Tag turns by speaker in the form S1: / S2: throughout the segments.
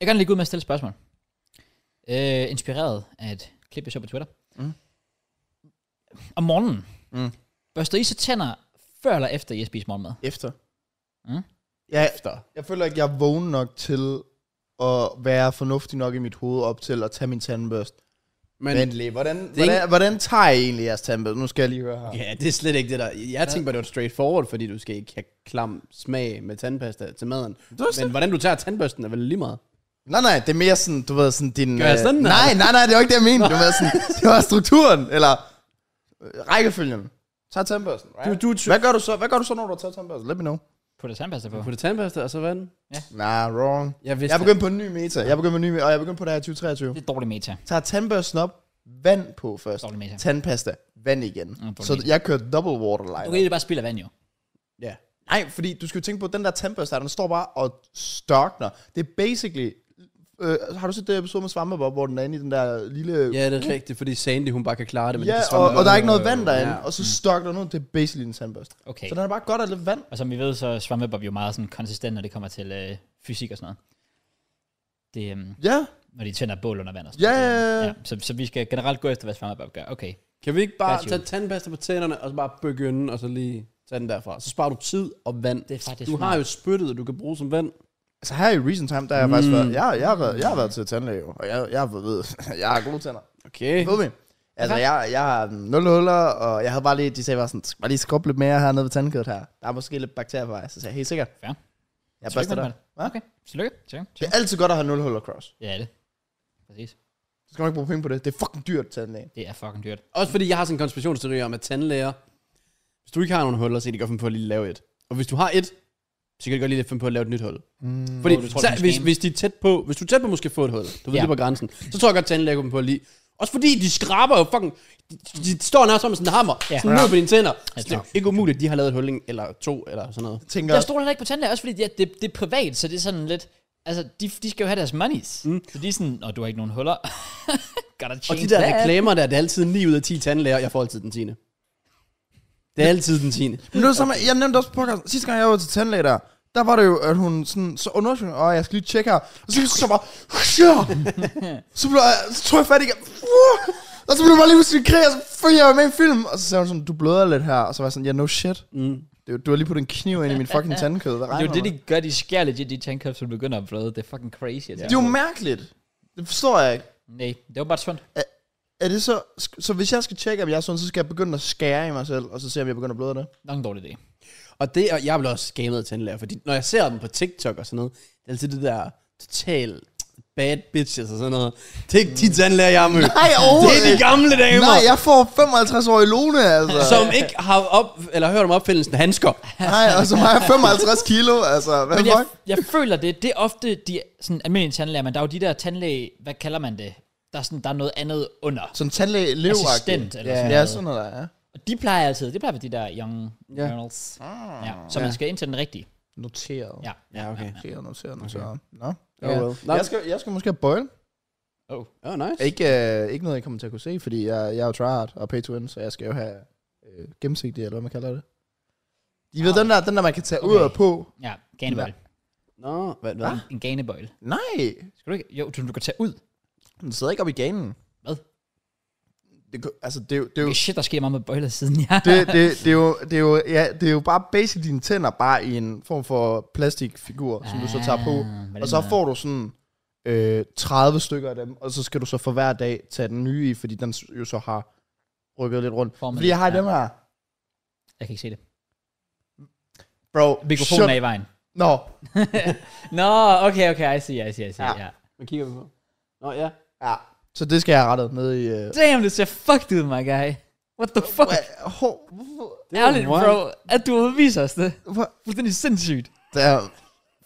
S1: Jeg kan gerne lige ud med at stille et spørgsmål. Øh, inspireret af et klip, jeg så på Twitter.
S2: Mm.
S1: Om morgenen.
S2: Mm.
S1: Børster I så tænder før eller efter, I har spist morgenmad?
S2: Efter.
S1: Mm.
S2: Ja, efter. Jeg føler ikke, jeg er vågen nok til at være fornuftig nok i mit hoved op til at tage min tandbørst.
S3: Men,
S2: Men,
S3: Men
S2: lige, hvordan, hvordan,
S3: er
S2: hvordan, hvordan tager I egentlig jeres tandbørst? Nu skal jeg lige høre her.
S3: ja, det er slet ikke det der. Jeg tænkte bare, det var straight forward, fordi du skal ikke have klam smag med tandpasta til maden. Men hvordan du tager tandbørsten er vel lige meget.
S2: Nej, nej, det er mere sådan, du ved, sådan din...
S3: Gør jeg
S2: øh,
S3: sådan, eller?
S2: nej, nej, nej, det var ikke det, jeg mente. Det var, sådan, det var strukturen, eller øh, rækkefølgen. Tag tandbørsten, right?
S3: Du- du tø-
S2: hvad, gør du så, hvad gør du så, når du har taget tandbørsten? Let me know.
S1: Putter tandpasta på?
S3: På
S2: Mm.
S3: det tandpasta, og så hvad den?
S2: Nej, nah, wrong.
S3: Jeg vidste
S2: Jeg er begyndt på en ny meta. Jeg er begyndt på en ny meta, og jeg er begyndt på det her i 2023.
S1: Det er dårlig meta.
S2: Tag tandbørsten op, vand på først.
S1: Dårlig meta.
S2: Tandpasta, vand igen.
S1: dårlig
S2: så
S1: meta.
S2: jeg kørte double waterline.
S1: Du kan egentlig bare spille af vand jo.
S3: Ja.
S2: Nej, fordi du skal jo tænke på, at den der tandbørste, her, den står bare og størkner. Det er basically... Øh, har du set det episode med Svampebob, hvor den er inde i den der lille
S3: Ja, det er rigtigt, fordi Sandy, hun bare kan klare det. Men
S2: Ja,
S3: det kan
S2: og,
S3: svømme
S2: og der er
S3: ud,
S2: ikke noget
S3: øh,
S2: vand derinde,
S3: ja.
S2: og så stokker der noget, det er basically en sandbørste.
S1: Okay.
S2: Så der er bare godt at lidt vand.
S1: Og som vi ved, så svammer Bob jo meget sådan konsistent, når det kommer til øh, fysik og sådan noget. Det, øhm,
S2: Ja,
S1: når de tænder bål under vand og sådan
S2: ja,
S1: noget.
S2: ja,
S1: Det,
S2: ja.
S1: ja. Så, så vi skal generelt gå efter, hvad svammer Bob gør. Okay.
S3: Kan vi ikke bare
S1: Got you.
S3: tage tandpasta på tænderne, og så bare begynde, og så lige tage den derfra? Så sparer du tid og vand.
S1: Det er faktisk
S3: du
S1: smart.
S3: har jo spyttet, du kan bruge som vand.
S2: Så Altså, her i recent time, der har jeg faktisk været, jeg, jeg, har været, jeg har været til tandlæge, jo, og jeg, jeg, har ved, jeg har gode tænder.
S3: Okay.
S2: Ved vi? Altså, jeg, jeg har nul huller, og jeg havde bare lige, de sagde bare sådan, "Skal bare lige skubbe lidt mere hernede ved tandkødet her. Der er måske lidt bakterier på vej, så sagde jeg, helt sikkert.
S1: Fair.
S2: Jeg
S1: Tillykke
S2: børster
S1: med
S2: dig.
S1: det, Malte. Okay. Tillykke. Tillykke.
S2: Det
S1: Tillykke.
S2: er altid godt at have nul huller cross.
S1: Ja, det er det. Præcis.
S2: Så skal man ikke bruge penge på det. Det er fucking dyrt tandlæge.
S1: Det er fucking dyrt.
S3: Også fordi jeg har sådan en konspirationsteori om, at tandlæger, hvis du ikke har nogen huller, så kan de godt finde på at lige lave et. Og hvis du har et, så kan de godt lige finde på at lave et nyt hul. Mm. Fordi
S1: Åh, du tror,
S3: tror, så,
S1: det er en
S3: hvis,
S1: scam.
S3: hvis, de er tæt på, hvis du er tæt på måske at få et hul, du ved
S1: Ja.
S3: ja. lige på grænsen, så tror jeg godt, tandlæger kunne finde på at lige. Også fordi de skraber jo fucking, de, de står nærmest som sådan en hammer,
S1: Ja.
S3: ja. sådan ned på dine tænder. Så det er
S1: klart.
S3: ikke umuligt, at de har lavet et hul eller to eller sådan noget.
S2: Jeg tænker,
S1: Jeg stoler heller ikke på tandlæger, også fordi det er, det, det er privat, så det er sådan lidt... Altså, de, de skal jo have deres monies. Mm. Så de er sådan, og du har ikke nogen huller. Gotta
S3: Og
S1: change
S3: de der
S1: that.
S3: reklamer, der er det er altid 9 ud af 10 tandlæger, jeg får altid den 10. Det er altid den 10.
S2: Men det var samme, jeg nævnte også på podcasten, sidste gang jeg var til tandlæge der, der var det jo, at hun sådan, så undersøgte, og jeg skal lige tjekke her, og så, så bare, ja! så, blev jeg, så tog jeg fat igen, Fuh! og så blev jeg bare lige pludselig krig, og så følte jeg var med i en film, og så sagde hun sådan, du bløder lidt her, og så var jeg sådan, ja, yeah, no shit,
S3: Mm.
S2: Det er jo- du har lige puttet en kniv ind i min fucking tandkød, hvad
S1: Det er
S2: regner
S1: jo det, de gør. De skærer legit de tandkøbsel, der begynder at bløde. Det er fucking crazy. Jeg
S2: det er
S1: tænker
S2: jo
S1: på.
S2: mærkeligt, det forstår jeg ikke.
S1: Nej, det var bare sundt.
S2: Er det så, så hvis jeg skal tjekke, om jeg er sund, så skal jeg begynde at skære i mig selv, og så se, om jeg begynder at bløde af det?
S1: Nok en dårlig idé.
S3: Og det, og jeg bliver også skamet af tandlæger, fordi når jeg ser dem på TikTok og sådan noget, det er altid det der total bad bitches og sådan noget. Det er ikke de tandlæger, jeg har mødt.
S2: Nej,
S3: Det er de gamle damer,
S2: Nej, jeg får 55 år i Lone, altså.
S3: som ikke har op, eller hørt om opfindelsen af handsker.
S2: Nej, altså, og så har jeg 55 kilo, altså. Hvad
S1: Men
S2: fuck?
S1: jeg, jeg føler det, det er ofte de sådan almindelige tandlæger, men der er jo de der tandlæge, hvad kalder man det? Der er, sådan, der er noget andet under.
S2: Sådan tandlæge elev
S1: Assistent Altså eller
S2: ja,
S1: sådan
S2: Ja,
S1: noget.
S2: sådan noget der, ja.
S1: Og de plejer altid, det plejer de der young
S3: Ja.
S1: journals. Ja, så man skal ind til den rigtige.
S2: Noteret.
S1: Ja.
S3: Ja, okay.
S2: Noteret, noteret, noteret. Okay. Nå.
S3: Oh, well. Nå.
S2: Jeg, skal, jeg skal måske have bøjle.
S1: Oh.
S3: Oh, nice.
S2: Ikke, øh, ikke noget, I kommer til at kunne se, fordi jeg, jeg er jo tryhard og pay to win, så jeg skal jo have øh, gennemsigtig, eller hvad man kalder det. I ved,
S1: Ah.
S2: den der, den der, man kan tage ud
S1: Okay.
S2: og på.
S1: Ja, ganebøjle.
S3: Nå, hvad, hvad?
S1: En ganebøjle.
S2: Nej,
S1: Skal du ikke? Jo, du, du kan tage ud.
S2: den sidder ikke op i ganen.
S1: Hvad?
S2: Det, kunne- altså, det, er jo- det, er jo-
S1: Okay, shit, der sker meget med bøjler siden, ja.
S2: det, det, det, er jo, det, er jo, ja, det er jo bare basic dine tænder, bare i en form for plastikfigur, som du så tager
S1: Ah,
S2: på. Og så får du sådan øh, 30 stykker af dem, og så skal du så for hver dag tage den nye i, fordi den s- jo så har rykket lidt rundt.
S1: Formet,
S2: Fordi jeg har
S1: ja.
S2: dem her.
S1: Jeg kan ikke se det.
S2: Bro,
S1: Mikrofonen er i vejen.
S2: Nå,
S1: Nå, okay, okay, I see, I see, I see.
S2: Ja.
S1: Ja.
S3: Hvad kigger vi på? Nå, ja.
S2: ja. Så det skal jeg have rettet ned i... Øh.
S1: Damn, det ser fucked ud, my guy. What the fuck?
S2: Hva- hov, hvorfor-
S3: Det er
S1: Ærligt,
S3: wild.
S1: bro, at du viser os det.
S2: hvor-
S1: Fuldstændig sindssygt.
S2: Der er...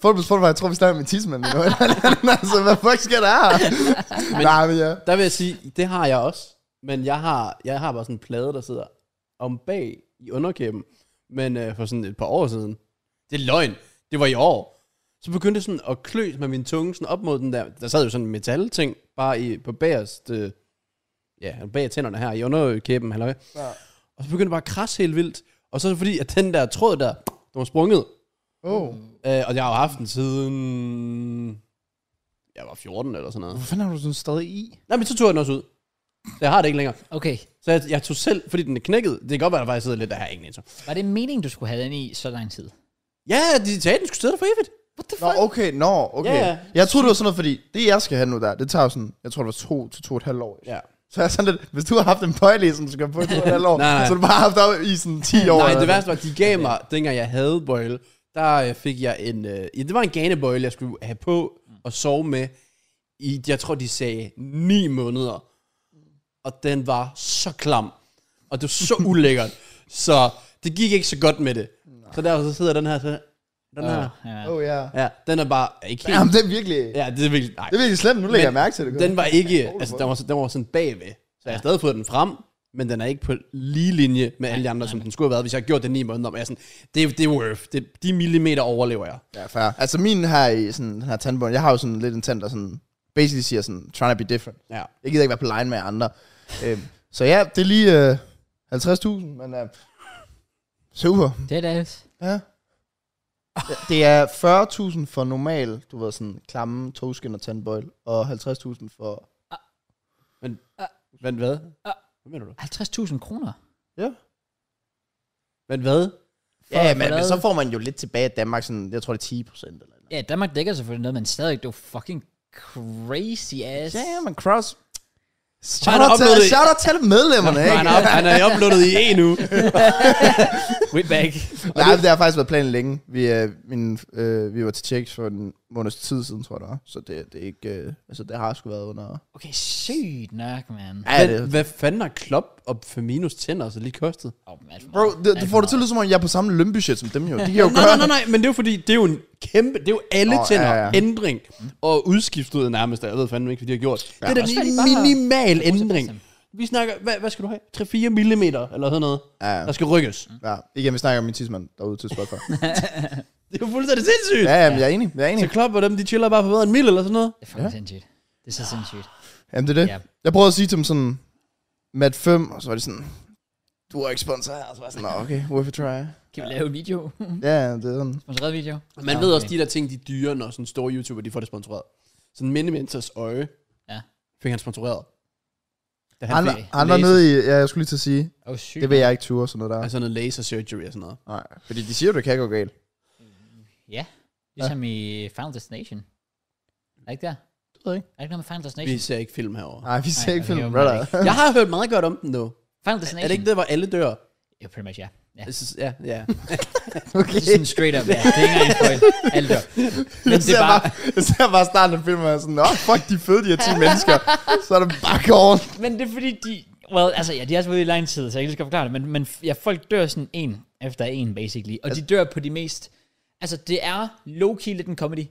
S2: Fodbold, fodbold, jeg tror, vi snakker med tidsmand nu. altså, hvad fuck skal der her? Nej, men ja.
S3: Der vil jeg sige, det har jeg også. Men jeg har, jeg har bare sådan en plade, der sidder om bag i underkæben. Men øh, for sådan et par år siden. Det er løgn. Det var i år. Så begyndte jeg sådan at klø med min tunge sådan op mod den der. Der sad jo sådan en metalting bare i, på bagerst. Øh, ja, bag tænderne her i underkæben. Halløj.
S2: Ja.
S3: Og så begyndte det bare at krasse helt vildt. Og så er det fordi, at den der tråd der, den var sprunget.
S2: Oh.
S3: Øh, og jeg har jo haft den siden... jeg var 14 eller sådan noget.
S2: Hvor fanden har du sådan stadig i?
S3: Nej, men så tog jeg den også ud. Så jeg har det ikke længere.
S1: Okay.
S3: Så jeg, jeg tog selv, fordi den er knækket. Det kan godt være, der faktisk sidder lidt, der her ingen så.
S1: Var det meningen, du skulle have den i så lang tid?
S3: Ja, de sagde, den skulle sidde der for evigt.
S1: What the
S2: Nå,
S1: fuck?
S2: okay, nå, okay.
S3: Ja,
S2: Yeah.
S3: ja.
S2: Jeg troede, det var sådan noget, fordi det, jeg skal have nu der, det tager jo sådan, jeg tror, det var to til to og et halvt år.
S3: Ja.
S2: Så jeg er sådan lidt, hvis du har haft en pøjle, som du skal på i to og et halvt år,
S3: Nej, nej.
S2: så har du bare haft op i sådan 10 år.
S3: Nej,
S1: øh,
S3: det
S2: eller-
S3: værste var, at de gav mig, dengang jeg havde bøjle, der øh, fik jeg en, øh, ja, det var en ganebøjle, jeg skulle have på og sove med i, jeg tror, de sagde 9 måneder. Og den var så klam. Og det var så ulækkert. så det gik ikke så godt med det. Så derfor så sidder den her, så, den her,
S1: Ja.
S2: Oh, ja.
S3: ja, den er bare ikke helt,
S2: Jamen, det er virkelig,
S3: ja, det er virkelig, nej.
S2: det er virkelig slemt. Nu lægger jeg mærke til det.
S3: Den var ikke, altså den var, den var sådan bagved, så jeg har stadig fået den frem, men den er ikke på lige linje med alle de andre, som den skulle have været, hvis jeg havde gjort det ni måneder. Men jeg er sådan, det, det er worth, det, de millimeter overlever jeg.
S2: Ja, fair. Altså min her i sådan, den her tandbånd, jeg har jo sådan lidt en tand, der sådan, basically siger sådan, trying to be different.
S3: Ja.
S2: Jeg gider ikke være på line med andre. øhm, så ja, det er lige øh, 50.000, men øh, super.
S1: Det er det.
S2: Ja. Det- Det er 40.000 for normal, du ved sådan, klamme, togskin og tandbøjl, og 50.000 for...
S3: Men, men hvad? Hvad mener du?
S1: 50.000 kroner.
S2: Ja.
S3: Men hvad?
S2: Ja,
S1: For-
S2: men,
S1: for
S2: men
S1: hvad?
S2: så får man jo lidt tilbage i Danmark, sådan, jeg tror det er 10 procent eller noget.
S1: Ja, Danmark dækker selvfølgelig noget, men stadig, du er fucking crazy ass.
S2: Ja, ja, men Cross...
S3: Han
S2: Shout
S3: har
S2: out, til,
S3: oplevet det.
S2: shout out til medlemmerne, ikke?
S3: Han er, op- han er uploadet i en nu.
S1: We back.
S2: Nej, det har faktisk været planen længe. Vi, øh, min, øh, vi var til checks for en måneds tid siden, tror jeg det var. Så det, det, er ikke, øh, altså, det har sgu været under...
S1: Okay, sygt nok, man.
S2: Ja,
S3: Men,
S2: det,
S3: hvad fanden har Klopp og Firminos tænder så lige kostet?
S1: Oh, man, alt for
S2: bro,
S1: meget.
S2: det,
S1: Alt
S2: du
S1: for
S2: får det til at
S1: meget.
S2: lyde som om, jeg er på samme lønbudget som dem jo. Det kan jo
S3: Nej, nej,
S2: gøre.
S3: nej, nej, men det er jo fordi, det er jo en kæmpe, det er jo alle
S2: Nå,
S3: oh, tænder,
S2: ja,
S3: ja,
S2: ja.
S3: ja. ændring og udskiftet nærmest, og jeg ved fandme ikke, hvad de har gjort. Ja. Det er
S1: Også
S3: da
S1: fordi de
S3: en
S1: bare har-
S3: minimal
S1: bruger til
S3: ændring.
S1: fast
S3: Vi snakker, hvad, hvad skal du have? 3-4 mm eller sådan noget,
S2: Ja, ja.
S3: der skal rykkes.
S1: Mm.
S2: Ja, igen, vi snakker om min tidsmand derude til Spotify.
S3: Det er jo fuldstændig sindssygt.
S2: ja, jamen, jeg er enig. Jeg er
S3: Så
S2: enig.
S3: Klopp og dem, de chiller bare på hvad, en mil eller sådan noget.
S1: Det er fucking sindssygt. Det er så sindssygt.
S2: Jamen, det er
S1: Ja.
S2: det. Jeg prøvede at sige til dem sådan, Mat 5, og så var de sådan, du er ikke sponsor her. Og
S1: altså,
S2: så var jeg sådan, "Nå, okay, worth a try.
S1: Kan vi lave en video?
S2: Ja, det er sådan.
S1: Sponsoreret video?
S3: Man
S1: Ja,
S3: ved
S1: okay.
S3: også, de der ting, de er dyre, når sådan store YouTuber, de får det sponsoreret. Sådan Minimenters øje
S1: Ja.
S3: fik han sponsoreret. Da han,
S2: Han,
S3: fik
S2: han var
S3: laser-
S2: nede i, ja, jeg skulle lige til at sige,
S1: Oh, sygt.
S2: det vil jeg ikke ture og sådan noget der.
S3: Altså noget laser surgery og sådan noget.
S2: Nej, fordi de siger jo, det kan gå galt.
S1: Ligesom i Final Destination. Er det ikke der?
S2: Det ved jeg ikke.
S1: Er det ikke noget med Final Destination?
S3: Vi ser ikke film herovre.
S2: Nej, vi ser
S1: Nej,
S2: ikke
S1: det kan
S2: filmen,
S1: jeg åbenbart
S2: brother.
S3: Jeg har hørt meget godt om den, dog.
S1: Final
S3: Er
S1: Destination?
S3: det ikke det, hvor alle dør?
S1: Ja, pretty much, ja. ja.
S3: Jeg synes- Ja, ja.
S1: Det er sådan straight up, ja. Det er ikke engang en spoil. Alt dør. Men
S2: Jeg
S1: det
S2: ser,
S1: er bare...
S2: bare, jeg ser bare starten af filmen, og jeg er sådan, åh, fuck, de er fede, de her 10 mennesker. Så er det bare gården.
S1: Men det er fordi, de... Well, altså, ja, de har også været ude i lang tid, så jeg kan lige skal forklare det, men, men ja, folk dør sådan en efter en, basically. Og de dør på de mest... Altså, det er low-key lidt en comedy.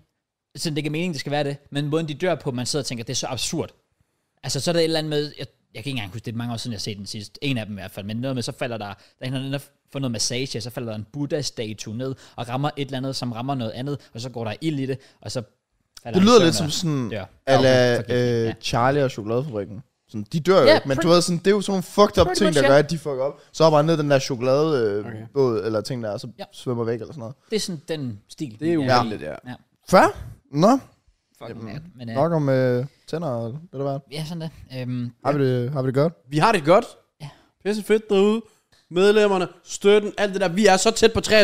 S1: Så det giver mening, det skal være det. Men måden, de dør på, man sidder og tænker, det er så absurd. Altså, så er der et eller andet med... Jeg, jeg kan ikke engang huske, det er mange år siden, jeg har set den sidst. En af dem i hvert fald. Men noget med, så falder der... Der er en eller anden, der får noget massage, og så falder der en Buddha-statue ned, og rammer et eller andet, som rammer noget andet, og så går der ild i det, og så... falder
S2: Det
S1: han i
S2: lyder
S1: søvn,
S2: lidt som
S1: og-
S2: sådan,
S1: Ja. Ja, okay,
S2: ala
S1: forgive mig,
S2: øh,
S1: ja.
S2: Charlie og chokoladefabrikken. Sådan, de dør jo
S1: Ja,
S2: ikke, men du
S1: pretty-
S2: ved, sådan, det er jo sådan nogle fucked up
S1: pretty
S2: ting,
S1: much,
S2: der
S1: ja.
S2: gør, at de fucker op. Så hopper han ned i den der chokoladebåd, øh,
S3: Okay.
S2: båd, eller ting der, og så
S1: Ja.
S2: svømmer væk eller sådan noget.
S1: Det er sådan den stil.
S3: Det er
S1: Ja.
S3: uheldigt, ja.
S1: Ja.
S2: Fair? Nå,
S1: Fucking mad. Men øh,
S2: nok om øh, tænder, og ved du hvad?
S1: ja, sådan det. Øhm,
S2: Har vi det, har vi det godt?
S3: Vi har det godt.
S1: Ja.
S3: Pisse fedt derude. Medlemmerne, støtten, alt det der. Vi er så tæt på 23.000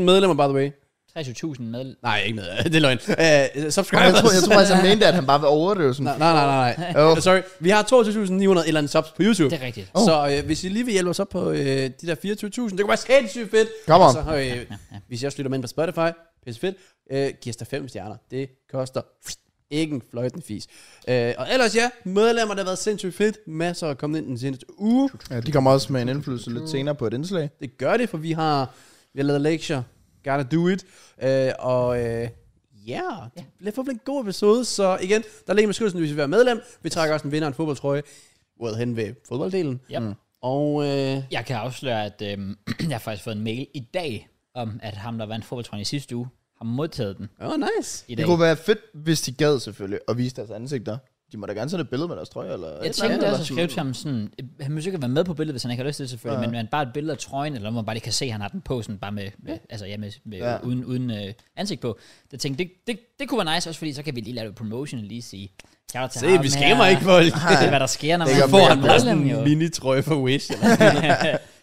S3: medlemmer, by the way.
S1: 23.000 med...
S3: Nej, ikke med. Det er løgn. Uh,
S2: Jeg
S3: subscribers.
S2: tror, jeg tror faktisk, han mente, at han bare vil overdøve sådan.
S3: Nej, nej, nej, nej.
S2: Jo.
S3: Oh. Sorry. Vi har 22.900 eller en subs på YouTube.
S1: Det er rigtigt.
S3: Oh. Så øh, hvis I lige vil hjælpe os op på øh, de der 24.000, det kunne være sindssygt fedt.
S2: Come
S3: Og
S2: on.
S3: Så, øh, hvis jeg også lytter med ind på Spotify, pisse fedt, øh, giv os da fem stjerner. Det koster ikke en fløjten fis. Øh, og ellers ja, medlemmer, der har været sindssygt fedt. Masser er kommet ind den seneste uge.
S2: Ja, de kommer også med en indflydelse lidt senere på et indslag.
S3: Det gør det, for vi har, vi har lavet lektier. Gotta do it. Øh, og øh, ja, yeah. det bliver forhåbentlig en god episode. Så igen, der ligger med skyldelsen, hvis vi vil være medlem. Vi trækker også en vinder af en fodboldtrøje. Ude hen ved fodbolddelen.
S1: Yep. Mm.
S3: Og øh,
S1: Jeg kan afsløre, at øhm, jeg har faktisk fået en mail i dag, om at ham, der vandt fodboldtrøjen i sidste uge, har modtaget den
S3: åh, oh, nice.
S1: i dag.
S2: Det kunne være fedt, hvis de gad selvfølgelig, og vise deres ansigter. De må da gerne sende et billede med deres trøje, eller...
S1: Jeg tænkte også at skrive til ham sådan, øh, han måske ikke være med på billedet, hvis han ikke har lyst til det selvfølgelig,
S2: Ja.
S1: men, men bare et billede af trøjen, eller om man bare lige kan se, at han har den på, sådan bare med, med altså ja, med, med
S2: Ja.
S1: ja. uden, uden øh, ansigt på. Det tænkte det, det, det kunne være nice også, fordi så kan vi lige lave et promotion og lige sige, shout out til
S3: Se,
S1: ham
S3: vi
S1: her."
S3: skæmmer ikke folk.
S1: Det er, hvad der sker, når
S2: Det
S1: man
S2: gør
S1: får
S2: mere
S1: en
S2: på.
S3: Bare sådan
S1: medlem, jo.
S3: en mini-trøje for Wish. Eller.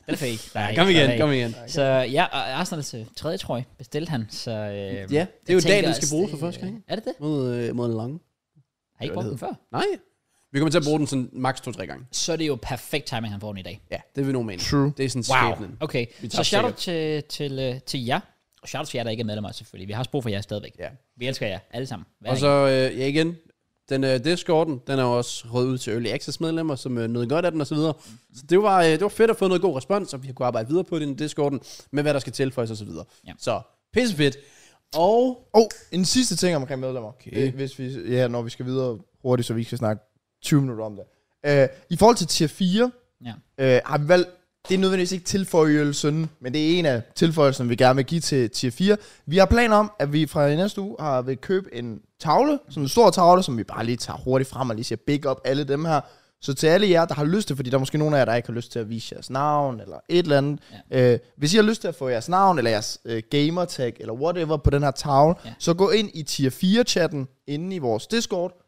S1: Den er fake. Der er ikke-
S3: Kom
S1: der er
S3: igen,
S1: ikke.
S3: kom igen.
S1: Så ja, og Arsenal's øh, tredje trøje bestilte han, så... Øh, ja,
S3: det er jo i dag, den skal bruges for første gang.
S1: Er det det?
S3: Mod, øh, mod en lang.
S1: Har I ikke
S3: Det var
S1: brugt
S3: det.
S1: den før?
S3: Nej. Vi kommer til at bruge den sådan maks 2-3 gange.
S1: Så er det jo perfekt timing, han får den i dag.
S3: Ja, det vil nogen mene.
S2: True.
S3: Det er sådan wow.
S1: Wow.
S3: skæbnen.
S1: Okay,
S3: Vi tager
S1: så shout out til, til, øh, til jer. Og shout out til jer, der ikke er medlemmer selvfølgelig. Vi har også brug for jer stadigvæk.
S3: Ja.
S1: Vi elsker jer alle sammen. Hver
S3: Og så, øh, ja igen, den øh, Discorden, den er jo også rød ud til Early Access medlemmer, som øh, nød godt af den og Så, videre. så det, var, øh, det var fedt at få noget god respons, og vi har kunnet arbejde videre på den Discorden, med hvad der skal tilføjes og så videre.
S1: Ja.
S3: Så pisse fedt. Og
S2: Og en sidste ting omkring medlemmer.
S3: Okay.
S2: Okay. Hvis vi, ja, når vi skal videre hurtigt, så vi ikke skal snakke 20 minutter om det. Øh, I forhold til tier 4,
S1: Ja.
S2: øh, har vi valgt, det er nødvendigvis ikke tilføjelsen, men det er en af tilføjelserne, vi gerne vil give til tier 4. Vi har planer om, at vi fra i næste uge har vil købe en tavle, sådan en stor tavle, som vi bare lige tager hurtigt frem og lige siger big up alle dem her. Så til alle jer, der har lyst til, fordi der er måske nogle af jer, der ikke har lyst til at vise jeres navn, eller et eller andet. Ja. Øh, hvis I har lyst til at få jeres navn, eller jeres øh, gamertag, eller whatever på den her tavle,
S1: Ja.
S2: ja. så gå ind i tier 4-chatten inde i vores Discord,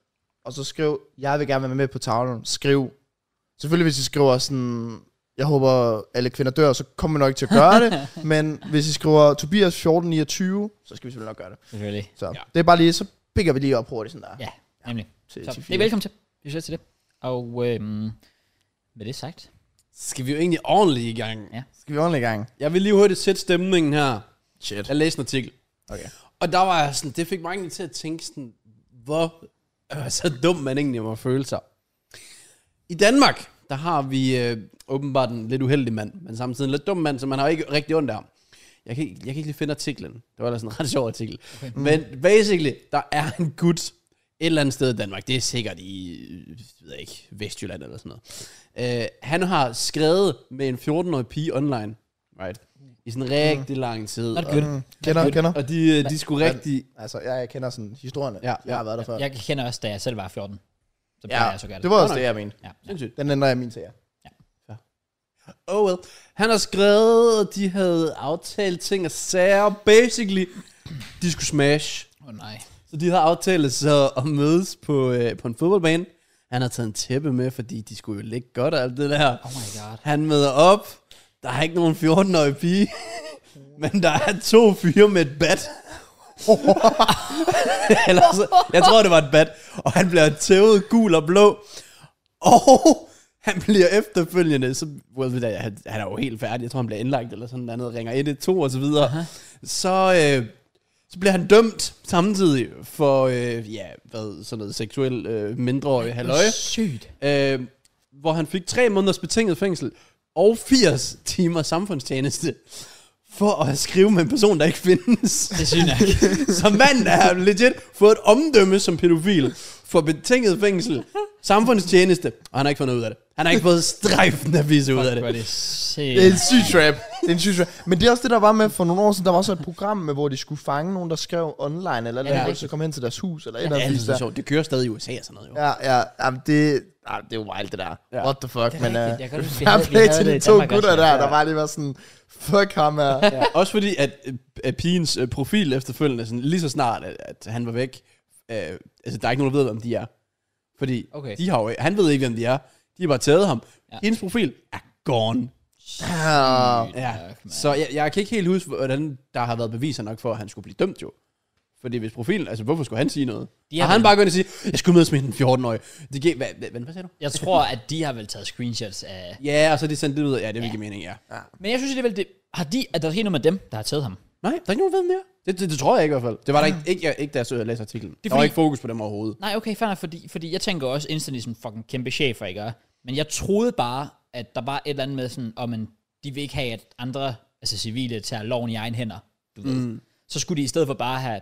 S2: og så skriv, jeg vil gerne være med på tavlen. Skriv Selvfølgelig hvis I skriver sådan, jeg håber alle kvinder dør, så kommer vi nok ikke til at gøre det. men hvis I skriver Tobias 1429, så skal vi selvfølgelig nok gøre det.
S1: selvfølgelig.
S2: Så
S3: Ja.
S2: ja. det er bare lige, så bigger vi lige op hurtigt sådan der.
S1: Ja, nemlig.
S2: Til,
S1: Så
S2: til
S1: det er velkommen til. Vi ses til det. Og øhm, med det sagt,
S3: skal vi jo egentlig ordentligt i gang.
S1: Ja.
S2: Skal vi ordentligt i gang?
S3: Jeg vil lige hurtigt sætte stemningen her.
S2: Shit.
S3: Jeg læste en artikel.
S2: Okay.
S3: Og der var jeg sådan, det fik mig egentlig til at tænke sådan, hvor øh, så dum man egentlig må føle sig. I Danmark, der har vi øh, åbenbart en lidt uheldig mand, men samtidig en lidt dum mand, så man har jo ikke rigtig ondt af ham. Jeg kan, ikke- jeg kan ikke lige finde artiklen. Det var ellers en ret sjov artikel. Okay. Men basically, der er en gut et eller andet sted i Danmark. Det er sikkert i, øh, ved jeg ikke, Vestjylland eller sådan noget. Øh, han har skrevet med en 14-årig pige online, right? I sådan rigtig lang tid.
S1: not
S3: og-
S1: good.
S2: Mm, kender, kender.
S3: og de, øh, de skulle rigtig...
S2: Altså, ja, jeg kender sådan historierne.
S3: Ja,
S2: Jeg har været der før.
S1: Jeg kender også, da jeg selv var 14. Så plejer jeg så
S2: ja,
S1: gør det.
S2: det var også
S3: Nå,
S2: det, jeg mente.
S1: Ja.
S3: Sindssygt.
S2: Den ændrer jeg min til jer.
S3: Oh well. Han har skrevet, og de havde aftalt ting og sager. Basically, de skulle smash.
S1: Åh oh, nej.
S3: Så de havde aftalt så at mødes på, øh, på en fodboldbane. Han har taget en tæppe med, fordi de skulle jo ligge godt og alt det der.
S1: Oh my god.
S3: Han møder op. Der er ikke nogen 14-årig pige. Men der er to fyre med et bat. Eller så, jeg tror, det var et bat. Og han bliver tævet gul og blå. Og han bliver efterfølgende, så, well, da- han, han er jo helt færdig, jeg tror, han bliver indlagt eller sådan noget, ringer 112 og så videre. Så, øh, så bliver han dømt samtidig for, øh, ja, hvad, sådan noget seksuel øh, mindreårig halløj
S1: Sygt.
S3: øh, hvor han fik tre måneders betinget fængsel og 80 timer samfundstjeneste for at skrive med en person, der ikke findes.
S1: Det synes jeg ikke.
S3: Så manden er legit fået et omdømme som pædofil for betinget fængsel, samfundstjeneste, og han har ikke fået noget ud af det. Han har ikke fået strejfen af vise ud af
S1: Hvor er
S3: det.
S1: det
S2: Det er
S1: sygt.
S2: en syg trap. Det er en syg trap. Men det er også det, der var med for nogle år siden. Der var så et program, med, hvor de skulle fange nogen, der skrev online, eller,
S1: Ja.
S2: ja, så kom hen til deres hus, eller et eller
S3: Ja,
S2: andet.
S3: det er
S2: der.
S3: sjovt. Det kører stadig i USA og sådan noget, jo.
S2: Ja, ja, jamen det, ah, det er jo wild det der.
S3: Ja.
S2: Ja. What the fuck,
S1: Det er
S2: men
S1: rigtigt.
S2: uh,
S1: Jeg kan huske, vi
S2: fair
S1: havde- vi
S2: play
S1: havde
S2: til
S1: det i
S2: de to
S1: Danmark også,
S2: gutter
S1: ja.
S2: der, der bare lige var sådan, fuck ham her. Ja.
S3: Ja. Også fordi, at, øh, at pigens øh, profil efterfølgende, sådan, lige så snart, at, at han var væk, øh, altså der er ikke nogen, der ved, hvem de er. Fordi
S1: Okay.
S3: de har jo, han ved ikke, hvem de er. De har bare taget ham.
S1: Ja.
S3: Ja. Hendes profil er gone. Ja.
S1: Fuck, man.
S3: Så jeg, jeg kan ikke helt huske, hvordan der har været beviser nok for, at han skulle blive dømt jo. Fordi hvis profilen, altså hvorfor skulle han sige noget?
S1: De
S3: De
S1: har
S3: har han
S1: vel-
S3: bare gået ind og sige, jeg skulle mødes med en 14-årig. Det gik, hvad, hvad, hvad, hvad sagde du?
S1: Jeg tror, at de har vel taget screenshots af...
S3: Ja, og så er de sendt det ud. Ja, det vil give mening, ja.
S1: Men jeg synes alligevel, det... Har de... Er der sket noget med dem, der har taget ham?
S3: Nej, der er ikke nogen, der ved mere. Det, det, det, tror jeg ikke i hvert fald. Det var der ikke, ikke, jeg, ikke da jeg så- læste artiklen. Det der var
S1: fordi-
S3: ikke fokus på dem overhovedet.
S1: Nej, okay, fair nok, fordi, fordi jeg tænker også instantly sådan fucking kæmpe chefer, ikke? Og- Men jeg troede bare, at der var et eller andet med sådan, om man, de vil ikke have, at andre, altså civile, tager loven i egen hænder, du ved. Mm. Så skulle de i stedet for bare have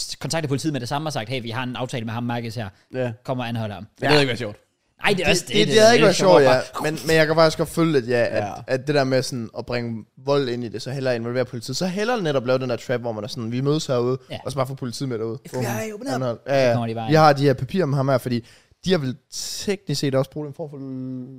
S1: s- kontaktet politiet med det samme og sagt, hey, vi har en aftale med ham, Marcus her,
S3: Ja.
S1: kom og anholde ham.
S3: Det ja. ved ikke være sjovt.
S1: Nej, det er også
S2: Det, det, det
S1: der
S2: havde ikke
S1: lidt
S2: været sjovt, ja.
S1: bare-
S2: Men, men jeg kan faktisk godt følge lidt, ja, at,
S3: Ja.
S2: ja. at det der med sådan at bringe vold ind i det, så hellere involvere politiet, så hellere netop lave den der trap, hvor man er sådan, vi mødes herude,
S1: Ja.
S2: ja. og så bare få politiet med derude. FBI,
S1: open up.
S2: Ja,
S1: Så
S2: ja.
S1: kommer de bare
S2: Vi
S1: ind.
S2: har de her papirer med ham her, fordi de har vel teknisk set også brugt en form for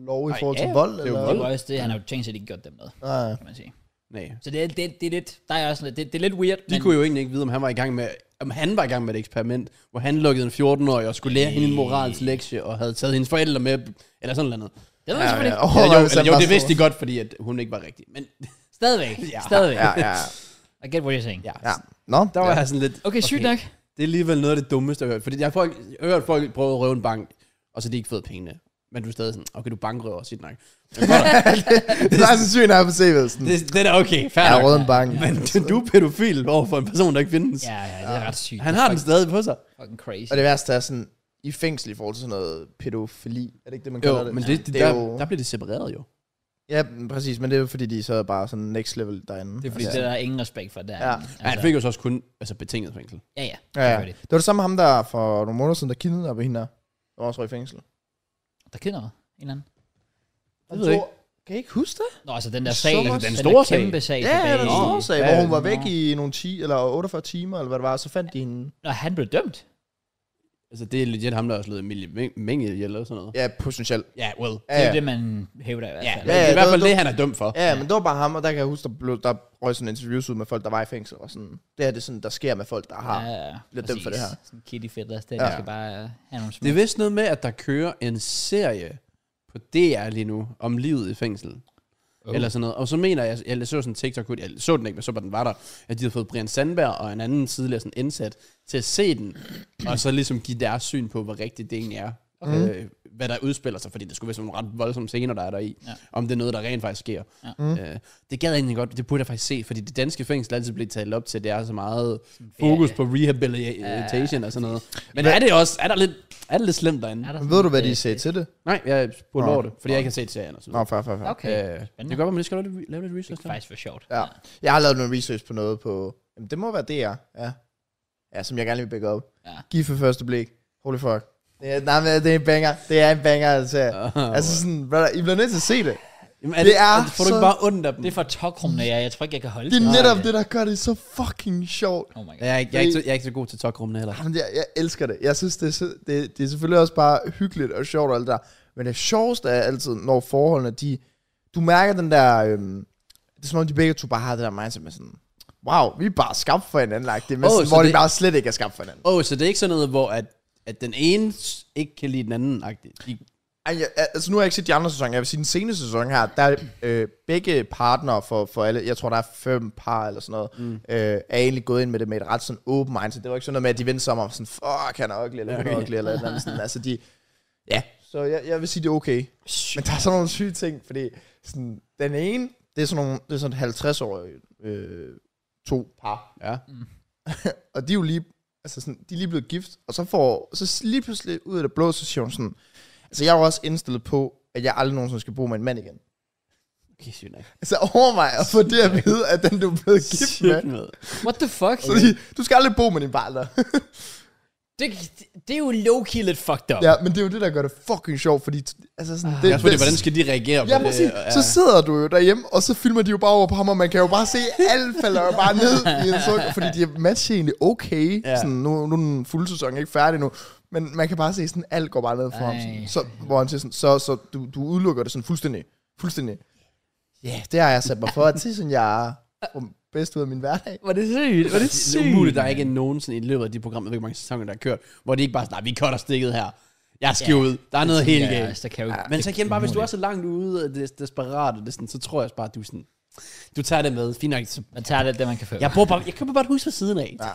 S2: lov i
S3: Ej,
S2: forhold
S3: ja,
S2: til vold?
S3: det er jo
S2: eller?
S1: Det
S3: vold.
S1: var også det, han har jo tænkt sig, at de ikke gjort det med,
S2: Nej.
S1: kan man sige.
S3: Nej.
S1: Så det er, det, det er lidt, der er også lidt, det, det er lidt weird,
S3: De men, kunne jo egentlig ikke vide, om han var i gang med om han var i gang med et eksperiment, hvor han lukkede en 14-årig og skulle lære hende en moralsk lektie, og havde taget hendes forældre med, eller sådan noget.
S1: det ved
S2: Ja,
S1: jeg selvfølgelig
S2: ja.
S1: ikke.
S2: Åh,
S3: Oh, jo,
S2: hvis han
S3: eller, jo,
S2: bare
S3: det
S2: stod-
S3: vidste de godt, fordi at hun ikke var rigtig. Men
S1: Stadigvæk,
S3: Ja.
S1: stadigvæk.
S2: Ja, ja.
S1: I get what you're saying.
S3: ja,
S2: ja. Nå,
S3: der var
S2: ja.
S3: jeg sådan lidt...
S1: Okay, sygt nok.
S3: Det er alligevel noget af det dummeste, jeg har hørt. Fordi jeg har, folk, jeg har hørt folk prøve at røve en bank, og så har de ikke fået pengene. Men du er stadig sådan, okay, du er bankrøver, sit nok. Men godt nok.
S2: det er sandsynligt, at jeg har på CV'elsen.
S3: det, det, er da okay,
S2: Jeg har
S3: fair nok.
S2: rød en bank.
S3: Men du er pædofil overfor en person, der ikke findes.
S1: Ja, ja, det er ret sygt.
S3: Han har den stadig på sig.
S1: Fucking crazy.
S2: Og det værste er sådan, i fængsel i forhold til sådan noget pædofili. Er det ikke det, man
S3: Jo,
S2: kalder det?
S3: men det, det,
S2: det er
S3: der,
S2: jo-
S3: der bliver det separeret jo.
S2: Ja, præcis. Men det er jo fordi, de så er bare sådan next level derinde.
S1: Det er fordi,
S2: Altså,
S1: det er der ingen respekt for, der.
S2: Ja.
S3: Altså. Han fik jo så også kun altså, betinget fængsel.
S1: Ja, ja.
S2: Ja, ja.
S1: selvfølgelig.
S2: Det var det samme med ham der for nogle måneder siden, der kidnappede hende der. Der var også røg i fængsel.
S1: Der kender en eller anden.
S3: Det ved jeg
S2: Han tog- Kan I ikke huske det?
S1: Nå, altså den der sag,
S2: Sommer-
S1: altså, den,
S3: den
S1: store
S3: store
S1: der kæmpe sag.
S2: Ja, ja,
S1: tilbage
S2: den
S1: i-
S2: store sag,
S3: Ja,
S2: hvor
S3: ja,
S2: hun var
S1: nå.
S2: væk i nogle 10 eller 48 timer, eller hvad det var, og så fandt de hende.
S1: Nå, han blev dømt.
S3: Altså, det er legit ham, der har slået Emilie Meng- Menge ihjel eller sådan noget.
S2: Ja, potentielt.
S3: Ja, well.
S2: Ja,
S1: Det er
S2: ja.
S1: jo det, man hævder i hvert
S3: Ja,
S1: fald.
S3: det er i
S2: det
S3: hvert
S2: var
S3: fald
S2: dumt.
S3: det, han er dømt for.
S2: Ja, men det var bare ham, og der kan jeg huske, der, blev, der røg sådan interviews ud med folk, der var i fængsel, og sådan, det her det er sådan, der sker med folk, der har. Ja,
S1: ja,
S2: Bliver dømt for det her.
S1: Sådan kitty fedt, altså, det
S2: Ja.
S1: ja. skal bare øh, have nogle små.
S3: Det er vist noget med, at der kører en serie på DR lige nu, om livet i fængsel.
S1: Oh.
S3: Oh. Eller sådan noget. Og så mener jeg, jeg så sådan en TikTok, ud- jeg så den ikke, men så bare den var der, at de havde fået Brian Sandberg og en anden tidligere sådan indsat til at se den, og så ligesom give deres syn på, hvor rigtigt det egentlig er. Okay. Øh, hvad der udspiller sig, fordi det skulle være sådan nogle ret voldsomme scener, der er der i.
S1: Ja.
S3: Ja. Om det er noget, der rent faktisk sker.
S1: Ja.
S3: Mm. Øh, det gad jeg egentlig godt, det burde jeg faktisk se, fordi det danske fængsel altid bliver talt op til, at det er så meget fokus på rehabilitation og sådan noget. Men er det også, er der lidt, er det lidt slemt derinde?
S1: Er der
S2: men
S1: sådan
S2: ved du, hvad
S1: et,
S2: de sagde
S1: øh,
S2: til det?
S3: Nej, jeg spurgte
S2: Nå.
S3: over det, fordi jeg ikke har set serien og så
S2: Nå,
S3: videre.
S2: fair, fair, fair.
S1: Okay,
S3: Øh,
S1: spændende.
S3: det kan godt være, man lige skal lave lidt, lave lidt
S1: det
S3: research
S1: er
S3: der.
S1: faktisk for sjovt.
S2: Ja. Jeg har lavet noget research på noget på... Jamen, det må være DR, ja. Ja, som jeg gerne lige vil bække op.
S1: Ja.
S2: Giv for første blik. Holy fuck. Ja, nej, men det er en banger. Det er en banger, altså. Uh,
S3: Uh,
S2: altså sådan, brother, I bliver nødt til at se det.
S3: Jamen,
S2: det er
S3: Får du
S2: så-
S3: ikke bare ondt af dem?
S1: Det er for tokrumne, jeg, jeg tror ikke, jeg kan holde
S2: Det er
S1: til
S2: netop det, der gør det så fucking sjovt.
S1: Oh my god.
S3: jeg, er ikke, jeg, er ikke så, jeg er ikke så god til tokrummene heller.
S2: Jamen, jeg, jeg elsker det. Jeg synes, det er, så- det, det er selvfølgelig også bare hyggeligt og sjovt og alt det der. Men det sjoveste er altid, når forholdene, de... Du mærker den der... Øhm, det er som om, de begge to bare har det der mindset med sådan... Wow, vi er bare skabt for hinanden, like. det er
S3: Åh,
S2: oh,
S3: så
S2: hvor det... de
S3: det-
S2: bare slet ikke er skabt for hinanden.
S3: Åh, oh, så det er ikke sådan noget, hvor at, at den ene s- ikke kan lide den anden agtigt. De,
S2: Ej, jeg, altså nu har jeg ikke set de andre sæsoner. Jeg vil sige, den seneste sæson her, der er øh, begge partnere for, for alle, jeg tror, der er fem par eller sådan noget, mm. øh, er egentlig gået ind med det med et ret sådan open mindset. Det var ikke sådan noget med, at de vendte sig om og sådan, fuck, han er ugly, eller hun er ugly, eller et eller andet sådan. Altså de, ja, så jeg, jeg vil sige, det er okay. Men der er sådan nogle syge ting, fordi sådan, den ene, det er sådan, nogle, det er sådan 50 år øh, to par,
S3: ja.
S2: og de er jo lige, altså sådan, de er lige blevet gift, og så får, så lige pludselig ud af det blå, så siger hun sådan, altså jeg er jo også indstillet på, at jeg aldrig nogensinde skal bo med en mand igen.
S3: Okay, sygt nok.
S2: Altså overvej at få det at vide, at den du er blevet gift med.
S3: Sygt med.
S1: What the fuck?
S2: Så de, du skal aldrig bo med din partner.
S1: Det, det er jo low-key lidt fucked up.
S2: ja, men det er jo det, der gør det fucking sjovt, fordi, t- altså sådan, det
S3: Jeg tror, det er, hvordan skal de reagere på
S2: Ja,
S3: det?
S2: præcis.
S3: Ja.
S2: Så sidder du jo derhjemme, og så filmer de jo bare over på ham, og man kan jo bare se, alt falder jo bare ned i en suk, fordi de matcher egentlig okay. Ja.
S3: Ja.
S2: Sådan, nu, nu er den fulde sæson ikke færdig nu, men man kan bare se, sådan alt går bare ned for ham.
S1: Ej.
S2: Sådan, så, hvor han siger sådan, så, så du, du udelukker det sådan fuldstændig. Fuldstændig. Ja, yeah, det har jeg sat mig for, at det er sådan, jeg får bedst ud af min hverdag.
S1: Var det sygt? Var det
S3: Det
S1: sygt?
S3: er umuligt, der er ikke nogensinde i løbet af de programmer, jeg ved ikke, hvor mange sæsoner, der er kørt, hvor det ikke bare er sådan, nej, vi cutter stikket her. Jeg skal
S1: Ja, altså,
S3: ud. Der er noget helt galt.
S1: der kan jo,
S3: Men så igen bare, hvis du er så langt ude og det er desperat, og det er sådan, så tror jeg også bare, at du er sådan, du tager det med. Fint nok. så-
S1: Man tager det, det man kan få.
S3: Jeg, bor bare, jeg køber bare et hus ved siden af.
S2: Ja.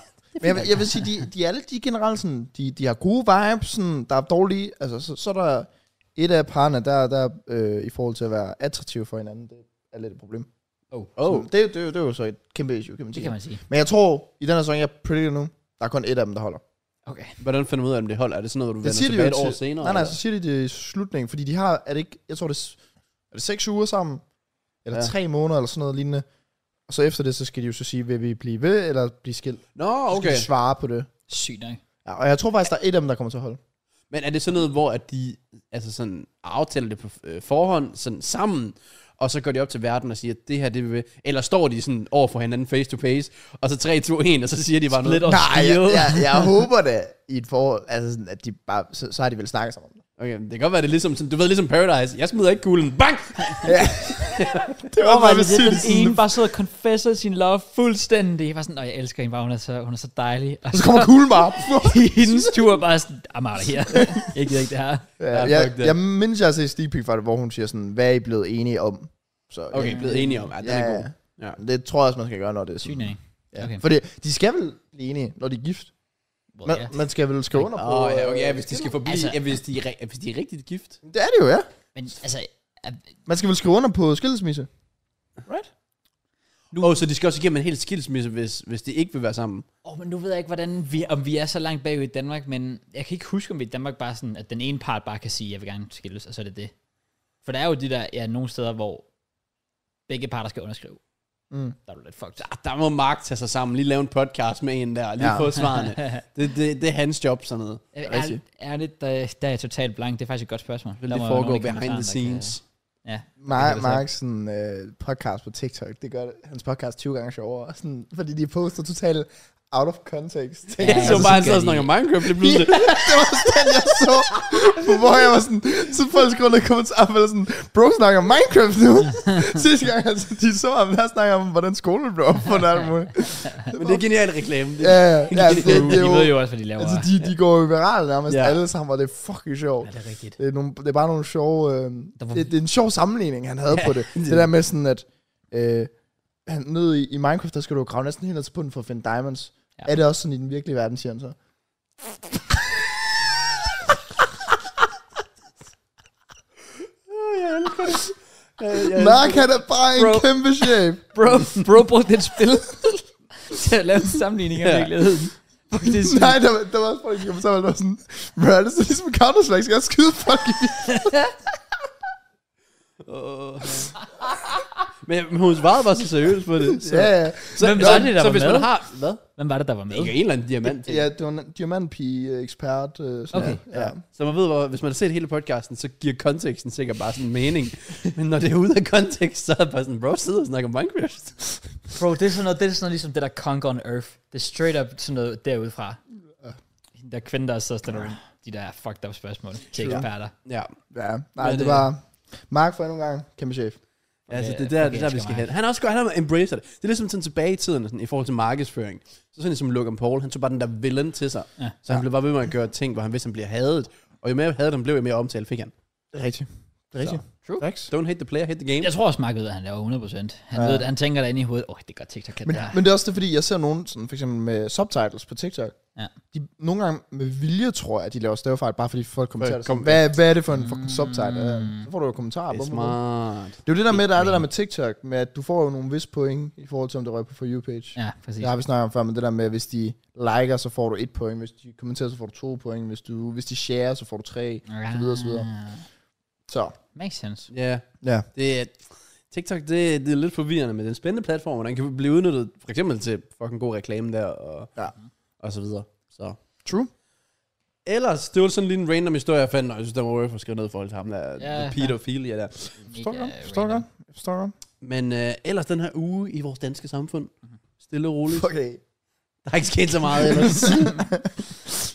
S2: Men jeg, vil- jeg vil sige, de, de alle de generelt sådan, de, de har gode vibes, sådan, der er dårlige, altså så, så er der et af parerne, der, der øh, i forhold til at være attraktive for hinanden, det er lidt et problem.
S1: Oh.
S2: Oh. Det, det, det, er jo så et kæmpe issue, kan man
S1: Det
S2: sige.
S1: kan man sige.
S2: Men jeg tror, i den her sæson, jeg er pretty nu, der er kun et af dem, der holder.
S1: Okay.
S3: Hvordan finder du ud af, om det holder? Er det sådan noget, hvor
S2: Det
S3: du vender
S2: siger de
S3: tilbage
S2: jo
S3: et år
S2: til,
S3: senere?
S2: Nej, nej,
S3: eller?
S2: så siger de det i slutningen, fordi de har, er det ikke, jeg tror det er, s- er det seks uger sammen, eller
S3: Ja.
S2: tre måneder, eller sådan noget lignende. Og så efter det, så skal de jo så sige, vil vi blive ved, eller blive skilt.
S3: Nå,
S2: Så skal
S3: okay.
S2: de svare på det.
S1: Sygt nok.
S2: Ja, og jeg tror faktisk, der er et af dem, der kommer til at holde.
S3: Men er det sådan noget, hvor at de altså sådan, aftaler det på øh, forhånd sådan sammen, og så går de op til verden og siger, at det her, det vil vi. Eller står de sådan over for hinanden face to face, og så 3, 2, 1, og så siger de bare
S1: Split
S3: noget.
S1: og
S4: Nej, jeg,
S1: steal.
S4: jeg, jeg håber det i et forhold, altså sådan, at de bare, så, så har de vel snakket sammen om det.
S3: Okay, det kan godt være, det er ligesom, sådan, du ved, ligesom Paradise. Jeg smider ikke kuglen. Bang!
S4: Det
S1: Overvej, hvis det er den ene bare sidder og confesser sin love fuldstændig. Jeg var sådan, "Nå, jeg elsker hende bare, hun er så, hun er så dejlig. Og
S2: Så
S1: så
S2: kommer kuglen bare op.
S1: hendes tur er bare sådan, I'm out of here. jeg gider ikke det her.
S4: ja,
S3: fuck
S2: jeg,
S3: det.
S2: jeg mindes, jeg har set Steve Pick for det, hvor hun siger sådan, hvad er I blevet enige om? Så, ja.
S3: Okay, blevet enige om, at den er
S4: Ja,
S3: god. Ja.
S2: Det tror jeg også, man skal gøre, når det er sådan.
S1: Sygt ikke?
S2: Ja.
S1: Okay.
S2: Okay. Fordi de skal vel blive enige, når de er gift.
S1: Well,
S2: Man,
S1: ja.
S2: man skal vel skrive under på...
S3: Åh, oh, ja, okay, ja, hvis de skal forblive, altså,
S1: Altså-
S3: ja, hvis, de er, ri- hvis de er rigtigt gift.
S2: øh, Det er det jo, ja.
S1: Men altså, er-
S2: Man skal vel skrive under på skilsmisse.
S3: Åh, oh, så de skal også igennem en hel skilsmisse, hvis, hvis de ikke vil være sammen.
S1: Åh, men nu ved jeg ikke, hvordan vi, om vi er så langt bagud i Danmark, men jeg kan ikke huske, om vi i Danmark bare sådan, at den ene part bare kan sige, jeg vil gerne skilles, og så er det det. For der er jo de der, ja, nogle steder, hvor begge parter skal underskrive.
S2: Mm.
S1: Der er du lidt fucked. Øh,
S3: Ah, Der må Mark tage sig sammen, lige lave en podcast med en der, lige ja.
S2: Ja.
S3: få svarene. Det, det, det er hans job, sådan noget.
S1: Er, er,
S3: Rigtigt.
S1: er det, der, der er jeg totalt blank. Det er faktisk et godt spørgsmål.
S3: Det
S1: Der må
S3: lige
S1: være
S3: foregår
S1: nogen i
S3: behind the
S1: kommentarerne, der
S3: scenes.
S1: Kan, ja.
S2: Mar-
S1: det så.
S2: Marks sådan, øh, podcast på TikTok, det gør hans podcast 20 gange sjovere. Sådan, fordi de poster totalt out of context. Ting.
S1: Ja,
S3: Ja, så
S1: så
S3: bare han
S1: skal
S3: sidder og
S1: de-
S3: snakker Minecraft lige pludselig.
S2: det var også den, jeg så. Hvor jeg var sådan, så folk skrev under i kommentarer, eller sådan, bro snakker Minecraft nu. Sidste gang, altså, de så ham, der snakker om, hvordan skolen blev opfundet og alt muligt.
S3: Men det er genial reklame. Det,
S2: Ja, ja, ja, det, det,
S1: de
S2: er jo,
S1: ved jo også, hvad de laver.
S2: altså, de, de går jo viralt nærmest
S3: Ja.
S2: ja. alle sammen, og det er fucking sjovt.
S1: Ja, det er rigtigt.
S2: Det er, nogle, det er bare nogle sjove... Øh,
S1: Der var-
S2: det, det er en sjov sammenligning, han havde på det. Det der med sådan, at... Øh, han, nede i, i Minecraft, der skal du grave næsten helt ned til bunden for at finde diamonds.
S1: Ja.
S2: Ja. Er det også sådan i den virkelige verden, siger han så? Øh,
S3: ja, ja.
S2: Mark, han er bare en
S1: Bro.
S2: kæmpe shape.
S1: Bro, bro brugte et spil til at lave en sammenligning af
S3: Ja.
S1: virkeligheden. Fuck, det er sygt.
S2: Nej, der, var- der var også folk, der kom sammen, der var sådan... Bro, er det så ligesom Counter-Strike? Skal jeg skyde folk i?
S3: Åh. Men men hun svarede bare så seriøst på det. Så,
S2: Ja, ja.
S3: så,
S1: Hvem
S3: så,
S1: var det, der
S3: så
S1: var
S3: hvis
S1: med?
S3: man har... Hvad?
S1: Hvem var det, der var med?
S3: Ikke en eller anden diamant.
S2: Ja, det var en diamantpige-ekspert. Øh, sådan
S1: Okay,
S2: der. ja.
S3: Så man ved, hvor, hvis man har set hele podcasten, så giver konteksten sikkert bare sådan mening. Men når det er ude af kontekst, så er det bare sådan, bro, sidder og snakker Minecraft.
S1: Bro, det er sådan noget, det er sådan noget ligesom det der Conk on Earth. Det er straight up sådan noget derudfra. Hende Der er kvinder, der sidder og stiller de der fucked up spørgsmål til
S2: Sure.
S1: eksperter.
S3: Ja,
S2: Ja, nej,
S3: Men,
S2: det,
S3: øh,
S2: var... Mark for endnu en gang, kæmpe chef.
S3: Ja, altså,
S1: Okay,
S3: det er der,
S1: okay,
S3: det er der vi
S1: skal
S3: skal
S1: mig.
S3: hen. Han er også godt, han har embraced det. Det er ligesom sådan tilbage i tiden, sådan, i forhold til markedsføring. Så sådan ligesom Logan Paul, han tog bare den der villain til sig.
S1: Ja.
S3: Ja. Så han blev bare ved med at gøre ting, hvor han vidste, han bliver hadet. Og jo mere hadet han blev, jo mere omtale fik han.
S2: Det er rigtigt. Det er rigtigt.
S1: True.
S2: Facts.
S3: Don't hate the player, hate the game.
S1: Jeg tror også, Mark ved, at han laver 100%. Han,
S2: Ja.
S1: ved, det. han tænker derinde i hovedet, åh, oh, det er godt TikTok, kan
S2: Men,
S1: det her.
S2: men det er også det, fordi jeg ser nogen, sådan for eksempel med subtitles på TikTok,
S1: Ja.
S2: de, nogle gange med vilje, tror jeg, at de laver stavefejl, bare fordi folk kommenterer det.
S3: kom-
S2: Kom, hvad, hvad er det for en fucking subtitle? Ja, Så får du jo kommentarer.
S3: Det er
S2: Bum, bum, bum.
S3: smart.
S2: Det er jo det der med, der er det der med TikTok, med at du får jo nogle vis point, i forhold til om det røg på For You-page.
S1: Ja, præcis.
S2: Det har vi snakket om før, men det der med, hvis de liker, så får du et point, hvis de kommenterer, så får du to point, hvis, du, hvis de share, så får du tre, så videre, så videre.
S1: Ah,
S2: Så,
S1: Makes sense.
S3: Ja, yeah.
S2: ja.
S3: det er... TikTok, det, det er lidt forvirrende, men det er en spændende platform, og den kan blive udnyttet for eksempel til fucking god reklame der, og,
S2: Ja.
S3: og så videre. Så.
S2: True.
S3: Ellers, det var sådan lige en random historie, jeg fandt, og jeg synes, der var worth at skrive ned i forhold til ham der,
S1: Ja.
S3: yeah. pedophilia der.
S2: Forstår du
S1: Mega
S2: godt? Forstår du
S1: random.
S2: godt? Forstår du godt?
S3: Men øh, ellers den her uge i vores danske samfund, stille og roligt.
S2: Okay.
S3: Der er ikke sket så meget ellers.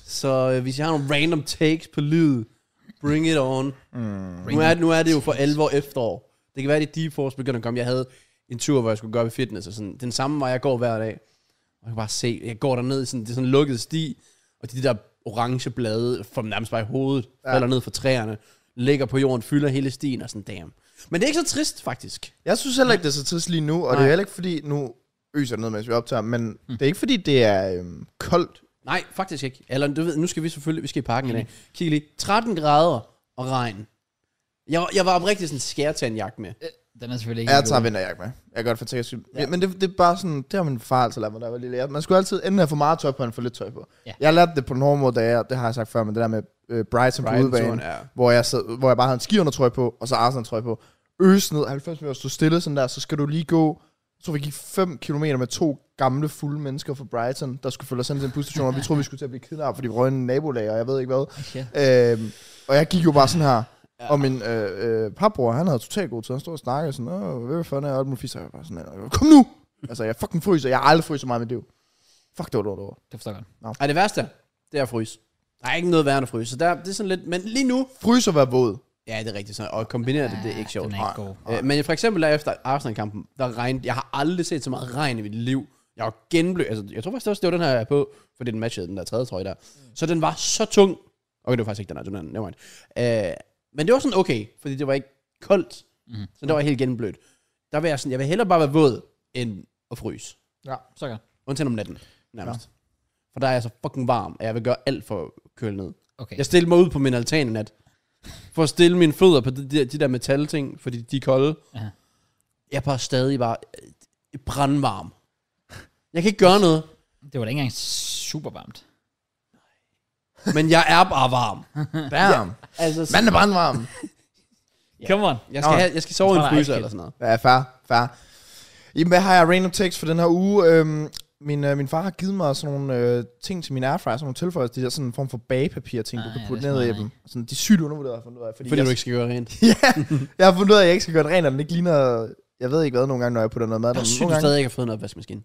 S3: så øh, hvis jeg har nogle random takes på livet, bring it on. Mm. Nu, er, nu er det jo for alvor efterår. Det kan være, at de deep force begynder at komme. Jeg havde en tur, hvor jeg skulle gøre ved fitness, og sådan, den samme vej, jeg går hver dag. Og jeg kan bare se, jeg går derned i sådan, det er sådan en lukket sti, og de der orange blade, får dem nærmest bare i hovedet, ja. falder ned fra træerne, ligger på jorden, fylder hele stien, og sådan, damn. Men det er ikke så trist, faktisk.
S2: Jeg synes heller ikke, det er så trist lige nu, og Nej. det er heller ikke fordi, nu øser det ned, mens vi optager, men mm. det er ikke fordi, det er øhm, koldt.
S3: Nej, faktisk ikke. Eller du ved, nu skal vi selvfølgelig, vi skal i parken i dag.
S2: Mm.
S3: Kig lige. 13 grader og regn. Jeg, jeg var oprigtigt sådan, skal jeg tage en jakke med?
S1: Øh, Den er selvfølgelig ikke
S2: Jeg
S1: god.
S2: tager vinterjakke med. Jeg kan godt fortælle skyld. Ja. Men det, det, er bare sådan, det har min far altid lært mig, da jeg var lille. Jeg- Man skulle altid enten have for meget tøj på, end for lidt tøj på.
S1: Ja.
S2: Ja. Jeg lærte det på den hårde måde, da jeg, det har jeg sagt før, men det der med øh, Brighton, på udebane,
S3: ja.
S2: hvor, jeg sad, hvor jeg bare havde en skiundertrøj på, og så Arsenal-trøj på. Øs ned, 90 meter, stå stille sådan der, så skal du lige gå, jeg tror vi gik 5 km med to gamle fulde mennesker fra Brighton, der skulle følge os hen til en busstation, og vi troede, vi skulle til at blive kidnappet, fordi vi røg en nabolag, og jeg ved ikke hvad.
S1: Shit.
S2: Øhm, og jeg gik jo bare sådan her. Ja. Og min øh, øh, papbror, han havde totalt god tid. Han stod og snakkede sådan, Åh, hvad fanden er alt muligt fisk? Og jeg var sådan, "Åh, kom nu! altså, jeg fucking fryser. Jeg har aldrig fryset så meget i mit liv. Fuck, det var lort over.
S1: Det forstår jeg godt.
S3: Ej, det værste, det er at fryse. Der er ikke noget værre end at fryse. Så der, det er sådan lidt, men lige nu,
S2: Fryser var våd.
S3: ja, det er rigtigt sådan, og kombinere det, det er ikke sjovt.
S1: Ah, Den er ikke god.
S3: Øh, men for eksempel der efter Arsenal-kampen, der regnede, jeg har aldrig set så meget regn i mit liv. Jeg var genblødt, altså jeg tror faktisk også, det var den her jeg er på, for den matchede den der tredje trøje der.
S1: Mm.
S3: Så den var så tung. Okay, det var faktisk ikke den her, det var den anden, nevermind. Øh, men det var sådan okay, fordi det var ikke koldt, mm. så det var helt genblødt. Der vil jeg sådan, jeg vil hellere bare være våd, end at fryse.
S1: Så godt.
S3: Undtagen om natten, nærmest. Ja. For der er jeg så fucking varm, at jeg vil gøre alt for at køle ned.
S1: Okay.
S3: Jeg stillede mig ud på min altan i nat, for at stille mine fødder på de der, de der metalting, fordi de er kolde.
S1: Aha.
S3: Jeg er bare stadig bare øh, brandvarm. Jeg kan ikke gøre noget,
S1: Det var da ikke engang super varmt.
S3: men jeg er bare varm.
S2: Damn.
S3: Altså, så-
S2: Manden er brandvarm.
S1: Come on.
S3: jeg, skal
S2: Nå.
S3: have, jeg skal sove i
S1: Jeg tror,
S3: en
S1: der er
S3: fryser
S1: ice
S3: eller sådan noget.
S2: Ja, fair, fair. Jamen, hvad har jeg random takes for den her uge? Øhm, min, øh, min far har givet mig sådan nogle øh, ting til min airfryer, sådan nogle tilføjelser, de der sådan en form for bagepapir ting, du
S1: Ah,
S2: kan
S1: ja,
S2: putte
S1: det er
S2: ned i
S1: smart,
S2: dem. Sådan, de er sygt undervurderede, har jeg fundet ud af. Fordi,
S3: Fordi
S2: jeg,
S3: du ikke skal gøre rent.
S2: jeg har fundet ud af, at jeg ikke skal gøre det rent, og den ikke ligner... Jeg ved ikke hvad nogle gange, når jeg putter noget mad.
S3: Jeg
S2: Der,
S3: synes,
S2: nogle
S3: du
S2: gange,
S3: stadig ikke har fået en opvaskemaskine.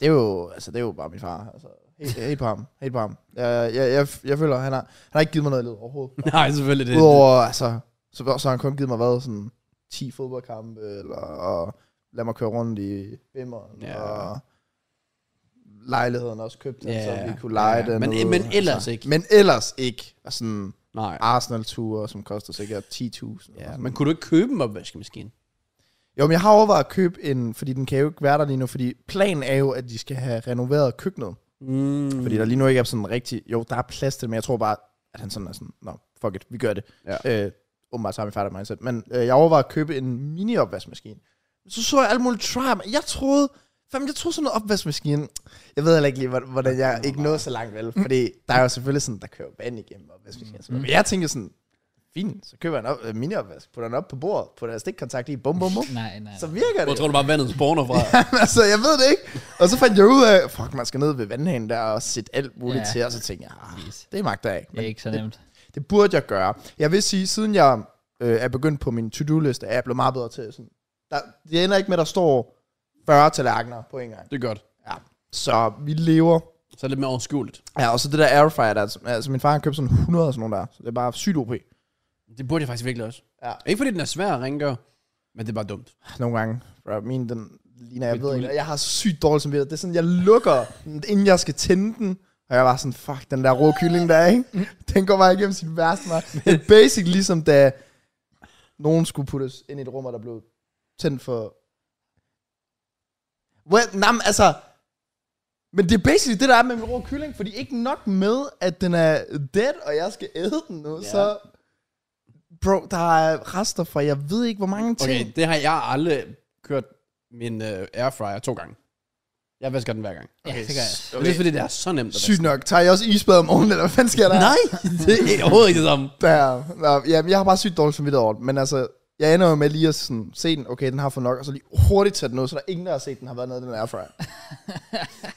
S2: det er jo, altså, det er jo bare min far. Altså, helt, helt på ham. Helt på ham. Jeg, jeg, jeg, jeg føler, han har, han har ikke givet mig noget i led overhovedet.
S3: Nej, selvfølgelig det.
S2: Udover, altså, så, så har han kun givet mig, hvad, sådan 10 fodboldkampe, eller og lad mig køre rundt i Bimmeren,
S3: Ja.
S2: ja. og lejligheden også købt, den,
S3: Ja,
S2: så vi kunne lege
S3: ja.
S2: den.
S3: Men-
S2: ud,
S3: men ellers ikke.
S2: Men ellers ikke. Og sådan
S3: Nej.
S2: Arsenal-ture, som koster sikkert 10.000. eller
S3: Ja,
S2: sådan.
S3: men kunne du ikke købe en opvaskemaskine?
S2: Jo, men jeg har overvejet at købe en, fordi den kan jo ikke være der lige nu, fordi planen er jo, at de skal have renoveret køkkenet.
S3: Mm.
S2: Fordi der lige nu ikke er sådan rigtig... Jo, der er plads til det, men jeg tror bare, at han sådan er sådan... Nå, fuck it, vi gør det.
S3: Ja.
S2: Øh, åbenbart så har vi færdig mindset. Men øh, jeg overvejede at købe en mini-opvaskemaskine. Men Så så jeg alt muligt try, men jeg troede... Fanden, jeg troede sådan en opvaskemaskine... Jeg ved heller ikke lige, hvor- hvordan jeg ikke nåede så langt, vel? Fordi der er jo selvfølgelig sådan, der kører vand igennem opvaskemaskinen. Mm. Men jeg tænkte sådan, fint, så køber jeg en op, øh, mini-opvask, putter den op på bordet, putter en stikkontakt i, bum, bum, bum.
S1: Nej, nej.
S2: Så virker
S3: Hvor
S2: det.
S3: tror du bare, vandet spawner fra?
S2: Jamen, altså, jeg ved det ikke. Og så fandt jeg ud af, fuck, man skal ned ved vandhanen der og sætte alt muligt
S1: Ja.
S2: ja. til, og så tænkte jeg, ah,
S1: Præcis.
S2: det magter jeg ikke.
S1: det er ikke så nemt.
S2: Det burde jeg gøre. Jeg vil sige, siden jeg øh, er begyndt på min to-do-liste, er jeg blevet meget bedre til sådan. Der, det ender ikke med, at der står 40 tallerkener på en gang.
S3: Det er godt.
S2: Ja. Så vi lever.
S3: Så er det lidt mere overskueligt.
S2: Ja, og så det der airfryer, der, er- altså min far har købt sådan 100 og sådan nogle der, så det er bare sygt OP.
S3: Det burde jeg faktisk virkelig også.
S2: Ja.
S3: Ikke fordi den er svær at rengøre, men det er bare dumt.
S2: Nogle gange, bro, min den ligner, jeg
S3: Men
S2: ved
S3: du-
S2: ikke, jeg har sygt dårlig samvittighed. Det er sådan, jeg lukker, den, inden jeg skal tænde den, og jeg var sådan, fuck, den der rå kylling der, ikke? Den går bare igennem sit værste mig. Det er basic ligesom, da nogen skulle puttes ind i et rum, og der blev tændt for... Well, nam, altså... Men det er basically det, der er med min rå kylling, fordi ikke nok med, at den er dead, og jeg skal æde den nu,
S3: Ja.
S2: så... Bro, der er rester fra, jeg ved ikke, hvor mange ting.
S3: Okay, det har jeg aldrig kørt min øh, airfryer to gange. Jeg vasker den hver gang.
S1: Ja, det gør jeg.
S3: Okay. Det er fordi, det er så nemt at
S2: Sygt nok. Tager jeg også isbad om morgenen, eller hvad fanden sker der?
S3: vaske. Nej, det er overhovedet ikke det samme.
S2: Der, der, jamen, jeg har bare sygt dårligt samvittighed over det, men altså, jeg ender jo med lige at sådan, se den, okay, den har fået nok, og så lige hurtigt tage den ud, så der er ingen, der har set, den har været nede i den airfryer. Okay.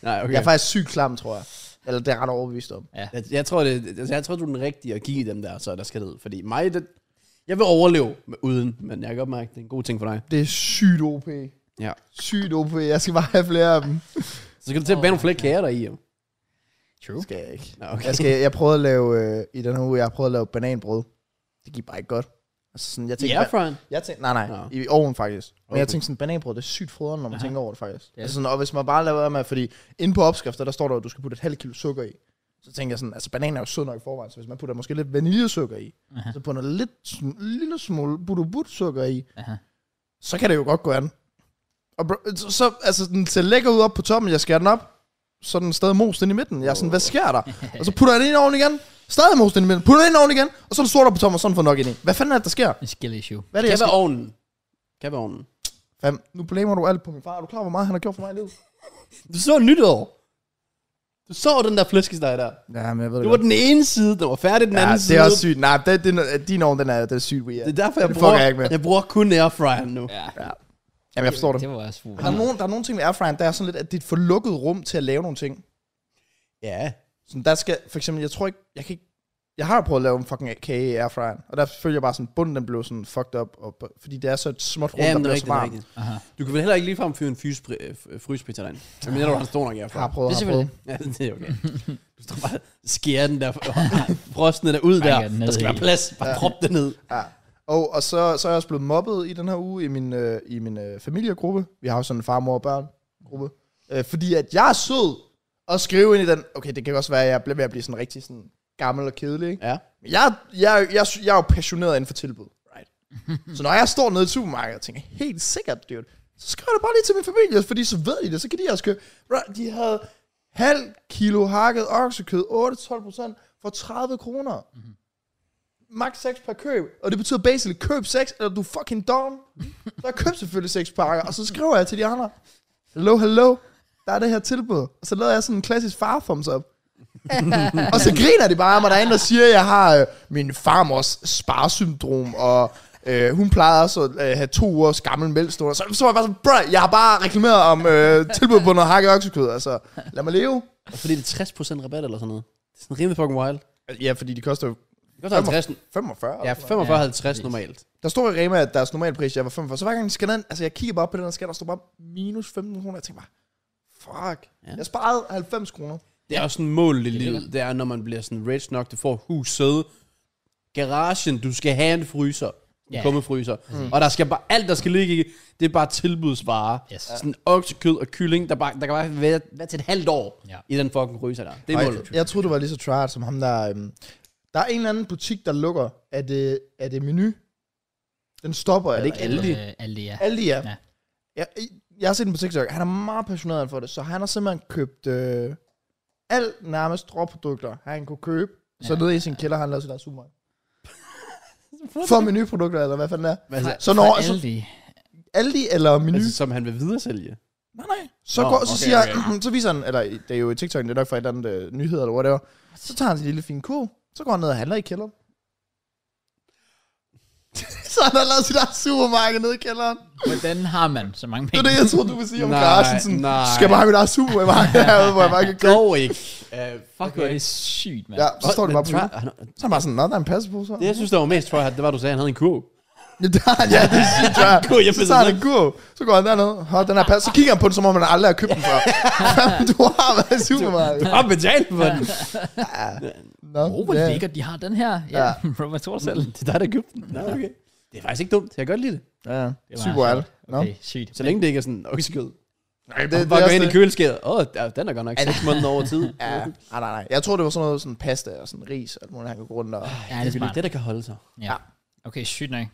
S3: Nej, okay.
S2: Jeg
S3: Jeg,
S2: er faktisk sygt klam, tror jeg. Eller det er jeg ret overbevist om.
S3: jeg, jeg, tror, det, altså, jeg tror, du er den rigtige at give dem der, så der skal ned. Fordi mig, det, jeg vil overleve med, uden, men jeg kan godt mærke, det er en god ting for dig.
S2: Det er sygt OP.
S3: Ja.
S2: Sygt OP. Jeg skal bare have flere af dem.
S3: Så skal du til at bage nogle flere kager der i, jo.
S1: True.
S2: Skal jeg ikke.
S3: Nå, okay.
S2: Jeg, skal, jeg prøvede at lave, øh, i den her uge, jeg har prøvet at lave bananbrød. Det gik bare ikke godt. Altså sådan, jeg
S3: I
S2: tænkte,
S3: airfryeren?
S2: Jeg tænkte, nej, nej,
S3: Nå.
S2: i ovnen faktisk. Men okay.
S3: Okay.
S2: jeg tænkte sådan, bananbrød, det er sygt foderen, når man
S1: Aha.
S2: Aha. tænker over det faktisk.
S1: Ja.
S2: Yeah. Altså sådan, og hvis man bare lader være med, fordi inde på opskrifter, der står der, at du skal putte et halvt kilo sukker i. Så tænker jeg sådan, altså bananer er jo sød nok i forvejen, så hvis man putter måske lidt vaniljesukker i,
S1: Aha.
S2: Aha. så putter lidt, sådan, lille smule butterbut sukker i,
S1: Aha.
S2: så kan det jo godt gå an. Og bro, så- så, altså, den ser lækker ud op på toppen, jeg skærer den op, så er den stadig most ind i midten. Jeg er sådan, hvad sker der? Og så putter jeg den ind oven igen, stadig most ind i midten, putter den ind oven igen, og så er den sort op på toppen, og sådan får nok ind i. Hvad fanden er det, der sker?
S1: En skill issue.
S2: Hvad er det,
S3: Kan
S2: jeg skal
S3: være ovnen. Kan være ovnen.
S2: Fam, nu blamer du alt på min far. Er du klar, hvor meget han har gjort for mig i livet?
S3: Du så nytår. Du så den der flæskesteg der.
S2: Ja, men jeg ved
S3: Det var den ene side, der var færdig den
S2: ja,
S3: anden
S2: det
S3: side.
S2: er også sygt. Nej, det, det, din ovn, den er, den er sygt weird.
S3: Det er derfor, jeg,
S2: det
S3: bruger,
S2: fucker jeg ikke med.
S3: jeg bruger kun airfryeren nu.
S1: Ja.
S2: Jamen, jeg forstår det.
S1: Det var også super.
S2: Der er, nogen, der er nogle ting ved airfryeren, der er sådan lidt, at det er et for lukket rum til at lave nogle ting.
S3: Ja.
S2: Så der skal, for eksempel, jeg tror ikke, jeg kan ikke, jeg har prøvet at lave en fucking kage i airfryeren, og der følte jeg bare sådan, bunden den blev sådan fucked up, og, fordi det er så et småt rundt,
S3: Ja,
S2: ja, der
S3: men det er
S2: bliver så
S3: rigtigt, det er
S2: varmt.
S3: rigtigt.
S1: Aha.
S3: Du kan vel heller ikke ligefrem fyre en fryspri- øh, f- frysepizza derind. Jeg mener, du har en stor nok i
S2: Har
S3: airfryer.
S2: prøvet,
S1: Det er
S2: har
S1: selvfølgelig
S2: prøvet.
S3: Ja, det er okay. Du står bare og skærer den der frostende der ud der.
S1: Trækker den ned
S3: Der skal
S1: i.
S3: være plads. Bare prop det ned.
S2: Ja. Og, og så, så er jeg også blevet mobbet i den her uge i min, øh, i min øh, familiegruppe. Vi har jo sådan en far, mor og børn gruppe. Øh, fordi at jeg er sød og skrive ind i den. Okay, det kan også være, at jeg bliver ved at blive sådan rigtig sådan gammel og kedelig. Ikke?
S3: Ja.
S2: Men jeg, jeg, jeg, jeg er jo passioneret inden for tilbud. Right. så når jeg står nede i supermarkedet og tænker, helt sikkert, dude, så skriver jeg det bare lige til min familie, fordi så ved de det, så kan de også købe. Right, de havde halv kilo hakket oksekød, 8-12 procent, for 30 kroner. Mm-hmm. Max 6 per køb, og det betyder basically, køb 6, eller du er fucking dom. så køb selvfølgelig 6 pakker, og så skriver jeg til de andre, hello, hello, der er det her tilbud. Og så lavede jeg sådan en klassisk far thumbs up. og så griner de bare af mig, der er en, der siger, at jeg har øh, min farmors sparsyndrom, og øh, hun plejede også at øh, have to ugers gammel mælkstående. Så, så var jeg bare sådan, bruh, jeg har bare reklameret om øh, tilbud på noget hakket oksekød, altså lad mig leve.
S3: Og fordi det er 60% rabat eller sådan noget. Det er sådan rimelig fucking wild.
S2: Ja, fordi de koster jo
S3: Det koster 50,
S2: 45.
S3: ja,
S2: Ja.
S3: 45-50
S1: præcis.
S3: normalt.
S2: Der stod i Rema, at deres normalpris, jeg var 45. Så hver gang de scanner ind, altså jeg kigger bare op på den her skat, der står bare minus 15 kroner. Jeg tænker bare, fuck.
S3: Ja.
S2: Ja. Jeg sparede 90 kroner.
S3: Det er også en mål i livet. Det er, når man bliver sådan rich nok, du får huset, garagen, du skal have en fryser. En
S1: Ja.
S3: yeah. kummefryser. Mm. Og der skal bare, alt der skal ligge i, det er bare tilbudsvarer.
S1: Yes.
S3: Sådan oksekød og kylling, der, bare, der kan bare være, være til et halvt år
S1: Ja.
S3: ja. i den fucking fryser der. Det er
S2: Ej,
S3: målet.
S2: Jeg troede, du var lige så tryhard som ham der. Øhm, der er en eller anden butik, der lukker. Er det, er det menu? Den stopper. Er
S3: det ikke Aldi?
S1: Øh, Aldi, ja.
S2: Aldi, ja.
S1: Ja.
S2: ja. Jeg, jeg har set den på TikTok. Han er meget passioneret for det, så han har simpelthen købt øh, alt nærmest råprodukter, han kunne købe. Så
S1: Ja.
S2: nede i sin kælder, han lavede sit eget supermarked. For menuprodukter, eller hvad fanden det er.
S3: Altså,
S2: Så når
S1: Fra
S2: så
S1: Aldi.
S2: Aldi eller menu,
S3: altså, som han vil videresælge.
S2: nej, nej. Så,
S3: Nå,
S2: går, så,
S3: okay,
S2: siger, så viser han, eller det er jo i TikTok, det er nok fra et eller andet øh, nyheder eller whatever. Så tager han sin lille fine ko, så går han ned og handler i kælderen. så han har lavet sit eget supermarked nede i kælderen.
S1: Hvordan har man så mange
S2: Det
S1: penge?
S2: er det, jeg troede, du ville sige om
S3: Nej,
S2: garagen. Sådan,
S3: nej.
S2: Skal jeg bare have mit eget supermarked herude, hvor jeg bare kan købe.
S3: Dog ikke. Uh,
S1: Fuck, hvor er det sygt, mand.
S2: Ja, så står det bare på menu.
S3: på
S2: Så er han bare sådan, nå, der er en passepose her.
S3: Det, jeg synes, der var mest for, at det var, du sagde, at han havde en kurv.
S2: Ja, det er, ja, det er sygt, tror jeg.
S3: God, jeg
S2: Så tager han en kurv, så går han dernede, har den her passe, så kigger han på den, som om han aldrig har købt den før. Fanden, du har været i supermarkedet.
S3: har betalt for den.
S2: Nå,
S1: Åh, hvor
S2: ja.
S1: lækkert, de har den her. Ja,
S2: Ja.
S1: Robert Thorsell.
S3: Det er dig, der købte den. Nå, okay. Det er faktisk ikke dumt. Jeg kan godt lide det. altså-
S2: Ja, ja.
S1: Det var
S2: Sygt wild.
S1: sjovt.
S2: Nå.
S1: Okay, sygt.
S3: Så længe det ikke er sådan oksekød.
S2: Nej,
S3: Det, bare gå ind i køleskabet. Åh, oh, den er godt nok 6 måneder over tid.
S2: Ja, nej, nej, nej. Jeg tror, det var sådan noget sådan pasta og sådan ris, og alt muligt, han kunne gå rundt og...
S1: Ja,
S3: det
S1: det
S3: er
S1: er
S3: vildt.
S1: smart.
S3: det, der kan holde sig.
S1: Ja. Okay, sygt nok.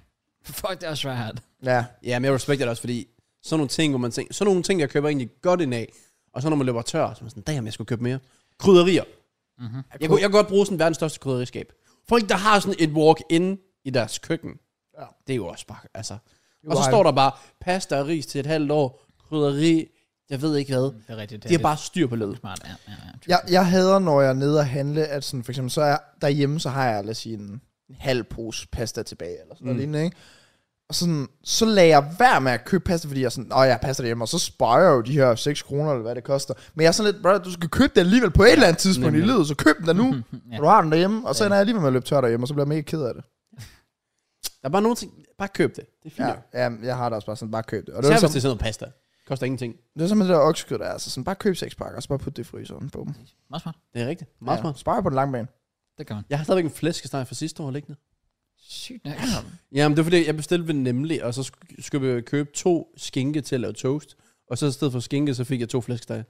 S1: Fuck, det er også svært.
S2: Ja,
S3: Ja, men jeg respekter det også, fordi sådan nogle ting, hvor man tænker, sådan nogle ting, jeg køber egentlig godt ind af, og så når man løber tør, så er man sådan, damn, jeg skulle købe mere. Krydderier. Mm-hmm. Jeg, kunne, jeg kunne godt bruge sådan verdens største krydderiskab. Folk, der har sådan et walk-in i deres køkken,
S2: Ja.
S3: det er jo også bare, altså. Og så
S2: wild.
S3: står der bare, pasta og ris til et halvt år, krydderi, jeg ved ikke hvad.
S1: Det er rigtigt.
S3: Det er bare styr på ledet.
S1: smart. Ja, ja, ja.
S2: jeg, jeg hader, når jeg er nede og handle, at sådan, for eksempel, så er derhjemme, så har jeg, lad os sige, en en halv pose pasta tilbage, eller sådan noget
S3: Mm.
S2: lignende, ikke? Og sådan, så lader jeg være med at købe pasta, fordi jeg er sådan, åh, jeg har pasta derhjemme, og så sparer jeg jo de her 6 kroner, eller hvad det koster. Men jeg er sådan lidt, brother, du skal købe den alligevel på et eller andet tidspunkt i
S3: nemlig.
S2: livet, så køb den da nu,
S1: Ja.
S2: og du har den derhjemme, og så ender jeg alligevel med at løbe tør derhjemme, og så bliver jeg mega ked af det.
S3: Der er bare nogle ting, bare køb det. Det er fint.
S2: Ja,
S3: Ja.
S2: ja jeg har det også bare sådan, bare køb det. Og
S3: Og det
S2: det
S3: er
S2: var
S3: sådan
S2: som,
S3: noget pasta. Koster ingenting.
S2: det var som med det der oksekød der, er, altså sådan, bare køb seks pakker, og så bare put det i fryseren på dem.
S1: Meget smart.
S3: Det er rigtigt. Meget smart.
S2: Sparer på den lange bane.
S1: Det kan man.
S3: Jeg har stadigvæk en flæskesteg fra sidste år liggende.
S1: Sygt nok.
S3: Jamen, det er fordi, jeg bestilte ved Nemlig, og så sk- skulle jeg købe to skinke til at lave toast. Og så i stedet for skinke, så fik jeg to flæskesteg.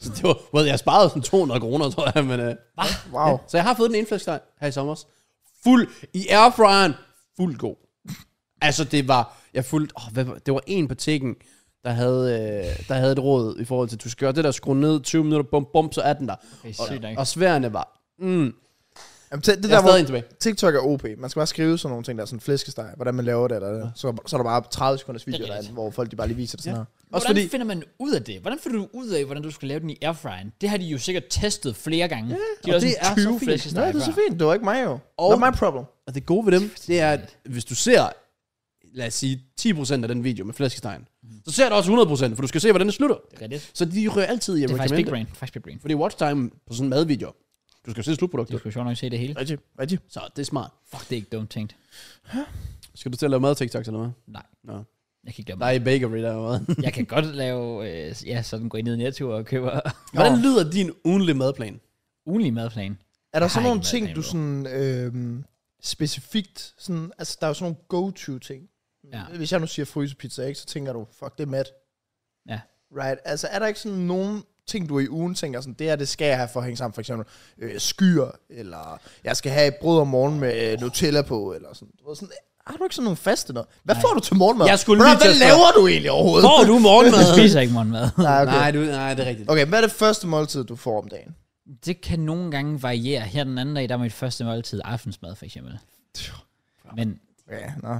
S3: så det var, well, jeg sparede sådan 200 kroner, tror jeg, men... Øh,
S2: Wow.
S3: så jeg har fået den ene flæskesteg her i sommer. Fuld i airfryeren. Fuld god. Altså, det var... Jeg fulgte... Åh, hvad, var- det var en på tikken, der havde, øh, der havde et råd i forhold til, du skal gøre det der, skrue ned 20 minutter, bum, bum, så er den der.
S1: Okay,
S3: Og,
S1: sygt nok.
S3: og sværene var... Mm,
S2: Jamen, det, det
S3: jeg er
S2: der,
S3: stadig
S2: hvor
S3: en tilbage.
S2: TikTok er OP. Man skal bare skrive sådan nogle ting, der er sådan flæskesteg, hvordan man laver det, eller det. Så, så er der bare 30 sekunders video
S1: Det er
S2: derinde,
S1: rigtigt.
S2: hvor folk de bare lige viser det sådan ja. her.
S1: Hvordan
S3: Også fordi,
S1: finder man ud af det? Hvordan finder du ud af, hvordan du skal lave den i airfryeren? Det har de jo sikkert testet flere gange. Ja, de har
S3: og det
S1: sådan
S3: er så
S1: 20
S3: fint.
S1: flæskesteg
S2: Nej, det er så
S1: før.
S2: fint. Det var ikke mig jo.
S3: Og-
S2: Og Not my problem.
S3: og det gode ved dem, det er, at hvis du ser, lad os sige, 10% af den video med flæskestegn, så ser du også 100%, for du skal se, hvordan det slutter.
S1: Det er rigtigt.
S3: Så de rører altid i
S1: Det
S3: at
S1: er faktisk big
S3: recommende.
S1: brain. Faktisk big brain.
S3: Fordi watch time på sådan en madvideo, Du skal jo se
S1: Du
S3: slutproduktet.
S1: skulle sjovt nok se det hele.
S2: Rigtig, rigtig.
S3: Så det er smart.
S1: Fuck, det er ikke dumt tænkt.
S3: Skal du til at lave mad TikToks eller hvad?
S1: Nej.
S3: Nå.
S1: Jeg kan ikke lave
S3: Der er i bakery derovre.
S1: Jeg kan godt lave, øh, ja, sådan gå ind i Netto og købe
S3: Hvordan lyder din ugenlige madplan?
S1: ugenlig madplan.
S2: Er der
S1: Jeg
S2: sådan
S1: har
S2: nogle
S1: ikke
S2: ting,
S1: været
S2: du sådan øhm, specifikt, sådan, altså der er jo sådan nogle go-to ting.
S1: Ja.
S2: Hvis jeg nu siger frysepizza, ikke, så tænker du, fuck, det er mad.
S1: Ja.
S2: Right, altså er der ikke sådan nogen ting, du i ugen tænker sådan, det her, det skal jeg have for at hænge sammen, for eksempel øh, skyer, eller jeg skal have et brød om morgenen med øh, Nutella på, eller sådan, du ved, sådan har du ikke sådan nogle faste noget? Hvad Nej. får du til morgenmad?
S3: Jeg skulle
S2: Hvordan-
S3: lige til
S2: Hvad
S3: at spørge.
S2: laver du egentlig overhovedet?
S3: Får du
S1: Jeg
S3: morgenmad?
S1: spiser ikke morgenmad.
S2: Nej, okay.
S3: Nej, du, nej, det er rigtigt.
S2: okay, hvad er det første måltid, du får om dagen?
S1: Det kan nogle gange variere. Her den anden dag, der er mit første måltid aftensmad, for eksempel. Men,
S2: Ja, nå.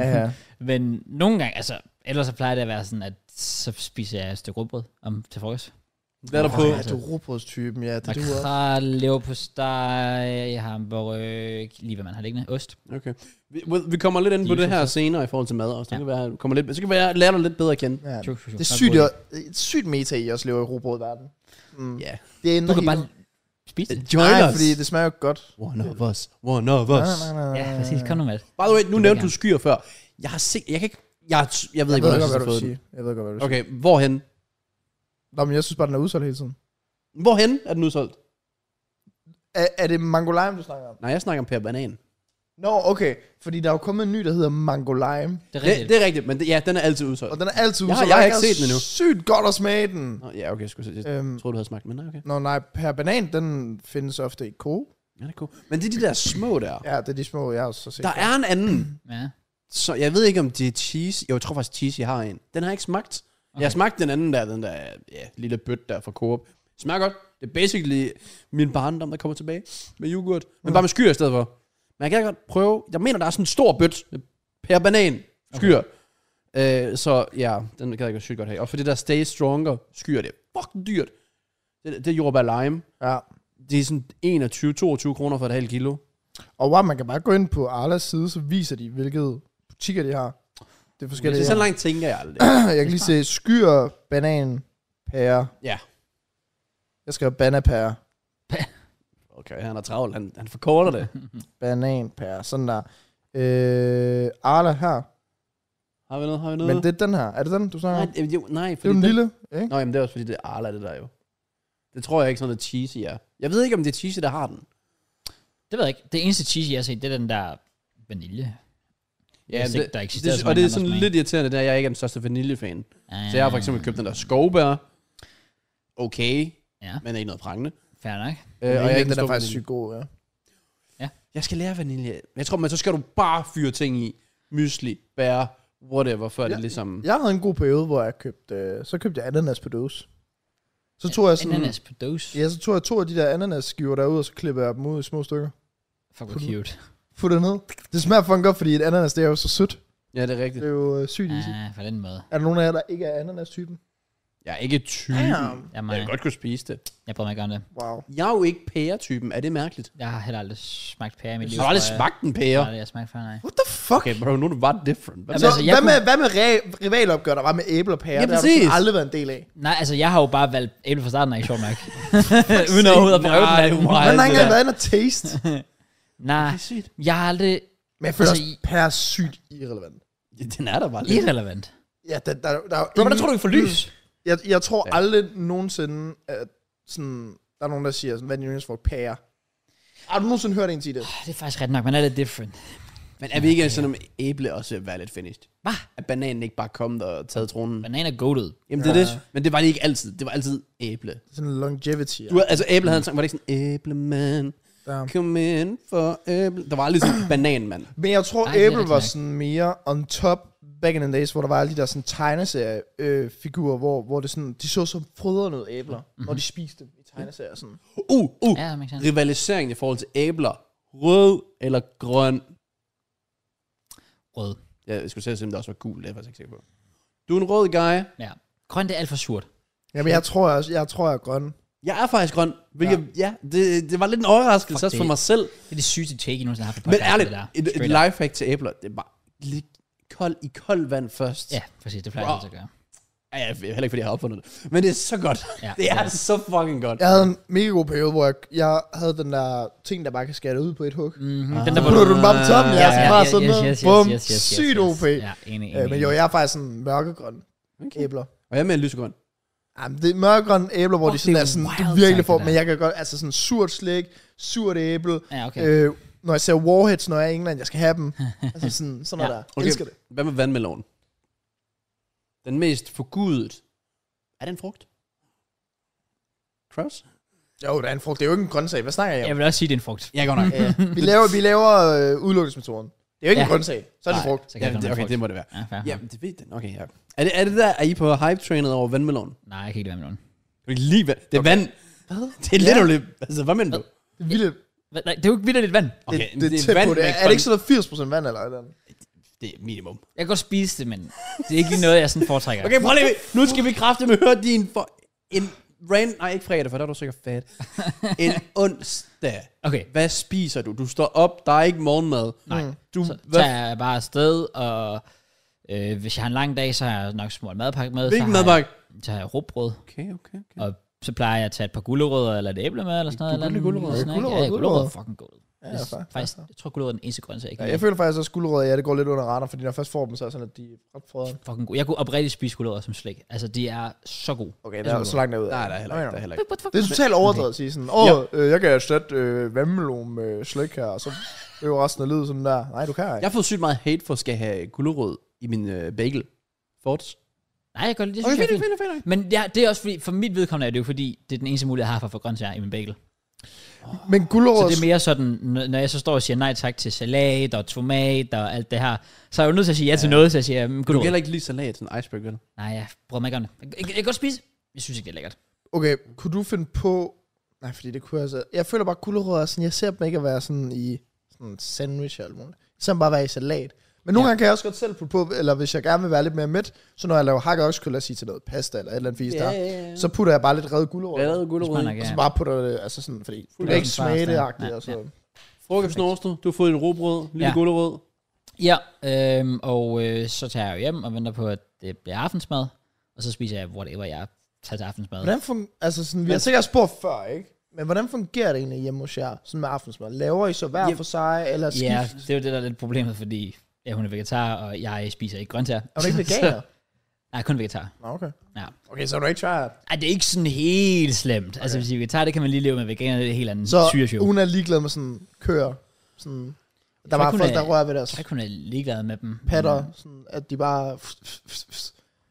S2: ja, ja.
S1: men nogle gange, altså, ellers så plejer det at være sådan, at så spiser jeg et stykke rugbrød om til frokost.
S3: Hvad er der på?
S2: Ja, du er rugbrødstypen, ja, det er du også.
S1: Makrel, leverpostej, hamburg, lige hvad man har liggende, ost.
S3: Okay. Vi, vi kommer lidt ind på
S1: Lige
S3: det her senere i forhold til mad også. Det
S1: Ja.
S3: kan være, du kommer lidt, så kan være, lære dig lidt bedre at kende.
S2: Ja.
S1: Tju, tju, tju.
S2: Det er
S1: Nok
S2: sygt,
S1: brød.
S2: at, et sygt meta, I også lever i robotverdenen. Mm.
S3: Ja.
S2: Det ændrer
S1: Du kan
S2: helt-
S1: bare spise det.
S3: Join
S2: Nej,
S3: us.
S2: fordi det smager jo godt.
S3: One of us. One of
S2: Nej,
S3: us.
S2: nej, nej, nej.
S1: Ja, præcis. Kom nu med det.
S3: By the way, nu
S1: vil
S3: nævnte du
S1: jeg
S3: skyer før. Jeg har set, jeg kan ikke, jeg, jeg, jeg ved
S2: Jeg
S3: ikke,
S2: ved godt,
S3: hvor jeg
S2: hvad
S3: har
S2: du vil
S3: fået den.
S2: sige. Jeg ved godt, hvad du vil
S3: Okay, hvorhen?
S2: sige. Nå, men jeg synes bare, den er udsolgt hele tiden.
S3: Hvorhen er den udsolgt?
S2: Er, er det Mango Lime, du snakker om?
S3: Nej, jeg snakker om Per Banan.
S2: Nå, okay. Fordi der er jo kommet en ny, der hedder Mango Lime.
S1: Det er
S3: Det,
S1: rigtigt.
S3: det er rigtigt, men det, ja, den er altid
S2: Og
S3: udsolgt.
S2: den er altid
S3: Jeg har-
S2: udsolgt.
S3: jeg har
S2: og
S3: ikke
S2: det er
S3: set den endnu.
S2: Sygt godt at smage den.
S3: Nå, ja, okay, jeg, skulle, jeg, jeg
S2: Øhm,
S3: troede, du havde smagt, men nej, okay.
S2: Nå nej, per banan, den findes ofte i ko.
S3: Ja, det er cool. Men det er de der små der.
S2: Ja, det er de små, jeg har også set.
S3: Der er en anden,
S1: Ja.
S3: Så jeg ved ikke, om det er cheese. Jo, jeg tror faktisk, cheese, jeg har en. Den har jeg ikke smagt. Okay. Jeg har smagt den anden der, den der ja, lille bøt der fra Coop. Smager godt. Det er basically min barndom, der kommer tilbage med yoghurt. Men bare med skyr i stedet for. Men jeg kan godt prøve. Jeg mener, der er sådan en stor bøt per banan skyr. Okay. Øh, så ja, den kan jeg godt sygt godt have. Og for det der Stay Stronger skyr, det er fucking dyrt. Det, det er jordbær lime.
S2: Ja.
S3: Det er sådan 21-22 kroner for et halvt kilo.
S2: Og wow, man kan bare gå ind på Arlas side, så viser de, hvilke butikker de har. Det er
S3: Det
S2: forskellige.
S3: er så
S2: her.
S3: langt tænker jeg aldrig.
S2: jeg kan lige se skyer, banan, pære.
S3: ja.
S2: Jeg skriver banapære.
S3: Okay, han er travlt. Han, han forkorter det.
S2: Bananpære. Sådan der. Øh, Arla her.
S3: Har vi noget? Har vi noget?
S2: Men det er den her. Er det den, du snakker
S3: nej,
S2: om?
S3: øh, jo, nej,
S2: Det er jo
S3: fordi
S2: den
S3: den-
S2: lille, ikke?
S3: Nå, jamen det er også fordi, det er Arla, det der jo. Det tror jeg ikke sådan, at cheesy er. Jeg ved ikke, om det er cheesy, der har den.
S1: Det ved jeg ikke. Det eneste cheese, jeg har set, det er den der vanilje. Ja, det, ikke, der eksisterer
S3: det,
S1: så
S3: og
S1: mange
S3: det er
S1: andre
S3: sådan
S1: smage.
S3: lidt irriterende, der jeg ikke er den største vaniljefan.
S1: Ah,
S3: Så jeg har for eksempel købt den der skovbær. Okay,
S1: Ja,
S3: men er ikke noget prangende.
S1: fair nok.
S3: Øh,
S2: Øh, og
S3: jeg
S2: jeg
S3: den
S2: den er
S3: store
S2: faktisk
S3: vanilje.
S2: sygt god, ja.
S3: Jeg skal lære vanilje. Jeg tror, men så skal du bare fyre ting i. Mysli, bær, whatever, før ja. det ligesom...
S2: Mm. Jeg havde en god periode, hvor jeg købte, øh, så købte jeg ananas på dåse. Så tog jeg sådan,
S1: Ananas på dose.
S2: ja, så tog jeg to af de der ananasskiver derud, og så klippede jeg dem ud i små stykker.
S1: Fuck, hvor cute.
S2: Få det ned. Det smager fucking godt, fordi et ananas, det er jo så sødt.
S3: Ja, det er
S2: Det
S3: rigtigt.
S2: er jo øh, sygt easy.
S1: Ah, på den måde.
S2: Er der nogen af jer, der ikke er ananas-typen?
S3: Jeg er ikke typen.
S1: Jeg, er
S3: Jeg
S1: mig,
S3: vil godt kunne spise det.
S1: jeg prøver mig ikke om det.
S2: Wow.
S3: Jeg er jo ikke pæretypen. Er det mærkeligt?
S1: Jeg har heller aldrig smagt pære i mit liv.
S3: Har du aldrig
S1: tror jeg.
S3: smagt en
S1: Jeg
S3: pære?
S1: har aldrig jeg smagt før, nej.
S2: What the fuck?
S3: Okay, bro, nu er du bare different. Hvad
S1: Jamen,
S2: Så
S1: altså, jeg
S2: hvad,
S1: kunne-
S2: med, hvad med re- rivalopgør, der var med æble og pære?
S3: Ja,
S2: det har du sådan
S3: præcis.
S2: aldrig været en del af.
S1: Nej, altså, jeg har jo bare valgt æble fra starten af, sjovt nok. Uden overhovedet at prøve den.
S3: Nej,
S1: anden.
S3: hvor er
S2: Man har ikke
S3: det
S2: engang
S3: der?
S2: været inde og taste.
S1: Nej,
S3: sygt.
S1: jeg har aldrig...
S2: Men jeg føler
S1: Altså,
S2: også, pære er sygt irrelevant.
S3: Ja, den er der bare lidt.
S1: Irrelevant.
S2: Ja, der, der, der, er jo
S1: Bro, hvordan
S2: ingen-
S1: tror du, vi får lys?
S3: Mm.
S2: Jeg, jeg tror
S3: Ja.
S2: ja. aldrig nogensinde, at sådan, der er nogen, der siger, sådan, hvad er din yndlingsfrugt? Pære. Har du nogensinde hørt en sige det?
S1: Ah, Det er faktisk ret nok, man er lidt different.
S3: Men er vi ikke sådan om æble også vil være lidt finished?
S1: Hva?
S3: At bananen ikke bare kom der og taget tronen?
S1: Banan er goated.
S3: Jamen det er det. Men det var det ikke altid. Det var altid æble.
S2: Sådan longevity. Ja.
S3: Du, ved, altså æble havde en sang, var det ikke sådan, æble mand,
S2: Ja.
S3: kom ind for æble. Der var aldrig sådan, banan mand.
S2: Men jeg tror,
S1: Nej, det er
S2: Apple
S1: rigtig
S2: var
S1: nok.
S2: sådan mere on top back in the days, hvor der var alle de der sådan tegneseriefigurer, øh, figurer, hvor, hvor det sådan, de så som frødrende ud æbler,
S1: Mhm.
S2: mm-hmm. når de spiste dem i tegneserier. Sådan.
S3: Uh, uh.
S1: Ja, det makes sense.
S3: Rivaliseringen i forhold til æbler. Rød eller grøn.
S1: Rød.
S3: Ja, jeg skulle selv se, om det også var gul. Det er jeg faktisk ikke sikker på. Du er en rød guy.
S1: Ja. Grønt er alt for surt.
S2: Jamen, jeg tror, jeg, jeg tror, jeg er grøn.
S3: Jeg er faktisk grøn. Hvilket, ja, ja det, det var lidt en overraskelse
S1: Fuck
S3: også for
S1: det.
S3: mig selv.
S1: Det er det sygeste take, I nogensinde har haft på
S3: Men
S1: podcast.
S3: ærligt,
S1: det der.
S3: et, et
S1: Straight up.
S3: lifehack til æbler, det er bare lige kold, i koldt vand først.
S1: Ja, præcis, det plejer
S3: Wow.
S1: jeg altid at gøre.
S3: Ja, ja, heller ikke, fordi jeg har opfundet det. Men det er så godt.
S1: Ja.
S3: Ja. Det er så fucking godt.
S2: Jeg
S3: Ja.
S2: havde en mega god periode, hvor jeg, jeg havde den der ting, der bare kan skære ud på et hug. Mm.
S1: Mm-hmm. Den der,
S2: Putter du den bare på toppen, ja,
S1: Ja,
S2: så
S1: ja,
S2: bare
S1: ja,
S2: sådan
S1: yes,
S2: noget.
S1: yes, yes,
S2: Bum,
S1: yes, yes, yes,
S2: sygt
S1: yes.
S2: OP.
S1: Ja, enig, enig.
S2: Øh, men jo, jeg er faktisk sådan mørkegrøn okay. æbler.
S3: Og jeg er med en lysegrøn.
S2: Jamen, det er mørkegrønne æbler, hvor
S1: Åh,
S2: de sådan
S1: det er
S2: er sådan,
S1: wild
S2: du virkelig
S1: tanke,
S2: får,
S1: der.
S2: men jeg kan godt, altså sådan surt slik, surt æble.
S1: Ja, okay.
S2: Øh, når jeg ser Warheads, når jeg er i England, jeg skal have dem. altså sådan, sådan noget
S1: Ja.
S2: der. Okay. Elsker det.
S3: Hvad med vandmelonen? Den mest forgudet. Er det en frugt? Kraus?
S2: Jo, der er en frugt. Det er jo ikke en grøntsag. Hvad snakker jeg om?
S1: Jeg vil også sige, det er en frugt.
S3: Ja, godt nok.
S1: Øh,
S2: Ja. Vi laver, vi laver øh, udelukkelsesmetoden. Det er jo ikke
S1: Ja.
S2: en grøntsag. Så er det en
S3: Nej.
S2: frugt.
S1: Så kan
S3: ja,
S1: jeg
S3: det,
S1: godt
S3: okay,
S1: nok
S3: det må det være.
S1: Ja, fair.
S3: Ja, det ved den. Okay, ja. Er det, er det der, er I på hype-trainet over vandmelonen?
S1: Nej, jeg kan ikke lide vandmelon.
S3: Kan du ikke lide vand? Det er okay. vand.
S2: Hvad?
S3: Det er literally... Altså, hvad mener du?
S2: Det er vildt.
S1: Hvad- Nej, det er jo ikke vildt lidt vand.
S2: Det,
S3: Okay,
S2: det, det, er tæt på det. Er det ikke sådan noget 80% vand eller et eller andet?
S3: Det er minimum.
S1: Jeg kan godt spise det, men det er ikke lige noget, jeg sådan foretrækker.
S3: Okay, prøv lige. Nu skal vi kraftedeme høre din for... En ran... Nej, ikke fredag, for der er du sikkert fat. En onsdag.
S1: Okay.
S3: Hvad spiser du? Du står op, der er ikke morgenmad. Mm.
S1: Nej.
S3: Du,
S1: Så
S3: hvad,
S1: tager jeg bare afsted, og øh, hvis jeg har en lang dag, så har jeg nok smurt madpakke med.
S3: hvilken
S1: så har
S3: madpakke?
S1: Jeg, så har jeg råbrød,
S3: Okay, okay, okay.
S1: og så plejer jeg at tage et par gulerødder eller et æble med, eller sådan noget.
S3: Du kan
S1: eller
S3: lide gulerødder.
S1: sådan noget, ikke?
S2: Gulerødder,
S1: Ja, gulerødder er
S2: gulerødder.
S1: fucking god.
S2: Ja,
S1: Ja,
S2: fair,
S1: faktisk, jeg tror, gulerødder er den eneste grøntsag, jeg ikke
S2: Ja,
S1: kan
S2: jeg føler faktisk også, at guldrød, ja, det går lidt under radar, fordi når jeg først får dem, så er sådan, at de er ret frøde.
S1: lide. fucking god. Jeg kunne oprigtigt spise gulerødder som slik. Altså, de er så gode.
S2: Okay, der er så langt derude.
S3: Nej, der er heller ikke. Der er heller ikke.
S1: What the fuck?
S2: Det er totalt overdrevet at sige sådan, åh, øh, jeg kan erstatte øh, vandmelon med slik her, og så øver resten af livet sådan der. Nej, du kan ikke.
S3: Jeg har fået sygt meget hate for at skal have gulerod i min øh, bagel. Forts.
S1: Nej, jeg kan godt lide det. Synes jeg er fint.
S3: fint.
S1: Men ja, det er også fordi, for mit vedkommende er det jo fordi, det er den eneste mulighed, jeg har for at få grøntsager i min bagel.
S2: Men
S1: Så
S2: guldrød,
S1: det er mere sådan, når når jeg så står og siger nej tak til salat og tomat og alt det her, så er jeg jo nødt til at sige ja, til noget, så jeg siger, mm,
S3: Du
S1: du
S3: kan heller ikke lide salat, sådan en iceberg, vel?
S1: Nej, jeg prøver mig ikke om det. Jeg, jeg, jeg kan godt spise. Jeg synes ikke, det er lækkert.
S2: okay, kunne du finde på, nej, fordi det kunne jeg så, jeg føler bare, at gulerødder er sådan, jeg ser dem ikke at være sådan i sådan en sandwich eller noget. Jeg ser dem bare være i salat. Men nogle
S1: Ja.
S2: ja. gange kan jeg også godt selv putte på, eller hvis jeg gerne vil være lidt mere mæt, så når jeg laver hakket oksekøl, lad os sige til noget pasta eller et eller andet fisk der,
S3: ja.
S2: så putter jeg bare lidt reddet gulerødder.
S3: Bladede gulerod.
S1: Smart nok,
S2: Og så
S1: ja.
S2: bare putter det, altså sådan, fordi du
S1: er
S2: kan ikke
S1: sådan bare
S2: smage det
S1: afstand.
S2: agtigt og
S1: Ja,
S2: sådan.
S3: Frokost Norsted, du har fået et råbrød, lille
S1: Ja.
S3: ja. gulerod.
S1: Ja, øhm, og øh, så tager jeg jo hjem og venter på, at det bliver aftensmad, og så spiser jeg whatever, jeg tager til aftensmad.
S2: Hvordan fun- altså sådan, vi har sikkert spurgt før, ikke? Men hvordan fungerer det egentlig hjemme hos jer, sådan med aftensmad? Laver I så hver for sig, eller skift?
S1: Ja, det er jo det, der er lidt problemet, fordi ja, hun er vegetar, og jeg spiser ikke grøntsager.
S2: Er du ikke
S1: Så-
S2: veganer?
S1: Nej, kun vegetar.
S2: Nå, okay.
S1: Ja.
S2: Okay, så er du ikke tryhard.
S1: Ej, det er ikke sådan helt slemt. Okay. Altså, hvis I er vegetar, det kan man lige leve med veganer, det er et helt andet
S2: Så
S1: syreshow.
S2: hun er ligeglad med sådan køer. Sådan, der
S1: tror
S2: var
S1: ikke, hun
S2: folk,
S1: er-
S2: der rører ved deres
S1: Jeg tror ikke, hun er øh, ligeglad med dem.
S2: patter, sådan, at de bare...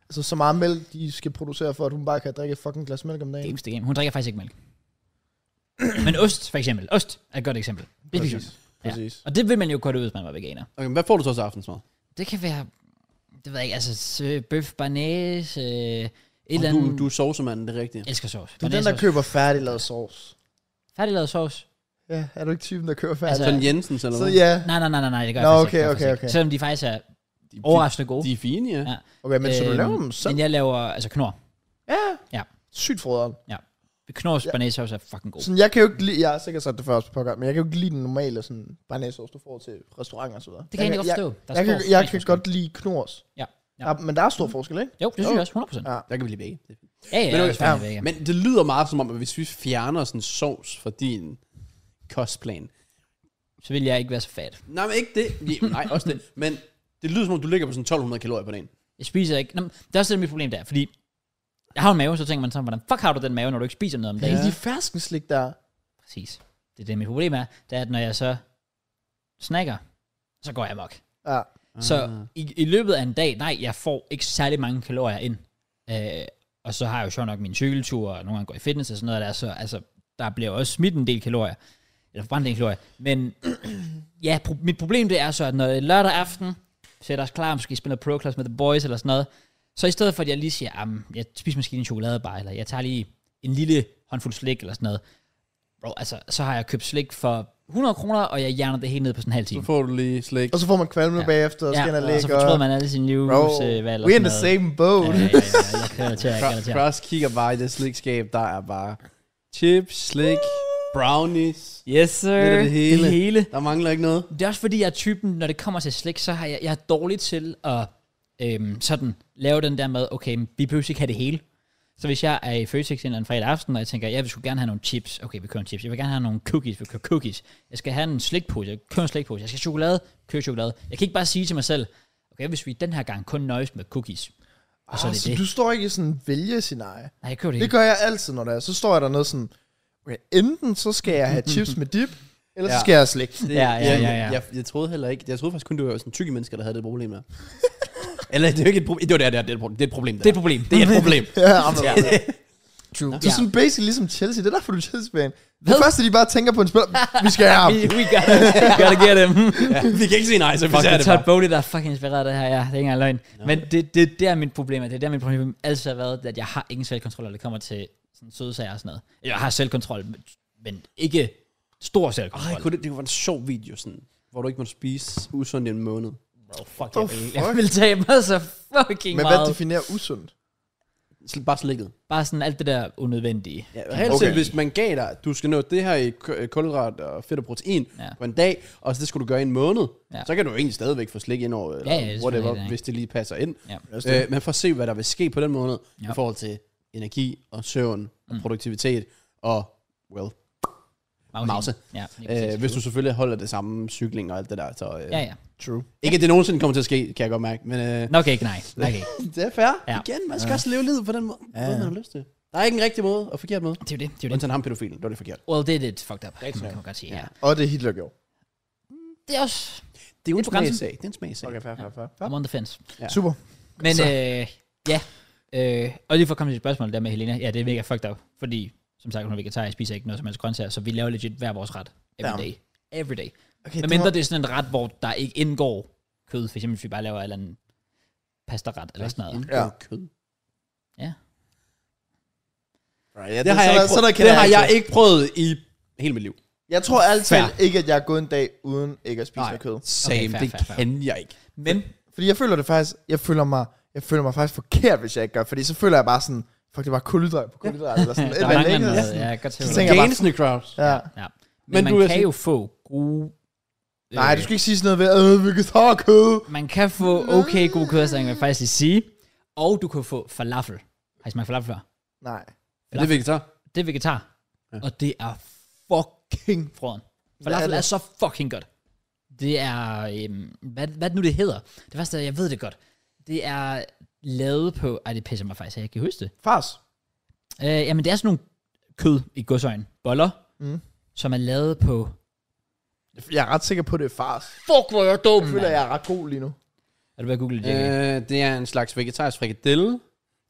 S2: Altså så meget mælk, de skal producere, for at hun bare kan drikke et fucking glas mælk om
S1: Det er
S2: dagen.
S1: eneste game. Hun drikker faktisk ikke mælk. Men ost, for eksempel. Ost er et godt eksempel. Det spiser hun.
S2: Præcis.
S1: Og det vil man jo godt ud, hvis man var veganer.
S3: Okay, men hvad får du så til aftensmad?
S1: Det kan være, det ved jeg ikke, altså s- bøf, banæs, øh, et eller
S3: Eller
S1: andet.
S3: du, du er sovsemanden, det er rigtigt.
S1: Jeg elsker sovs.
S2: Du er den, der køber færdiglavet sovs.
S1: Færdiglavet sovs.
S2: Ja, er du ikke typen, der køber
S1: Altså,
S2: færdig?
S3: Sådan Jensens eller
S2: så
S3: hvad?
S2: ja.
S1: Nej, nej, nej, nej, nej, det gør
S2: Nå,
S1: jeg faktisk
S2: okay,
S1: ikke. Det gør jeg
S2: okay,
S1: faktisk ikke.
S2: okay.
S1: Selvom de faktisk er
S3: De, de,
S1: overraskende gode.
S3: de er fine, ja.
S1: Ja.
S2: Okay, men så du
S1: Øhm,
S2: laver dem selv?
S1: Men jeg laver, altså knor.
S2: Sygt froderen.
S1: Knors ja. banæssovs er fucking god.
S2: Sådan, jeg kan jo ikke lide, jeg har sikkert sagt det før også på podcast, men jeg kan jo ikke lide den normale sådan barnæsovs, du får til restauranter og så videre.
S1: Det kan jeg egentlig godt
S2: jeg,
S1: forstå. Der
S2: jeg,
S1: er
S2: jeg,
S1: stor
S2: kan, jeg kan
S1: forskel.
S2: godt lide knors.
S1: Ja. Ja.
S2: ja. men der er stor forskel, ikke?
S1: Jo, det synes jeg også, 100%. Ja,
S2: Ja.
S3: Der kan vi lige begge.
S1: ja, ja,
S3: Men,
S1: jeg
S3: okay,
S1: er selvfølgelig vegan.
S3: men det lyder meget som om, at hvis vi fjerner sådan sovs fra din kostplan.
S1: Så vil jeg ikke være så fat.
S3: Nej, men ikke det. Ja, nej, også det. Men det lyder som om, du ligger på sådan 1200 kalorier på dagen.
S1: Jeg spiser ikke. Nå, men det er også det, mit problem der, fordi jeg har en mave, så tænker man sådan, hvordan fuck har du den mave, når du ikke spiser noget om
S2: Ja.
S1: dagen?
S2: De ferskenslik der.
S1: Præcis. Det er det, mit problem er, det er, at når jeg så snakker, så går jeg amok.
S2: Ja.
S3: Ah.
S1: Så i, i løbet af en dag, nej, jeg får ikke særlig mange kalorier ind. Øh, og så har jeg jo sjovt nok min cykeltur, og nogle gange går i fitness og sådan noget der, så altså, der bliver også smidt en del kalorier. Eller forbrændt en del kalorier. Men ja, pro- mit problem det er så, at når det er lørdag aften, sætter os klar, måske spiller pro class med the boys eller sådan noget, så i stedet for, at jeg lige siger, "Am, jeg spiser måske lige en chokoladebar, eller jeg tager lige en lille håndfuld slik eller sådan noget, bro, altså, så har jeg købt slik for 100 kroner, og jeg hjerner det hele ned på sådan en halv time.
S3: Så får du lige slik.
S2: Og så får man kvalme
S1: Ja.
S2: ja. bagefter, og skal
S1: Ja,
S2: ja,
S1: og så
S2: lægge.
S1: fortrød man alle sine
S2: Bro,
S1: livsvalg.
S2: we in the same boat.
S1: Ja, ja, ja, jeg kan relatere, jeg kan
S3: Kra-
S1: relatere.
S3: Cross kigger bare i det slikskab, der er bare chips, slik, brownies.
S1: Yes, sir.
S3: Lidt af det hele.
S1: Det hele.
S3: Der mangler ikke noget.
S1: Det er også fordi, jeg er typen, når det kommer til slik, så har jeg, jeg er dårlig til at øhm, sådan lave den der med, okay, men vi behøver ikke have det hele. Så hvis jeg er i Føtex en eller anden fredag aften, og jeg tænker, jeg vil sgu gerne have nogle chips. Okay, vi kører en chips. Jeg vil gerne have nogle cookies. Vi kører cookies. Jeg skal have en slikpose. Jeg kører en slikpose. Jeg skal have chokolade. Kører chokolade. Jeg kan ikke bare sige til mig selv, okay, hvis vi den her gang kun nøjes med cookies. Og så er
S2: Ah,
S1: det
S2: så
S1: det.
S2: du står ikke i sådan en vælgescenarie.
S1: Nej, jeg kører det
S2: Det
S1: ikke.
S2: gør jeg altid, når det er. Så står jeg dernede sådan, okay, enten så skal jeg have chips med dip, eller så
S3: Ja.
S2: skal jeg have slik.
S3: Det,
S1: Ja, ja, ja, ja.
S3: Jeg, jeg, jeg, troede heller ikke, jeg troede faktisk kun, det var sådan tykke mennesker, der havde det problem der. Eller det er jo ikke et problem. Det var det, det, er, det, er et problem. det er et problem.
S1: Det er et problem.
S3: Det er et problem.
S2: Ja, men,
S1: Ja. True.
S2: Du er sådan basic ligesom Chelsea. Det er derfor, du er Chelsea-fan. Det
S1: Hvad?
S2: første, de bare tænker på en spiller, vi skal have ham.
S1: We, we gotta, gotta get him.
S3: ja. Vi kan ikke sige nej, så vi
S1: Fuck,
S3: ser
S1: det er
S3: det
S1: Todd
S3: bare.
S1: Bowley, der er fucking inspireret af det her, ja. Det er ikke engang løgn. Men det, det er der, mit problem er. Det er der, mit problem altid har været, at jeg har ingen selvkontrol, når det kommer til sådan søde sager og sådan noget. Jeg har selvkontrol, men- men ikke stor selvkontrol.
S3: Ej, kunne det, det var en sjov video, sådan, hvor du ikke måtte spise usundt i en måned.
S1: Bro, fuck,
S2: Oh,
S1: jeg, vil, jeg
S2: fuck.
S1: vil tabe mig så fucking
S2: Men hvad
S1: meget.
S2: definerer usundt?
S3: Sl- bare slikket.
S1: Bare sådan alt det der unødvendige.
S3: Ja, helt
S2: Okay.
S3: okay. hvis man gav dig, du skal nå det her i k- kulhydrat og fedt og protein
S1: Ja.
S3: ja. på en dag, og så det skulle du gøre i en måned,
S1: Ja.
S3: ja. så kan du jo egentlig stadigvæk få slik ind over, eller
S1: Ja, ja, det er
S3: ja, whatever,
S1: selvfølgelig det,
S3: hvis det lige passer ind.
S1: Ja.
S3: Ja. Øh, men for at se, hvad der vil ske på den måned, ja.
S1: Ja. Mm.
S3: i forhold til energi og søvn og produktivitet og, well, Mause.
S1: Ja, lige præcis.
S3: øh, hvis du selvfølgelig holder det samme cykling og alt det der. Så, øh,
S1: ja, ja.
S2: True.
S3: Ikke at det nogensinde kommer til at ske, kan jeg godt mærke, men øh,
S1: Nok ikke, nej. Nok ikke.
S3: det er fair.
S1: Ja.
S3: Ja. Igen, man skal ja. også leve livet på den måde, ja. måde, man har lyst til. Der er ikke en rigtig måde og forkert måde.
S1: Det er jo det. Det er jo det.
S3: Undtagen ham pædofilen, det var det forkert.
S1: Well, det er lidt fucked up. Det kan man godt sige. Ja.
S2: Og det Hitler gjorde.
S1: Det er også...
S3: Det er jo en
S1: på grænsen.
S3: smagsag. Det er en smagsag.
S2: fair, fair, fair.
S1: I'm on the fence.
S3: Ja.
S2: Super.
S1: Men øh, ja, øh, og lige for at komme til et spørgsmål der med Helena. Ja, det er mega fucked up, fordi som sagt, hun er vegetar, jeg spiser ikke noget som helst grøntsager, så vi laver legit hver vores ret. Every
S2: Damn.
S1: day. Every day.
S2: Okay,
S1: Men mindre det er sådan en ret, hvor der ikke indgår kød, for eksempel hvis vi bare laver en eller anden pastaret eller sådan noget.
S2: Ja.
S3: Ja. Kød.
S2: Right, ja,
S3: Det, har jeg ikke prøvet, det, har jeg ikke prøvet i hele mit liv.
S2: Jeg tror altid
S3: Fair.
S2: ikke, at jeg har gået en dag uden ikke at spise noget kød.
S3: Same,
S1: Okay, fair,
S3: det
S1: fair, fair.
S3: kan jeg ikke.
S1: Men
S2: Fordi jeg føler det faktisk, jeg føler mig, jeg føler mig faktisk forkert, hvis jeg ikke gør, fordi så føler jeg bare sådan, fuck, det var kulhydrat på kulhydrat, eller sådan et
S1: der
S2: eller andet.
S1: mangler
S2: ikke?
S1: noget.
S2: Sådan-
S1: Ja, jeg kan godt se,
S2: Så
S1: hvad du
S2: tænker jeg bare-
S3: Gainsene crowds.
S2: Ja.
S1: mener. ja. Men,
S3: Men
S1: man
S3: du er
S1: kan
S3: sådan-
S1: jo få gode...
S2: Nej,
S1: øh,
S2: du skal ikke sige sådan noget ved, øh, vegetar og kød.
S1: Man kan få okay gode kødsager, vil jeg faktisk lige sige. Og du kan få falafel. Har I smagt falafel før?
S2: Nej.
S3: Er det vegetar?
S1: Det er vegetar. Ja. Og det er fucking frøden. Falafel
S2: det?
S1: er, er så fucking godt. Det er... Øhm, hvad, hvad er det nu, det hedder? Det første er, jeg ved det godt. Det er lavet på... Ej, det pisser mig faktisk, at jeg kan huske det.
S2: Fars.
S1: Øh, jamen, det er sådan nogle kød i godsøjen. Boller,
S2: Mm.
S1: mm. som er lavet på...
S2: Jeg er ret sikker på, det er fars.
S1: Fuck, hvor er jeg dum,
S2: Jeg føler, jeg er ret god lige nu.
S1: Er du ved at google det? Øh.
S3: Øh, det er en slags vegetarisk frikadelle,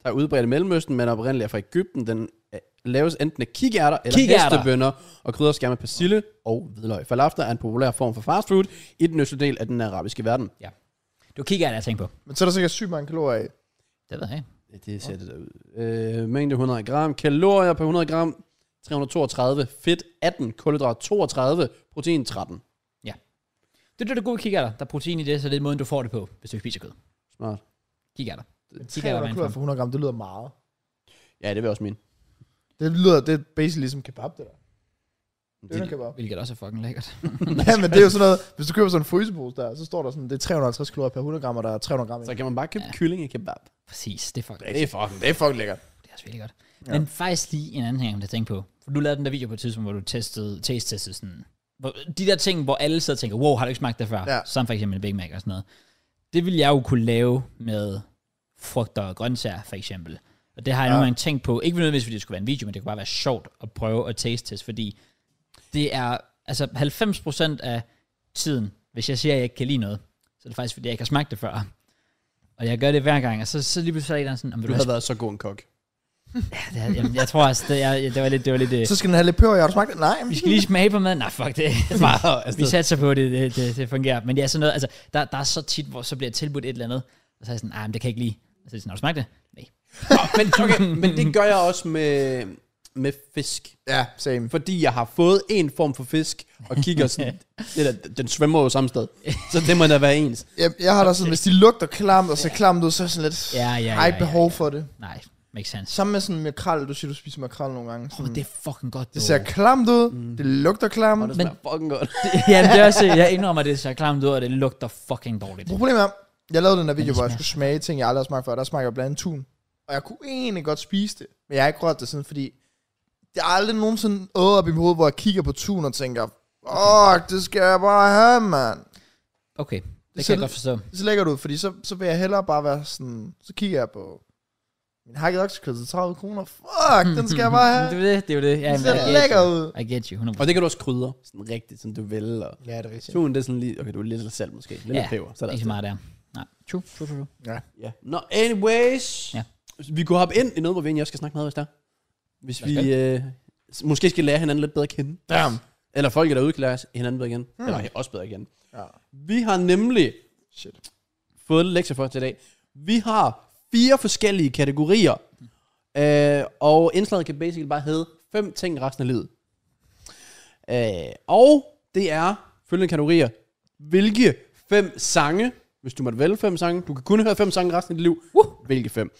S3: der er udbredt i Mellemøsten, men oprindeligt er fra Ægypten. Den øh, laves enten af kikærter eller
S1: Kikærter.
S3: kikærter. hestebønder, og krydder skær med persille og hvidløg. Falafel er en populær form for fastfood i den østlige del af den arabiske verden.
S1: Du kigger, jeg tænker på.
S2: Men så er der sikkert sygt mange kalorier i.
S1: Det ved jeg ikke.
S3: Det ser det der ud. Øh, mængde 100 gram. Kalorier per 100 gram. 332. Fedt 18. Kulhydrat 32. Protein 13.
S1: Det er det, der gode kikærter. Der er protein i det, så det er måden, du får det på, hvis du ikke spiser kød.
S3: Smart.
S1: Kikærter. Kikærter er
S2: 300 kalorier
S1: en
S2: for 100 gram, det lyder meget.
S3: Ja, det vil jeg også mene.
S2: Det lyder, det er basically ligesom kebab, det der. Det er kebab.
S1: Hvilket også er fucking lækkert.
S2: Ja, men det er jo sådan noget, hvis du køber sådan en frysepose der, så står der sådan, det er 350 kalorier per 100 gram, og der er 300 gram i.
S3: Så kan man bare købe ja. kylling i kebab.
S1: Præcis, det er fucking
S3: er fucking
S2: Det er fucking lækkert.
S1: Det er også virkelig godt. Ja. Men faktisk lige en anden ting, jeg kom til at tænke på. For du lavede den der video på et tidspunkt, hvor du testede, taste-testede sådan... Hvor, de der ting, hvor alle sidder og tænker, wow, har du ikke smagt det før?
S2: Ja.
S1: Som for eksempel en Big Mac og sådan noget. Det ville jeg jo kunne lave med frugter og grøntsager, for eksempel. Og det har jeg
S2: Ja.
S1: nogle gange tænkt på. Ikke nødvendigvis, fordi det skulle være en video, men det kunne bare være sjovt at prøve at taste-teste, fordi det er altså 90% af tiden, hvis jeg siger, at jeg ikke kan lide noget, så er det faktisk, fordi jeg ikke har smagt det før. Og jeg gør det hver gang, og så, så lige pludselig er der sådan, om
S3: Du havde været så god en kok.
S1: det, er- jamen, jeg tror altså, det, er, det var lidt... Det var lidt øh,
S2: Så skal den have lidt peber, jeg har du smagt det? Nej.
S1: vi skal lige smage på maden. Nej, fuck det. altså
S3: Meget
S2: Altså-
S1: vi satser på, at det, det, det, det fungerer. Men det er sådan noget, altså, der, der er så tit, hvor så bliver jeg tilbudt et eller andet, og så er jeg sådan, nej, men det kan jeg ikke lide. Og så er jeg sådan, har du smagt det? Nej.
S3: men, okay, men det gør jeg også med, med fisk.
S2: Ja, same.
S3: Fordi jeg har fået en form for fisk, og kigger sådan, det der, den svømmer jo samme sted. Så det må da være ens.
S2: Jeg, jeg har da sådan, hvis de lugter klamt, og ser klamt ud, så er jeg sådan lidt,
S1: Ja, ja, ja,
S2: har
S1: ja,
S2: ikke behov for det.
S1: Nej, makes sense.
S2: Samme med sådan makrel, du siger, du spiser makrel nogle gange.
S1: Oh,
S2: Sådan,
S1: det er fucking godt,
S2: det
S1: dog. Mm.
S2: ser klamt ud, det lugter klamt.
S3: Og det smager fucking godt.
S1: Jamen, det er også, jeg indrømmer, at det ser klamt ud, og det lugter fucking dårligt.
S2: Problemet er, Jeg lavede den der video,
S1: det
S2: hvor jeg
S1: smager
S2: skulle smage ting, jeg aldrig har smagt før. Der smagte jeg blandt andet tun. Og jeg kunne egentlig godt spise det, men jeg har ikke rørt det siden, fordi det er aldrig nogensinde øget op i mit hoved, hvor jeg kigger på tun og tænker, åh, det skal jeg bare have, mand.
S1: Okay, det, det kan
S2: ser
S1: jeg godt forstå.
S2: Det ser lækkert ud, fordi så, så vil jeg hellere bare være sådan, så kigger jeg på min hakket oksekød til 30 kroner. Fuck, den skal jeg bare have.
S1: det er jo det, det er jo det. Ja,
S2: Den
S1: men, I
S2: ser
S1: get
S2: lækker
S1: you.
S2: ud.
S1: I get you, 100%.
S3: Og det kan du også krydre, sådan rigtigt, sådan du vil. Og
S5: Ja, det er rigtigt.
S3: Tun, det er sådan lige, okay, du er lidt salt måske, lidt
S1: Ja,
S3: ja, peber. Så er der altså-
S1: Ikke så meget der. Nej, true, true, true. true.
S3: Ja. Nå, anyways.
S1: Ja.
S3: Vi kunne hoppe ind i noget, hvor vi egentlig også skal snakke med, hvis der. Hvis
S1: Lad os
S3: vi øh, s- måske skal lære hinanden lidt bedre at kende.
S2: Damn.
S3: Eller folk derude kan lære os hinanden bedre igen. Hmm. Eller også bedre igen.
S2: Ja.
S3: Vi har nemlig
S2: Shit.
S3: fået lidt lektier for til i dag. Vi har fire forskellige kategorier. Øh, og indslaget kan basically bare hedde fem ting resten af livet. Øh, og det er følgende kategorier. Hvilke fem sange, hvis du måtte vælge fem sange, du kan kun høre fem sange resten af dit liv. Uh. Hvilke fem?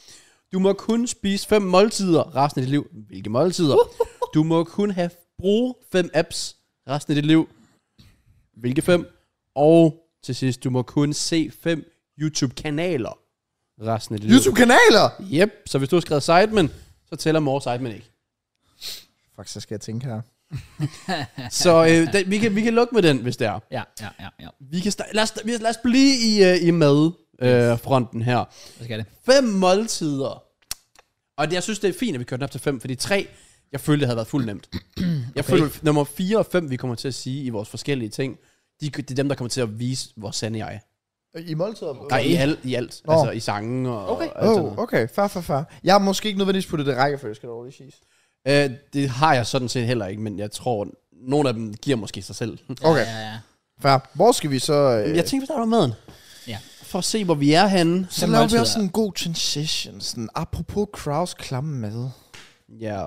S3: Du må kun spise fem måltider resten af dit liv. Hvilke måltider? Uh. Du må kun have bruge fem apps resten af dit liv. Hvilke fem? Og til sidst, du må kun se fem YouTube-kanaler resten af dit liv.
S2: YouTube-kanaler!
S3: Yep, så hvis du har skrevet Sidemen, så tæller More Sidemen ikke.
S2: Fuck, så skal jeg tænke her.
S3: Så øh, den, vi, kan, vi kan lukke med den, hvis det er.
S1: Ja, ja, ja, ja.
S3: Vi kan sta- lad, os, vi- lad os blive i, øh, i madfronten øh, fronten her.
S1: Hvad skal det?
S3: Fem måltider. Og det, jeg synes, det er fint, at vi kører den op til fem, fordi tre, jeg følte, det havde været fuldt nemt. Jeg følte, at nummer fire og fem, vi kommer til at sige i vores forskellige ting, de, det er dem, der kommer til at vise, hvor sand jeg er.
S2: Øh, I måltider?
S3: Nej, i alt. I alt.
S2: Nå.
S3: Altså i sange og, okay. og alt sådan
S2: Oh, okay, fair, fair, fair. Jeg har måske ikke nødvendigvis puttet det i rækkefølge, skal du lige sige.
S3: noget. Øh, det har jeg sådan set heller ikke, men jeg tror, nogle af dem giver måske sig selv.
S2: Okay,
S1: Ja, ja, ja.
S2: fair. Hvor skal vi så... Øh,
S3: Jeg tænker, vi starter med maden.
S1: Ja.
S3: For at se, hvor vi er henne.
S2: så
S1: Fem
S2: laver vi
S1: måltider.
S2: også en god transition, sådan apropos Kraus klamme mad.
S1: Mm,
S3: Ja.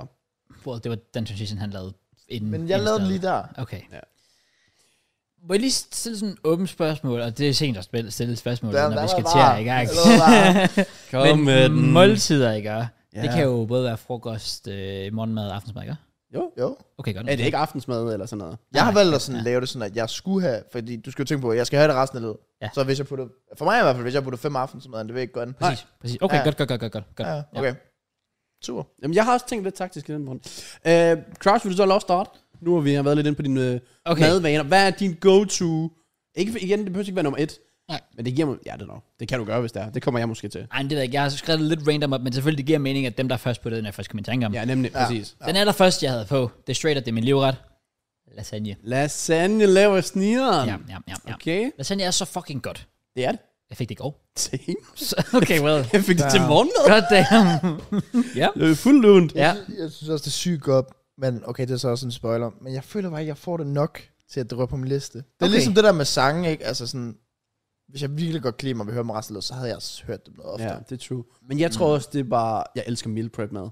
S1: Well, det var den transition, han lavede inden.
S2: Men jeg
S1: inden
S2: lavede den
S1: startet.
S2: lige der.
S1: Okay.
S3: Ja.
S1: Ja. Må jeg lige stille sådan et åbent spørgsmål, og det er sent at spille- stille et spørgsmål,
S2: Der-
S1: når
S2: der
S1: vi
S2: var
S1: skal
S2: bare-
S1: til at i gang.
S2: der var bare-
S3: Kom med
S1: Men
S3: den.
S1: måltider, ikke? Ja.
S3: Ja.
S1: Det kan jo både være frokost, øh, morgenmad og aftensmad, ikke?
S2: Jo.
S1: Okay, godt.
S3: Er det ikke aftensmad eller sådan noget?
S2: Jeg har valgt at sådan, lave det sådan, at jeg skulle have, fordi du skal jo tænke på, at jeg skal have det resten af livet.
S1: Ja.
S2: Så hvis jeg putter, for mig i hvert fald, hvis jeg putter fem aftensmad, det vil jeg ikke gøre den.
S1: Præcis, præcis. Okay,
S2: Ja.
S1: godt, godt, godt, godt, godt. godt.
S2: Ja, okay. Super.
S3: Jamen, jeg har også tænkt lidt taktisk i den grund. Øh, Crouch, vil du så have lov at starte? Nu har vi har været lidt inde på dine øh, okay.
S1: Okay.
S3: madvaner. Hvad er din go-to? Ikke, igen, det behøver ikke være nummer et.
S1: Nej.
S3: Men det giver mig... Ja, det er nok. Det kan du gøre, hvis det er. Det kommer jeg måske til.
S1: Ej, men det ved jeg ikke. Jeg har skrevet det lidt random op, men selvfølgelig det giver mening, at dem, der er først på det, den er først kommet i tanke om.
S3: Ja, nemlig. Ja. Præcis.
S1: Den allerførste, jeg havde på, det er straight up, det er min livret. Lasagne.
S3: Lasagne laver
S2: Um,
S3: snigeren.
S1: Ja, ja, ja, ja.
S3: Okay.
S1: Lasagne er så fucking godt.
S3: Det er det.
S1: Jeg fik det i går.
S3: Same.
S1: Så, okay, well.
S3: Jeg fik det til morgenmad.
S1: God damn. ja.
S3: Det er fuldt lunt.
S1: Ja.
S2: Jeg, jeg synes også, det er sygt godt, men okay, det er så også en spoiler, men jeg føler bare ikke, jeg får det nok til, at det rører på min liste. Det er
S1: Okay.
S2: okay. ligesom det der med sange, ikke? Altså sådan, hvis jeg virkelig godt kan lide mig, vil høre dem resten af livet, så havde jeg også hørt dem noget ofte.
S3: Ja, det er true. Men jeg tror også, det er bare... Jeg elsker meal prep mad.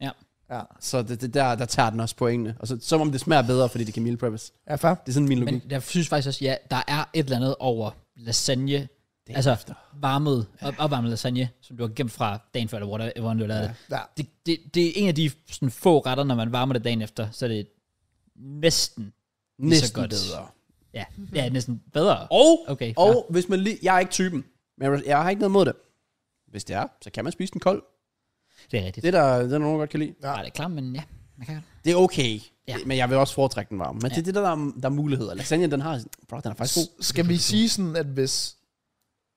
S1: Ja.
S2: Ja.
S3: Så det, det der, der tager den også pointene. Og så, som om det smager bedre, fordi det kan meal preppes.
S2: Ja, far.
S3: Det er sådan min logik.
S1: Men jeg synes faktisk også, ja, der er et eller andet over lasagne, altså efter. varmet, op, opvarmet lasagne, som du har gemt fra dagen før, eller whatever, hvordan du lavede ja. det.
S2: Ja.
S1: Det, det. Det er en af de sådan, få retter, når man varmer det dagen efter, så er det næsten, lige så
S3: Næsten
S1: godt.
S3: bedre.
S1: ja, ja næsten bedre.
S3: Og,
S1: Okay,
S3: okay, og hvis man lige... Jeg er ikke typen. Men jeg- jeg har ikke noget mod det. Hvis det er, så kan man spise den kold.
S1: Det er rigtigt.
S3: Det er der, det er der nogen, der godt kan lide.
S1: Nej, det er klart, men ja, man kan godt.
S3: Det er okay.
S1: Ja.
S3: Ja. Men jeg vil også foretrække den varm. Men ja. det er det, der, der, er- der er muligheder. Lasagne, den har... Bro, den er faktisk god.
S2: S- skal vi sige sådan, at hvis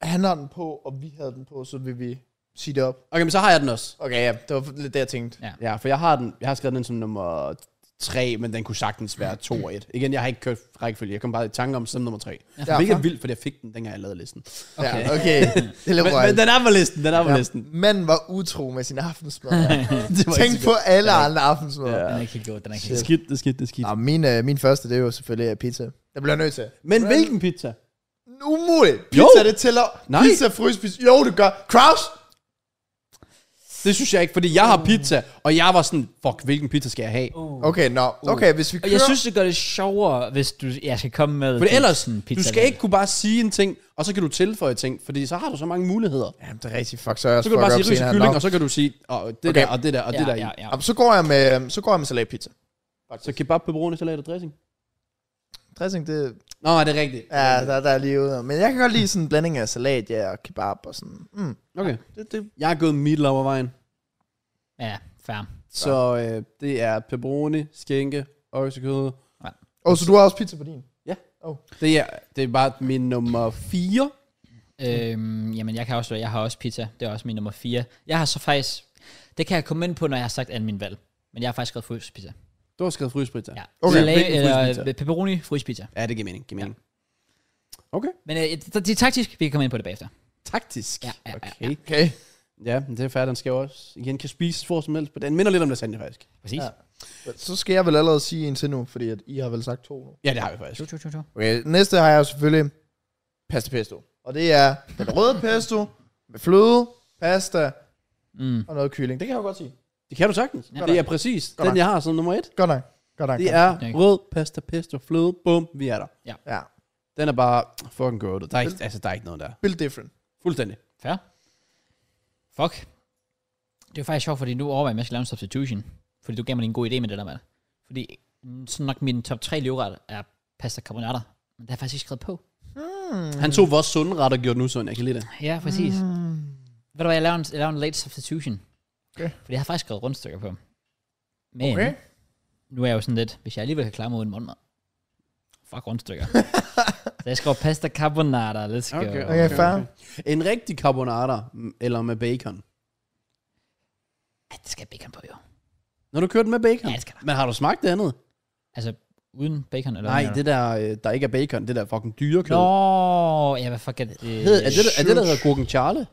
S2: han har den på, og vi havde den på, så vil vi sige det op?
S3: Okay, men så har jeg den også.
S2: Okay, ja, det var lidt det, jeg tænkte.
S1: Ja.
S3: Ja, for jeg har, den, jeg har skrevet den som nummer 3, men den kunne sagtens være 2 og 1. Igen, jeg har ikke kørt rækkefølge. Jeg kom bare i tanke om som nummer 3. Ja, Hvilket er vildt, fordi jeg fik den, dengang jeg lavede listen.
S2: Okay, ja, okay. det er lidt
S3: Men, men
S2: røget.
S3: den er på listen, den er på ja. listen.
S2: Ja, manden var utro med sin aftensmad.
S3: Det var
S2: Tænk
S3: ikke så
S2: på alle andre aftensmad.
S3: Ja.
S2: Ja.
S1: Den er ikke helt god, den er ikke
S3: godt. Det er
S1: helt god.
S3: skidt, det er skidt, det er skidt.
S2: Nå, min, øh, min første, det er jo selvfølgelig øh, pizza. Det bliver jeg nødt til.
S3: Men hvilken pizza?
S2: Umuligt.
S3: Jo.
S2: Pizza, jo. det tæller.
S3: Nej. Uh.
S2: Nej. Pizza, frysepizza. Jo, det gør. Kraus!
S3: Det synes jeg ikke, fordi jeg har pizza, og jeg var sådan, fuck, hvilken pizza skal jeg have?
S2: Okay, nå.
S3: Uh.
S2: No. Okay, hvis vi
S1: Og
S2: kører...
S1: jeg synes, det gør det sjovere, hvis du jeg skal komme med...
S3: For ellers,
S1: sådan en
S3: du skal
S1: land.
S3: ikke kunne bare sige en ting, og så kan du tilføje ting, fordi så har du så mange muligheder.
S2: Jamen, det er rigtigt. Fuck, så er jeg også
S3: Så kan du
S2: fuck
S3: bare sige
S2: up
S3: ris
S2: senere.
S3: og kylling,
S2: Nå.
S3: og så kan du sige, og det
S2: Okay.
S3: der, og det der, og det der.
S1: Ja, ja, ja.
S2: Jamen, så går jeg med, så går jeg med salatpizza.
S3: Så kebab, pepperoni, salat og dressing.
S2: Dressing, det...
S3: Nå, det er rigtigt.
S2: Ja, der, der er lige ude. Men jeg kan godt lide sådan en blanding af salat, ja, og kebab og sådan. Mm.
S3: Okay.
S2: Det, det,
S3: Jeg er gået middel over vejen.
S1: Ja, fair.
S3: Så øh, det er pepperoni, skænke, oksekød.
S6: Og så du har også pizza på din?
S3: Det er, det er bare min nummer 4.
S1: Øhm, jamen, jeg kan også, jeg har også pizza. Det er også min nummer 4. Jeg har så faktisk, det kan jeg komme ind på, når jeg har sagt anden min valg. Men jeg har faktisk skrevet fryspizza.
S3: Du har skrevet fryspizza.
S1: Ja.
S6: Okay.
S1: Salat,
S3: Hvilken
S1: eller
S3: fryspizza?
S1: øh, pepperoni fryspizza.
S3: ja, det giver mening. Giver mening.
S1: Men øh, det, det er taktisk, vi kan komme ind på det bagefter.
S3: Taktisk.
S1: Ja, ja, ja,
S3: okay. Ja,
S6: Okay.
S3: ja. men det er fair, den skal jo også igen kan spises hvor som helst. Men den minder lidt om lasagne, faktisk.
S1: Præcis.
S6: Ja. Så skal jeg vel allerede sige en til nu, fordi at I har vel sagt to nu.
S3: Ja, det har vi faktisk.
S1: Tjo, tjo, tjo, tjo.
S6: Okay.
S2: næste har jeg jo selvfølgelig
S6: Pasta pesto.
S2: Og det er den røde pesto med fløde, pasta
S1: Mm.
S2: og noget kylling. Det kan jeg jo godt sige.
S3: Det kan du sagtens.
S1: Ja.
S3: Ja. Det er præcis
S2: Godt
S3: den, jeg har som nummer et.
S2: Godt nok. Godt nok.
S3: Det
S2: godt nok.
S3: er
S1: Okay.
S3: rød, pasta, pesto, fløde, bum, vi er der.
S2: Ja.
S3: Den er bare fucking goated. Der er ikke, altså, der er ikke noget der. Mm.
S2: Build different.
S3: Fuldstændig.
S1: Fair. Fuck. Det er jo faktisk sjovt, fordi nu overvejer jeg, om jeg skal lave en substitution. Fordi du gav mig lige en god idé med det der, mand. Fordi mm, sådan nok min top 3 livret er pasta carbonara. Men det har jeg faktisk ikke skrevet på.
S3: Han tog vores sunde ret og gjorde den usund. Jeg kan lide det.
S1: Ja, Hmm. præcis. Mm. Ved du hvad, jeg laver en, jeg laver en late substitution.
S6: Okay.
S1: Fordi jeg har faktisk skrevet rundstykker på. Men
S6: Okay.
S1: okay. nu er jeg jo sådan lidt, hvis jeg alligevel kan klare mig uden morgenmad. Fuck rundstykker. så jeg skriver pasta carbonara, let's go.
S3: Okay,
S2: Okay, fair.
S3: En rigtig carbonara, m- eller med bacon.
S1: Ja, det skal bacon på, jo.
S3: Når du kører den med bacon?
S1: Ja, det skal der.
S3: Men har du smagt det andet?
S1: Altså, uden bacon eller
S3: Nej,
S1: hvad mener
S3: det der, øh, der ikke er bacon, det der fucking
S1: du?
S3: dyrekød.
S1: Nå, ja, hvad fuck er det?
S3: Hed, er, det, der- er det, der
S2: shoot.
S3: hedder Gurken Charlie?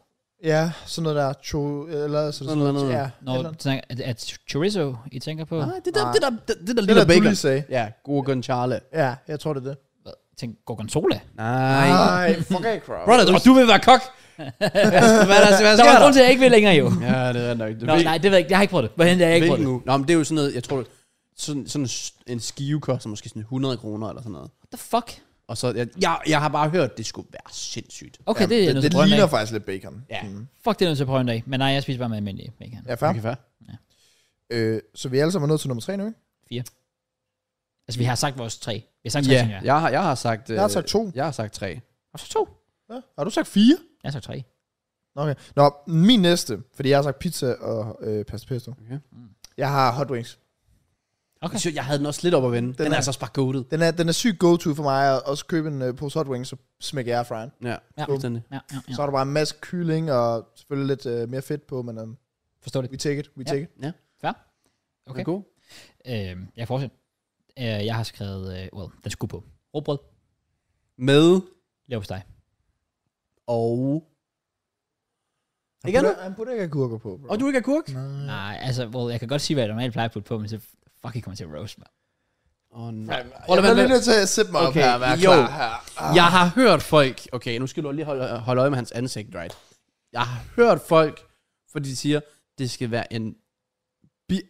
S2: Ja, sådan noget der. Cho, eller sådan,
S3: Sådan
S2: noget.
S3: noget.
S2: Ja,
S1: Nå,
S2: eller-
S1: snakker- Øh, er, det- er det chorizo, I tænker på?
S3: Nej, det der,
S2: Nej.
S3: det der, det, det
S2: det
S3: der lille
S2: der, du
S3: bacon.
S2: lige sagde.
S3: Ja, Gurken Charlie.
S2: Ja, jeg tror det er det.
S1: Hvad? Tænk, gorgonzola?
S3: Nej.
S2: Nej, fuck af, crowd.
S3: Brother, og du vil være kok. hvad er der, hvad
S1: Der var
S3: sker
S1: en grund til, at jeg ikke vil længere, jo.
S3: Ja, det er nok. Det
S1: Nå, nej, det ved jeg ikke. Jeg har ikke prøvet det. Hvordan det er, jeg har ikke prøvet det?
S3: Hvilken uge? Nå, men det er jo sådan noget, jeg tror, sådan, sådan en skive koster måske sådan 100 kroner eller sådan noget.
S1: What the fuck?
S3: Og så, jeg, jeg, jeg har bare hørt, det skulle være sindssygt.
S1: Okay, det er
S6: det, det
S1: noget, til at prøve en dag.
S6: ligner faktisk lidt bacon.
S3: Ja.
S1: Fuck, det er nødt til at prøve en dag. Men nej, jeg spiser bare med almindelig bacon.
S2: Ja, fair.
S3: Okay, fair.
S6: Øh, så vi alle sammen er nået til nummer tre nu, ikke?
S1: Altså, vi har sagt vores tre. Vi har sagt tre,
S3: Ja,
S1: tænker jeg.
S3: jeg har, jeg har sagt... øh,
S6: Jeg har sagt to.
S3: Jeg har sagt tre.
S1: Og så to.
S6: Ja. Har du sagt fire?
S1: Jeg har sagt tre.
S6: Nå, Okay. Nå, min næste, fordi jeg har sagt pizza og øh, pasta pesto.
S3: Okay.
S6: Jeg har hot wings.
S1: Okay.
S3: Okay. Jeg havde den også lidt op at vende. Den, den er
S6: er-
S3: altså også bare goated.
S6: Den er, den er sygt go-to for mig at også købe en øh, pose hot wings, så smækker jeg airfryeren.
S3: Ja,
S1: Ja.
S3: fuldstændig.
S1: Ja, ja,
S6: Ja.
S1: ja.
S6: Så er der bare en masse kylling og selvfølgelig lidt øh, mere fedt på, men um,
S1: Forstår det.
S6: we take it, we
S1: Ja.
S6: take it.
S1: Okay.
S3: Okay. God.
S1: Øhm, jeg kan fortsætte. Øh, jeg har skrevet, øh, well, den skulle på. Råbrød,
S3: Med
S1: lav hos dig.
S3: og...
S6: Han
S3: Ikke
S6: putter- Han putter ikke agurker på, bro.
S3: Og du ikke er kurk?
S6: Nej.
S1: Nej, altså, well, jeg kan godt sige, hvad jeg normalt plejer at putte på, men så fuck, I kommer til at roast mig.
S3: Åh, oh, nej.
S6: Jeg bliver lige nødt til at sætte mig okay. op
S3: Okay,
S6: her og være
S3: jo.
S6: klar her. Ah.
S3: Jeg har hørt folk... Okay, nu skal du lige holde, holde øje med hans ansigt, right? Jeg har hørt folk, for de siger, det skal være en bi-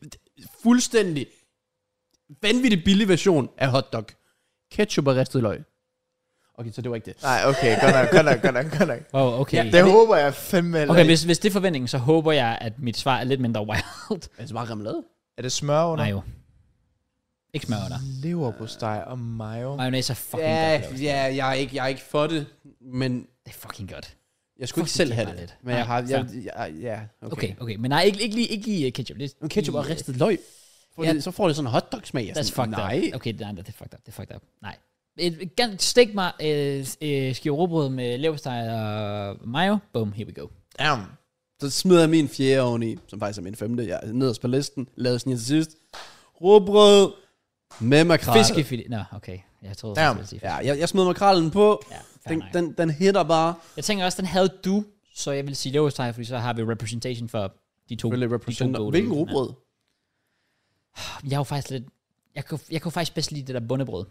S3: fuldstændig vanvittig billig version af hotdog. Ketchup og ristet løg. Okay, så det var ikke det.
S2: Nej, okay, godt nok, godt nok, godt nok, godt nok.
S1: Wow, okay.
S3: Ja,
S6: Det håber jeg fandme heller
S1: Okay,
S6: ikke.
S1: hvis, hvis det er forventningen, så håber jeg, at mit svar er lidt mindre wild.
S3: Altså bare remoulade.
S6: Er det smør under?
S1: Nej jo. Ikke smør under.
S6: Lever på steg og mayo.
S1: Mayonnaise er fucking
S3: Mm. Ja,
S1: godt. lavet.
S3: ja, jeg er, ikke, jeg er ikke for det, men
S1: Det er fucking godt.
S3: jeg skulle
S1: Fuck, det
S3: ikke selv
S1: giver
S3: have
S1: mig
S3: det.
S1: lidt.
S3: Men
S1: Nej,
S3: jeg har, jeg, jeg, ja, okay.
S1: Okay, okay. Men nej, ikke, ikke, lige, ikke lige øh, ketchup. Det,
S3: Men ketchup og ristet løg, får
S1: Ja.
S3: det, så får det sådan en hotdog-smag. Jeg er
S1: That's
S3: sådan,
S1: fucked
S3: nej.
S1: up. Okay, det er, det er fucked up. Det er fucked up. Nej. Et, et, gan- stik mig øh, øh, skive råbrød med leverpostej og mayo. Boom, here we go.
S6: Damn.
S3: Så smider jeg min fjerde oveni, som faktisk er min femte. Jeg er nederst på listen, lavede sådan en til sidst. Råbrød med makrel.
S1: Fiskefilet. Nå, okay. Jeg troede,
S6: Damn.
S1: jeg sige.
S3: Ja, jeg, jeg smider makrellen på.
S1: Ja, fair
S3: Den,
S1: nok.
S3: den, den hitter bare.
S1: Jeg tænker også, den havde du, så jeg vil sige leverpostej, fordi så har vi representation for de to.
S3: Selvfølgelig
S1: de to
S3: representer.
S1: gode
S3: Hvilken
S1: løsninger.
S3: råbrød?
S1: Jeg er jo faktisk lidt... Jeg kunne, jeg kunne faktisk bedst lide det der bundebrød.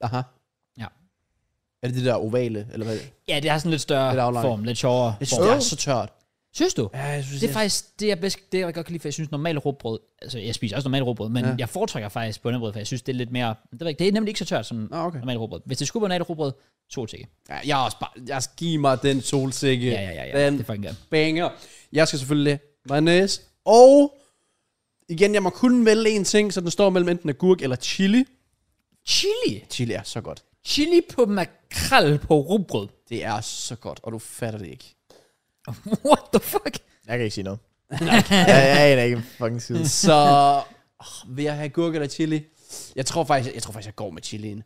S3: Aha.
S1: Ja.
S3: Er det det der ovale, eller hvad?
S1: Ja, det har sådan lidt større
S3: Lidt aflang.
S1: form, lidt sjovere
S3: Jeg synes,
S1: form.
S3: det er så tørt.
S1: Synes du?
S3: Ja, jeg synes,
S1: Det er faktisk det, jeg, bedst, det, jeg godt kan lide, for jeg synes normalt råbrød, altså jeg spiser også normalt råbrød, men ja.
S3: Ja.
S1: jeg foretrækker faktisk bundebrød, for jeg synes, det er lidt mere, det, ved jeg ikke, det er nemlig ikke så tørt som
S3: Nå, okay.
S1: normalt råbrød. Hvis det skulle være normalt råbrød, solsikke.
S3: Ja, jeg er også bare, jeg skal give mig den solsikke.
S1: Ja, ja, ja, ja.
S3: Den
S1: det er fucking godt.
S3: banger. Jeg skal selvfølgelig mayonnaise. Og igen, jeg må kun vælge en ting, så den står mellem enten agurk eller chili.
S1: Chili.
S3: Chili er så godt.
S1: Chili på makrel på rugbrød.
S3: Det er så godt, og du fatter det ikke.
S1: What the fuck?
S2: Jeg kan ikke sige noget. jeg, jeg aner ikke en fucking skid.
S3: Så oh, vil jeg have agurk eller chili? Jeg tror faktisk, jeg, tror faktisk, jeg går med chilien.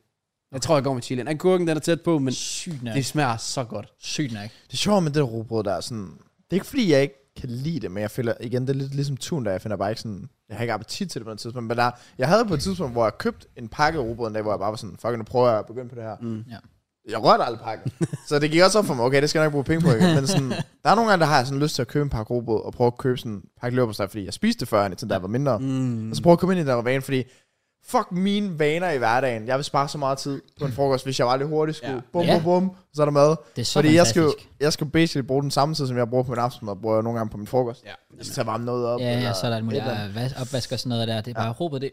S3: Jeg tror, jeg går med chilien. Agurken, den er tæt på, men
S1: Sygt nok.
S3: det smager så godt.
S1: Sygt nok.
S2: Det sjove med det der rugbrød, der er sådan... Det er ikke fordi, jeg ikke kan lide det, men jeg føler, igen, det er lidt ligesom tun, der jeg finder bare ikke sådan... Jeg har ikke appetit til det på et tidspunkt, men der, jeg havde på et tidspunkt, hvor jeg købte en pakke af rugbrød en dag, hvor jeg bare var sådan, fuck, nu prøver jeg at begynde på det her.
S3: Mm.
S1: Ja.
S2: Jeg rørte aldrig pakken. så det gik også op for mig, okay, det skal jeg nok bruge penge på, ikke? men sådan, der er nogle gange, der har jeg sådan lyst til at købe en pakke rugbrød, og prøve at købe sådan en pakke løberpostej, fordi jeg spiste det før, sådan, da jeg var mindre.
S3: Mm.
S2: Og så prøv at komme ind i den der vane, fordi fuck mine vaner i hverdagen. Jeg vil spare så meget tid på en frokost, hvis jeg var lidt hurtigt skulle.
S3: Ja.
S2: Ja. Bum,
S1: Ja.
S2: bum, bum, så er der mad.
S1: Det er så
S2: fordi jeg skal, jo,
S1: fantastisk.
S2: jeg skal basically bruge den samme tid, som jeg bruger på min aftensmad, bruger jeg nogle gange på min frokost.
S3: Ja.
S2: Jeg skal tage varme noget op.
S1: Ja, ja,
S2: eller
S1: så er der et muligt
S2: et eller andet.
S1: ja, opvask og sådan noget der. Det er bare ja. øh, råbet det.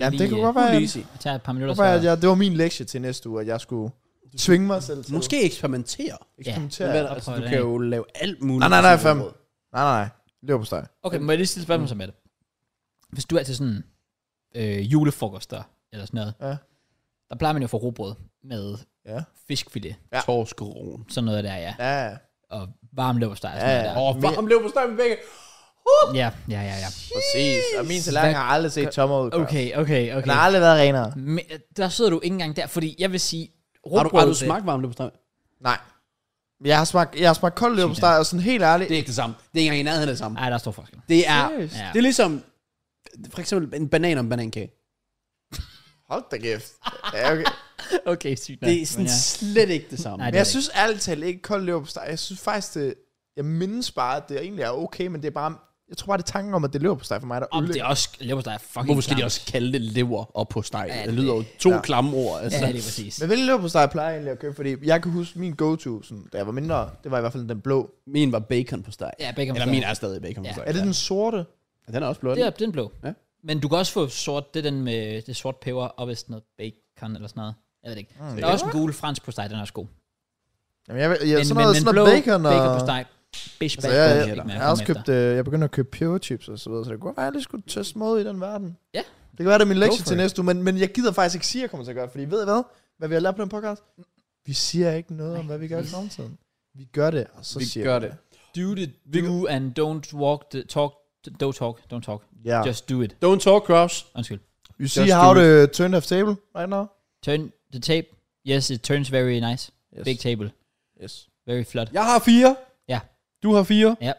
S2: Ja, det kunne godt være, at-
S3: Easy.
S1: Jeg tager et par minutter,
S2: godt være, at jeg, det var min lektie til næste uge, at jeg skulle tvinge mig selv til at
S3: Måske eksperimentere.
S2: eksperimentere.
S3: Men hvad, altså,
S1: prøv
S3: du
S1: det
S3: kan
S1: af.
S3: jo lave alt muligt.
S2: Nej, nej, nej,
S3: til
S2: fem.
S3: rugbrød.
S2: Nej, nej, nej. Løber på steg.
S3: Øhm.
S1: Okay, må jeg lige stille et
S3: Mm.
S1: spørgsmål så med det? Hvis du er til sådan øh, julefrokoster eller sådan noget,
S2: Ja.
S1: der plejer man jo at få robrød med
S2: Ja.
S1: fiskfilet,
S2: Ja.
S3: Torskeron.
S1: sådan noget der, ja.
S2: Ja, ja.
S1: Og varm løbsteg og
S2: Ja,
S1: sådan
S2: ja.
S1: noget
S3: Åh, oh, varm lever på steg med begge.
S1: der. Ja, ja, ja, ja.
S2: præcis. Og min tallerken har aldrig set tommer ud. Okay.
S1: Okay, okay,
S2: Den har
S1: okay.
S2: aldrig været renere.
S1: Men, øh, der sidder du ikke engang der, fordi jeg vil sige,
S3: Har du,
S1: rugbrød,
S3: har du
S1: det-
S3: smagt varm lever på steg?
S2: Nej. Jeg har smagt, jeg har smagt kold løber på steg, og sådan helt ærligt,
S3: Det er ikke det samme. Det er ikke engang i nærheden af det samme.
S1: øh, Ej, der er stor forskel.
S3: Det er,
S2: Seriøst?
S1: Ja.
S3: det er ligesom, for eksempel en banan om banankage.
S2: Hold da kæft. Ja, okay.
S1: Okay, sygt nok.
S3: Det er sådan
S1: men ja.
S3: slet ikke det samme.
S1: Nej,
S2: Men
S1: det er
S2: jeg
S1: det
S2: synes ærligt talt ikke kold leverpostej. Jeg synes faktisk, det, jeg mindes bare, at det egentlig er okay, men det er bare, jeg tror bare, det er tanken om, at det er leverpostej for mig, der
S1: Om det
S2: ødelægger.
S1: er også leverpostej er fucking
S3: Hvorfor skal de
S1: klamt.
S3: også kalde det lever og på steg?
S1: Ja,
S3: det lyder jo to ja. klamme ord. Altså.
S1: Ja, det er præcis.
S2: Men hvilken leverpostej plejer jeg egentlig at købe? Fordi jeg kan huske min go-to, sådan, da jeg var mindre, det var i hvert fald den blå.
S3: Min var bacon på steg.
S1: Ja, bacon på
S3: Eller
S1: steg.
S3: min er stadig bacon på
S1: Ja.
S3: steg.
S2: Er det den sorte?
S3: Ja, Den er også blå.
S1: Det er den blå.
S3: Ja.
S1: Men du kan også få sort, det er den med det sorte peber og vist noget bacon eller sådan noget. Jeg ved det ikke. Mm, der er også en gul fransk på steg, den er også god.
S2: Jamen, jeg, jeg, jeg, sådan noget, sådan noget bacon, og...
S1: bacon på steg, bish
S2: Så
S1: bag,
S2: jeg,
S1: Big
S2: jeg,
S1: Mac
S2: jeg, har også
S1: kom
S2: købt, øh, jeg begynder at købe pure chips og så videre, så det kunne godt være, at jeg lige skulle teste mod i den verden.
S1: Ja.
S2: Det kan være, det er min lektie
S1: for
S2: til
S1: it.
S2: næste uge, men, men jeg gider faktisk ikke sige, at jeg kommer til at gøre det, fordi ved I hvad? Hvad vi har lært på den podcast? Vi siger ikke noget om, hvad vi gør i fremtiden. Vi gør det, og så
S3: Vi
S2: siger
S3: gør det.
S1: efter. Do the do and don't walk the talk. Don't talk, don't talk.
S2: Ja.
S1: Just do it.
S3: Don't talk, Cross.
S1: Undskyld.
S2: You
S3: Just
S2: see
S3: do
S2: how
S3: it.
S2: the turned off table right now?
S1: Turn the tape. Yes, it turns very nice.
S2: Yes.
S1: Big table.
S2: Yes.
S1: Very flot.
S3: Jeg har fire.
S1: Ja.
S3: Du har fire.
S1: Ja.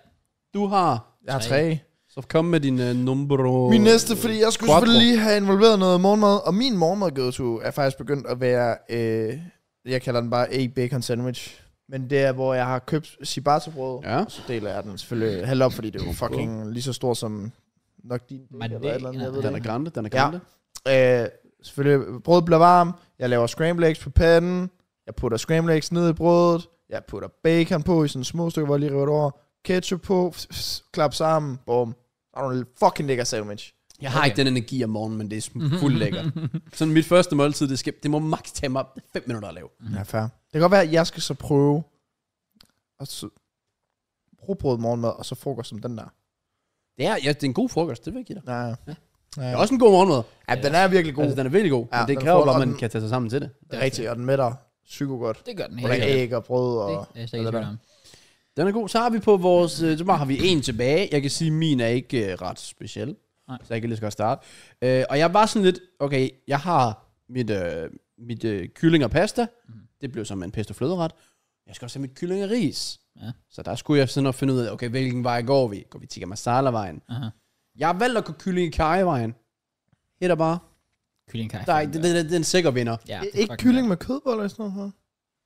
S3: Du har.
S2: Jeg har
S1: Tre.
S2: tre.
S3: Så kom med din uh, nummer.
S2: Min næste, fordi jeg skulle
S3: Quattro.
S2: selvfølgelig lige have involveret noget morgenmad, og min morgenmad go to er faktisk begyndt at være, øh, jeg kalder den bare egg bacon sandwich. Men det er, hvor jeg har købt ciabattabrød,
S3: Ja.
S2: og så deler jeg den selvfølgelig halvt op, fordi det er jo fucking lige så stor som nok din
S1: Men
S2: bæk eller
S1: det-
S2: et eller andet, jeg
S1: nej,
S2: ved det
S3: Den er
S2: ikke.
S3: grande, den er
S2: Ja.
S3: grande.
S2: Øh, selvfølgelig, brødet bliver varm, jeg laver scramble eggs på panden, jeg putter scramble eggs ned i brødet, jeg putter bacon på i sådan små stykker, hvor jeg lige river det over, ketchup på, klap sammen, bum. Der er en fucking lækker sandwich.
S3: Jeg har
S1: Okay.
S3: ikke den energi om morgenen, men det er sm- fuldt lækkert. Sådan mit første måltid, det, skal, det må maks tage mig 5 minutter at lave.
S2: Ja, fair. Det kan godt være, at jeg skal så prøve at så rugbrød morgenmad, og så frokost som den der.
S3: Det er, ja, det er en god frokost, det vil jeg give dig.
S2: Ja, ja.
S3: Det
S2: ja.
S3: er også en god morgenmad.
S2: ja den er virkelig god.
S3: Altså, den er virkelig god.
S2: Ja,
S3: Ja, men det
S2: den
S3: kan jo
S2: får-
S3: bare,
S2: og
S3: man
S2: den-
S3: kan tage sig sammen til det.
S2: det er rigtigt, og den mætter psyko godt.
S1: Det gør den
S2: Hvor
S1: helt.
S2: der er
S1: sikkert.
S2: æg og brød og...
S1: Det er jeg slet ikke i
S2: og det
S1: tvivl om.
S3: Den er god. Så har vi på vores... Øh, så bare har vi en tilbage. Jeg kan sige, at min er ikke øh, ret speciel.
S1: Nej.
S3: Så jeg kan lige så godt starte. Øh, og jeg var sådan lidt... Okay, jeg har mit, øh, mit øh, kylling og pasta. Mm.
S2: Mhm.
S3: Det blev som en pesto fløderet. Jeg skal også have mit kylling og ris.
S1: Ja.
S3: Så der skulle jeg sådan at finde ud af, okay, hvilken vej går vi? Går vi tikka masala-vejen?
S1: Aha.
S3: Jeg har valgt at gå kylling i vejen Hætter bare.
S1: Kylling kaj.
S3: Der er, det, det, det, det, er en sikker vinder.
S1: Ja,
S2: Ik- ikke kylling med kødboller i sådan noget?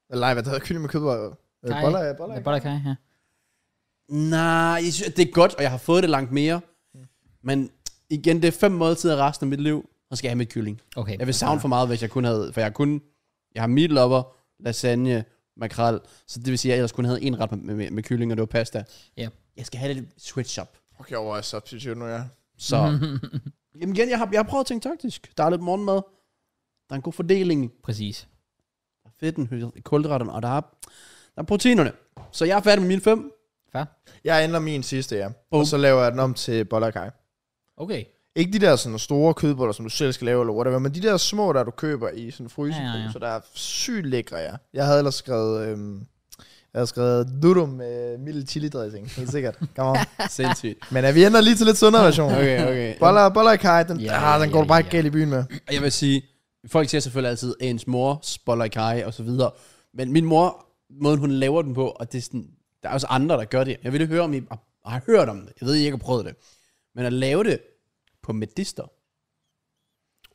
S2: Eller nej, hvad hedder kylling med kødboller? Øh,
S1: Kaj.
S2: Boller, ja, boller.
S1: med
S2: ikke?
S1: boller kaj, ja.
S3: Nej, jeg synes, det er godt, og jeg har fået det langt mere. Men igen, det er fem måltider resten af mit liv, og skal jeg have mit kylling.
S1: Okay.
S3: Jeg vil savne for meget, hvis jeg kun havde, for jeg kun, jeg har meatlopper, lasagne, makrel, så det vil sige, at jeg ellers kun havde en ret med, med, med kylling, og det var pasta.
S1: Ja.
S3: Jeg skal have lidt switch up.
S2: Okay, over er substitute nu, ja.
S3: Så, jamen igen, jeg har, jeg har prøvet at tænke taktisk. Der er lidt morgenmad, der er en god fordeling,
S1: Præcis.
S3: der er fedten, hø- kulhydraterne, og der er, der er proteinerne. Så jeg er færdig med mine fem.
S1: Fair.
S2: Jeg ændrer min sidste, ja.
S3: Boom.
S2: Og så laver jeg den om til boller og kaj.
S1: Okay.
S2: Ikke de der sådan store kødboller, som du selv skal lave, eller whatever, men de der små, der du køber i sådan frysen,
S1: Ja,
S2: ja,
S1: ja, ja.
S2: ja. så der er sygt lækre, ja. Jeg havde ellers skrevet, øhm, jeg havde skrevet nudum med mild chili dressing, helt sikkert. Come on.
S3: Sindssygt.
S2: Men ja, vi ender lige til lidt sundere version.
S3: Okay, okay.
S2: Boller, boller i kaj, den,
S1: Ja,
S2: ja, ah, den
S1: ja,
S2: går du bare
S1: ja.
S2: ikke galt i byen med.
S3: Og Jeg vil sige, folk siger selvfølgelig altid, ens mor spoller kaj og så videre. Men min mor, måden hun laver den på, og det er sådan, der er også andre, der gør det. Jeg ville høre, om I har, har hørt om det. Jeg ved, I ikke har prøvet det. Men at lave det på medister,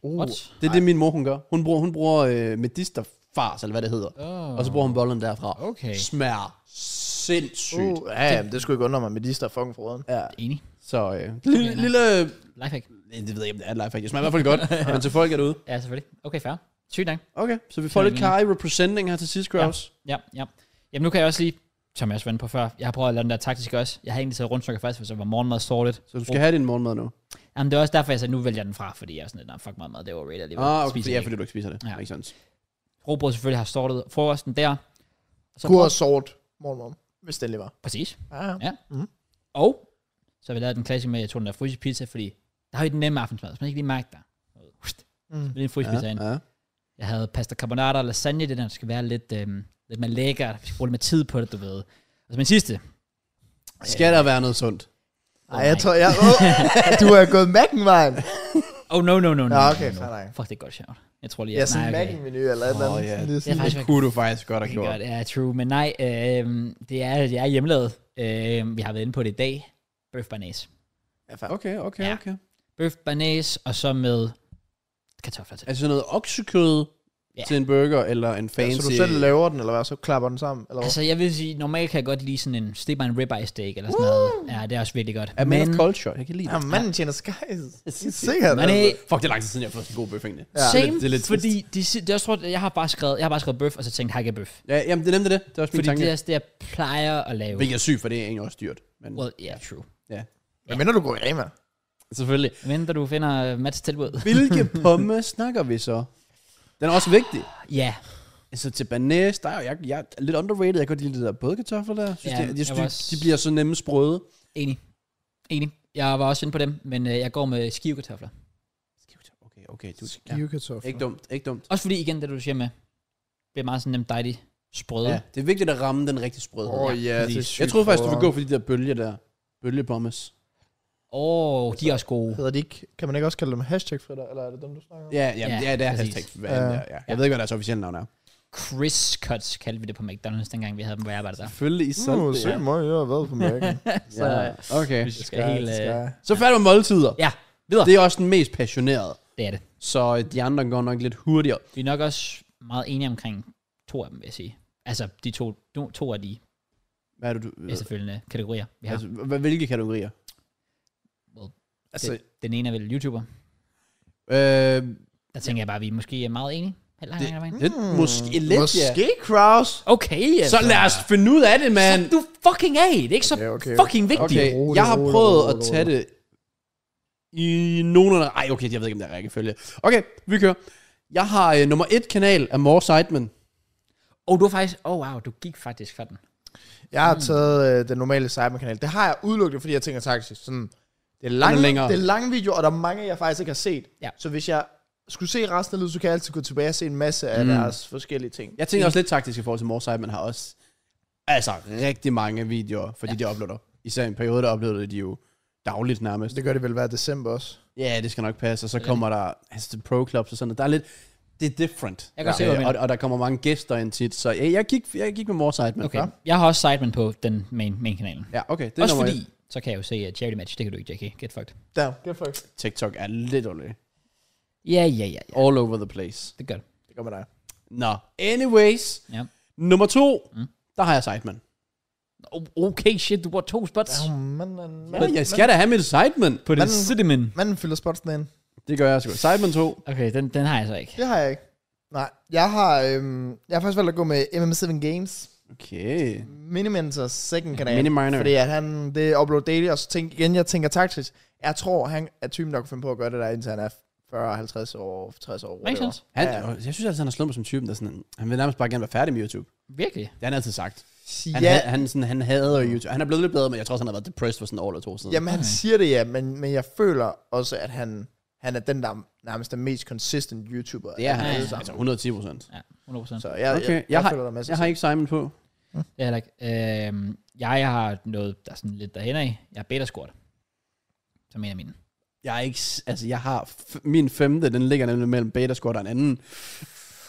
S1: Uh, What?
S3: det er det, min mor hun gør. Hun bruger, hun bruger øh, medisterfars, eller hvad det hedder.
S1: Oh.
S3: Og så bruger hun bollen derfra.
S1: Okay.
S3: Smager sindssygt.
S2: Uh, ja, jamen, det skulle ikke undre mig, men de står fucking forråden.
S3: Ja,
S1: Enig.
S3: så øh, lille,
S1: Okay,
S3: lille,
S1: Lifehack.
S3: det ved jeg ikke, om det er et lifehack. Det smager i hvert fald godt, men til folk er det ude.
S1: Ja, selvfølgelig. Okay, fair. Sygt nok.
S3: Okay, så vi får lidt kaj representing her til sidst, Kraus.
S1: Ja, ja. Jamen nu kan jeg også lige, som jeg også var inde på før, jeg har prøvet at lave den der taktisk også. Jeg har egentlig taget rundstykker først, for så var morgenmad sortet.
S3: Så du skal have din morgenmad nu.
S1: Jamen det er også derfor, jeg sagde, nu vælger jeg den fra, fordi jeg er sådan lidt, nah, fuck meget mad, det er overrated alligevel.
S3: Ah, okay,
S1: Spiser
S3: for, ja,
S1: jeg ikke.
S3: fordi du ikke spiser det.
S1: Ja.
S3: Ja. Ikke sandt.
S1: Rugbrød selvfølgelig har sortet frokosten der. Og så
S2: Skur og sort morgenmorgen, hvis det lige var.
S1: Præcis.
S2: Ja, ja.
S1: Ja. Mm. Og så har vi lavet den klassiker med, at jeg tog den der frysepizza, fordi der har jo den nemme aftensmad, hvis man ikke lige mærker der. Mm. Lidt en frysepizza ja, ind.
S3: ja.
S1: Jeg havde pasta carbonara og lasagne, det der skal være lidt, øhm, lidt mere lækkert. Vi skal bruge lidt mere tid på det, du ved. Og så min sidste.
S3: Skal der være noget sundt?
S2: Ej, jeg tror, jeg... Oh, du er gået mækken vejen.
S1: Oh, no, no, no, no.
S2: Nå,
S1: no,
S2: okay,
S1: no,
S2: fair
S1: no.
S2: nok.
S1: Fuck, det er godt sjovt. Jeg tror lige,
S2: Ja, sådan en
S1: nej,
S2: mækken menu eller et eller
S3: Åh,
S2: andet.
S3: ja.
S2: Sådan lidt
S1: Det er
S2: sådan-
S1: faktisk,
S3: Det kunne du faktisk godt have
S1: Det
S3: gjort.
S1: godt, ja, true. Men nej, øh, det er, jeg er hjemmelavet. Øh, vi har været inde på det i dag. Bøf banæs.
S3: Okay, okay,
S1: Ja.
S3: okay.
S1: Bøf banæs, og så med kartofler til.
S3: Altså noget oksekød
S1: Ja.
S3: til en burger, eller en
S2: Ja,
S3: fancy...
S2: så du selv laver den, eller hvad? Så klapper den sammen, eller hvad?
S1: Altså, jeg vil sige, normalt kan jeg godt lide sådan en steg en ribeye steak eller sådan noget. Ja, det er også virkelig godt.
S3: A man of culture. Jeg kan lide
S2: Ja,
S3: det.
S2: manden tjener skies. Sikkert. altså.
S1: men øh,
S3: Fuck, det er lang tid siden, jeg har fået en god bøf, egentlig.
S1: ja,
S3: Det er
S1: same,
S3: lidt- det er lidt trist.
S1: fordi de, si- det er også, tror jeg, jeg har bare skrevet, jeg har bare skrevet bøf, og så tænkt, hakke bøf.
S3: Ja, jamen, det er nemlig det. Det er også min
S1: Fordi
S3: tanke.
S1: det er også det, jeg plejer at lave.
S3: Hvilket er sygt, for det er egentlig også dyrt. Men
S1: Well, yeah, true.
S3: ja,
S2: Hvad mener du går i Rema?
S3: selvfølgelig.
S1: Men da du finder øh, Mads tilbud.
S3: Hvilke pomme snakker vi så? Den er også vigtig.
S1: ja,
S3: Altså til banæs, der er jo, jeg, jeg er lidt underrated. Jeg kan godt lide de der bådkartofler der. Jeg Synes,
S1: Ja,
S3: ja, de, jeg synes,
S1: jeg var
S3: de,
S1: også-
S3: de, bliver så nemme sprøde.
S1: enig. Enig. Jeg var også inde på dem, men øh, jeg går med skivekartofler.
S3: Okay, okay. Du, ja.
S2: Skivekartofler.
S3: Ikke dumt, ikke dumt.
S1: Også fordi, igen, det du siger med, bliver meget sådan nemt dejlig sprøde.
S3: Ja,
S1: Ja.
S3: det er vigtigt at ramme den rigtige sprødhed.
S2: Åh ja, det er sygt.
S3: jeg troede faktisk, du ville
S2: prøver.
S3: gå for de der bølger der. Bølgebommes.
S1: Åh, oh, de er også gode.
S2: Hedder de ikke, kan man ikke også kalde dem hashtag-fritter, eller er det dem, du snakker om?
S3: Ja, ja,
S1: Ja,
S3: ja, det er
S1: præcis.
S3: hashtag. Hvad end det er, ja. Jeg ved ikke, hvad deres officielle navn er.
S1: Chris Cuts kaldte vi det på McDonald's, dengang vi havde dem, hvor jeg arbejdede der.
S3: Selvfølgelig i
S2: Uh, se mig, jeg har været på mærken.
S3: Ja. Okay.
S1: Vi skal helt... Øh,
S3: Så færdig med måltider.
S1: ja, videre.
S3: Det
S1: Det.
S3: er også den mest passionerede.
S1: det er det.
S3: Så øh, de andre går nok lidt hurtigere.
S1: Vi er nok også meget enige omkring to af dem, vil jeg sige. Altså, de to, to, to af de
S3: Hvad er det, du...
S1: efterfølgende kategorier, vi har.
S3: Altså, hva- hvilke kategorier?
S1: Altså, det, den ene er vel YouTuber.
S3: Øh,
S1: Der tænker jeg bare, at vi måske er meget enige. Helt langt, langt, langt.
S3: lidt, måske lidt, ja.
S2: Hmm, Måske Kraus.
S1: Okay, altså.
S3: Så lad os finde ud af det, mand.
S1: Du er fucking af. Det er ikke så
S2: Okay, okay.
S1: fucking vigtigt.
S3: Okay,
S1: Okay.
S2: rolig,
S3: jeg har
S2: rolig,
S3: prøvet
S2: rolig,
S3: at
S2: rolig,
S3: tage det i nogenlunde... Ej, okay, jeg ved ikke, om det er rækkefølge. Okay, vi kører. Jeg har øh, nummer et kanal af More Seidman.
S1: Og oh, du er faktisk... Oh, wow, du gik faktisk for den.
S2: Jeg har taget øh, den normale Cyberkanal. Det har jeg udelukket, fordi jeg tænker taktisk. Sådan, det er
S3: Den er
S2: lange,
S3: længere.
S2: det er lange videoer, og der er mange, jeg faktisk ikke har set.
S1: Ja.
S2: Så hvis jeg skulle se resten af livet, så kan jeg altid gå tilbage og se en masse af mm. deres forskellige ting.
S3: Jeg
S1: Mm.
S3: tænker også lidt taktisk i forhold til More Seidman har også... Altså, rigtig mange videoer, fordi ja. de uploader. Især i en periode, der uploadede de jo dagligt nærmest.
S2: Det gør det vel hver december også.
S3: Ja, det skal nok passe. Og så kommer der altså, til Pro Clubs og sådan noget. Der er lidt... Det er different.
S1: Jeg kan godt se, hvad du
S3: Øh, og,
S1: mener.
S3: og, der kommer mange gæster ind tit. Så jeg, jeg, gik, jeg gik med More Seidman.
S1: Okay. Jeg har også Sideman på den main, main kanalen.
S3: Ja, okay. Det er
S1: Også
S3: nummer
S1: fordi,
S3: et.
S1: så kan jeg jo se uh, charity match. Det kan du ikke, Jackie. Get fucked.
S2: Der. Det er faktisk.
S3: TikTok er lidt underlig.
S1: Ja, ja, ja. ja.
S3: All over the place.
S1: Det gør det.
S2: Det gør med dig.
S3: Nå, anyways.
S1: Ja.
S3: Nummer to, mm. der har jeg Seidman.
S1: O- Okay, shit, du bruger to spots.
S2: Oh, manden,
S3: Ja,
S2: manden,
S3: jeg skal da have mit Seidman.
S1: På det
S2: Manden-
S1: cinnamon.
S2: manden fylder spotsene ind.
S3: Det gør jeg sgu. Seidman 2.
S1: Okay, den, den har jeg så ikke.
S2: Det har jeg ikke. Nej, jeg har, øhm, jeg har faktisk valgt at gå med MM7 Games.
S3: Okay.
S2: Minimentors second kanal.
S3: Mini Miner.
S2: Fordi at han, det er upload daily, og så tænk, igen, jeg tænker taktisk. Jeg tror, han er typen, der kunne finde på at gøre det der, indtil han er 40, 50 år, 60 år.
S1: Makes
S2: whatever.
S1: sense.
S3: altså, Han, øh,
S2: Ja.
S3: Jeg synes altid, han har slået mig som typen, der sådan, han vil nærmest bare gerne være færdig med YouTube.
S1: Virkelig.
S3: Det har han altid sagt. Han, ja.
S6: ja,
S3: han, han, sådan, han hader jo YouTube. Han er blevet lidt bedre, men jeg tror også, han har været depressed for sådan et år eller to siden.
S2: Jamen, han siger det, ja, men, men jeg føler også, at han, han er den, der er nærmest den mest consistent YouTuber.
S3: det er han.
S1: Ja, ja,
S3: Altså 110 procent.
S1: Ja, 100%.
S2: Så jeg,
S3: Okay,
S2: okay, jeg, jeg,
S3: jeg har-
S2: føler, der er masser
S3: Jeg har ikke Simon på.
S1: Ja, heller ikke. Øhm, jeg, jeg har noget, der er sådan lidt derhen af. Jeg har beta squat. Som en af mine.
S3: Jeg er ikke... s- Altså, jeg har... F- min femte, den ligger nemlig mellem beta squad og en anden.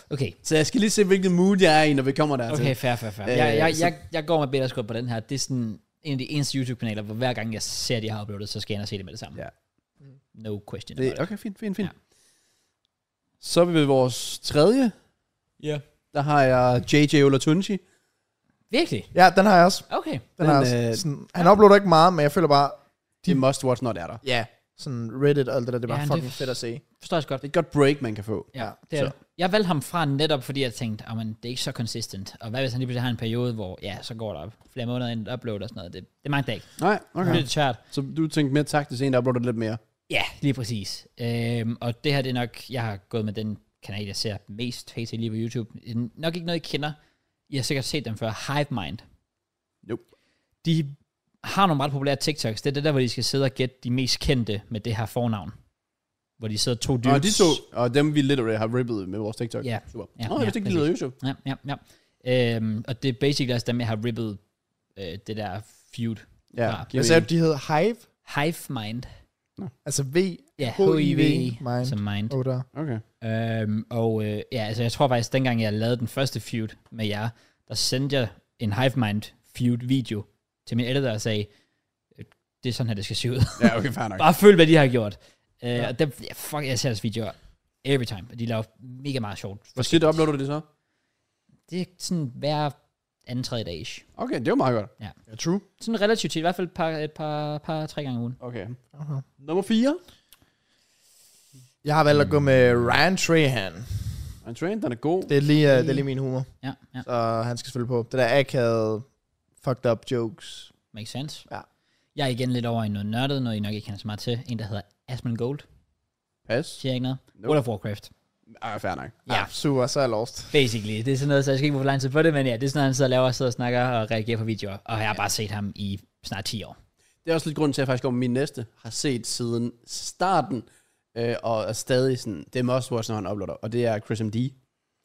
S1: Okay.
S3: Så jeg skal lige se, hvilken mood jeg er i, når vi kommer dertil.
S1: Okay, fair, fair, fair.
S3: Øh,
S1: jeg, jeg,
S3: så-
S1: jeg, jeg går med beta squat på den her. Det er sådan en af de eneste YouTube-kanaler, hvor hver gang jeg ser, at de har uploadet, så skal jeg ind og se det med det samme.
S3: Ja.
S1: No question about
S3: Det,
S1: it.
S3: okay, fint, fint, fint.
S1: Ja.
S3: Ja. Så er vi ved vores tredje.
S1: Ja.
S3: Der har jeg JJ Olatunji.
S1: Virkelig?
S2: Ja, den har jeg også.
S1: Okay.
S2: Den,
S3: Den,
S2: har jeg
S3: øh,
S2: også. Sådan, han uploader ikke meget, men jeg føler bare,
S3: Det er must watch, når det er der.
S2: ja, sådan Reddit og alt det der, det er
S1: Ja,
S2: bare
S1: men
S2: ja,
S1: det-
S2: fucking fedt at se.
S1: Forstår jeg så godt.
S3: Det er et godt break, man kan få.
S1: Ja, det er det. Jeg valgte ham fra netop, fordi jeg tænkte, at det er ikke så konsistent. Og hvad hvis han lige pludselig har en periode, hvor ja, så går der flere måneder ind og upload og sådan noget. Det, det magter jeg ikke.
S3: Nej,
S1: Det er
S3: okay.
S1: lidt tørt.
S3: Så du tænkte mere taktisk, en der uploader lidt mere.
S1: Ja, lige præcis. Øhm, og det her, det er nok, jeg har gået med den kanal, jeg ser mest pt. lige på YouTube. Det er Nok ikke noget, I kender. Jeg har sikkert set dem før. Hive Mind.
S3: Jo.
S1: De har nogle meget populære TikToks. Det er det der, hvor de skal sidde og gætte de mest kendte med det her fornavn. Hvor de sidder to dudes.
S3: Og de to, og dem vi literally har rippet med vores TikTok.
S1: Ja.
S3: Super.
S1: Ja,
S3: Ja, Nå, jeg
S1: ja,
S3: vidste ikke,
S1: præcis.
S3: de lavede YouTube.
S1: Ja, ja, ja. Øhm, og det er basically også dem, jeg har rippet øh, det der feud.
S3: Ja,
S1: Klar.
S3: giver
S2: Jeg sagde,
S3: mening.
S2: at de hedder Hive,
S1: Hive Mind.
S2: altså V,
S1: Ja,
S2: H-I-V,
S1: H-I-V,
S2: Mind.
S1: som Mind.
S2: oh, der.
S3: Okay.
S1: Øhm, og øh, ja, altså jeg tror faktisk, dengang jeg lavede den første feud med jer, der sendte jeg en HiveMind feud video til min editor og sagde, "Øh, det er sådan her, det skal se ud.
S3: Ja, okay, fair nok.
S1: Bare følg, hvad de har gjort. Øh, og dem, ja, fuck, jeg ser deres videoer every time, og de laver mega meget sjovt.
S3: Hvor shit uploader du det så?
S1: Det er sådan hver anden tredje dag ish.
S3: Okay, det var meget godt.
S2: Ja, true.
S1: Sådan relativt til, i hvert fald et par, et par, par tre gange om ugen.
S3: Okay.
S2: Okay.
S3: Nummer 4.
S2: Jeg har valgt at
S1: Mm.
S2: gå med Ryan Trahan.
S3: En train, den er god.
S2: Det er lige, uh, det er lige min humor,
S1: Ja, ja,
S2: så han skal selvfølgelig på. Det der akavet, fucked up jokes.
S1: makes sense.
S2: Ja.
S1: Jeg er igen lidt over i noget nørdet, noget I nok ikke kender så meget til. En, der hedder Asmund Gold.
S3: Pas.
S1: Siger jeg ikke noget?
S3: Nope.
S1: World of Warcraft.
S3: Ah, fair nok.
S1: Ja.
S2: Super, så er jeg lost.
S1: Basically, det er sådan noget, så jeg skal ikke bruge for lang tid på det, men ja, det er sådan noget, han sidder og laver, sidder og snakker og reagerer på videoer, og jeg har bare set ham i snart 10 år.
S3: Det er også lidt grunden til, at jeg faktisk om min næste har set siden starten, øh, og er stadig sådan, det er must watch, når han uploader, og det er Chris M.D.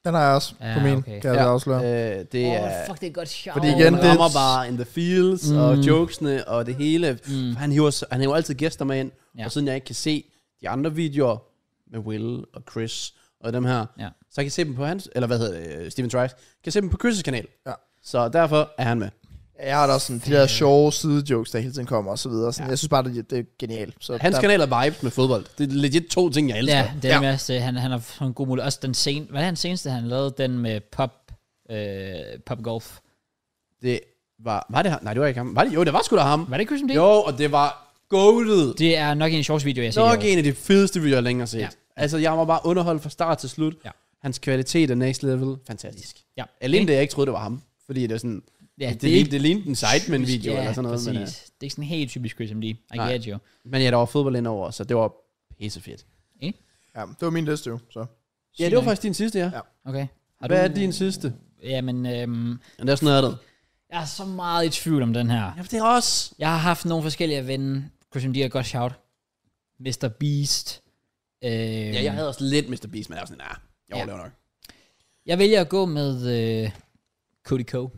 S2: Den har jeg også på
S1: Ja,
S2: min,
S1: okay.
S2: kan jeg ja. afsløre.
S3: øh, det
S1: Åh,
S3: er...
S1: fuck, det er godt sjovt.
S2: Fordi igen,
S3: han
S2: det-
S3: rammer bare in the fields, mm. og
S1: Mm.
S3: jokesene, og det hele. Mm. Han, hiver, s- han hiver altid gæster med ind,
S1: Ja.
S3: ja. og siden jeg ikke kan se de andre videoer med Will og Chris og dem her,
S1: Ja.
S3: så jeg kan se dem på hans, eller hvad hedder det, Steven Trice, kan se dem på Chris' kanal.
S2: Ja.
S3: Så derfor er han med.
S2: Jeg har da også sådan de der sjove sidejokes, der hele tiden kommer og så videre. Sådan,
S3: Ja.
S2: ja. Jeg synes bare, det, er- det er genialt. Så
S3: Hans
S2: der,
S3: kanal er vibes med fodbold. Det er legit to ting, jeg elsker.
S1: Ja,
S3: Ja.
S1: det er
S2: Ja.
S1: ja. Med, også, øh, han, han har fået en god mulighed. Også den sen, hvad er han seneste, han lavede? Den med pop, øh, pop golf.
S3: Det var, var det ham? Nej, det var ikke ham. Var det? Jo, det var sgu da ham.
S1: Var det Christian D?
S3: Jo, og det var goldet.
S1: Det er nok en af de sjoveste videoer, jeg har set.
S3: Nok
S1: i år.
S3: en af de fedeste videoer, jeg længere har set.
S1: Ja.
S3: Ja. Altså, jeg var bare underholdt fra start til slut.
S1: Ja.
S3: Hans kvalitet er next level. Fantastisk.
S1: Ja.
S3: Alene det, jeg ikke troede, det var ham. Fordi det er sådan...
S1: Ja,
S3: Ja,
S1: det
S3: det, det,
S1: er ikke
S3: lignede, det lignede en
S1: Ja,
S3: Sidemen-video ja, eller sådan noget.
S1: Præcis.
S3: Men,
S1: Men,
S3: uh,
S1: Det er ikke sådan helt typisk Christian D. I
S3: Nej.
S1: get you.
S3: men ja, der var fodbold indover, så det var pissefedt.
S2: ja, det var min liste jo. Så.
S3: Ja, det var faktisk din sidste, ja.
S2: Ja.
S1: Okay. Har
S3: Hvad
S1: du-
S3: er din sidste?
S1: Jamen, øhm,
S3: Ja, det er sådan noget af det.
S1: jeg er så meget i tvivl om den her.
S3: Ja, for det er også...
S1: Jeg har haft nogle forskellige at vende. Christian D er et godt shout. Mr. Beast. Øh,
S3: Ja, jeg havde også lidt Mr. Beast, men jeg var sådan, nah,
S1: Ja.
S3: jeg overlever nok.
S1: jeg vælger at gå med øh, Cody Co.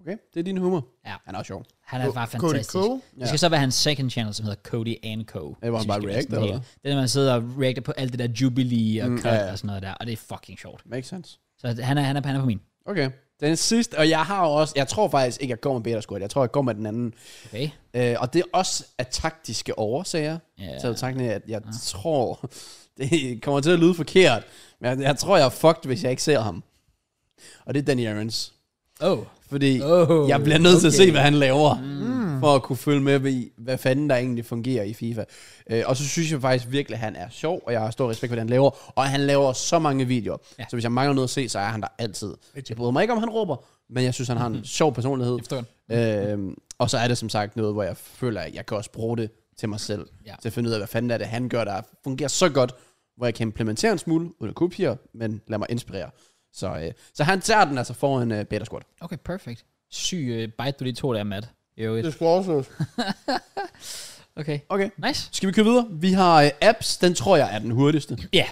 S3: Okay, det er din humor.
S1: Ja.
S3: Han er også sjov.
S1: Han er bare
S2: Cody
S1: fantastisk.
S2: Cole.
S1: Det skal så være hans second channel, som hedder Cody and Co.
S3: hvor han
S1: Synes
S3: bare
S1: jeg
S3: reacter,
S1: sådan
S3: eller
S1: helt- Det er, når man sidder og reacter på alt det der Jubilee og
S3: Mm,
S1: cut
S3: ja, ja.
S1: og sådan noget der, og det er fucking sjovt.
S3: Makes sense.
S1: Så han er, han er, han er på min.
S3: Okay. Den sidste, og jeg har også... Jeg tror faktisk ikke, jeg går med Beta Squad. Jeg tror, jeg går med den anden.
S1: Okay?
S3: Øh, og det er også af taktiske årsager.
S1: Ja.
S3: Yeah. Så tanken er, at jeg yeah. tror, det kommer til at lyde forkert, men jeg, jeg tror, jeg er fucked, hvis jeg ikke ser ham. Og det er Danny Aarons.
S1: Oh.
S3: Fordi
S1: Oh,
S3: oh, jeg bliver nødt okay. til at
S1: okay.
S3: se, hvad han laver, mm. for at kunne følge med i, hvad fanden der egentlig fungerer i FIFA. Øh, og så synes jeg faktisk virkelig, at han er sjov, og jeg har stor respekt for, hvad han laver. Og han laver så mange videoer.
S1: Ja.
S3: Ja. Så hvis jeg mangler noget at se, så er han der altid. Jeg bryder mig ikke om, han råber, men jeg synes, han har en sjov personlighed.
S1: forstår
S3: Øhm, og så er det som sagt noget, hvor jeg føler, at jeg kan også bruge det til mig selv.
S1: Ja.
S3: Ja. Til at finde ud af, hvad fanden er det, han gør, der fungerer så godt, hvor jeg kan implementere en smule, uden at kopiere, men lad mig inspirere. Så, øh, så han tager den altså foran øh, Beta Squad.
S1: Okay, perfect. syg øh, bite, du lige tog der, Matt. Jo,
S2: Det skulle også
S1: okay.
S3: Okay.
S1: Nice.
S3: Skal vi køre videre? Vi har øh, apps, den tror jeg er den hurtigste.
S1: Ja.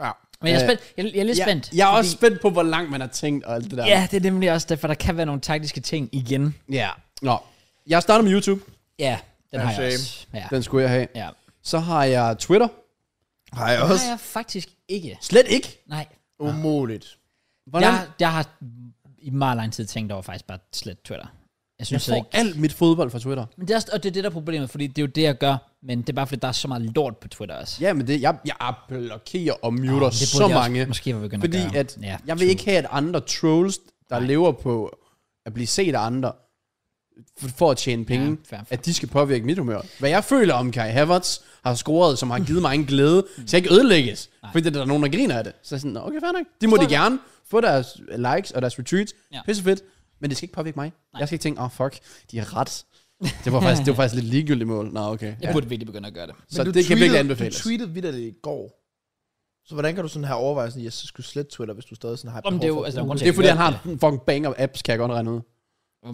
S2: Ja.
S1: Men jeg er,
S3: Øh,
S1: spændt. Jeg, jeg er lidt
S3: Ja,
S1: spændt.
S3: Jeg er også spændt på, hvor langt man har tænkt og alt det der.
S1: Ja, det er nemlig også derfor, der kan være nogle taktiske ting igen.
S3: ja. Nå. Jeg starter med YouTube.
S1: Ja, den
S2: Ja,
S1: har jeg
S2: same.
S1: også. Ja.
S3: Den skulle jeg have.
S1: ja.
S3: Så har jeg Twitter.
S2: Har jeg
S1: Den
S2: også?
S1: har jeg faktisk ikke.
S3: Slet ikke.
S1: Nej.
S2: Umuligt.
S3: Hvordan? Jeg,
S1: Jeg, jeg har i meget lang tid tænkt over faktisk bare slet Twitter. Jeg
S3: jeg
S1: synes jeg
S3: får
S1: ikke.
S3: alt mit fodbold fra Twitter.
S1: Men det er, også- og det er det, der er problemet, fordi det er jo det, jeg gør. Men det er bare, fordi der er så meget lort på Twitter også.
S3: Ja, men det, jeg, jeg blokerer og muter
S1: det
S3: så
S1: burde jeg også
S3: mange.
S1: Måske var begyndt
S3: Fordi
S1: at gøre.
S3: at ja, jeg vil ikke have, at andre trolls, der Nej. lever på at blive set af andre, f- for at tjene penge,
S1: Ja,
S3: ja,
S1: fair, fair.
S3: at de skal påvirke mit humør. Hvad jeg føler om Kai Havertz har scoret, som har givet mig en glæde, så jeg ikke ødelægges, Nej. fordi der er nogen, der griner af det. Så jeg er sådan, "Nå, okay, fair nok. De må de gerne få deres likes og deres retweets.
S1: Ja.
S3: Ja. Pisse fedt. Men det skal ikke påvirke mig. Nej. Jeg skal ikke tænke, åh oh, fuck, de har ret. Det var faktisk, det var faktisk lidt ligegyldigt mål. Nå, okay.
S1: Jeg
S3: Ja.
S1: burde virkelig begynde at gøre det.
S3: Så det kan virkelig anbefales.
S7: Du tweetede vidt det i går. Så hvordan kan du sådan have overvejelsen, at jeg så skulle slette Twitter, hvis du stadig sådan har
S1: Om
S7: behov
S1: det er jo-
S7: for at
S1: altså,
S7: bruge
S1: grund til-
S3: Det er fordi,
S1: Ja.
S3: han har en fucking bang of apps, kan jeg godt regne ud.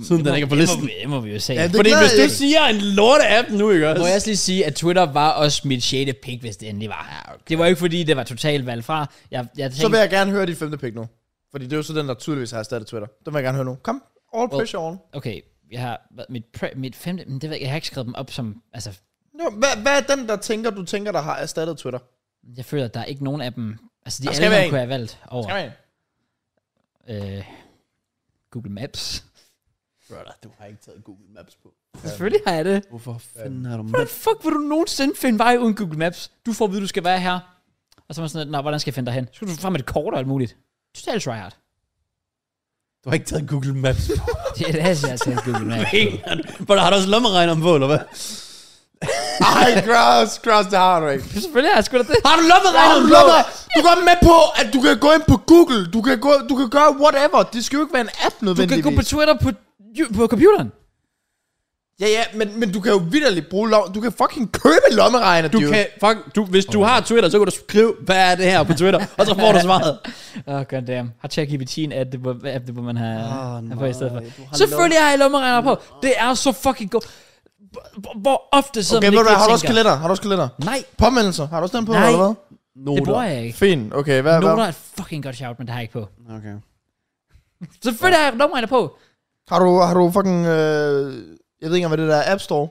S1: Siden
S3: den ikke er på listen.
S1: Det må, vi- det må vi jo se.
S7: Ja, det
S3: Fordi
S7: glæder
S3: hvis
S7: jeg.
S3: du siger en lorte app nu, ikke også?
S1: Må jeg også lige sige, at Twitter var også mit sjette pick, hvis det endelig var. Ja, okay. Det var ikke fordi, det var totalt valgt fra. Jeg, jeg tænkte,
S7: Så vil jeg gerne høre dit femte pick nu. Fordi det er jo så den, der tydeligvis har erstattet Twitter. Den vil jeg gerne høre nu. Kom, all pressure on.
S1: okay, jeg har hvad- mit, pre, mit femte, men det ved jeg, ikke, jeg har ikke skrevet dem op som, altså,
S7: Jo, hvad, hvad er den, der tænker, du tænker, der har erstattet Twitter?
S1: jeg føler, at der er ikke nogen af dem, altså de
S7: Der
S1: alle
S7: skal være
S1: sammen
S7: en.
S1: kunne jeg have valgt
S7: Skal
S1: over
S7: man?
S1: øh, Google Maps.
S3: Brother, du har ikke taget Google Maps på.
S1: Selvfølgelig har jeg det.
S3: Hvorfor fanden har du
S1: Hvordan fuck vil du nogensinde finde vej uden Google Maps? Du får at vide, du skal være her. Og så er man sådan, lidt, nå, hvordan skal jeg finde dig hen? Så skal du frem med et kort og alt muligt. Totalt tryhard.
S3: Du har ikke taget Google Maps på.
S1: Det er det, jeg siger til Google Maps.
S3: Brother, har du også lommeregneren på, eller hvad?
S2: Ej, cross, cross, det har du ikke.
S1: Selvfølgelig har jeg sgu da det.
S3: Har du
S2: Ej,
S3: lommeregneren
S2: du
S3: på?
S2: lukker- Du går med på, at du kan gå ind på Google. Du kan, gå, du kan gøre whatever. Det skal jo ikke være en app
S1: Du kan
S2: nødvendigvis.
S1: gå på Twitter på, på computeren.
S2: Ja, ja, men, men du kan jo vidderligt bruge lom. Du kan fucking købe lommeregner,
S3: Du kan, fuck, du, hvis du har Twitter, så kan du skrive, hvad er det her på Twitter, og så får du svaret.
S1: Åh, oh, god damn. Har ChatGPT'en at det, hvor, app, det, hvor man har, oh, har på i stedet for.
S3: du har
S1: Selvfølgelig har jeg lommeregner på. Det er så fucking godt. Hvor- Hvor ofte sidder
S2: Okay,
S1: man
S2: ved du
S1: ikke
S2: hvad, har du
S1: lige og
S2: også
S1: tænker,
S2: kalender? Har du også kalender?
S1: Nej,
S2: Påmeldelser, har du også den på,
S1: Nej.
S2: eller hvad?
S1: det bruger jeg ikke.
S2: Fint, okay, hvad,
S1: Noter
S2: hvad?
S1: er et fucking godt shout, men det har jeg ikke på.
S3: Okay.
S1: Selvfølgelig har jeg lommeregner på.
S2: Har du, har du fucking, øh, jeg ved ikke engang, hvad det der er, App Store?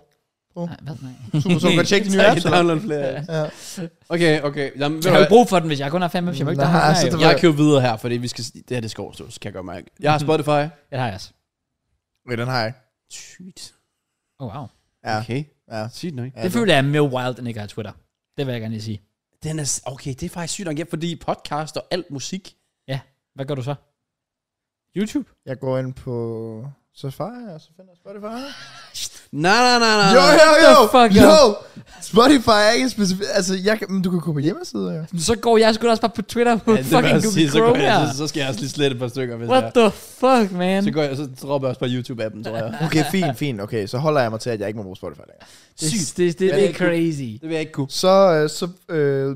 S1: Nej, hvad? Nej.
S2: Super, så du kan tjekke de nye apps, eller?
S3: download flere.
S2: Ja.
S3: Okay, okay. Jamen,
S1: Jeg
S3: ved
S1: har
S3: du
S1: jo
S3: hvad?
S1: ikke brug for den, hvis jeg kun har fem apps. Jeg må ikke
S2: Nej,
S1: downloade
S2: altså,
S1: den her,
S2: det
S1: jo.
S2: var-
S3: jeg kører videre her, fordi vi skal... Det her, det skal overstås, kan jeg godt mærke. Jeg har Spotify.
S2: altså-
S1: Ja, Det har jeg også.
S2: Okay, den har jeg. ikke.
S3: Sygt.
S1: Oh, wow.
S2: Ja.
S3: Okay.
S2: Ja.
S3: Sygt nok.
S1: Det føler jeg er mere wild, end ikke har Twitter. Det vil jeg gerne lige sige.
S3: Den er, s- okay, det er faktisk sygt nok, ja, fordi podcast og alt musik.
S1: Hvad gør du så? YouTube?
S2: Jeg går ind på Safari, og så finder jeg Spotify.
S3: Nej, nej, nej, nej.
S2: Jo, jo,
S7: Ah,
S2: jo,
S1: the fuck,
S2: jo.
S1: yo?
S2: Spotify er ikke specifikt, altså, jeg kan, men du kan gå på hjemmesider, jo.
S1: Så går jeg sgu da også bare på Twitter på
S3: Ja, det må
S1: fucking
S3: jeg
S1: Google
S3: sige, så,
S1: Chrome
S3: går
S1: her.
S3: jeg, så, så, skal jeg også lige slette et par stykker, hvis
S1: What
S3: jeg,
S1: the fuck, man?
S3: så går jeg, så dropper jeg også på YouTube-appen, tror jeg.
S7: Okay, fint, fint. Okay, så holder jeg mig til, at jeg ikke må bruge Spotify længere.
S1: Det, det,
S3: Sygt.
S1: det, det
S3: det
S1: er
S3: er
S1: crazy.
S3: Det vil jeg ikke kunne.
S2: Så, øh, så, øh,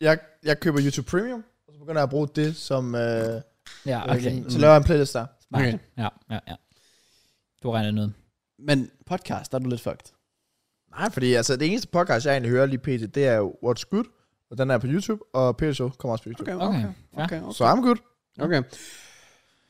S2: jeg, jeg køber YouTube Premium, og så begynder jeg at bruge det som, øh,
S1: Ja, okay. Mm,
S2: okay. så laver jeg en playlist der.
S1: Smart.
S3: Okay.
S1: Ja, ja, ja. Du regner noget.
S3: Men podcast, der er du lidt fucked.
S2: Nej, fordi altså, det eneste podcast, jeg egentlig hører lige pt, det er jo What's Good, og den er på YouTube, og Peter Show kommer også på YouTube.
S3: Okay,
S1: Okay.
S3: okay, okay.
S2: Okay.
S3: okay.
S2: Så I'm good.
S3: okay.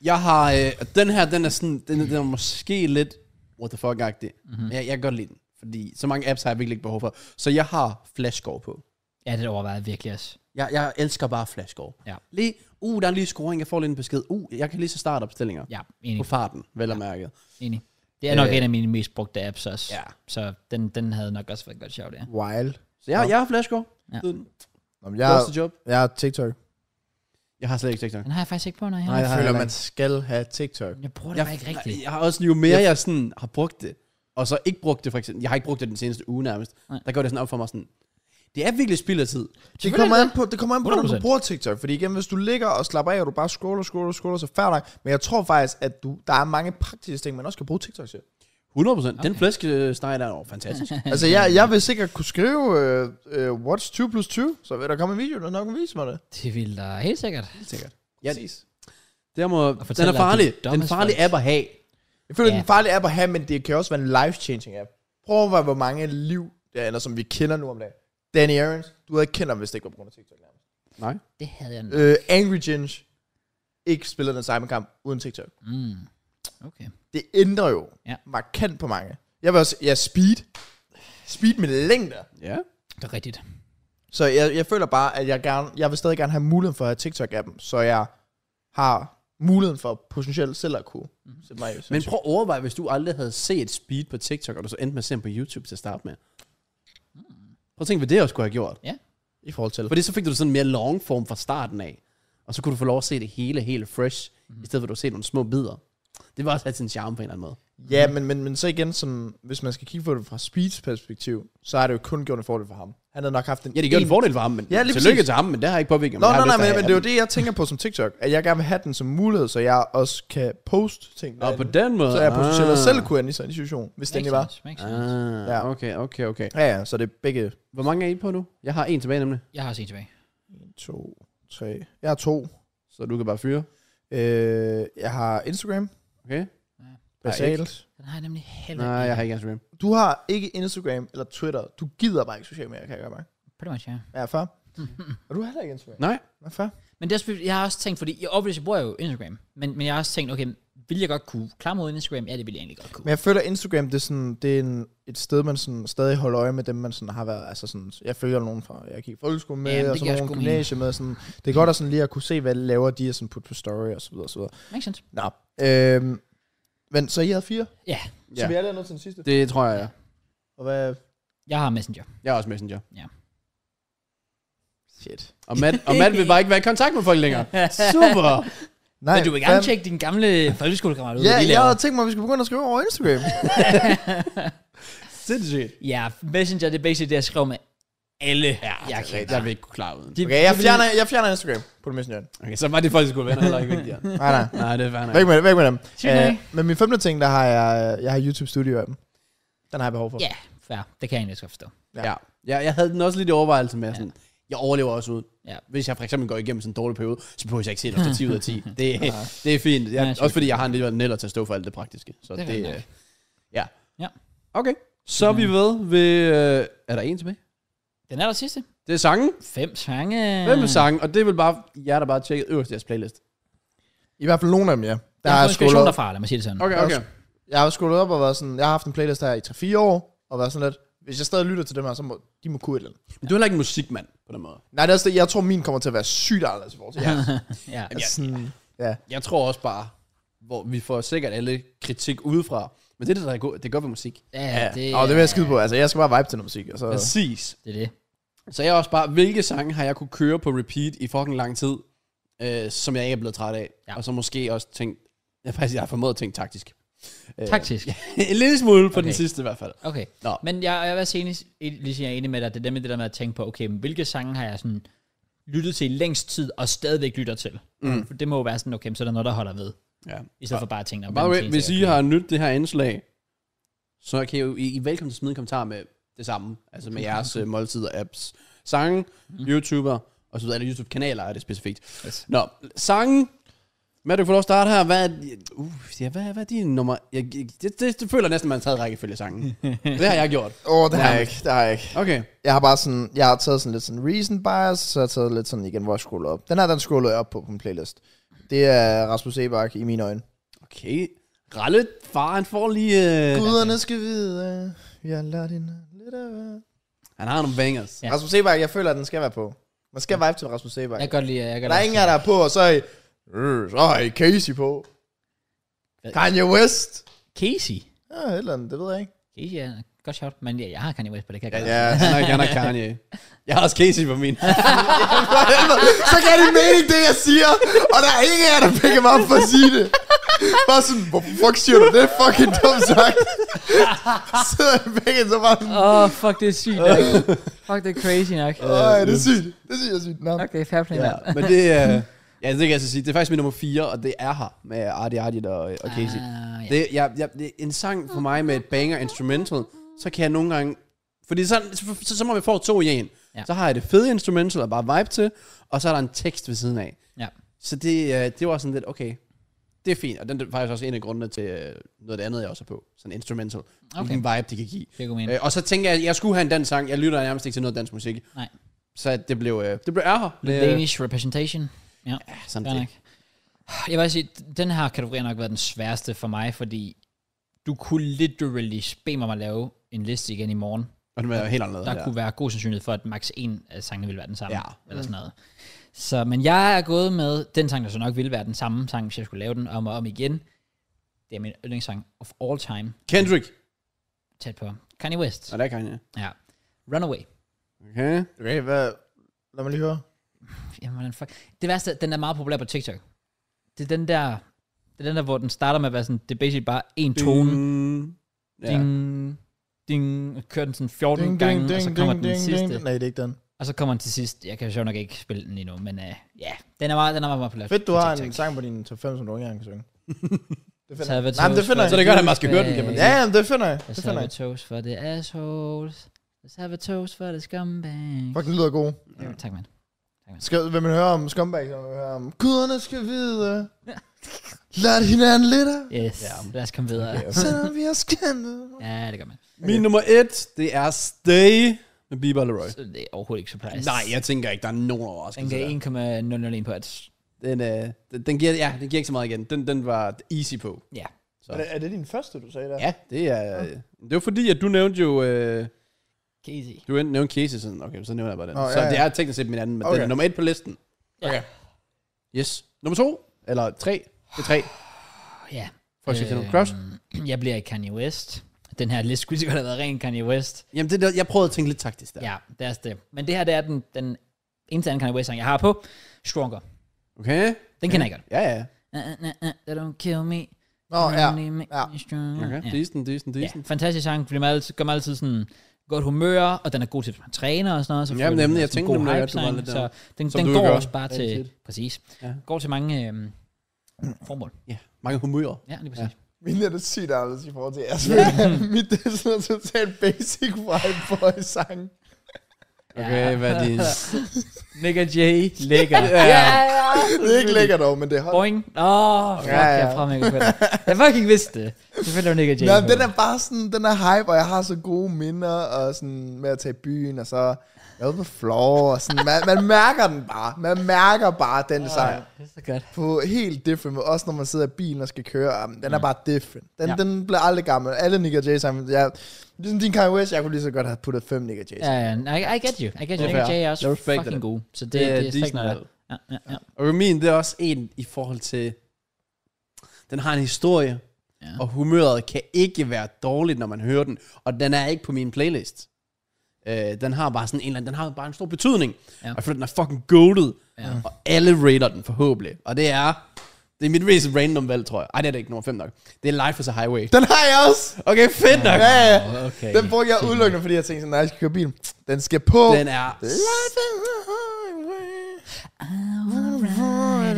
S3: Jeg har, øh, og den her, den er sådan, den, er- den er måske lidt what the fuck-agtig.
S1: Mm.
S3: Mm-hmm. Jeg, jeg kan godt lide den, fordi så mange apps har jeg virkelig ikke behov for. Så jeg har Flashcore på.
S1: Ja, det overvejede jeg virkelig også.
S3: Jeg, jeg elsker bare Flashcore.
S1: Ja.
S3: Lige, uh, der er lige scoring, jeg får lige en besked. Uh, jeg kan lige så starte opstillinger.
S1: Ja,
S3: På
S1: enig.
S3: farten, vel og mærket.
S1: enig. Det er nok
S3: Øh.
S1: en af mine mest brugte apps også.
S3: Ja.
S1: Så den, den havde nok også været et godt sjovt, ja.
S2: Wild.
S3: Så jeg, jeg har Flashcore.
S1: Ja.
S3: Ja. Den
S2: Nå, men jeg,
S3: første job.
S2: jeg er TikTok.
S3: Jeg har slet ikke TikTok.
S1: Den har jeg faktisk ikke på, når jeg
S3: Nej,
S1: har.
S3: jeg
S2: Jeg
S3: har
S2: føler,
S3: heller
S2: man skal have TikTok.
S1: Jeg bruger det
S3: Jeg,
S1: bare ikke rigtigt.
S3: jeg, jeg har også, jo mere jeg sådan har brugt det, og så ikke brugt det for eksempel, jeg har ikke brugt det den seneste uge nærmest,
S1: Nej.
S3: der går det sådan op for mig sådan, det er virkelig spild af tid.
S2: Det kommer an på, det kommer an på, hvordan
S1: 100%.
S2: du bruger TikTok. Fordi igen, hvis du ligger og slapper af, og du bare scroller, scroller, scroller, så færdig. Men jeg tror faktisk, at du, der er mange praktiske ting, man også kan bruge TikTok til.
S3: 100%. Okay. Den flæskesteg der er oh, fantastisk.
S2: Altså, jeg, jeg vil sikkert kunne skrive, øh, øh, what's 2 plus 2, så vil der komme en video, der nok kan vise mig det.
S1: Det vil der helt sikkert.
S3: ja, Det må, den
S1: fortæller, at
S3: er
S1: de er
S3: farlig. den
S1: dumme
S3: er farlig
S1: folk.
S3: app at have.
S2: Jeg føler,
S1: Ja.
S2: yeah. den farlige app at have, men det kan også være en life-changing app. Prøv at overveje, hvor mange liv der ender, som vi kender nu om dagen. Danny Aarons, du havde ikke kendt ham, hvis det ikke var på grund af TikTok. nærmest.
S3: Nej.
S1: Det havde jeg.
S2: Øh, Angry Ginge, ikke spillede den samme kamp uden TikTok.
S1: Mm. Okay.
S2: Det ændrer jo
S1: Ja.
S2: markant på mange. Jeg vil også, ja, speed. Speed med længder.
S3: Ja.
S1: Det er rigtigt.
S2: Så jeg, jeg føler bare, at jeg, gerne, jeg vil stadig gerne have muligheden for at have TikTok-appen, så jeg har muligheden for potentielt selv at kunne sætte mig i.
S3: Men prøv at overveje, hvis du aldrig havde set Speed på TikTok, og du så endte med at se ham på YouTube til at starte med.
S1: Hmm.
S3: Prøv at tænke, hvad det også skulle have gjort.
S2: i forhold til.
S3: Fordi så fik du sådan en mere long form fra starten af. Og så kunne du få lov at se det hele, helt fresh,
S2: Mhm.
S3: mm. i stedet for at du se nogle små bidder. Det var også have sin charme på en eller anden måde.
S2: Ja, men, men, men så igen, sådan, hvis man skal kigge på det fra Speeds perspektiv, så har det jo kun gjort en fordel for ham. Han havde nok haft en...
S3: Ja, det gjorde en
S2: en-
S3: fordel for ham, men
S2: Ja,
S3: ja,
S2: lige
S3: tillykke
S2: præcis.
S3: til ham, men det har ikke påvirket.
S2: Nå, nej, nej, men, men det er jo det, jeg tænker på som TikTok, at jeg gerne vil have den som mulighed, så jeg også kan poste ting.
S3: Og på
S2: derinde.
S3: den måde.
S2: så jeg potentielt også selv kunne ende i sådan en situation, hvis det
S1: Makes
S2: egentlig var.
S1: sense, makes sense.
S3: Ah,
S2: Ja.
S3: ja. okay, okay, okay.
S2: Ja, ja, så det er begge
S3: Hvor mange er I på nu? Jeg har en tilbage nemlig,
S1: Jeg har set tilbage.
S2: to, tre. Jeg har to.
S3: så du kan bare fyre.
S2: Øh, jeg har Instagram,
S3: Okay?
S2: basalt.
S1: Den har jeg nemlig heller
S3: Nej,
S1: ikke.
S3: jeg har ikke Instagram.
S2: Du har ikke Instagram eller Twitter. Du gider bare ikke sociale medier, kan jeg gøre mig.
S1: Pretty much, ja.
S2: Ja, far. Og du har heller ikke Instagram.
S3: Nej.
S2: Hvad far?
S1: Men det er, også- jeg har også tænkt, fordi jeg obviously bruger jeg jo Instagram, men, men jeg har også tænkt, okay, vil jeg godt kunne klare mig uden Instagram? Ja, det ville jeg egentlig godt kunne.
S2: Men jeg føler, Instagram, det er, sådan, det er en, et sted, man sådan, stadig holder øje med dem, man sådan har været, altså sådan, jeg følger nogen fra, jeg gik i folkeskole med,
S1: Ja, men
S2: ja, og
S1: det
S2: så
S1: giver
S2: nogen
S1: sgu
S2: gymnasie med, sådan, det er godt at sådan lige at kunne se, hvad de laver de, og sådan putte på story, og så videre, og så videre.
S1: Makes sense.
S2: Nå, øhm, men så I havde fire,
S1: Ja,
S2: ja. så vi alle er nået til den sidste. Det.
S3: Det tror jeg, ja.
S2: Og hvad?
S1: jeg har Messenger.
S3: Jeg er også messenger.
S2: Shit.
S3: Og Matt, og Matt vil bare ikke være i kontakt med folk længere. Super!
S2: Nej,
S1: Men du vil gerne
S2: fandme-
S1: tjekke din gamle folkeskolekammerat ud,
S2: Ja,
S1: hvad de
S2: jeg
S1: laver.
S2: havde tænkt mig, at vi skulle begynde at skrive over Instagram.
S3: Sindssygt.
S1: Ja, Messenger, det er basically det, jeg skriver med alle, ja, jeg
S3: Okay,
S1: kender.
S3: altså, jeg vil ikke kunne klare uden.
S1: De,
S2: Okay, jeg fjerner, jeg fjerner Instagram på det messenger.
S3: Okay, så var det faktisk skulle være heller ikke vigtigere.
S2: Nej, nej.
S3: Nej, det er fair nok.
S2: Væk med, væk med dem. Øh,
S1: Sygt nok.
S2: men min femte ting, der har jeg, jeg har YouTube Studio-appen. Den har jeg behov for.
S1: Ja, fair. Det kan jeg egentlig også godt forstå.
S3: Ja. ja. Jeg havde den også lidt i overvejelse med, sådan, jeg overlever også uden.
S1: Ja.
S3: Hvis jeg for eksempel går igennem sådan en dårlig periode, så behøver jeg ikke se det efter 10 ud af 10. Det, det er fint. Jeg,
S1: Ja,
S3: også fordi jeg har en lille neller til at stå for alt det praktiske. Så
S1: Det er
S3: det,
S1: rigtig
S3: det
S1: nok.
S3: øh, ja.
S1: Ja.
S3: Okay. Så er vi ved ved... Øh, er der en tilbage?
S1: Den er der sidste.
S3: Det er sangen.
S1: Fem sange.
S3: Hvem er sangen? Og det er vel bare jer, der bare tjekker øverst i jeres playlist.
S2: I hvert fald nogle af dem, ja.
S1: Der
S2: Der har
S1: er
S2: jeg
S1: inspiration
S2: scrollet op,
S1: derfra, lad mig sige det sådan.
S3: Okay, okay.
S2: jeg har scrollet op og været sådan, jeg har haft en playlist her i 3-4 år, og været sådan lidt, hvis jeg stadig lytter til dem her, så må de må kunne et eller andet.
S3: Men du er heller ikke en musikmand på den måde.
S2: Nej, det er også det, jeg tror, min kommer til at være sygt anderledes i forhold til jer.
S1: ja.
S3: Jamen, jeg,
S2: Sådan, ja.
S3: Jeg tror også bare, hvor vi får sikkert alle kritik udefra. Men det er det, der er godt, det er godt ved musik.
S1: ja, det,
S2: Og det vil jeg skide på. Altså, jeg skal bare vibe til noget musik. Og så,
S3: Præcis.
S1: Det er det.
S3: Så jeg er også bare, hvilke sange har jeg kunne køre på repeat i fucking lang tid, øh, som jeg ikke er blevet træt af.
S1: Ja.
S3: Ja. Og så måske også tænkt, jeg faktisk jeg har formået at tænke taktisk. Øh,
S1: Taktisk.
S3: en lille smule på okay.
S1: Okay.
S3: den sidste i hvert fald.
S1: Okay.
S3: Nå.
S1: Men jeg, jeg er også enig, lige jeg er enig med dig, det der med det der med at tænke på, okay, men hvilke sange har jeg sådan lyttet til i længst tid, og stadigvæk lytter til? Mm. For det må jo være sådan, okay, men så er der noget, der holder ved,
S3: Ja.
S1: i stedet for bare at tænke, om
S3: By the way, hvis I har nydt det her indslag, så kan I jo, I, I er velkommen til at smide en kommentar med det samme, altså med jeres uh, måltider, apps, sange, mm. YouTuber, og så videre, eller YouTube-kanaler er det specifikt.
S1: Yes.
S3: Yes. Nå, sange, Matt, du kan få lov at starte her. Hvad er, uh, ja, hvad, hvad er din nummer? Jeg, jeg- det, det, det, føler næsten, man har taget rækkefølge sangen. det har jeg gjort.
S2: Åh, oh, det har jeg ikke. Det har jeg ikke.
S3: Okay.
S2: Jeg har bare sådan, jeg har taget sådan lidt sådan reason bias, så jeg har taget lidt sådan igen, hvor jeg scroller op. Den her, den scroller jeg op på på min playlist. Det er Rasmus Sebak i mine øjne.
S3: Okay. Ralle, far, han får lige... Uh,
S2: Guderne skal vide, jeg lader din lidt af hver.
S3: han har nogle bangers.
S1: Ja.
S2: Ja. Rasmus Sebak, jeg føler, at den skal være på. Man skal vibe til Rasmus Sebak.
S1: Jeg kan godt lide, jeg kan
S2: Der er ingen af jer, der er på, og så er I, øh, så er I Casey på. Kanye West.
S1: Casey.
S2: Ja, et eller andet, det ved jeg ikke.
S1: Casey er godt sjovt, men ja, jeg har Kanye West på det, kan jeg godt
S2: Ja,
S3: Han har, han har Kanye. Jeg har også Casey på min.
S2: For helvede, så kan det mening, det jeg siger, og der er ingen af jer, der picker mig op for at sige det. Bare sådan, hvor fuck siger du det? er Fucking dumt sagt. Så er I begge så bare sådan,
S1: Åh, oh, fuck, det er sygt nok. fuck, det er crazy nok.
S2: Øj, det er sygt. Det er sygt, det er sygt. Nå.
S1: Okay, fair play,
S3: Ja,
S1: mand.
S3: men det, øh, ja, det kan jeg så sige. Det er faktisk min nummer 4, og det er her med Artie Artie og, og Casey.
S1: Ah, ja.
S3: Det, jeg, jeg, det er en sang for mig med et banger instrumental, så kan jeg nogle gange... Fordi så, så, så, så må vi få to i en.
S1: Ja.
S3: Ja. Så har jeg det fede instrumental og bare vibe til, og så er der en tekst ved siden af.
S1: ja.
S3: Så det, øh, det var sådan lidt, okay, Det er fint, og den er faktisk også en af grundene til øh, noget af det andet, jeg også er på. Sådan instrumental. Okay. Hvilken vibe det kan give.
S1: Det kunne
S3: Øh, og så tænker jeg, at jeg skulle have en dansk sang. Jeg lytter nærmest ikke til noget dansk musik.
S1: Nej.
S3: Så det blev, øh, det blev ærger.
S1: The Danish representation. Ja,
S3: Ja, sådan
S1: fair
S3: det.
S1: nok. Jeg vil også sige, den her kategori har nok været den sværeste for mig, fordi du kunne literally bede mig om at lave en liste igen i morgen.
S3: Og det var helt anderledes.
S1: Der ja. kunne være god sandsynlighed for, at max. en af sangene ville være den samme.
S3: Ja.
S1: Ja. Eller sådan noget. Så, men jeg er gået med den sang, der så nok ville være den samme sang, hvis jeg skulle lave den om og om igen. Det er min yndlingssang of all time.
S3: Kendrick.
S1: Tæt på. Kanye West.
S3: Og der kan jeg.
S1: Ja. Runaway.
S3: Okay.
S2: Okay, hvad? Lad mig lige høre.
S1: Jamen, hvordan fuck. Det værste, er, at den er meget populær på TikTok. Det er den der, det er den der, hvor den starter med at være sådan, det er basically bare en tone.
S3: Ja.
S1: Ding, ding, og kører den sådan 14 ding, gange, ding, og så kommer ding, den sidste. Ding,
S2: Nej, det er ikke den.
S1: Og så kommer den til sidst. Jeg kan jo sjovt nok ikke spille den endnu, men øh, ja, den er meget, den er meget, meget populær.
S2: Fedt, du
S1: på
S2: har
S1: TikTok.
S2: en sang på din top 5, som du ikke engang kan synge. det finder
S1: Sabotage
S2: jeg. Nej, men det finder
S1: for
S2: jeg.
S3: Så det gør, at man skal høre den, kan man
S2: Ja, jamen, det finder jeg.
S1: The
S2: Det finder jeg.
S1: Sabotage for the assholes. The Sabotage for the scumbags.
S2: Fuck, den lyder god.
S1: Ja, tak, mand.
S2: Skal, vil man høre om scumbag, så vil man høre om guderne skal vide. Lad hinanden lidt af,
S1: Yes, lad os komme videre.
S2: selvom vi har skændet.
S1: Ja, det gør man.
S3: Min nummer et, det er Stay med Bieber og Leroy.
S1: Så det er overhovedet ikke surprise.
S3: Nej, jeg tænker ikke, der er nogen
S1: Den
S3: overraskelse.
S1: gav
S3: der.
S1: 1,001 på et.
S3: Den, øh, den, den, giver, ja, den giver ikke så meget igen. Den, den var easy på.
S1: Ja.
S3: Så.
S2: Er det, er det din første, du sagde der?
S3: Ja, det er... øh, Det var fordi, at du nævnte jo... Øh,
S1: Casey.
S3: du nævnte Casey sådan. Okay, så nævner jeg bare den.
S2: Nå,
S3: Oh,
S2: ja,
S3: så det
S2: ja.
S3: er teknisk set min anden, men okay. den
S2: Okay.
S3: er nummer et på listen.
S1: Okay.
S3: Yes. Nummer to? Eller tre? Det er tre.
S1: Ja.
S3: For at sige øh, Cross.
S1: Jeg bliver ikke Kanye West. Den her liste skulle sikkert have været ren Kanye West.
S3: Jamen, det der, jeg prøvede at tænke lidt taktisk der.
S1: Ja, ja det er altså det. Men det her, det er den, den eneste anden Kanye West-sang, jeg har på. Stronger.
S3: Okay?
S1: Den kender jeg godt.
S3: Ja, ja.
S1: Uh, uh, uh, uh, they don't kill me.
S2: Nå, ja.
S1: Only make
S2: ja.
S1: me stronger.
S3: Okay.
S1: Mm, Ja.
S3: Decent, decent,
S1: Ja,
S3: decent.
S1: fantastisk sang, fordi man altid, gør mig altid sådan godt humør, og den er god til, hvis man træner og sådan noget. Så
S3: Ja,
S1: føler
S3: nemlig,
S1: man
S3: jeg
S1: også en
S3: tænkte
S1: god
S3: nemlig, at du
S1: hype-sang,
S3: var lidt der.
S1: Så den,
S3: Som
S1: den
S3: du
S1: går
S3: gør.
S1: også bare
S3: Ja,
S1: til,
S3: shit.
S1: præcis,
S3: Ja.
S1: ja. går til mange øhm, formål.
S3: Ja. Mange humører.
S1: Ja, lige præcis.
S2: Min er det sygt anderledes i forhold til jeres. Mit det er sådan noget totalt basic vibe boy sang.
S3: Okay, ja. hvad er din?
S1: Nick og Jay, lækker.
S2: Det er ikke lækkert dog, men det er hold.
S1: Boing. Åh, oh, fuck,
S2: Ja, ja.
S1: jeg er fremme, jeg Jeg fucking vidste det. Selvfølgelig var Nick og Jay.
S2: Nå,
S1: på.
S2: den er bare sådan, den er hype, og jeg har så gode minder, og sådan med at tage i byen, og så jeg på floor, og sådan, man, man mærker den bare, man mærker bare den sang,
S1: Det er så godt.
S2: på helt different måde, også når man sidder i bilen og skal køre, jamen, den er bare different, den,
S1: Mm. Ja.
S2: den bliver aldrig gammel, alle Nick og Jay sammen, jeg, ligesom din Kanye West, jeg kunne lige så godt have puttet fem Nick og Jay
S1: Ja, ja, I, I get you. I get you.
S3: er
S1: Nick og
S3: fair.
S1: Jay er også
S3: Jeg respekter
S1: fucking
S3: det.
S1: gode. Så det,
S3: Det er
S1: det, det er
S3: Disney.
S1: sådan noget. Ja, ja, ja.
S3: Og min, det er også en i forhold til... Den har en historie, ja.
S1: Ja.
S3: og humøret kan ikke være dårligt, når man hører den. Og den er ikke på min playlist. Øh, den har bare sådan en eller anden, den har bare en stor betydning. Ja.
S1: Ja.
S3: Og jeg føler, den er fucking goated. Ja.
S1: Ja.
S3: Og alle rater den forhåbentlig. Og det er... Det er mit mest random valg, tror jeg. Ej, det er det ikke nummer 5 nok. Det er Life is a Highway.
S2: Den har jeg også!
S3: Okay, fedt nok.
S2: Ja, ja.
S1: Okay.
S2: Den brugte jeg udelukkende, fordi jeg tænkte sådan, nej, jeg skal køre bilen. Den skal på.
S3: Den er...
S2: Life is a highway.
S1: All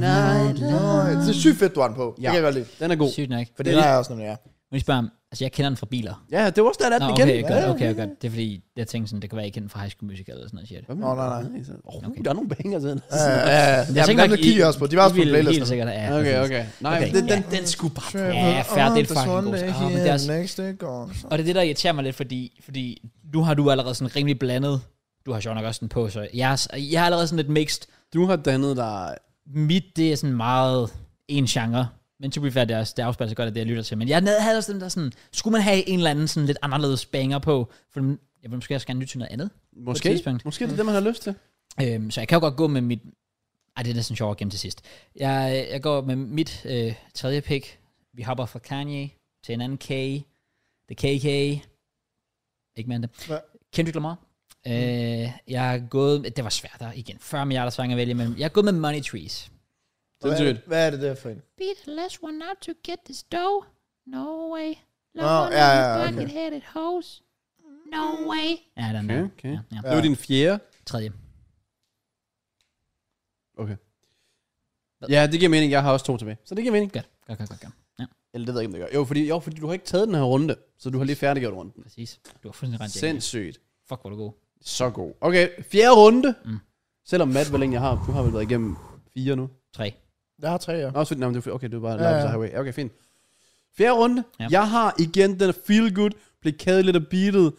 S1: night long.
S2: Nå, Det er sygt fedt, du har den på. Ja. Det
S3: Ja.
S2: kan jeg godt lide.
S3: Den er god.
S1: Sygt nok.
S2: For det har jeg også nemlig, ja.
S1: Nu spørger jeg, altså jeg kender den fra biler.
S3: Ja, det var også der,
S1: Nå,
S3: den igen.
S1: okay, godt, okay, godt. Det er fordi, jeg tænkte sådan, det kan være, jeg kender den fra High School Musical eller sådan noget shit.
S2: Nå, nej, nej.
S3: Oh, okay. Der er nogle banger til den.
S2: Ja, ja, ja. Jeg tænkte, den kiggede også på. De var også på
S1: ville
S2: playlisten.
S1: Helt sikkert, ja.
S3: Okay,
S1: præcis.
S3: okay. Nej,
S1: Okay.
S3: okay. Den, den, den skulle bare...
S1: Ja, fair, det er et fucking god sang. Ah, men det er også-
S2: Next day gone.
S1: Og det er det, der irriterer mig lidt, fordi, fordi nu har du allerede sådan rimelig blandet. Du har sjovt nok også den på, så jeg, er- jeg har allerede sådan lidt mixed.
S3: Du har dannet dig...
S1: Mit, det er sådan meget en genre. Men to be fair, det, er også, det afspejler sig godt af det, jeg lytter til. Men jeg havde også den der sådan, skulle man have en eller anden sådan lidt anderledes banger på? For jeg vil måske også gerne lytte til noget andet. På et
S3: Måske,
S1: tidspunkt.
S3: måske det er det, man har lyst til.
S1: Øhm, så jeg kan jo godt gå med mit... Ej, det er næsten sjovt at gemme til sidst. Jeg, jeg går med mit øh, tredje pick. Vi hopper fra Kanye til en anden K. The KK. Ikke mere end det.
S2: Hva?
S1: Kendrick Lamar. Øh, jeg er gået... Det var svært der igen. 40 milliarder sange at vælge, men jeg er gået med Money Trees.
S3: Sindssygt.
S2: Hvad er det der for en?
S8: be the last one out to get this dough. No way. Love
S2: Oh, yeah,
S8: one of
S2: yeah,
S8: you
S2: okay.
S8: bucket-headed hoes. No way.
S1: Ja, den
S3: Okay,
S1: der.
S3: okay.
S1: Ja, ja.
S3: Det var din fjerde.
S1: Tredje.
S3: Okay. Ja, det giver mening. Jeg har også to tilbage. Så det giver mening.
S1: Godt, godt, godt, godt. godt. Ja,
S3: Eller det ved jeg ikke, om det gør. Jo, fordi, jo, fordi du har ikke taget den her runde, så du har lige færdiggjort runden.
S1: præcis. Du har fuldstændig rent. Jacob.
S3: Sindssygt.
S1: Fuck, hvor er du god.
S3: Så god. Okay, fjerde runde. Mm.
S1: Mm.
S3: Selvom Matt, hvor længe jeg har, du har vel været igennem fire nu.
S1: Tre.
S2: Jeg har tre, ja.
S3: Nå, så, nej, men det er, okay, du er bare
S2: Ja, ja.
S3: ja, ja. highway. Okay, fint. Fjerde runde.
S1: Ja.
S3: Ja. Jeg har igen den er feel good, blev kædet lidt af beatet,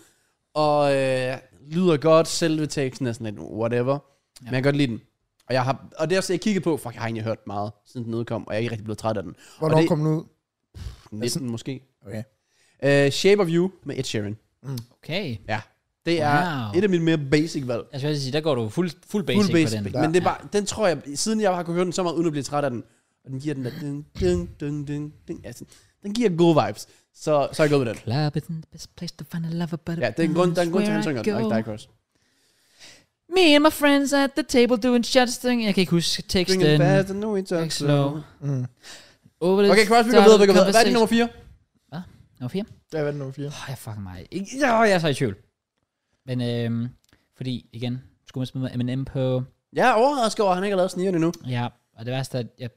S3: og øh, lyder godt. Selve teksten er sådan lidt whatever. Ja. Men jeg kan godt lide den. Og, jeg har, og det er også, jeg kiggede på, fuck, jeg har egentlig hørt meget, siden den udkom, og jeg er ikke rigtig blevet træt af den.
S2: Hvornår
S3: det-
S2: kom den ud?
S3: 19 måske.
S2: Okay.
S3: Uh, Shape of You med Ed Sheeran.
S1: Okay.
S3: Ja. Det er
S1: Wow.
S3: wow. et af mine mere basic valg.
S1: Jeg skal sige, der går du fuld, fuld basic,
S3: Full basic,
S1: på den.
S3: men det er bare, den tror jeg, siden jeg har kunnet høre den så meget, uden at blive træt af den, og den giver den der, ding, ding, ding, ding, ding, altså, den giver gode vibes, så, så er jeg gået med den.
S1: Club isn't the best place to find a lover, but
S3: Ja, det er en grund, der er en grund til, at han synger den, og ikke dig, Cross.
S1: Me and my friends at the table doing shots thing. Jeg kan ikke huske
S3: Bring
S1: teksten.
S3: it fast, and no it's
S1: Ikke slow.
S2: Mm.
S1: Over the
S3: Okay, Cross, vi går
S1: start
S3: videre, vi
S1: of
S3: går videre. Hvad er din nummer 4?
S1: conversation. Nummer 4?
S2: Jeg vandt nummer fire.
S1: Åh, jeg fucking mig. Ikke- Åh, jeg er så i tvivl. Men øhm, fordi, igen, skulle man smide M&M på...
S3: Jeg er overrasket over, at han ikke har lavet snigerne endnu.
S1: Ja, og det værste er, at jeg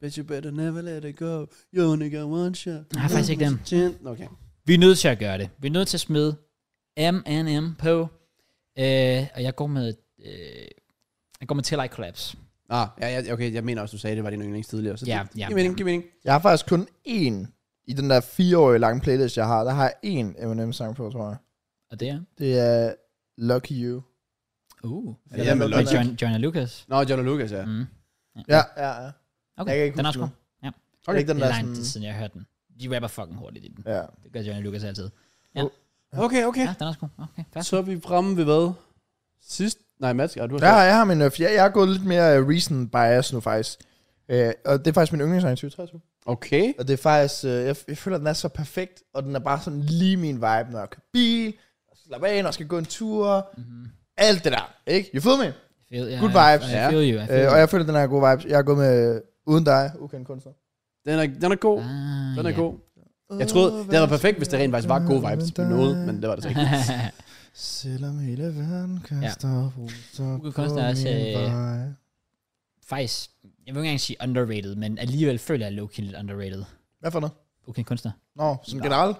S3: But you better never let it go. You only got one shot.
S1: Jeg har faktisk ikke dem.
S3: Okay.
S1: Vi er nødt til at gøre det. Vi er nødt til at smide M&M på. Øh, og jeg går med... Øh, jeg går med Till I Collapse.
S3: Ah, ja, ja, okay, jeg mener også, du sagde, at det var din yndlings tidligere. Så
S1: Ja,
S3: det-
S1: ja,
S3: Giv mening,
S1: ja.
S3: giv mening.
S2: Jeg har faktisk kun én i den der fireårige lange playlist, jeg har. Der har jeg én M&M-sang på, tror jeg.
S1: Og det er...
S2: Det er Lucky You.
S1: Uh.
S3: Ja,
S1: Ja,
S3: men
S1: med
S3: Logic.
S1: John, John og Lucas.
S3: Nå, John og Lucas, ja.
S1: Mm.
S2: Ja, ja, ja.
S1: Okay,
S2: Jeg kan ikke
S1: den er
S2: huske
S1: også god.
S2: Okay. Det er ikke den
S1: Det
S2: der
S1: er lang tid
S2: sådan...
S1: siden, jeg har hørt den. De rapper fucking hurtigt i den.
S2: Ja.
S1: Det gør John og Lucas altid.
S3: Okay, okay.
S1: Ja, den er også god. Okay, fast.
S3: Så er vi fremme ved hvad? Sidst? Nej, Mads, ja, du har
S2: Der har jeg har min øh, fjerde. Jeg har gået lidt mere øh, recent bias nu, faktisk. Øh, og det er faktisk min yndlingssang i 2023.
S3: Okay.
S2: Og det er faktisk... Øh, jeg, jeg føler, at den er så perfekt, og den er bare sådan lige min vibe, når jeg kører bil, og slapper af, når jeg skal gå en tur.
S1: Mm-hmm.
S2: Alt det der, ikke? You feel me?
S1: Feel, yeah,
S2: Good vibes.
S1: I, I feel you. I feel
S2: Øh,
S1: you.
S2: og jeg føler, at den her gode vibes. Jeg er gået med Uden dig, ukendt kunstner.
S3: Den er, den er god.
S1: Ah,
S3: Den er
S1: ja.
S3: god. Jeg troede, det var perfekt, hvis det rent faktisk var gode vibes med noget, men det var det så ikke.
S2: Selvom hele verden kaster ja. ruser
S1: Ukendt kunstner er også, øh, Faktisk, jeg vil ikke engang sige underrated, men alligevel føler jeg low-key lidt underrated.
S2: Hvad for noget?
S1: Okay, kunstner.
S2: Nå, sådan generelt?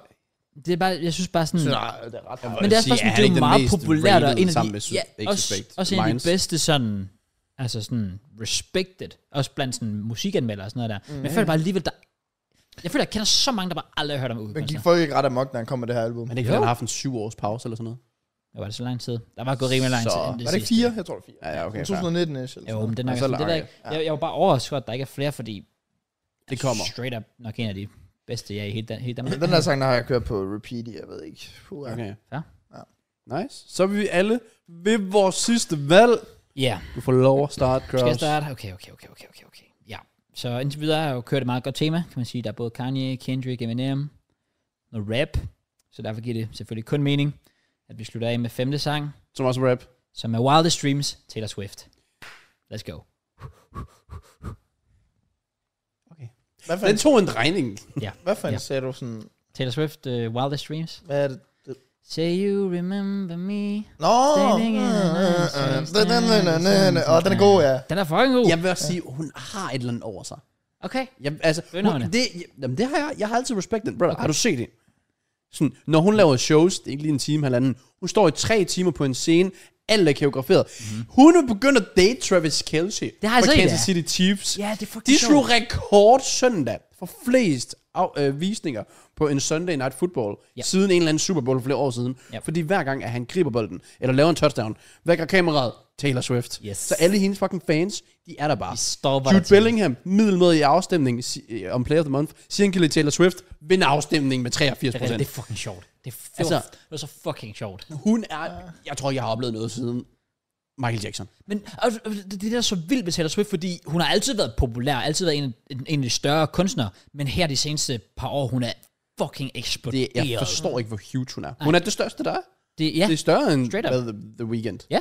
S1: Det er bare, jeg synes bare sådan...
S2: Nej, det er ret
S1: Men det er også bare sådan, det er jo meget populært, og en af de, ja, også, også en af de
S3: bedste.
S1: bedste sådan, altså sådan respected, også blandt sådan musikanmeldere og sådan noget der. Mm. Men jeg føler bare alligevel, der, jeg føler, jeg kender så mange, der bare aldrig har hørt om altså.
S2: Men
S1: udkomster.
S2: gik folk ikke ret amok, når han kom med det her album?
S3: Men det kan
S1: Jo.
S3: være, han har haft en syv års pause eller sådan noget.
S1: Det var det så lang tid. Der var gået rimelig lang tid.
S3: Så-
S1: inden
S2: Var det ikke
S1: sidste.
S2: fire? Jeg tror, det var fire.
S3: Ja, ja, okay. fair.
S2: 2019 ish eller
S1: Jo, men den er
S3: Ja, så
S1: sådan, det
S3: lang,
S1: der, ikke- jeg, jeg var bare overrasket, over, at der ikke er flere, fordi
S3: Det kommer.
S1: straight up nok en af de bedste, jeg i hele, Dan- hele Danmark.
S2: Den der sang, der har jeg kørt på repeat i, jeg ved ikke. Puh, okay.
S3: Okay.
S1: Ja.
S2: Ja.
S3: Nice. Så er vi alle ved vores sidste valg.
S1: Ja,
S3: Du får lov at starte,
S1: skal jeg
S3: Cross.
S1: starte? Okay, okay, okay, okay, okay, okay. Ja, så indtil videre har jeg jo kørt et meget godt tema, kan man sige. Der er både Kanye, Kendrick, Eminem, noget rap. Så derfor giver det selvfølgelig kun mening, at vi slutter af med femte sang,
S3: Som også rap.
S1: som er Wildest Dreams, Taylor Swift. Let's go.
S2: Hvad for
S3: Den
S2: en,
S3: tog en drejning.
S2: hvad for en
S1: Ja.
S2: sagde du sådan...
S1: Taylor Swift, uh, Wildest Dreams.
S2: Hvad er det?
S1: Say you remember me.
S2: Nå!
S1: Standing in an ice house,
S2: Den- den- den- den- den- Åh, den er god, ja.
S1: Den er fucking god.
S3: Jeg vil også sige, hun har et eller andet over sig.
S1: Okay.
S3: Jeg, altså, hun,
S1: Bønderne.
S3: det, jamen, det har jeg. Jeg har altid respektet brother. Okay. Har du set det? Sådan, når hun laver shows, det er ikke lige en time, halvanden. Hun står i tre timer på en scene. Alt er koreograferet. Mm-hmm. Hun er begyndt at date Travis Kelce
S1: Mhm. Det har jeg
S3: fra
S1: set,
S3: Kansas
S1: ja.
S3: City Chiefs.
S1: Ja, det er fucking
S3: De
S1: sjovt.
S3: slog rekord søndag for flest af, øh, visninger på en Sunday Night Football,
S1: Ja.
S3: siden en eller anden Super Bowl for flere år siden.
S1: Ja.
S3: Fordi hver gang, at han griber bolden, eller laver en touchdown, vækker kameraet Taylor Swift.
S1: Yes.
S3: Så alle hendes fucking fans, de er der bare.
S1: Vi stopper
S3: Jude
S1: dig til.
S3: Bellingham, middelmåde i afstemningen si- øh, om Player of the Month, siger han giver Taylor Swift, vinder afstemningen med 83
S1: Det er, det
S3: procent.
S1: er fucking sjovt. Det er, f-
S3: Altså-
S1: det var så fucking sjovt.
S3: Hun er, jeg tror, jeg har oplevet noget siden Michael Jackson.
S1: Men og, og det det er det, der er så vildt med Taylor Swift, fordi hun har altid været populær, altid været en, en, en af de større kunstnere, men her de seneste par år, hun er fucking eksploderet.
S3: Det, jeg forstår ikke, hvor huge hun er. Hun er det største, der er.
S1: Det, ja,
S3: Det er større end
S1: Straight up.
S3: hvad, the, the Weeknd.
S1: ja,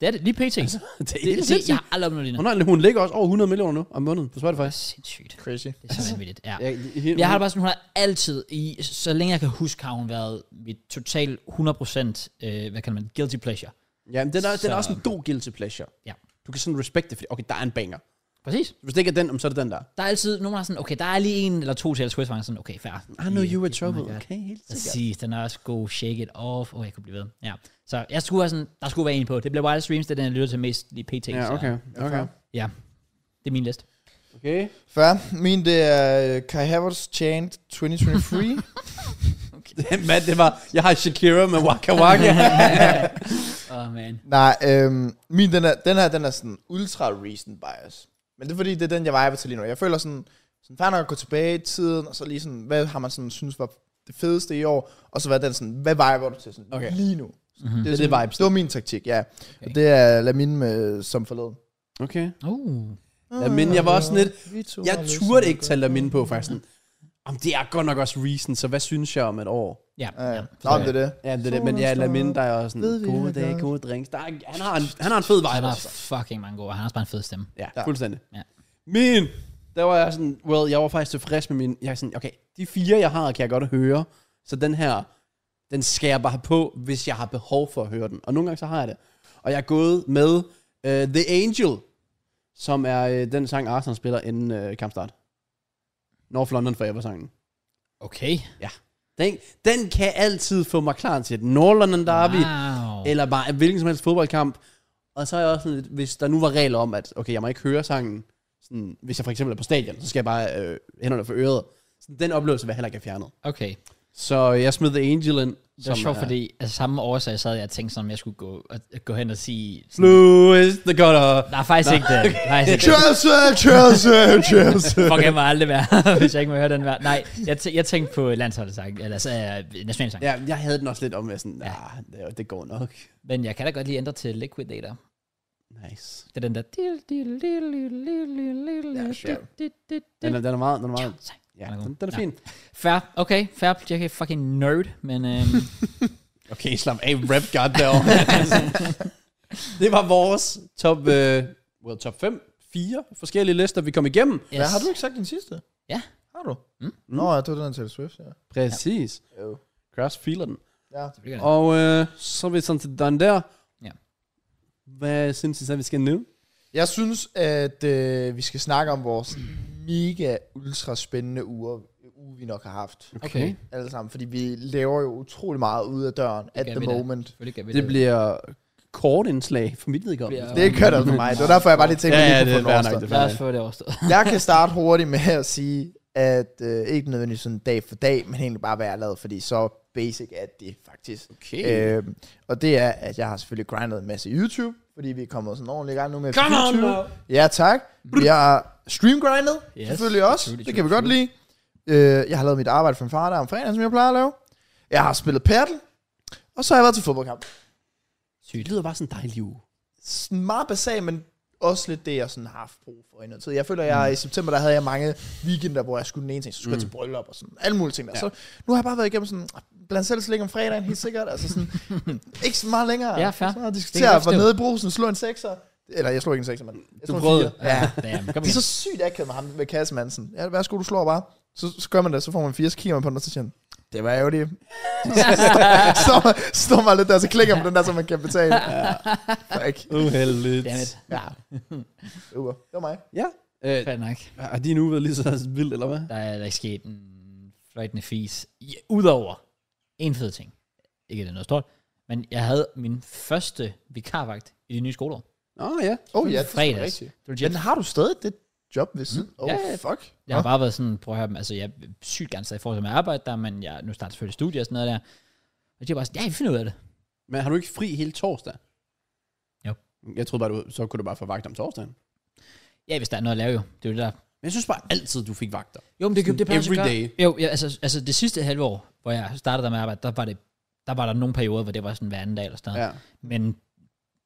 S1: det er det. Lige pt. Altså,
S3: Det er
S1: det,
S3: helt
S1: det, det,
S3: sindssygt.
S1: jeg har aldrig oplevet det endnu.
S3: Hun, har, hun ligger også over 100 millioner nu om måneden på Spotify.
S1: Det er sindssygt.
S2: Crazy.
S1: Det er så vanvittigt, ja.
S3: Altså, Jeg,
S1: Jeg har det bare sådan, hun har altid i, så længe jeg kan huske, har hun været mit total 100%, øh, hvad kan man, guilty pleasure.
S3: ja, men den, er, den er
S1: Så-
S3: også en god guilty pleasure.
S1: Ja.
S3: Du kan sådan respekte det, fordi okay, der er en banger.
S1: Præcis.
S3: Hvis det ikke er den, om så er det den der.
S1: Der er altid nogen, der er sådan, okay, der er lige en eller to Taylor Swift, hvor jeg er sådan, okay, fair.
S3: I know you were
S1: Oh my
S3: trouble.
S1: God.
S3: okay, helt sikkert.
S1: Præcis, den er også god. Shake it off. Åh, oh, jeg kunne blive ved. Ja. Så jeg skulle have sådan, der skulle være en på. Det bliver Wild Streams, det er den, jeg lytter til mest lige pt.
S3: Ja,
S1: så-
S3: okay. okay.
S1: Ja. Det er min liste.
S3: Okay.
S2: Fair. Min, det er øh, Kai Havertz Chant 2023.
S3: Mand, det var, jeg har Shakira med Waka Waka.
S1: Åh, oh, man.
S2: Nej, øhm, min, den, er, den her, den er sådan ultra recent bias. Men det er fordi, det er den, jeg viber til lige nu. Jeg føler sådan, sådan fair nok at gå tilbage i tiden, og så lige sådan, hvad har man sådan synes var det fedeste i år, og så hvad den sådan, hvad viber du til sådan
S3: Okay.
S2: okay. lige nu?
S1: Mm-hmm.
S2: Det,
S3: er
S2: er
S3: det
S2: sådan-
S3: vibes.
S2: Det var min taktik, ja.
S1: Okay.
S2: Okay. Og det er Lamin med som forleden.
S3: okay.
S1: Uh.
S3: Ja, men jeg var også sådan lidt,
S2: Ah, Vi to
S3: jeg
S2: har lyst
S3: turde
S2: til
S3: ikke
S2: at
S3: tage
S2: gøre-
S3: dem inde på, faktisk. Sådan, Jamen, det er godt nok også reason, så hvad synes jeg om et år?
S1: Ja.
S2: Ja, ja. Nå,
S1: forstår
S2: men
S1: jeg.
S2: det er det.
S3: Ja, det er det, men ja, Lamin, der er også
S2: Ved
S3: sådan,
S2: vi,
S3: gode
S2: hvad
S3: dage,
S2: gør.
S3: gode drinks. Der er, han, har en, han har en fed
S1: Han
S3: vibe.
S1: har
S3: altså.
S1: fucking mange gode. Han har også bare en fed stemme.
S3: Ja, ja.
S2: Ja.
S3: fuldstændig.
S1: Ja.
S3: Min, der var jeg sådan, well, jeg var faktisk tilfreds med min, jeg er sådan, okay, de fire, jeg har, kan jeg godt høre, så den her, den skal jeg bare have på, hvis jeg har behov for at høre den. Og nogle gange, så har jeg det. Og jeg er gået med uh, The Angel, som er øh, den sang, Arsenal spiller inden øh, kampstart. North London Forever-sangen.
S1: Okay.
S3: Den, den kan altid få mig klar til et North London Derby,
S1: Wow.
S3: eller bare hvilken som helst fodboldkamp. Og så er jeg også sådan lidt, hvis der nu var regler om, at okay, jeg må ikke høre sangen, sådan, hvis jeg for eksempel er på stadion, så skal jeg bare øh, hænderne for øret. Så den oplevelse vil jeg heller ikke have fjernet.
S1: Okay.
S3: Så jeg smed The Angel ind.
S1: Det var sjovt, fordi altså, samme årsag sad jeg og tænkte sådan, om jeg skulle gå, at, at gå hen og sige... Sådan,
S3: Blue is the color.
S1: nej, faktisk ikke det. Faktisk ikke Altså, det.
S2: Chelsea, Chelsea, Chelsea.
S1: Fuck, jeg må aldrig være, hvis jeg ikke må høre den hver. Nej, jeg, tæ- jeg tænkte på landsholdssang, eller så, uh, nationalsang. Ja.
S3: Ja, jeg havde den også lidt om, at sådan, nah, det, det går nok.
S1: Men jeg kan da godt lige ændre til Liquidator.
S3: Nice.
S1: Det er den der...
S3: Den er, den er meget, den er meget, ja,
S1: Den er god.
S3: den, den er
S1: Nå.
S3: fin.
S1: Fair, okay, fair. Jeg er fucking nerd, men... Øhm,
S3: Okay, slap af, rap god derovre. det var vores top, øh, well, top 5, fire forskellige lister, vi kom igennem.
S1: yes.
S2: Hvad, har du ikke sagt den sidste?
S1: Ja.
S2: Har du?
S1: Mm.
S2: Nå, ja, det var den til Swift, ja.
S3: Præcis.
S2: Jo.
S3: Cross feeler den.
S2: Ja.
S1: Selvfølgelig gør
S3: Og øh, så er vi sådan til den der.
S1: Ja.
S3: Hvad synes I så, vi skal nu?
S2: Jeg synes, at øh, vi skal snakke om vores mega ultra spændende uger, uge, vi nok har haft.
S1: det. Okay.
S2: Alle sammen, fordi vi laver jo utrolig meget ude af døren at
S1: gør
S2: the
S1: vi da.
S2: moment.
S1: Selvfølgelig gør vi
S3: Det bliver kort indslag for mit vedkommende.
S1: Det
S2: Det kørt altså for mig. Det var derfor, jeg bare lige tænkte,
S3: Ja,
S2: at
S3: ja,
S2: jeg
S3: det
S2: lige
S3: er
S2: kunne få
S3: fair
S2: den
S3: nok. Det
S2: overstået.
S3: er fair
S1: Lad os få det overstået.
S3: nok.
S2: Jeg kan starte hurtigt med at sige, at øh, ikke nødvendigvis sådan dag for dag, men egentlig bare, hvad jeg har lavet, fordi så basic er det faktisk.
S3: Okay.
S2: Øh, og det er, at jeg har selvfølgelig grindet en masse YouTube, fordi vi er kommet sådan ordentligt i gang nu med
S1: Come on
S2: YouTube.
S1: now.
S2: Ja, tak. Jeg har streamgrindet,
S1: Yes,
S2: yes, selvfølgelig også.
S1: selvfølgelig,
S2: det kan vi godt
S1: selvfølgelig.
S2: lide. Øh, jeg har lavet mit arbejde for en far der om fredagen, som jeg plejer at lave. Jeg har spillet paddle, og så har jeg været til fodboldkamp.
S3: Det lyder bare sådan en dejlig uge.
S2: Sådan Meget basalt, men også lidt det, jeg sådan har haft brug for i noget tid. Jeg føler,
S1: Mm.
S2: jeg i september, der havde jeg mange weekender, hvor jeg skulle den ene ting, så skulle jeg til bryllup og sådan, alle mulige ting der.
S3: Ja.
S2: Ja. Så nu har jeg bare været igennem sådan, blandt selv ligge om fredagen, helt sikkert, altså sådan, ikke så meget længere.
S1: Ja, fair.
S2: Så meget at
S1: Det kan
S2: diskutere,
S1: jeg
S2: var
S1: forstå.
S2: nede i brusen, slå en sekser, eller jeg slog ikke en sekser, men jeg
S3: Du
S2: slog en
S3: prøvede.
S2: fire. Ja.
S1: Damn, kom
S2: Det er
S1: igen.
S2: så sygt akavet med ham med kassemanden. Ja, værsgo, du slår bare. Så, så gør man det, så får man 80 kigger man på den, og så siger han, det var ærgerligt. så står man lidt der, så klikker man på den der, så man kan betale. Ja. Fuck.
S3: Uheldigt.
S1: Damn it.
S2: Ja. Uber. Det var mig.
S3: Ja. Øh,
S1: Fair nok.
S3: har de nu været lige så vildt, eller hvad?
S1: Der er der ikke sket en fløjtende fis. Ja, Udover en fed ting. Ikke at det er noget stort. Men jeg havde min første vikarvagt i det nye skoleår.
S3: Åh, oh, ja.
S2: Åh oh, ja, det er sgu
S1: Fredags.
S2: rigtigt.
S1: Legit.
S2: Men har du stadig det job ved siden? Åh,
S1: Ja,
S2: oh,
S1: ja, ja.
S2: fuck.
S1: Jeg har bare været sådan, prøv at høre dem, altså jeg er sygt gerne stadig i forhold til at arbejde der, men jeg, nu starter selvfølgelig studier og sådan noget der. Og de er bare sådan, ja, vi finder ud af det.
S3: Men har du ikke fri hele torsdag?
S1: Jo.
S3: Jeg troede bare, du, så kunne du bare få vagt om torsdagen.
S1: Ja, hvis der er noget at lave jo. Det er jo det der.
S3: Men jeg synes bare altid, du fik vagter.
S1: Jo, men det,
S3: Sådan
S1: det passer
S3: every
S1: godt.
S3: day.
S1: Jo, ja, altså, altså det sidste halve år, hvor jeg startede der med at arbejde, der var, det, der var der nogle perioder, hvor det var sådan hver anden dag eller sådan noget.
S3: Ja.
S1: Men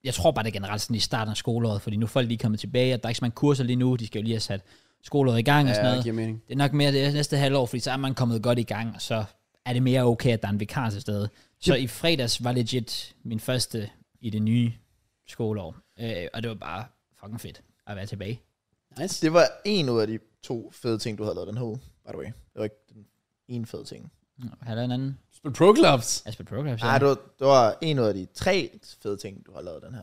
S1: jeg tror bare, det er generelt sådan i starten af skoleåret, fordi nu er folk lige kommet tilbage, og der er ikke så mange kurser lige nu, de skal jo lige have sat skoleåret i gang og sådan
S3: Ja, det
S1: noget.
S3: giver mening.
S1: Det er nok mere det næste halvår, fordi så er man kommet godt i gang, og så er det mere okay, at der er en vikar til stede. Så i fredags var legit min første i det nye skoleår, øh, og det var bare fucking fedt at være tilbage.
S3: Nice.
S2: Det var en ud af de to fede ting, du havde lavet den her uge, by the way. Det var ikke den ene fede ting.
S1: Har du en anden
S3: Spil Pro Clubs.
S1: Asper Program?
S2: Nej, det var, det var en ud af de tre fede ting, du har lavet den her.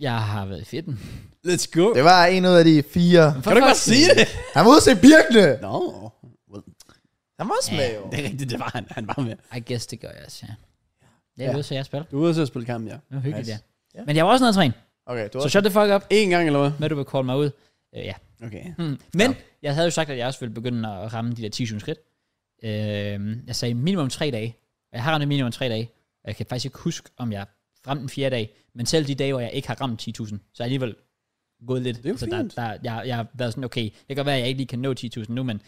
S1: Jeg har været i fitten.
S3: Let's go.
S2: Det var en ud af de fire.
S3: Kan du ikke bare sige det?
S2: Han var ude til Birkene!
S3: Nå. Well,
S2: Han var også med, jo.
S3: det er rigtigt, det var han. Han var med.
S1: I guess det gør jeg også, ja. Jeg er ja. ude, så jeg spiller.
S3: Du er ude til at spille kamp, ja.
S1: Det var hyggeligt, nice.
S3: Nice.
S1: ja. Men jeg var også nede at træne,
S2: Okay,
S1: så
S2: du var
S1: shut the fuck up.
S3: En gang, eller hvad?
S1: med, at du vil call mig ud. Øh, ja.
S3: Okay.
S1: Mm. Men ja. jeg havde jo sagt, at jeg også ville begynde at ramme de der 10.000 skridt. Øh, jeg sagde minimum 3 dage. Og Jeg har ramt minimum 3 dage. Og jeg kan faktisk ikke huske, om jeg ramte den fjerde dag. Men selv de dage, hvor jeg ikke har ramt 10.000, så er jeg alligevel gået lidt.
S3: er jo
S1: så der,
S3: fint.
S1: der, jeg, jeg har været sådan, okay, det kan godt være, at jeg ikke lige kan nå 10.000 nu, men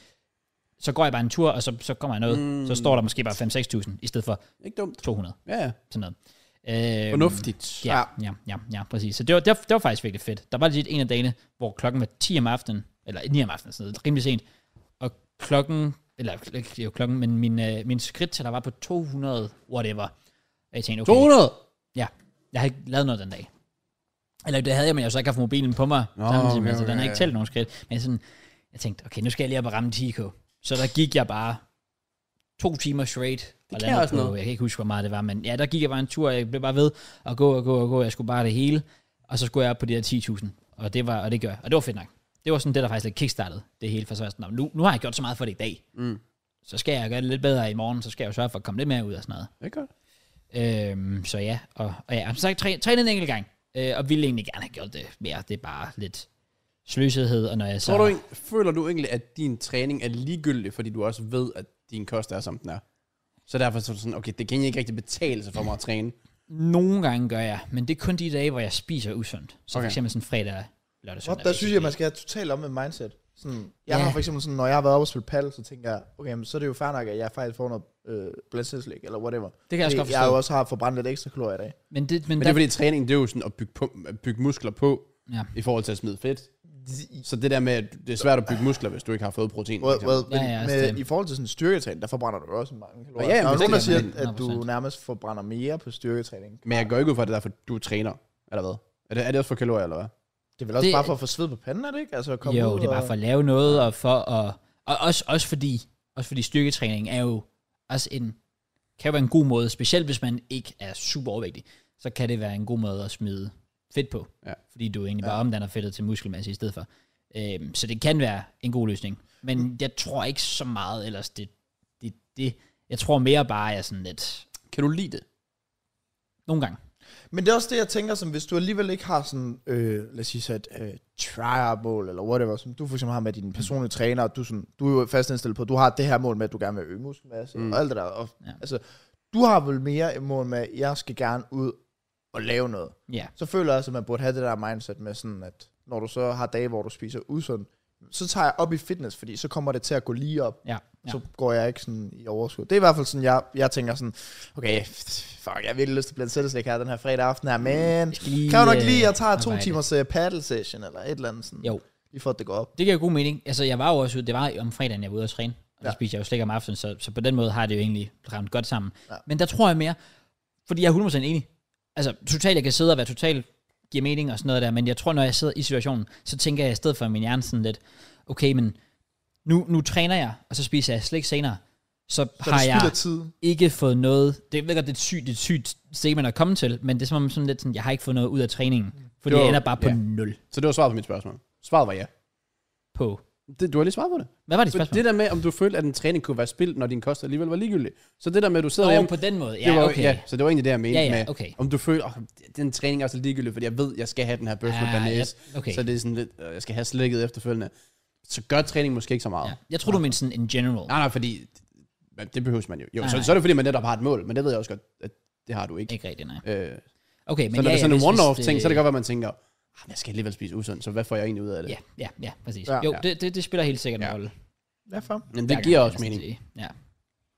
S1: så går jeg bare en tur, og så, så kommer jeg noget. Mm. Så står der måske bare 5-6.000 i stedet for
S3: Ikke dumt.
S1: 200.
S3: Ja, ja.
S1: Sådan noget. Øh,
S3: Øhm, Fornuftigt.
S1: Ja, ja, ja, ja, præcis. Så det var, det, var, det var faktisk virkelig fedt. Der var lige en af dagene, hvor klokken var 10 om aftenen, eller 9 om aftenen, sådan noget, rimelig sent, og klokken, eller ikke det er jo klokken, men min, øh, min skridttæller var på 200, whatever. Og jeg tænkte, okay,
S3: 200!
S1: ja, jeg har ikke lavet noget den dag. Eller det havde jeg, men jeg har så ikke haft mobilen på mig,
S3: Nå,
S1: oh, samtidig
S3: okay,
S1: med, så den har
S3: okay,
S1: ikke talt nogen skridt. Men sådan, jeg tænkte, okay, nu skal jeg lige op og ramme 10k. Så der gik jeg bare to timer straight. og
S3: kan
S1: landede
S3: også noget.
S1: Jeg kan ikke huske, hvor meget det var, men ja, der gik jeg bare en tur, og jeg blev bare ved at gå og gå og gå, jeg skulle bare det hele, og så skulle jeg op på de der 10.000, og det var, og det gør jeg. og det var fedt nok. Det var sådan det, der faktisk lidt kickstartede det hele, for så var jeg sådan, "Nå, nu, nu har jeg gjort så meget for det i dag,
S3: Mm.
S1: så skal jeg gøre det lidt bedre i morgen, så skal jeg jo sørge for at komme lidt mere ud og sådan noget.
S3: Det er godt.
S1: Øhm, så ja, og, og ja, som sagt, træ, træne en enkelt gang. Øh, og ville egentlig gerne have gjort det mere. Det er bare lidt sløshed, og når jeg så...
S3: Tror du, ikke- føler du egentlig, at din træning er ligegyldig, fordi du også ved, at din kost er, som den er? Så derfor så er du sådan, okay, det kan jeg ikke rigtig betale sig for mig at træne.
S1: Nogle gange gør jeg, men det er kun de dage, hvor jeg spiser usundt. Så okay.
S3: Okay.
S1: for eksempel sådan fredag, lørdag,
S2: What?
S1: søndag.
S2: Der synes jeg, man skal have totalt om med mindset. Sådan, jeg
S1: Ja.
S2: har for eksempel sådan, når jeg har været oppe og spille paddle, så tænker jeg, okay, men så er det jo fair nok, at jeg faktisk får noget øh, blandt selvslik, eller whatever.
S1: Det kan jeg også godt
S2: jeg
S1: forstå.
S2: jo også har forbrændt lidt ekstra kalorier i dag.
S1: Men, det, men,
S3: Men det er fordi, træning, det er jo sådan at bygge, på, at bygge muskler på,
S1: Ja.
S3: i forhold til at smide fedt. Så det der med, at det er svært at bygge muskler, hvis du ikke har fået protein. for
S2: Well,
S3: eksempel.
S1: Ja,
S2: well, ja,
S1: ja,
S2: ja,
S1: altså
S2: med,
S1: det-
S2: I forhold til sådan styrketræning, der forbrænder du også mange kalorier.
S3: Ja, ja,
S2: der er
S3: men
S2: nogen, der
S3: det
S2: siger,
S3: kan
S1: man-
S2: at du
S1: 100%.
S2: nærmest forbrænder mere på styrketræning.
S3: Men jeg går ikke ud fra, at det er derfor, du træner, eller hvad? Er det, er det også for kalorier, eller hvad?
S2: Det er vel også
S1: Det-
S2: det, bare for at få sved på panden, er det ikke? Altså at komme
S1: jo,
S2: ud
S1: det er bare
S2: og-
S1: for at lave noget, og for at... Og også, også, fordi, også fordi styrketræning er jo også en, kan jo være en god måde, specielt hvis man ikke er super overvægtig, så kan det være en god måde at smide fedt på.
S3: Ja.
S1: Fordi du egentlig bare omdanner fedtet til muskelmasse i stedet for. Øhm, så det kan være en god løsning. Men jeg tror ikke så meget ellers, det, det, det jeg tror mere bare, at jeg er sådan lidt,
S3: Kan du lide det?
S1: nogle gange.
S2: Men det er også det, jeg tænker, som hvis du alligevel ikke har sådan, øh, lad os sige så et øh, try-up-mål, eller whatever, som du for eksempel har med din
S1: Mm.
S2: personlige træner, og du, er sådan, du er jo fast indstillet på, at du har det her mål med, at du gerne vil øge muskelmasse, mm. og alt det der. Og,
S1: Ja.
S2: ja. altså, du har vel mere et mål med, at jeg skal gerne ud og lave noget.
S1: Ja.
S2: Så føler jeg også, at man burde have det der mindset med sådan, at når du så har dage, hvor du spiser usundt, så tager jeg op i fitness, fordi så kommer det til at gå lige op
S1: Ja. ja.
S2: ja. så går jeg ikke sådan i overskud. Det er i hvert fald sådan, jeg, jeg tænker sådan, okay, fuck, jeg har virkelig lyst til at blive selvslæg her den her fredag aften her, men
S1: Mm, skal lige,
S2: kan jo nok
S1: øh,
S2: lige, jeg tager to
S1: arbejde.
S2: timers uh, paddle session eller et eller andet sådan,
S1: Jo.
S2: lige for at det går op.
S1: Det giver god mening. Altså, jeg var jo også ude, det var om fredagen, jeg var ude og træne. Og ja. der
S2: Ja.
S1: spiste jeg jo slik om aftenen, så, så på den måde har det jo egentlig ramt godt sammen. Ja.
S2: Ja.
S1: Men der tror jeg mere, fordi jeg er 100% enig. Altså, totalt, jeg kan sidde og være totalt giver mening og sådan noget der, men jeg tror, når jeg sidder i situationen, så tænker jeg i stedet for min hjerne sådan lidt, okay, men nu, nu træner jeg, og så spiser jeg slik senere, så,
S2: Så
S1: har
S2: det spilder
S1: jeg
S2: tid.
S1: ikke fået noget, det jeg ved godt, det er et sygt, det er et sygt segment at komme til, men det er som om sådan lidt sådan, jeg har ikke fået noget ud af træningen, fordi
S3: Det var-
S1: jeg ender bare på
S3: ja.
S1: nul
S3: Så det var svaret på mit spørgsmål. Svaret var ja.
S1: på.
S3: Det, du har lige svaret på det.
S1: Hvad var det
S3: For
S1: spørgsmål?
S3: det der med, om du følte, at en træning kunne være spild, når din kost alligevel var ligegyldig. Så det der med, at du sidder
S1: Nå,
S3: hjemme...
S1: på den måde. Ja,
S3: det var,
S1: okay.
S3: ja, så det var egentlig det, jeg mente
S1: Ja, ja,
S3: med,
S1: okay.
S3: om du føler, oh, den træning er også lidt ligegyldig, fordi jeg ved, jeg skal have den her bøf med
S1: Ah,
S3: banæs,
S1: ja, okay.
S3: så det er sådan lidt, øh, jeg skal have slikket efterfølgende. Så gør træning måske ikke så meget.
S1: Ja. Jeg tror, du mener sådan in general.
S3: Nej, nej, fordi men det behøver man jo. Jo,
S1: Nej,
S3: så,
S1: nej.
S3: så er det fordi, man netop har et mål, men det ved jeg også godt, at det har du ikke.
S1: Ikke rigtigt, nej.
S3: Øh,
S1: Okay, men ja,
S3: så når det er
S1: ja,
S3: sådan en
S1: hvis- hvis
S3: one-off ting, så er det godt, at man tænker, "Ah, men jeg skal alligevel spise usundt, så hvad får jeg egentlig ud af det?
S1: Ja, ja, ja, præcis.
S2: Ja.
S1: jo,
S3: Ja.
S1: Det, det, det spiller helt sikkert en
S3: Ja.
S1: rolle.
S2: Ja, for.
S3: Men
S1: hver
S3: det giver
S1: gang,
S3: også
S1: kan man
S3: mening. Mm.
S1: sige. Ja.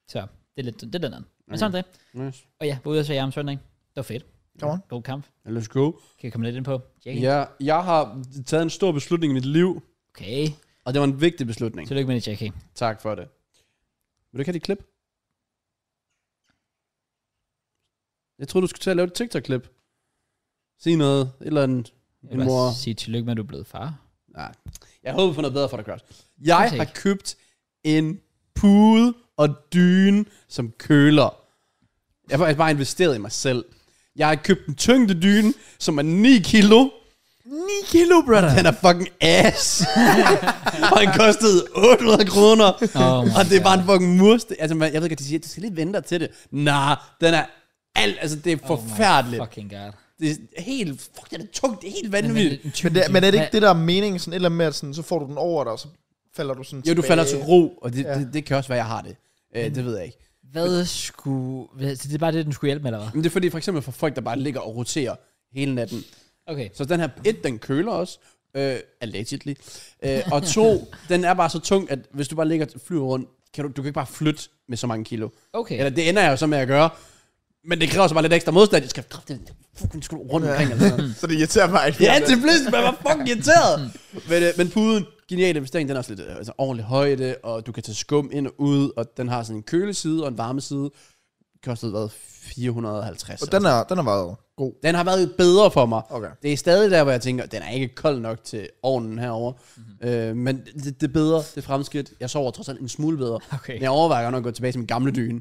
S1: Så det er lidt det er lidt andet. Men sådan er det.
S3: Nice.
S1: Og ja, var ude og se jer om søndag. Det var fedt.
S2: Come on.
S1: God kamp.
S3: Let's go.
S1: Kan jeg komme lidt ind på? Jake?
S3: Ja, jeg har taget en stor beslutning i mit liv,
S1: Okay.
S3: og det var en vigtig beslutning.
S1: Tillykke med det, Jackie.
S3: Tak for det. Vil du ikke have dit klip? Jeg troede, du skulle til at lave et TikTok-klip. Sig noget, et eller andet.
S1: Jeg
S3: En
S1: vil
S3: mor.
S1: bare sige tillykke med, at du er blevet far.
S3: Nej. Jeg håber på noget bedre for dig, Cross. Jeg
S1: Tænk.
S3: har købt en pude og dyne som køler. Jeg har faktisk bare investeret i mig selv. Jeg har købt en tyngde dyne, som er 9 kilo. 9 kilo, brother. Den er fucking ass. og den kostede 800 kroner.
S1: Oh my
S3: og det er bare en fucking murste. Altså, man, jeg ved ikke, at de siger, du skal lige vente dig til det. Nej, nah, den er alt. Altså, det er
S1: Oh my
S3: forfærdeligt.
S1: Fucking god.
S3: Det er helt, fuck, det er tungt, det er helt
S1: Men,
S3: vanvittigt.
S2: Men, det, men er det ikke det, der er meningen? Sådan et eller andet med, at sådan, så får du den over dig, og så falder du sådan
S3: Jo, du
S2: tilbage.
S3: falder til ro, og det,
S2: Ja. Mm.
S3: det, det kan også være, jeg har det. Øh, det ved jeg ikke.
S1: Hvad skulle... Hvad, så det er bare det, den skulle hjælpe med, eller hvad?
S3: Men det er fordi, for eksempel for folk, der bare ligger og roterer hele natten.
S1: Okay.
S3: Så den her, et, den køler også, øh, allegedly. Øh, og to, den er bare så tung, at hvis du bare ligger og flyver rundt, kan du, du kan ikke bare flytte med så mange kilo.
S1: Okay.
S3: Eller det ender jeg jo så med at gøre. Men det kræver så bare lidt ekstra modstand. Jeg skal kraftigt fucking skulle rundt omkring. Eller sådan. noget.
S2: Så det irriterer mig ikke.
S3: ja, til pludselig, man var fucking irriteret.
S2: Mm.
S3: men, øh, men puden, genial investering, den er også lidt øh, altså, ordentlig højde, og du kan tage skum ind og ud, og den har sådan en køleside og en varmeside. Kostede, hvad, 450.
S2: Og den er, den er meget god.
S3: Den har været bedre for mig.
S2: Okay.
S3: Det er stadig der, hvor jeg tænker, den er ikke kold nok til ovnen herover.
S2: Mhm.
S3: Mm-hmm. Øh, men det, det er bedre, det er fremskridt. Jeg sover trods alt en smule bedre.
S1: Okay.
S3: Men jeg overvejer godt nok at gå tilbage til min gamle dyne,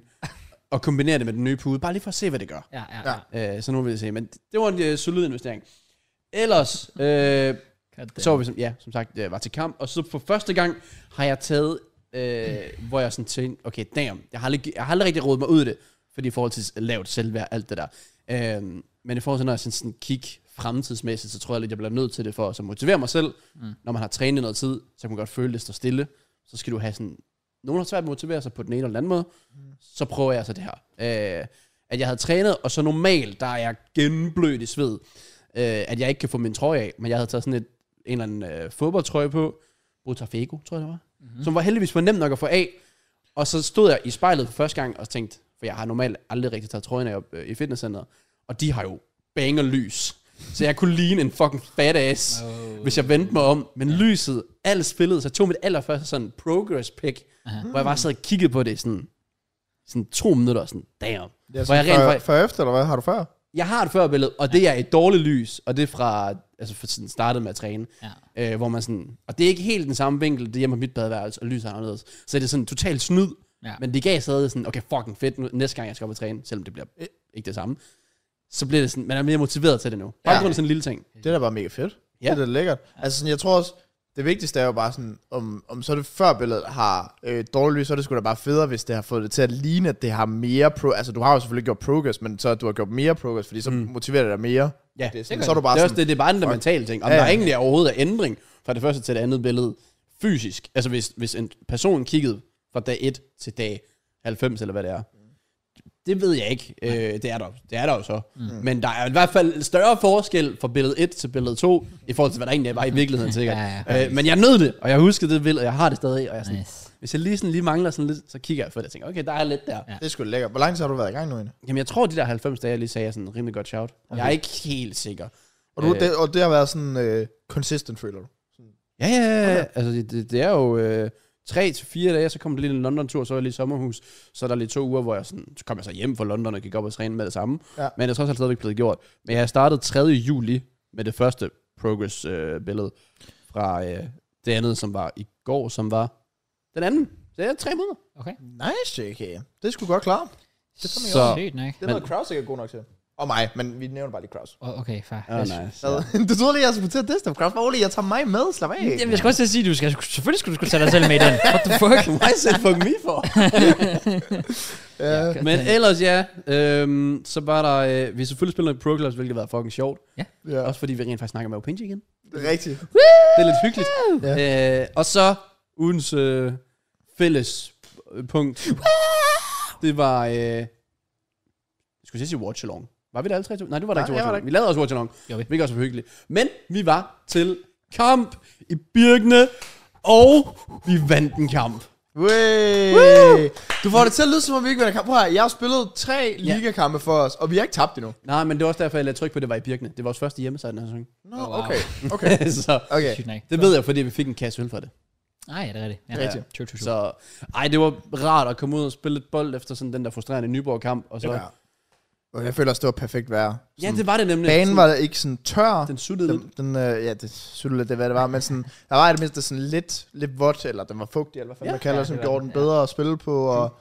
S3: og kombinere det med den nye pude, bare lige for at se, hvad det gør.
S1: Ja, ja, ja.
S2: Ja.
S3: Øh, så nu vil jeg se, men det var en øh, solid investering. Ellers, øh,
S1: Goddammit.
S3: så vi som, ja, som sagt, jeg var til kamp, og så for første gang har jeg taget, øh, hvor jeg sådan tænkte, okay, damn, jeg har aldrig, jeg har aldrig rigtig rodet mig ud af det, fordi i forhold til lavt selvværd, alt det der. Øh, men i forhold til, når jeg sådan, sådan kig fremtidsmæssigt, så tror jeg lidt, jeg bliver nødt til det for at så motivere mig selv. Mm. Når man har trænet i noget tid, så kan man godt føle, at det står stille. Så skal du have sådan, nogen har svært ved at motivere sig på den ene eller den anden måde, så prøver jeg så det her. Øh, at jeg havde trænet, og så normalt, der er jeg gennemblødt i sved, øh, at jeg ikke kan få min trøje af, men jeg havde taget sådan et, en eller anden øh, fodboldtrøje på, Botafogo, tror jeg det var, mm-hmm. som var heldigvis for nemt nok at få af, og så stod jeg i spejlet for første gang og tænkte, for jeg har normalt aldrig rigtig taget trøjen af op, øh, i fitnesscenteret, og de har jo banger lys, så jeg kunne ligne en fucking fat ass, oh. hvis jeg vendte mig om, men lyset, alt spillede, så jeg tog mit allerførste sådan progress pick,
S1: Aha.
S3: hvor jeg bare sad og kiggede på det i sådan, sådan to minutter, og sådan, damn.
S2: Det er
S3: Hvor
S2: sådan,
S3: jeg rent
S2: før,
S3: faktisk-
S2: før efter, eller hvad har du før?
S3: Jeg har et førbillede, og det er et dårligt lys, og det er fra, altså for sådan startede med at træne, ja. øh, hvor man sådan, og det er ikke helt den samme vinkel, det er hjemme på mit badeværelse, og lyset er anderledes. Så det er sådan totalt snyd,
S1: Ja.
S3: ja. men det gav stadig sådan, okay, fucking fedt, nu, næste gang jeg skal op og træne, selvom det bliver ikke det samme, så bliver det sådan, man er mere motiveret til det nu. Bare
S2: Ja.
S3: ja. grund af sådan en lille ting.
S2: Det er da bare mega fedt.
S3: Ja.
S2: Ja. Det er da lækkert. Altså, sådan, jeg tror også, det vigtigste er jo bare sådan, om, om så det før billedet har øh, dårligt lys, så er det sgu da bare federe, hvis det har fået det til at ligne, at det har mere pro... Altså, du har jo selvfølgelig gjort progress, men så at du har gjort mere progress, fordi så mm. motiverer det dig mere.
S3: Ja,
S2: det er
S3: det
S2: sådan,
S3: gør
S2: så er du bare
S3: det er også
S2: sådan,
S3: det, det er bare en mental ting. Om ja,
S2: Ja,
S3: ja.
S2: ja.
S3: der egentlig overhovedet er ændring fra det første til det andet billede fysisk. Altså hvis, hvis en person kiggede fra dag 1 til dag 90, eller hvad det er. Det ved jeg ikke. Øh, det, er der, det er der jo så. Mm. Men der er i hvert fald større forskel fra billede 1 til billede 2, i forhold til, hvad der egentlig var i virkeligheden sikkert.
S1: Ja,
S3: ja, øh, men jeg nød det, og jeg husker det vildt, og jeg har det stadig. Og jeg er sådan,
S1: Nice.
S3: Hvis jeg lige, sådan, lige mangler sådan lidt, så kigger jeg på det og tænker, okay, der er lidt der.
S1: Ja.
S2: det er sgu da lækkert. Hvor lang tid har du været i gang nu egentlig?
S3: Jamen jeg tror, de der 90 dage, jeg lige sagde, er sådan en rimelig godt shout. Okay. Jeg er ikke helt sikker.
S2: Og, du,
S3: Øh.
S2: øh. det, og det har været sådan øh, consistent, føler du?
S3: Ja, ja, ja. ja. Altså, det- det, det er jo øh, tre til fire dage, så kom der lige en London-tur, så var jeg lige i sommerhus. Så er der lige to uger, hvor jeg sådan, så kom jeg så hjem fra London og gik op og træne med det samme.
S2: Ja.
S3: Men det er trods alt stadigvæk blevet gjort. Men jeg startede 3. juli med det første progress-billede fra øh, det andet, som var i går, som var den anden. Så det er tre måneder.
S1: Okay.
S2: Nice, JK. Det er sgu godt klar.
S1: Det
S2: tager man
S3: jo også.
S1: Sygt nok.
S2: Det er noget, Kraus ikke er god nok til. Og mig, men vi nævner bare lige Kraus.
S1: Åh, okay, far.
S2: Ah,
S3: Oh, nice. ja.
S2: du troede lige, jeg skulle til at diste ham, Kraus. Bare rolig, jeg tager mig med. Slap af.
S1: Jamen, jeg skulle også til at sige, du skal, selvfølgelig skulle du skulle tage dig selv med i den. What the fuck?
S3: Why is it fuck me for?
S2: Ja.
S3: Men ellers ja, øhm, så var der, øh, vi selvfølgelig spillede noget pro clubs, hvilket var fucking sjovt.
S2: ja.
S3: Også fordi vi rent faktisk snakker med Opinji igen.
S2: Det er rigtigt.
S3: Det er lidt hyggeligt. Ja. Øh, og så ugens øh, fælles øh, punkt. Det var... Øh, jeg skulle jeg sige watch along. Var vi der alle tre? to? Nej, det var der
S2: Nej,
S3: ikke til
S2: jeg
S3: watch
S2: var der
S3: along. Vi lavede også watch along.
S1: Gjorde vi.
S3: Hvilket også var hyggeligt. Men vi var til kamp i Birkene. Og vi vandt en kamp.
S2: Woo! Du får det til at lyde, som om vi ikke vinder kamp. Prøv at høre, jeg har spillet tre ligakampe for os, og vi har ikke tabt endnu.
S3: Nej, men det var også derfor, jeg lagde tryk på, at det var i Birkene. Det var vores første hjemmesejr den her sæson.
S2: Nå,
S1: wow.
S2: okay. Okay.
S3: så
S2: okay.
S1: Sygt nok.
S3: det ved jeg, fordi vi fik en kasse øl for det.
S1: Nej, ja, det er rigtigt. Ja.
S2: Det er rigtigt.
S1: True, true, true.
S3: Så ej, det var rart at komme ud og spille lidt bold efter sådan den der frustrerende Nyborg-kamp. Og så,
S2: Ja. Og Jeg føler også, det var perfekt vejr.
S3: ja, det var det nemlig.
S2: Banen var ikke sådan tør.
S3: Den suttede lidt.
S2: Den, den øh, ja, det synes lidt, det er, hvad det var, men sådan, der var i det mindste sådan lidt, lidt vådt, eller den var fugtig, eller hvad fanden
S3: Ja.
S2: man kalder
S1: Ja,
S2: det, som
S1: det var
S2: gjorde
S1: den,
S2: den bedre at spille på, og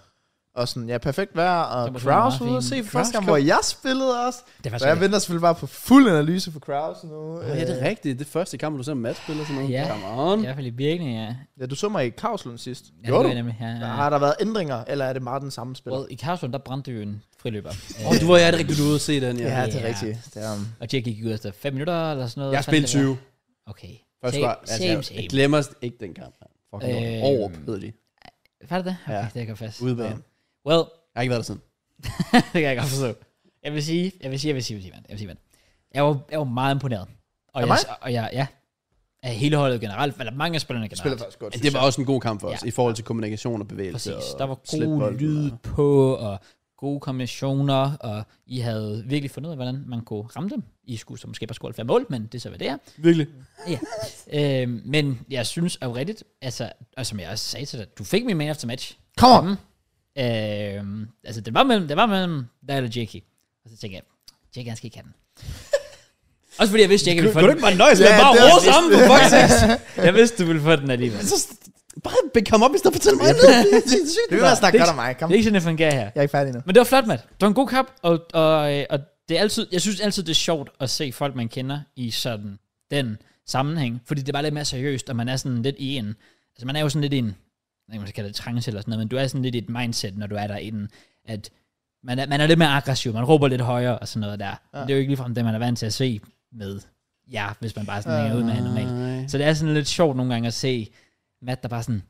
S2: Og sådan, ja, perfekt vejr,
S1: Den
S2: og
S1: var sådan
S2: Kraus
S1: meget
S2: Mm. var ude at
S1: fin.
S2: se for
S1: Kraus
S2: første gang,
S1: kom.
S2: hvor jeg spillede også.
S1: Det var
S2: Så jeg venter selvfølgelig bare på fuld analyse for Kraus nu. Øh,
S3: Oh, ja, det er rigtigt. Det er første kamp, du ser Mads spille og sådan noget.
S1: Ja.
S3: Come on.
S1: I hvert fald i virkelig, ja.
S2: Ja, du så mig i Kavslund sidst.
S1: ja det var jeg nemlig, ja, ja.
S2: Der, har der været ændringer, eller er det meget den samme spiller?
S1: Well, I Karlsson, der brændte jo en friløber.
S3: Åh, oh, du var ja, det er rigtigt, du var ude at se den, ja.
S2: ja, det er
S1: ja.
S2: rigtigt. Det er, um,
S1: og Jake gik ud efter 5 minutter eller sådan noget.
S3: Jeg
S1: Hvad
S3: spillede
S1: fanden
S3: 20.
S1: det var. Okay.
S3: Først
S1: same,
S3: var, altså,
S1: same,
S3: jeg, jeg
S1: same.
S3: glemmer ikke den kamp. man. Fucking
S1: Øhm.
S3: øh, overpædelig.
S1: Var det det? Okay,
S3: Ja.
S1: det kan jeg godt fast.
S3: Udebane.
S1: Well,
S3: Jeg har ikke været der siden.
S1: det kan jeg godt forstå. Jeg vil sige, jeg vil sige, jeg vil sige, jeg vil sige, mand. Jeg vil sige, mand. Jeg var, jeg var meget imponeret. Og jeg, og jeg, ja, af hele holdet generelt, eller mange af spillerne generelt.
S2: spiller faktisk godt.
S3: Altså, det var også en god kamp for os,
S1: Ja.
S3: i forhold til kommunikation og bevægelse.
S1: Præcis.
S3: og
S1: Der var
S3: slippe
S1: god
S3: bolden
S1: lyd
S3: og-
S1: på, og gode kombinationer, og I havde virkelig fundet ud af, hvordan man kunne ramme dem. I skulle så måske bare score fem mål, men det er så, hvad det er.
S3: Virkelig.
S1: Øh, men jeg synes oprigtigt, altså, og som jeg også sagde til dig, du fik min man after match.
S2: Kom on!
S1: Mm. Øh, altså, det var mellem, det var mellem dig eller Jackie. Og så tænkte jeg, Jackie, han skal ikke have den. Også fordi jeg vidste, Jackie ville få den. Kunne du ikke bare nøjes
S2: med Ja, bare at det var rose det.
S1: sammen på fuck Jeg vidste, du ville få den alligevel.
S3: Så Altså, bare kom op, i stedet for at fortælle mig andet. Det er sygt.
S2: Det vil være snakke
S1: Det-
S2: godt om mig. Kom.
S1: Det er ikke sådan, det fungerer her.
S2: Jeg er ikke færdig endnu.
S1: Men det var flot, Matt. Det var en god kamp, og, og, øh, og det er altid, jeg synes altid, det er sjovt at se folk, man kender i sådan den sammenhæng, fordi det er bare lidt mere seriøst, og man er sådan lidt i en, altså man er jo sådan lidt i en, jeg ved ikke, man skal kalde det trance eller sådan noget, men du er sådan lidt i et mindset, når du er derinde, at man er, man er lidt mere aggressiv, man råber lidt højere og sådan noget der. Ja. Det er jo ikke ligefrem det, man er vant til at se med ja, hvis man bare sådan hænger ud med han normalt.
S3: Øh.
S1: Så det er sådan lidt sjovt nogle gange at se Matt, der bare sådan,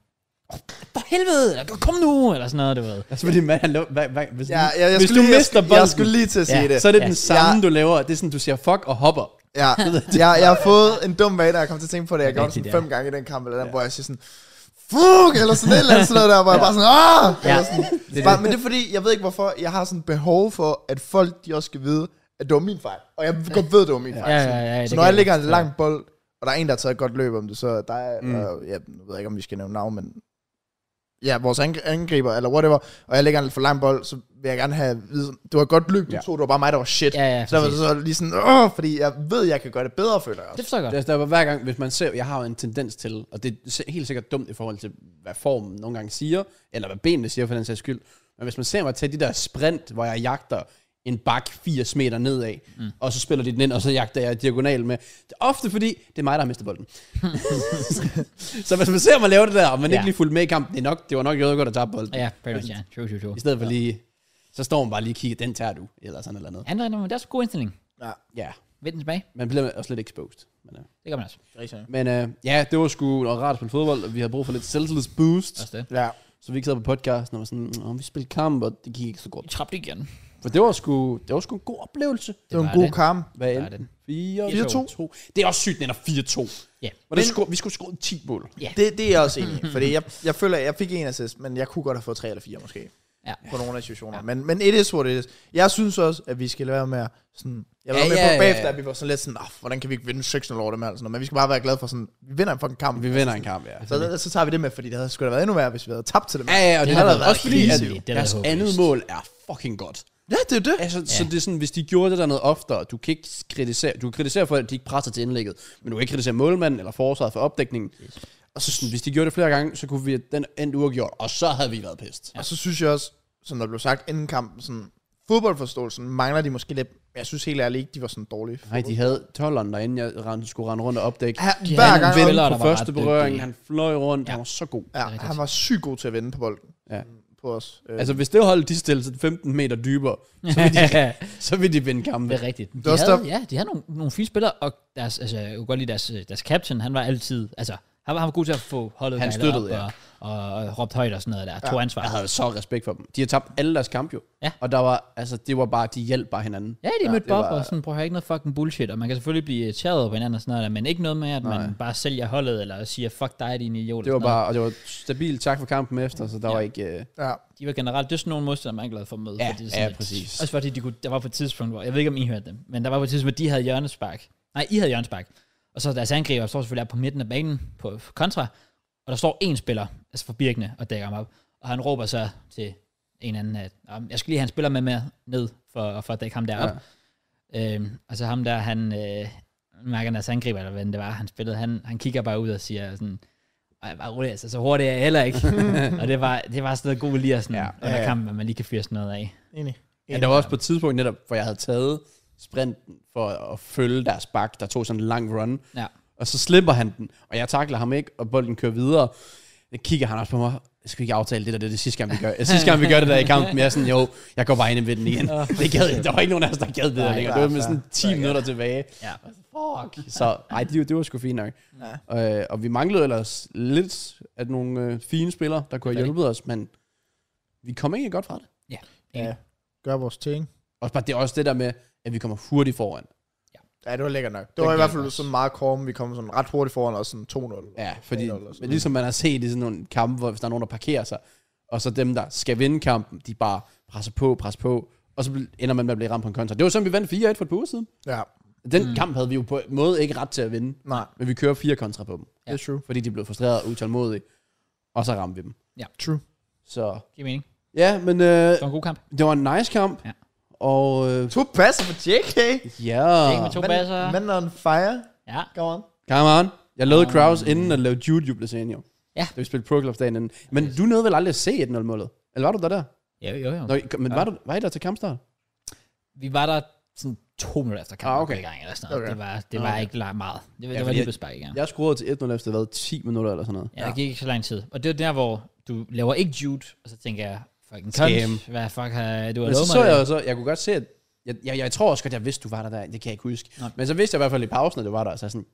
S1: "Åh, for helvede, eller kom nu, eller sådan noget, du ved.
S3: Altså, fordi man, han lå, hvad, hvad, hvis,
S2: Ja, ja, jeg
S3: hvis
S2: skulle
S3: du
S2: lige,
S3: mister
S2: jeg, skulle-
S3: bolden,
S2: jeg skulle lige til at sige
S1: Ja.
S2: det.
S3: så er det
S1: Ja.
S3: den samme, du laver. Det er sådan, du siger fuck og hopper.
S2: Ja, jeg, jeg har fået en dum vane, og jeg kom til at tænke på det. Jeg gjorde det
S1: Rigtigt,
S2: sådan
S1: ja.
S2: fem gange i den kamp, eller den, hvor jeg siger sådan, fuck, eller sådan et eller andet sådan noget der, hvor jeg bare sådan, ah!
S1: Ja.
S2: Eller sådan, bare, men det er fordi, jeg ved ikke hvorfor, jeg har sådan behov for, at folk de også skal vide, at det var min fejl. Og jeg godt ved, at det var min fejl.
S1: Ja,
S2: sådan.
S1: ja, ja, det
S2: så
S1: kan
S2: når jeg
S1: jeg
S2: ligger en
S1: godt
S2: lang bold, og der er en, der har taget et godt løb om det, så er der mm. og, ja, nu ved jeg ikke, om vi skal nævne navn, men ja, vores ang- angriber, eller whatever, og jeg ligger en for lang bold, så vil jeg gerne have at vide, sådan, det var et godt løb, du
S3: Ja.
S2: ja. tog, det var bare mig, der var shit.
S1: Ja, ja,
S2: så der var
S1: præcis.
S2: så lige sådan, Åh, fordi jeg ved, jeg kan gøre det bedre, føler jeg
S1: Det
S2: også.
S1: forstår jeg godt.
S3: Det er Altså, der, hver gang, hvis man ser, jeg har jo en tendens til, og det er si- helt sikkert dumt i forhold til, hvad formen nogle gange siger, eller hvad benene siger for den sags skyld, men hvis man ser mig tage de der sprint, hvor jeg jagter en bak 80 meter nedad, mm. og så spiller de den ind, og så jagter jeg diagonal med. Det er ofte fordi, det er mig, der har mistet bolden. så hvis man ser mig lave det der, og man ja. ikke
S1: Ja.
S3: lige fulgte med i kampen, det, er nok, det var nok jeg godt at tage bolden.
S1: Ja, pretty much, ja. True, true, true.
S3: I stedet for lige, så står man bare lige og kigger, den tager du, eller sådan eller andet.
S1: Andre men det er også en god indstilling.
S3: Ja,
S1: Vind den tilbage.
S3: man bliver også lidt exposed. Men, øh. ja.
S1: Det gør man altså. også.
S3: Men øh, ja, det var sgu noget rart at spille fodbold, og vi havde brug for lidt selvtillidsboost.
S1: Også det.
S2: Ja.
S3: Så vi ikke sad på podcasten og var sådan, om vi spillede kamp, og det gik ikke så
S1: Vi
S3: godt.
S1: tabte igen.
S3: For det var sgu, det var sgu en god oplevelse.
S2: Det var
S1: var
S2: en god
S1: det.
S2: kamp.
S3: Hvad
S1: var
S3: er det? 4
S1: 4-2.
S3: 2 Det er også sygt, den er 4-2.
S1: Ja.
S3: Og det sku, vi skulle score 10 mål.
S2: Det, det er jeg også enig i,
S3: Mm-hmm.
S2: fordi jeg, jeg føler, at jeg fik en assist, men jeg kunne godt have fået tre eller fire måske.
S1: Ja.
S2: På nogle af situationer. Ja. Men, men it is what it is. Jeg synes også, at vi skal lade være med at sådan... Jeg var
S3: Ja,
S2: ja, med
S3: ja,
S2: ja,
S3: ja,
S2: på bagefter,
S3: ja.
S2: at vi var sådan lidt sådan, "Åh, hvordan kan vi ikke vinde 6-0 over dem her? eller Sådan, noget. men vi skal bare være glade for sådan, vi vinder en fucking kamp.
S3: Vi vinder en kamp, ja.
S2: Så, så tager vi det med, fordi det havde sgu da været endnu værre, hvis vi havde tabt til dem.
S3: Ja, ja, og det,
S1: Det
S3: det
S1: havde
S3: har
S1: været
S3: også fordi,
S1: krise,
S3: at
S1: det havde
S3: deres
S1: været
S3: andet
S1: håbløst.
S3: mål er fucking godt.
S2: ja det er jo det.
S3: Altså, ja. så det er sådan, hvis de gjorde det der noget oftere, du kan ikke kritisere, du kan kritisere for, at de ikke presser til indlægget, men du kan ikke kritisere målmanden eller forsvaret for opdækningen. Yes. Og så sådan, hvis de gjorde det flere gange, så kunne vi den endt uafgjort, og så havde vi været pist.
S2: Og så synes jeg også, som der blev sagt inden kampen, sådan, fodboldforståelsen mangler de måske lidt. Men Jeg synes helt ærligt ikke, de var sådan dårlige.
S3: Nej, de havde 12'eren derinde, jeg rende, skulle rende rundt og opdække.
S2: Ja,
S1: De
S2: hver
S1: havde
S2: gang.
S1: nogle
S2: Han,
S1: spillere,
S3: på
S1: der var
S3: første
S1: ret dygtige.
S3: berøring, han fløj rundt, ja. han var så god.
S2: ja, han var sygt god til at vinde på bolden.
S3: Ja.
S2: På os. Øh,
S3: Altså, hvis det hold, de stillede sig 15 meter dybere, så ville de, så ville de vinde kampen.
S1: det er rigtigt. De
S2: var også
S1: havde, ja, de havde nogle, nogle fine spillere, og deres, altså, jeg kunne godt lide deres, øh, deres captain, han var altid, altså, han var, han var god til at få holdet
S3: Han
S1: gejlet
S3: støttede,
S1: op, og, og, og, råbt højt og sådan noget der, tog ansvar.
S3: Jeg havde så respekt for dem. De har tabt alle deres kamp jo.
S1: Ja.
S3: Og der var, altså, det var bare, de hjalp bare hinanden.
S1: Ja, de mødte
S3: det
S1: Bob
S3: var-
S1: og sådan, prøv at høre, ikke noget fucking bullshit, og man kan selvfølgelig blive irriteret på hinanden og sådan noget der, men ikke noget med, at man bare sælger holdet, eller siger, fuck dig, din idiot.
S3: Det
S1: og
S3: var
S1: sådan noget.
S3: bare, og det var stabilt tak for kampen efter, så der
S1: Ja.
S3: var ikke... Øh,
S2: ja.
S1: de var generelt, det er sådan nogle modstandere, man er glad for at møde.
S3: Ja,
S1: fordi det er sådan
S3: ja,
S1: et-
S3: præcis.
S1: Også fordi de kunne, der var på et tidspunkt, hvor, jeg ved ikke om I hørte dem, men der var på et tidspunkt, hvor de havde hjørnespark. Nej, I havde hjørnespark. Og så deres angriber står selvfølgelig på midten af banen på kontra, og der står en spiller, altså for Birkene, og dækker ham op. Og han råber så til en anden, at "Nå, jeg skal lige have en spiller med, med ned for, for at dække ham derop. Ja. Øhm, og så ham der, han øh, mærker deres angriber, eller hvad end det var, han spillede, han, han kigger bare ud og siger sådan, Og jeg var rolig, altså, så hurtigt er jeg heller ikke. og det var, det var sådan noget god lige at sådan, ja,
S2: Ja.
S1: under
S2: Ja, ja.
S1: kampen, at man lige kan fyre sådan noget af.
S2: Enig.
S3: Ja, der var også på et tidspunkt netop, hvor jeg havde taget sprinten for at følge deres bak, der tog sådan en lang run.
S1: Ja.
S3: Og så slipper han den, og jeg takler ham ikke, og bolden kører videre. Det kigger han også på mig. Skal vi ikke aftale det der, det er det sidste gang, vi gør, sidste gang, vi gør det der i kampen? Jeg er sådan, jo, jeg går bare ind i ved den igen. Det gad, jeg- der var ikke nogen af os, der gad det der
S2: Nej,
S3: længere.
S2: klar,
S3: Det var med
S2: klar.
S3: sådan 10 minutter tilbage.
S1: Ja.
S3: Fuck. Så ej, det, det var sgu fint nok. Ja. Øh, og vi manglede ellers lidt af nogle øh, fine spillere, der kunne have hjulpet os, men vi kom egentlig godt fra det.
S2: Ja. Gør vores ting.
S3: Og bare, det er også det der med, at vi kommer hurtigt foran.
S2: Ja, det var lækkert nok. Det
S3: Den
S2: var i hvert fald
S3: gik
S2: sådan meget korm. Vi kom sådan ret hurtigt foran os, sådan 2-0.
S3: Ja, fordi
S2: eller sådan
S3: men ligesom man har set i sådan nogle kampe, hvor hvis der er nogen, der parkerer sig, og så dem, der skal vinde kampen, de bare presser på, presser på, og så bl- ender man med at blive ramt på en kontra. Det var sådan, vi vandt 4-1 for et par uger siden.
S2: Ja,
S3: Den mm. kamp havde vi jo på en måde ikke ret til at vinde,
S2: nej.
S3: men vi kører fire kontra på dem,
S2: Det er true.
S3: fordi de blev frustreret og utålmodige, og så ramte vi dem.
S2: True.
S3: Så
S1: Giver mening.
S3: ja, men øh,
S1: Det var en god kamp.
S3: det var en nice kamp,
S1: Ja.
S3: og øh,
S2: To passer for JK.
S3: ja,
S1: Det er med to baser.
S2: Men on fire.
S1: Ja.
S2: Go on.
S3: come on. Jeg lavede Kraus inden at lave Jude Jubilæsien jo.
S1: Um, Ja.
S3: Da vi spillede Pro Clubs dagen inden. Men du nåede vel aldrig at se 1-0-målet? Eller var du der der?
S1: Jo, jo, jo.
S3: Nå, I- men var, du, var I der til kampstart?
S1: Vi var der sådan to minutter efter kampen.
S3: Ah, okay.
S1: i Gang, eller sådan noget.
S2: Okay.
S1: Det var, det var ikke la- meget. Det, var- det var
S3: fordi
S1: lige
S3: jeg-
S1: på spark, ja.
S3: Jeg scorede til 1-0 efter hvad, 10 minutter eller sådan noget.
S1: Ja, der gik ikke så lang tid. Og det var der, hvor du laver ikke Jude, og så tænker jeg, fucking
S3: Scam.
S1: cunt, hvad fuck har du har
S3: Men
S1: lovet
S3: så så
S1: mig?
S3: jeg
S1: det.
S3: jo så, jeg kunne godt se, at jeg, jeg, jeg tror også godt, jeg vidste, du var der der. Det kan jeg ikke huske.
S1: Nå.
S3: Men så vidste jeg i hvert fald i pausen, at du var der. Så jeg sådan,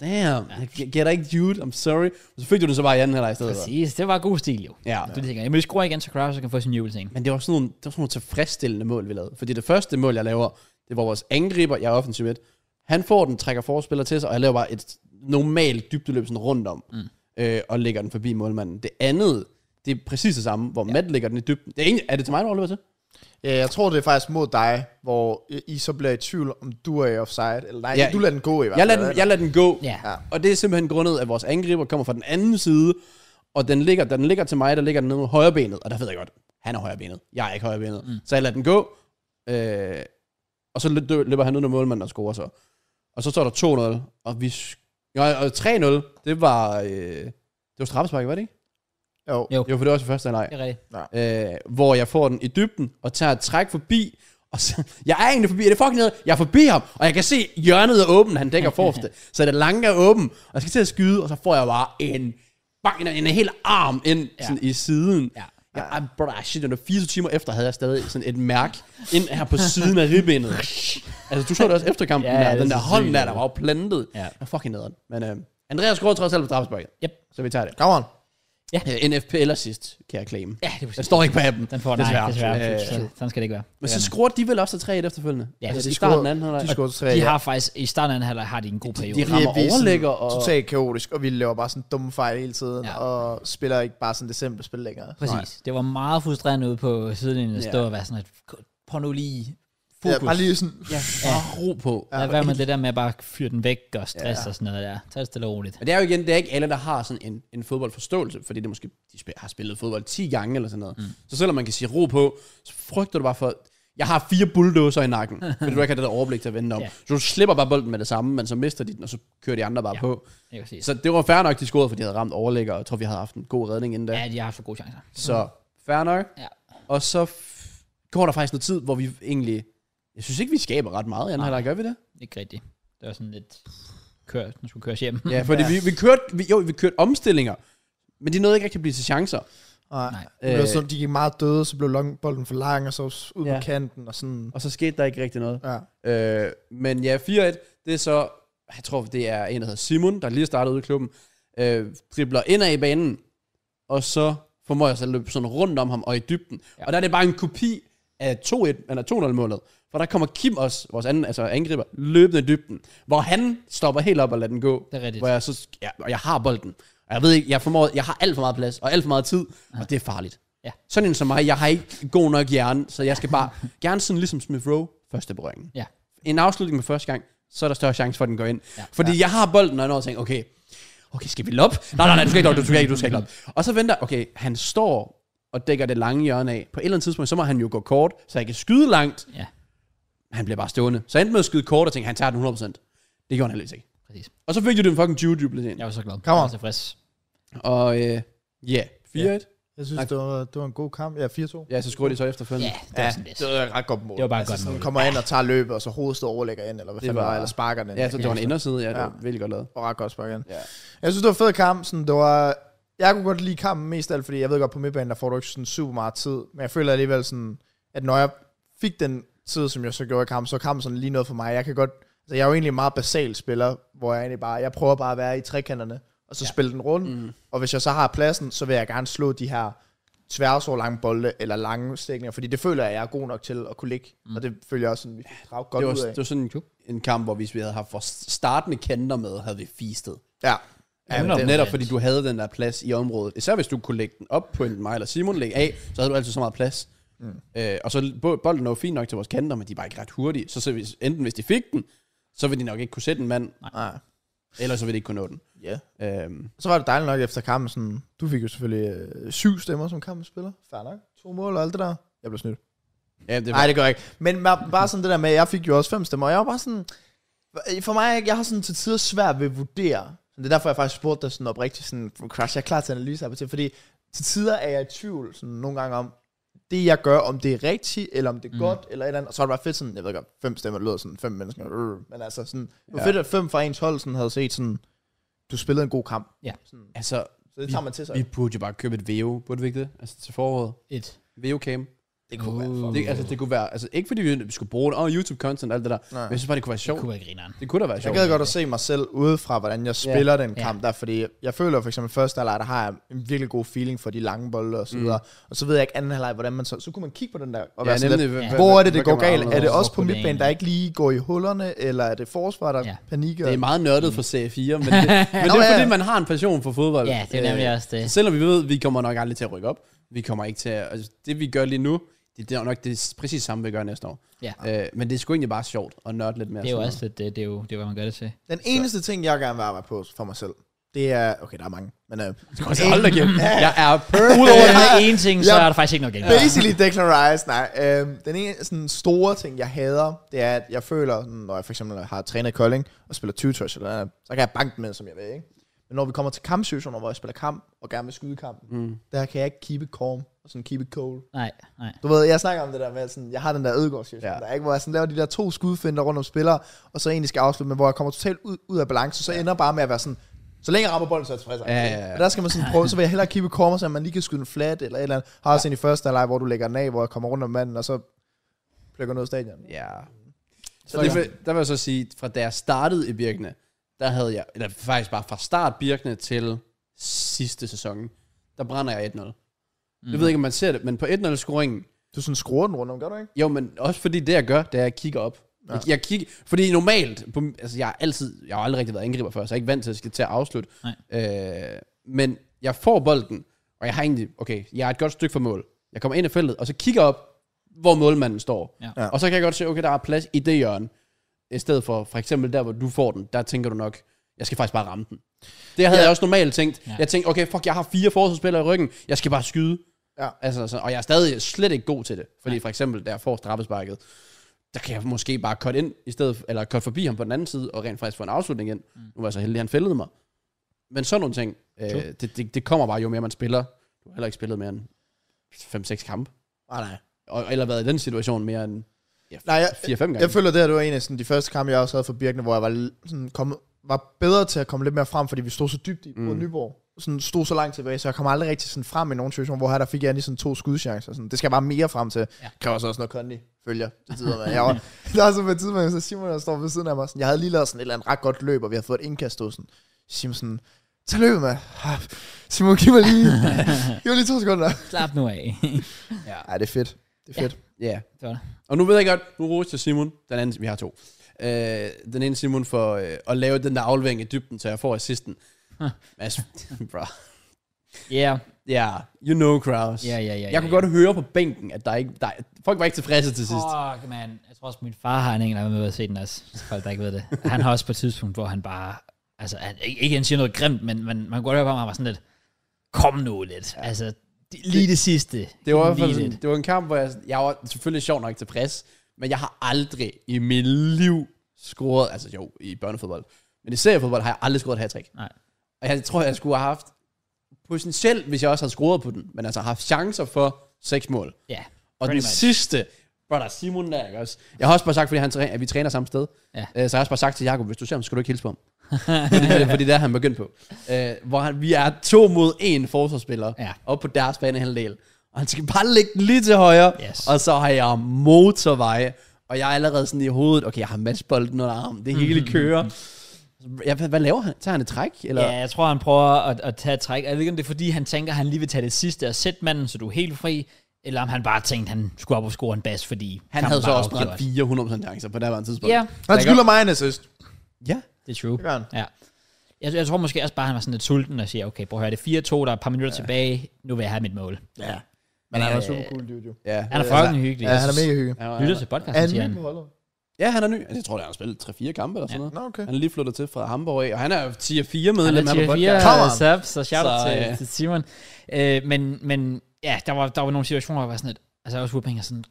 S3: damn, jeg jeg gætter ikke Jude, I'm sorry. Og så fik du det så bare i anden halvleg i stedet. for.
S1: Præcis, det var god stil jo.
S3: Ja.
S1: Du tænker, jamen vi skruer igen, så Kraus kan få sin jubelscene.
S3: Men det var, sådan nogle, det var sådan nogle tilfredsstillende mål, vi lavede. Fordi det første mål, jeg laver, det var vores angriber, jeg er offensiv et. Han får den, trækker forspiller til sig, og jeg laver bare et normalt dybdeløb sådan rundt om. Mm. Øh, og lægger den forbi målmanden. Det andet, det er præcis det samme, hvor ja. Matt lægger den i dybden. Det er, ikke, er det til mig, du overlever til?
S2: Ja, jeg tror, det er faktisk mod dig, hvor I- I så bliver i tvivl, om du er i offside. Eller nej,
S3: Ja.
S2: ja, du lader den gå i hvert
S3: Jeg
S2: fald.
S3: lader, den, jeg lader den gå.
S1: Ja.
S2: Ja.
S3: Og det er simpelthen grundet, at vores angriber kommer fra den anden side, og den ligger, da den ligger til mig, der ligger den nede med højrebenet, og der ved jeg godt, han er højrebenet, jeg er ikke højrebenet. Mm. Så jeg lader den gå, øh, og så lø- dø- løber han ud af målmanden og scorer så. Og så står der 2-0, og vi... sk- Nej, og 3-0, det var... Øh, det var straffespark, var det ikke?
S2: Jo.
S1: Jo.
S3: Jo, for det var også i første halvleg
S1: Det er rigtigt.
S3: øh, hvor jeg får den i dybden, og tager et træk forbi, og så, jeg er egentlig forbi, er det fucking noget? Jeg er forbi ham, og jeg kan se hjørnet er åben, han dækker forreste, så det lange er åben, og jeg skal til at skyde, og så får jeg bare en, bang, en, en hel arm ind ja. sådan, i siden.
S1: Ja.
S3: Jeg, ja, bro, shit, under 24 timer efter havde jeg stadig sådan et mærke ind her på siden af ribbenet. altså, du så det også efter kampen
S1: Ja,
S3: ja, der,
S1: det er
S3: den der
S1: så
S3: hånd
S1: sygt,
S3: der,
S1: ja.
S3: der var jo plantet.
S1: Ja.
S3: Ja. Jeg fucking nederen. Men øh, Andreas scorede trods alt på straffesparket.
S1: Yep.
S3: Så vi tager det.
S2: Come on.
S3: Øh, NFP eller sidst, kan jeg claim.
S1: Ja, det er
S3: Den
S1: præcis.
S3: står ikke på appen.
S1: Den får nej,
S3: Desværre.
S1: desværre. desværre. Så,
S3: Øh,
S1: sådan skal det ikke være.
S3: Men
S1: Det
S3: så
S1: er
S3: skruer de vel også til 3-1 efterfølgende?
S1: Ja,
S3: altså,
S1: de
S3: de
S2: scorer-
S3: starter den anden halvleg.
S2: De scorede tre.
S1: den. De
S2: ja.
S1: har faktisk, i starten af anden halvleg har de en god periode.
S3: de rammer
S2: vi er sådan
S3: overlægger og-
S2: Totalt kaotisk, og vi laver bare sådan dumme fejl hele tiden,
S1: Ja.
S2: ja. og spiller ikke bare sådan det simple spil længere.
S1: Præcis. Det var meget frustrerende ude på sidelinjen at stå
S3: Ja.
S1: og være sådan, at prøv nu lige
S2: Ja,
S1: fokus.
S2: bare lige sådan,
S1: Ja,
S3: Ja.
S1: ja.
S3: ro på. Ja.
S1: Lad være med det der med at bare fyre den væk og stress ja. og sådan noget der. Tag det stille og roligt.
S3: Men det er jo igen, det er ikke alle, der har sådan en, en fodboldforståelse, fordi det måske, de spil, har spillet fodbold 10 gange eller sådan noget. Mm. Så selvom man kan sige ro på, så frygter du bare for, jeg har fire bulldozer i nakken, fordi du ikke har det der overblik til at vende om.
S1: Ja.
S3: Yeah. Så du slipper bare bolden med det samme, men så mister de den, og så kører de andre bare
S1: Ja.
S3: ja. på.
S1: Det er præcis.
S3: Så det var fair nok, de scorede, fordi de havde ramt overlægger, og jeg tror, vi havde haft en god redning inden da.
S1: Ja, de har haft for gode chancer.
S3: Så fair nok.
S1: Ja.
S3: Og så f- går der faktisk noget tid, hvor vi egentlig... Jeg synes ikke, vi skaber ret meget i anden
S1: Nej.
S3: halvleg, gør vi det?
S1: Ikke rigtigt. Det var sådan lidt... Kør, den skulle køres hjem.
S3: Ja, fordi vi, vi kørte, vi, jo, vi kørte omstillinger, men de nåede ikke rigtig at blive til chancer.
S1: Nej.
S2: nej, det
S3: Øh.
S2: blev sådan, de gik meget døde, så blev longbolden for lang, og så ud på
S3: Ja.
S2: kanten, og sådan,
S3: Og så skete der ikke rigtig noget.
S2: ja.
S3: Øh, men ja, 4-1, det er så... Jeg tror, det er en, der hedder Simon, der lige startede ude i klubben. Øh, dribler indad i banen, og så formår jeg så at løbe sådan rundt om ham og i dybden. Ja. Og der er det bare en kopi af 2-1, eller 2-0-målet. For der kommer Kim også, vores anden, altså angriber, løbende i dybden. Hvor han stopper helt op og lader den gå.
S1: Det er rigtigt.
S3: Hvor jeg så, ja, og jeg har bolden. Og jeg ved ikke, jeg, formår, jeg har alt for meget plads og alt for meget tid, ja. og det er farligt.
S1: Ja.
S3: Sådan en som mig, jeg har ikke god nok hjerne, så jeg skal bare gerne sådan ligesom Smith Rowe, første berøringen
S1: Ja.
S3: en afslutning med første gang, så er der større chance for, at den går ind. Ja. Fordi ja. jeg har bolden, og jeg når at tænke, okay, okay, skal vi loppe? Nej, nej, nej, du skal ikke loppe, du skal ikke, du skal ikke loppe. Og så venter, okay, han står og dækker det lange hjørne af. På et eller andet tidspunkt, så må han jo gå kort, så jeg kan skyde langt.
S1: Ja.
S3: Han bliver bare stående. Så jeg endte med at skyde kort og tænke, han tager den 100%. Det gjorde han heldigvis ikke.
S1: Præcis.
S3: Og så fik du den fucking 20 dyblet ind.
S1: Jeg var så glad.
S2: Come
S1: Jeg var
S2: on.
S1: tilfreds.
S3: Og øh, ja, 4-1.
S2: Jeg synes,
S3: Tak.
S2: det var, det var en god kamp. Ja, 4-2.
S3: Ja, så scorer de så efterfølgende.
S1: Ja, det var sådan lidt.
S2: det var et ret godt mål.
S1: Det
S2: Altså,
S1: var bare et godt
S2: sådan,
S1: mål.
S2: kommer ind og tager løbet, og så hovedet overlægger ind, eller hvad
S3: Det
S2: fanden var,
S3: var-
S2: eller sparker den.
S3: Ja, så det var en inderside, ja, det
S2: Ja.
S3: var virkelig godt lavet.
S2: Og ret godt sparket ind.
S3: Ja.
S2: Jeg synes, det var en fed kamp. Sådan, det var, jeg kunne godt lide kampen mest af alt, fordi jeg ved godt, på midtbanen, der får du ikke sådan super meget tid. Men jeg føler alligevel sådan, at når jeg fik den tid, som jeg så gjorde i kampen, så var kampen sådan lige noget for mig. Jeg kan godt, altså jeg er jo egentlig en meget basal spiller, hvor jeg egentlig bare, jeg prøver bare at være i trekanterne, og så ja. spille den rundt. Mm. Og hvis jeg så har pladsen, så vil jeg gerne slå de her tværsår lange bolde, eller lange stikninger, fordi det føler jeg, jeg er god nok til at kunne ligge. Mm. Og det føler jeg også sådan, vi fik draget godt
S3: Det var,
S2: ud af.
S3: det var sådan en, en kamp, hvor hvis vi havde haft vores startende kanter med, havde vi feastet.
S2: Ja.
S3: Ja,
S1: men
S3: det,
S1: det-
S3: netop fordi du havde den der plads i området. Især hvis du kunne lægge den op på en mig eller Simon lægge af, så havde du altid så meget plads. Mm. Øh, og så bo- bolden er jo fint nok til vores kanter, men de er bare ikke ret hurtige. Så, så hvis, enten hvis de fik den, så ville de nok ikke kunne sætte en mand,
S2: Nej.
S3: eller så ville de ikke kunne nå den.
S2: Ja.
S3: Øhm,
S2: Så var det dejligt nok efter kampen. Sådan, du fik jo selvfølgelig øh, syv stemmer som kampens spiller. Fair nok. To mål og alt det der. Jeg blev snydt.
S3: ja, det var,
S2: Nej, det gør jeg ikke. Men bare, bare sådan det der med, at jeg fik jo også fem stemmer. Og jeg var bare sådan... For mig, jeg har sådan til tider svært ved at vurdere. Så Det er derfor, jeg faktisk spurgte dig sådan oprigtigt. Sådan, Crash, jeg er klar til analyse her til. Fordi til tider er jeg i tvivl sådan nogle gange om, det jeg gør, om det er rigtigt, eller om det er mm. godt, eller et eller andet. Og så er det bare fedt sådan, jeg ved godt, fem stemmer lyder sådan, fem mennesker, øh, men altså sådan, det var
S3: Ja.
S2: fedt, at fem fra ens hold sådan, havde set sådan, du spillede en god kamp.
S3: altså,
S2: Så det tager man til sig.
S3: vi burde jo bare købe et VEO, burde vi ikke det? Altså til foråret.
S1: Et.
S3: VEO Cam.
S2: Det kunne være
S1: Uh.
S2: fucking
S3: Det, altså, det kunne være, altså ikke fordi vi skulle bruge det, og YouTube-content og alt det der,
S2: Nej.
S3: men jeg synes bare, det kunne være
S1: Det
S3: sjovt.
S1: kunne være grineren.
S3: Det kunne da være
S2: Jeg
S3: sjovt.
S2: gad godt at se mig selv udefra, hvordan jeg spiller den
S1: Ja.
S2: kamp der, fordi jeg føler for eksempel første halvleg, der har jeg en virkelig god feeling for de lange bolde og så
S3: Mm.
S2: videre, og så ved jeg ikke anden halvleg, hvordan man så, så kunne man kigge på den der og ja, være sådan lidt,
S1: Ja.
S3: hvad-
S2: hvor er det,
S3: hvad-
S2: det
S3: hvad
S2: går
S3: kan man
S2: galt? Er det
S1: Hvor
S2: også på
S1: går det
S2: midtbanen, der ikke lige går i hullerne, eller er det forsvar, der
S1: Ja.
S2: ja. panikker?
S3: Det er meget nørdet for serie 4, men det, men det er
S2: ja.
S3: fordi, man har en passion for fodbold.
S1: Ja, det er nemlig
S3: Øh,
S1: også det.
S3: Selvom vi ved, at vi kommer nok aldrig til at rykke op. Vi kommer ikke til at, altså, det vi gør lige nu, det, det er nok det er præcis samme, vi gør næste år.
S1: Ja.
S3: Øh, men det er sgu egentlig bare sjovt at nørde lidt mere.
S1: Det er jo
S3: sådan
S1: også lidt, øh, det, det er jo, det er, hvad man gør det til.
S2: Den eneste ting, jeg gerne vil arbejde på for mig selv, det er, okay, der er mange, men øh,
S3: noget. Altså, hold da kæft. Jeg er
S1: Udover den
S2: Ja.
S1: her ene ting, så
S2: Ja.
S1: er der faktisk ikke noget galt.
S2: Basically Declan Rice, nej. Øhm, den ene sådan, store ting, jeg hader, det er, at jeg føler, sådan, når jeg for eksempel har trænet i Kolding og spiller 20 touch eller noget, andet, så kan jeg banke den med, som jeg vil, ikke? Men når vi kommer til kampsituationer, hvor jeg spiller kamp og gerne vil skyde kampen, mm. der kan jeg ikke keep it calm og sådan keep it cool.
S1: Nej, nej.
S2: Du ved, jeg snakker om det der med, at sådan, jeg har den der ødegårds ja.
S3: Ja.
S2: der, ikke? hvor jeg sådan laver de der to skudfinder rundt om spillere, og så egentlig skal afslutte, men hvor jeg kommer totalt ud, ud af balance, så ja. ender bare med at være sådan, så længe jeg rammer bolden, så er jeg tilfreds.
S3: Ja, ja, ja.
S2: Og der skal man sådan prøve, så vil jeg hellere keep it calm, så man lige kan skyde den flat, eller et eller andet. Har også en i første halvleg, hvor du lægger den af, hvor jeg kommer rundt om manden, og så plukker ned af stadion.
S3: Ja. Så det, vil- der vil jeg så sige, fra da jeg startede i Birkene, der havde jeg, eller faktisk bare fra start Birkene til sidste sæson, der brænder jeg 1-0. Mm. Jeg ved ikke, om man ser det, men på 1-0-scoringen,
S2: Du sådan skruer den rundt om, gør du ikke?
S3: jo, men også fordi det, jeg gør, det er, at jeg kigger op. Ja. Jeg, jeg kigger, fordi normalt, på, altså jeg har altid, jeg har aldrig rigtig været angriber før, så jeg er ikke vant til at skal til at afslutte. Øh, men jeg får bolden, og jeg har egentlig, okay, jeg er et godt stykke fra mål. Jeg kommer ind i feltet, og så kigger op, hvor målmanden står.
S1: Ja.
S2: Ja.
S3: Og så kan jeg godt se, okay, der er plads i det hjørne. I stedet for, for eksempel der, hvor du får den, der tænker du nok, jeg skal faktisk bare ramme den. Det havde ja. jeg også normalt tænkt. Ja. Jeg tænkte, okay, fuck, jeg har fire forsvarsspillere i ryggen, jeg skal bare skyde.
S2: Ja.
S3: Altså, så, og jeg er stadig slet ikke god til det. Fordi for eksempel, da jeg får straffesparket, der kan jeg måske bare cut ind, i stedet, for- eller cut forbi ham på den anden side, og rent faktisk få en afslutning ind. Mm. Nu var jeg så heldig, at han fældede mig. Men sådan nogle ting, øh, det, det, det, kommer bare jo mere man spiller. Du har heller ikke spillet mere end 5-6 kampe.
S2: Ah, nej.
S3: Og, eller været i den situation mere end ja,
S2: Nej, jeg,
S3: 4-5 gange.
S2: Jeg føler, det her det var en af sådan, de første kampe, jeg også havde for Birkene, hvor jeg var, l- sådan, kom, var bedre til at komme lidt mere frem, fordi vi stod så dybt i mm. Nyborg. Sådan, stod så langt tilbage, så jeg kom aldrig rigtig sådan frem i nogen situation, hvor her der fik jeg lige sådan to skudchancer. Sådan. Det skal jeg bare mere frem til. Ja. Kræver så også noget kondi følger til tider med. Jeg var, der var så på et tidspunkt, så Simon der står ved siden af mig. Sådan, jeg havde lige lavet sådan et eller andet ret godt løb, og vi havde fået et indkast. og Sådan. Simon sådan, tag løbet med. Simon, giv mig lige, giv mig lige to sekunder.
S1: Slap nu af.
S2: Ja, det er fedt. Det er fedt.
S3: Ja.
S1: Det var det.
S3: Og nu ved jeg godt, nu roste jeg Simon, den anden, vi har to. Øh, den ene Simon for øh, at lave den der aflevering i dybden, så jeg får assisten. Men altså, bro.
S1: Yeah.
S3: Ja, yeah, you know Kraus.
S1: Ja, ja, ja, ja,
S3: Jeg kunne godt høre på bænken, at der ikke, der, folk var ikke tilfredse til sidst.
S1: Fuck, man. Jeg tror også, min far har en enkelt med at se den også. til Folk, der ikke ved det. Han har også på et tidspunkt, hvor han bare... Altså, han, ikke ikke han siger noget grimt, men man, man kan godt høre på ham, han var sådan lidt... Kom nu lidt. Ja. Altså, det, lige det sidste.
S3: Det var, i hvert fald
S1: lige
S3: sådan, det var en kamp, hvor jeg, jeg var selvfølgelig sjov nok tilfreds, men jeg har aldrig i mit liv scoret, altså jo, i børnefodbold, men i seriefodbold har jeg aldrig scoret et hat
S1: Nej.
S3: Og jeg tror, jeg skulle have haft potentielt, hvis jeg også havde scoret på den, men altså haft chancer for seks mål.
S1: Ja.
S3: Og
S1: Pretty
S3: den
S1: much.
S3: sidste, brother Simon der, ikke også? Jeg har også bare sagt, fordi han træ, at vi træner samme sted.
S1: Ja.
S3: Øh, så jeg har også bare sagt til Jakob, hvis du ser ham, skal du ikke hilse på ham. fordi, det, fordi det er han begyndt på. Øh, hvor han, vi er to mod en forsvarsspiller,
S1: Ja.
S3: op på deres banehalvdel. Og han skal bare lægge den lige til højre,
S1: Yes.
S3: og så har jeg motorveje, og jeg er allerede sådan i hovedet, okay, jeg har matchbolden under armen, det
S1: Mhm.
S3: hele kører. Ja, hvad, hvad laver han? Tager han et træk? Eller?
S1: Ja, jeg tror, han prøver at, at tage et træk. Jeg ved ikke, om det er, fordi han tænker, at han lige vil tage det sidste og sætte manden, så du er helt fri. Eller om han bare tænkte, at han skulle op og score en bas, fordi
S3: Han
S1: kampen
S3: havde så
S1: var
S3: også brændt
S1: afgjort.
S3: 400% chancer på det her tidspunkt.
S1: Ja,
S6: Han skylder mig en assist.
S3: ja.
S1: det er true.
S2: Det gør han.
S1: Ja. Jeg, jeg tror måske også bare, han var sådan lidt sulten og siger, okay, prøv at høre, det er 4-2, der er et par minutter ja. tilbage, nu vil jeg have mit mål.
S2: Ja. Men han er super cool, dude, jo.
S3: ja.
S1: Han er fucking hyggelig.
S2: Øh, Ja, han er mega hyggelig.
S3: mega...
S1: Lytter til podcasten, Altså, siger han.
S2: holdet?
S3: Ja, han er ny. Altså, jeg tror, det er, han har spillet 3-4 kampe eller sådan noget.
S2: Nå, okay.
S3: Han er lige flyttet til fra Hamburg af, og han er jo 10-4 medlem her på
S1: Han
S3: podcast.
S1: er
S2: Come
S1: tier 4 subs, så shout out
S3: Så,
S1: til,
S3: ja.
S1: til Simon. Øh, men, men ja, der var, der var nogle situationer, hvor jeg var sådan lidt, altså jeg var Whooping er sådan,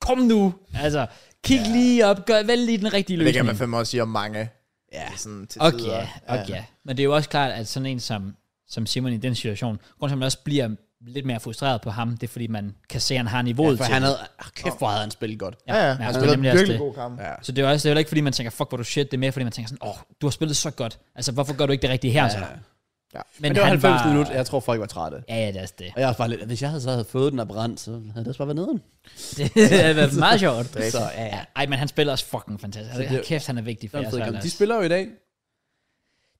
S1: kom nu, altså kig ja. lige op, gør vel lige den rigtige løsning.
S2: Det kan man fandme også sige om mange.
S3: Ja.
S2: Sådan til
S1: Og
S2: tider.
S1: ja, og ja. Men det er jo også klart, at sådan en som, som Simon i den situation, grund til, at man også bliver lidt mere frustreret på ham, det er, fordi man kan se, at han har niveauet
S3: For
S1: til
S3: han
S1: det.
S3: havde... ah, Kæft, hvor havde han spillet godt.
S2: Ja, ja. Han
S1: det er
S2: spiller
S1: nemlig også
S2: virkelig
S1: det.
S2: god kamp.
S3: Ja.
S1: Så det er jo også det er jo ikke, fordi man tænker, fuck, hvor er du shit, det er mere, fordi man tænker sådan, åh, oh, du har spillet så godt. Altså, hvorfor gør du ikke det rigtige her? Ja, så?
S3: Ja.
S1: Men,
S3: Men det var
S1: han
S3: 90 var... minutter. Jeg tror, folk var trætte.
S1: Ja, ja, det er også det.
S3: Og jeg var bare lidt... Hvis jeg havde så havde fået den og brændt, så havde det også bare været neden.
S1: det havde været meget sjovt.
S3: er
S1: så,
S3: rigtigt.
S1: ja, ja. Ej, men han spiller også fucking fantastisk. Altså,
S3: det-
S1: kæft, han er vigtig
S3: Det
S1: for
S3: var en
S1: jeres
S3: fed
S1: hold
S3: kamp. De
S1: også.
S3: spiller jo i dag.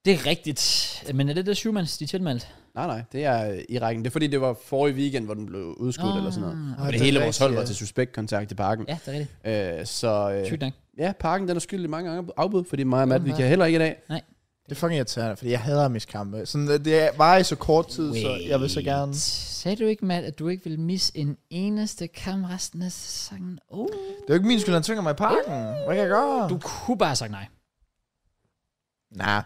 S1: Det er rigtigt. Men er det der syvmands, de er tilmeldt?
S3: Nej, nej, det er øh, i rækken. Det er fordi, det var forrige weekend, hvor den blev udskudt
S1: Ah.
S3: eller sådan noget.
S1: Ah,
S3: Og det
S2: det er
S3: hele vores hold
S2: rigtigt,
S3: var
S2: ja.
S3: til suspektkontakt i parken.
S1: Ja, det er rigtigt.
S3: Øh, så øh,
S1: Sygt nok.
S3: ja, parken den er skyldig mange gange afbud, fordi mig og Matt, vi kan heller ikke i dag.
S2: Det er fucking irriterende, fordi jeg hader mis kampe. Sådan, øh, det var i så kort tid, så jeg vil så gerne...
S1: Wait. Sagde du ikke, Matt, at du ikke ville misse en eneste kamp resten af sæsonen? Oh.
S2: Det er jo ikke min skyld, han tvinger mig i parken. Hvad kan jeg gøre?
S1: Du kunne bare have sagt nej.
S2: Nej.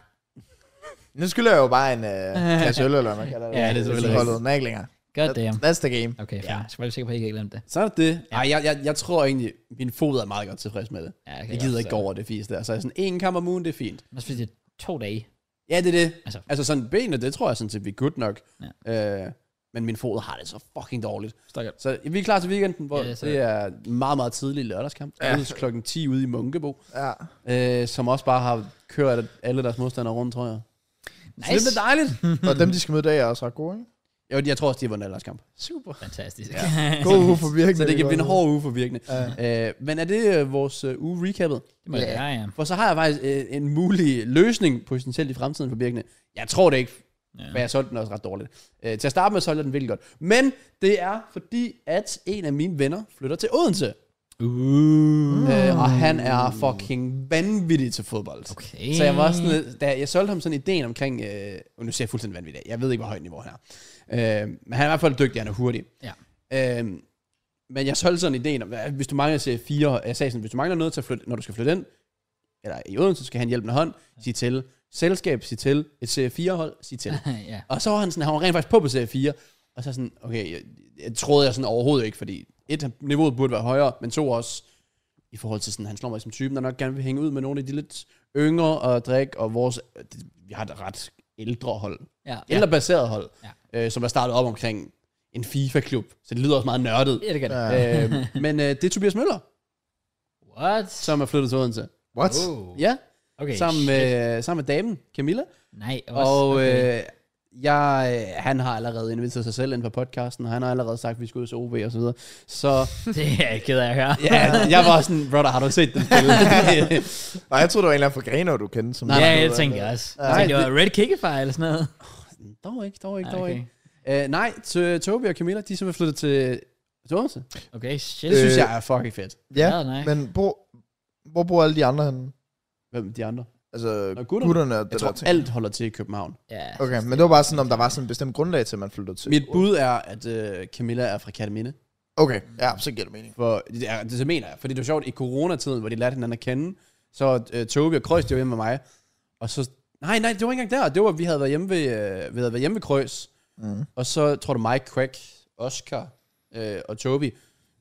S2: Nu skylder jeg jo bare en øh, kasse øl, eller hvad man kalder det.
S1: Ja, det er
S3: selvfølgelig
S2: Holdet, den er ikke længere.
S1: God damn.
S2: That's the game.
S1: Okay, fair. Jeg skal bare være sikker på, at I ikke har glemt det.
S3: Så er det det. Ej, jeg, jeg, jeg tror egentlig, min fod er meget godt tilfreds med det.
S1: Ja, det kan
S3: Jeg
S1: jeg
S3: gider
S1: godt
S3: ikke gå over det fisk der. Så er jeg sådan, en kamp om ugen, det er fint.
S1: Men fordi det er to dage.
S3: Ja, det er det.
S1: Altså.
S3: Altså, altså sådan benene, det tror jeg sådan set, vi er good nok. Ja. Øh, men min fod har det så fucking dårligt.
S1: Stakkert.
S3: Så vi er klar til weekenden, hvor
S1: Ja,
S3: ja,
S1: det er så-
S3: det, er det er meget, meget tidlig lørdagskamp. Ja. Det er klokken 10 ude i Munkebo,
S2: Ja.
S3: øh, som også bare har kørt alle deres modstandere rundt, tror jeg. Så det
S1: Nice.
S3: bliver dejligt.
S2: Og dem, de skal møde i dag, er også ret gode, ikke?
S3: Jo, jeg tror også, de har vundet deres kamp.
S2: Super.
S1: Fantastisk.
S2: God uge for virkelig.
S3: Så det kan blive en hård uge for virkende. Ja. Øh, men er det øh, vores øh, uge recappet?
S1: Det må jeg ja, ja.
S3: For så har jeg faktisk øh, en mulig løsning potentielt i fremtiden for Birkene. Jeg tror det ikke, ja. for jeg solgte den også ret dårligt. Øh, til at starte med solgte jeg den virkelig godt. Men det er fordi, at en af mine venner flytter til Odense. Uh. Øh, og han er fucking vanvittig til fodbold.
S1: Okay.
S3: Så jeg var sådan lidt, da jeg solgte ham sådan ideen omkring, øh, og nu ser jeg fuldstændig vanvittigt, af. jeg ved ikke, hvor højt niveau han er. Øh, men han er i hvert fald dygtig, han er hurtig.
S1: Ja.
S3: Øh, men jeg solgte sådan ideen om, at hvis du mangler serie 4, jeg sagde sådan, hvis du mangler noget til at flytte, når du skal flytte ind, eller i Odense, så skal han hjælpe en hånd, sig til selskab, sig til et serie 4 hold, sig til.
S1: ja.
S3: Og så var han sådan, han var rent faktisk på på serie 4, og så sådan, okay, jeg, jeg troede jeg sådan overhovedet ikke, fordi et, niveauet burde være højere, men to også, i forhold til sådan, han slår mig som typen, der nok gerne vil hænge ud med nogle af de lidt yngre og drikke, og vores, det, vi har et ret ældre hold,
S1: Ja.
S3: ja. ældrebaseret hold,
S1: Ja.
S3: ja. øh, som er startet op omkring en FIFA-klub, så det lyder også meget nørdet.
S1: Ja, det kan det.
S2: Ja.
S3: Ja. Øh, men øh, det er Tobias Møller,
S1: What?
S3: som er flyttet til Odense.
S2: What?
S1: Oh.
S3: Ja,
S1: Okay.
S3: okay, sammen, med, sammen med damen, Camilla.
S1: Nej, også.
S3: Og
S1: okay.
S3: øh, jeg, øh, han har allerede inviteret sig selv ind på podcasten, og han har allerede sagt, at vi skal ud til OB og så videre. Så
S1: Det er jeg ked af at høre.
S3: ja, jeg var sådan, brother, har du set den spille?
S2: Nej, jeg troede, det var en eller anden fra Grenaa, du kendte. Som
S1: Nej, ja,
S2: nej,
S1: jeg tænker jeg også. Jeg
S3: Nej,
S1: tænkte, det var
S3: det-
S1: Red Kickify eller sådan noget.
S3: dog ikke, dog ikke,
S1: Ah,
S3: dog
S1: okay.
S3: ikke. Øh, nej, t- Tobi og Camilla, de er simpelthen flyttet til, til Odense.
S1: Okay, shit.
S3: Det synes
S2: Øh.
S3: jeg er fucking fedt.
S2: Ja,
S1: Ja, nej.
S2: men hvor, hvor bor alle de andre henne?
S3: Hvem er de andre?
S2: Altså,
S3: Nå, gutterne.
S2: gutterne og
S3: Jeg
S2: det
S3: tror,
S2: der ting.
S3: alt holder til i København.
S1: Ja.
S2: Okay, men det var bare sådan, om der var sådan et bestemt grundlag til, at man flyttede til.
S3: Mit bud er, at øh, Camilla er fra Kataminde.
S2: Okay, ja, så giver det mening.
S3: For, det, er, det mener jeg, fordi det var sjovt, i coronatiden, hvor de lærte hinanden at kende, så øh, Tobi og Krøs, de var hjemme med mig, og så, nej, nej, det var ikke engang der, det var, vi havde været hjemme ved, øh, vi havde været hjemme ved Krøs, mm. og så tror du Mike, Craig, Oscar øh, og Tobi,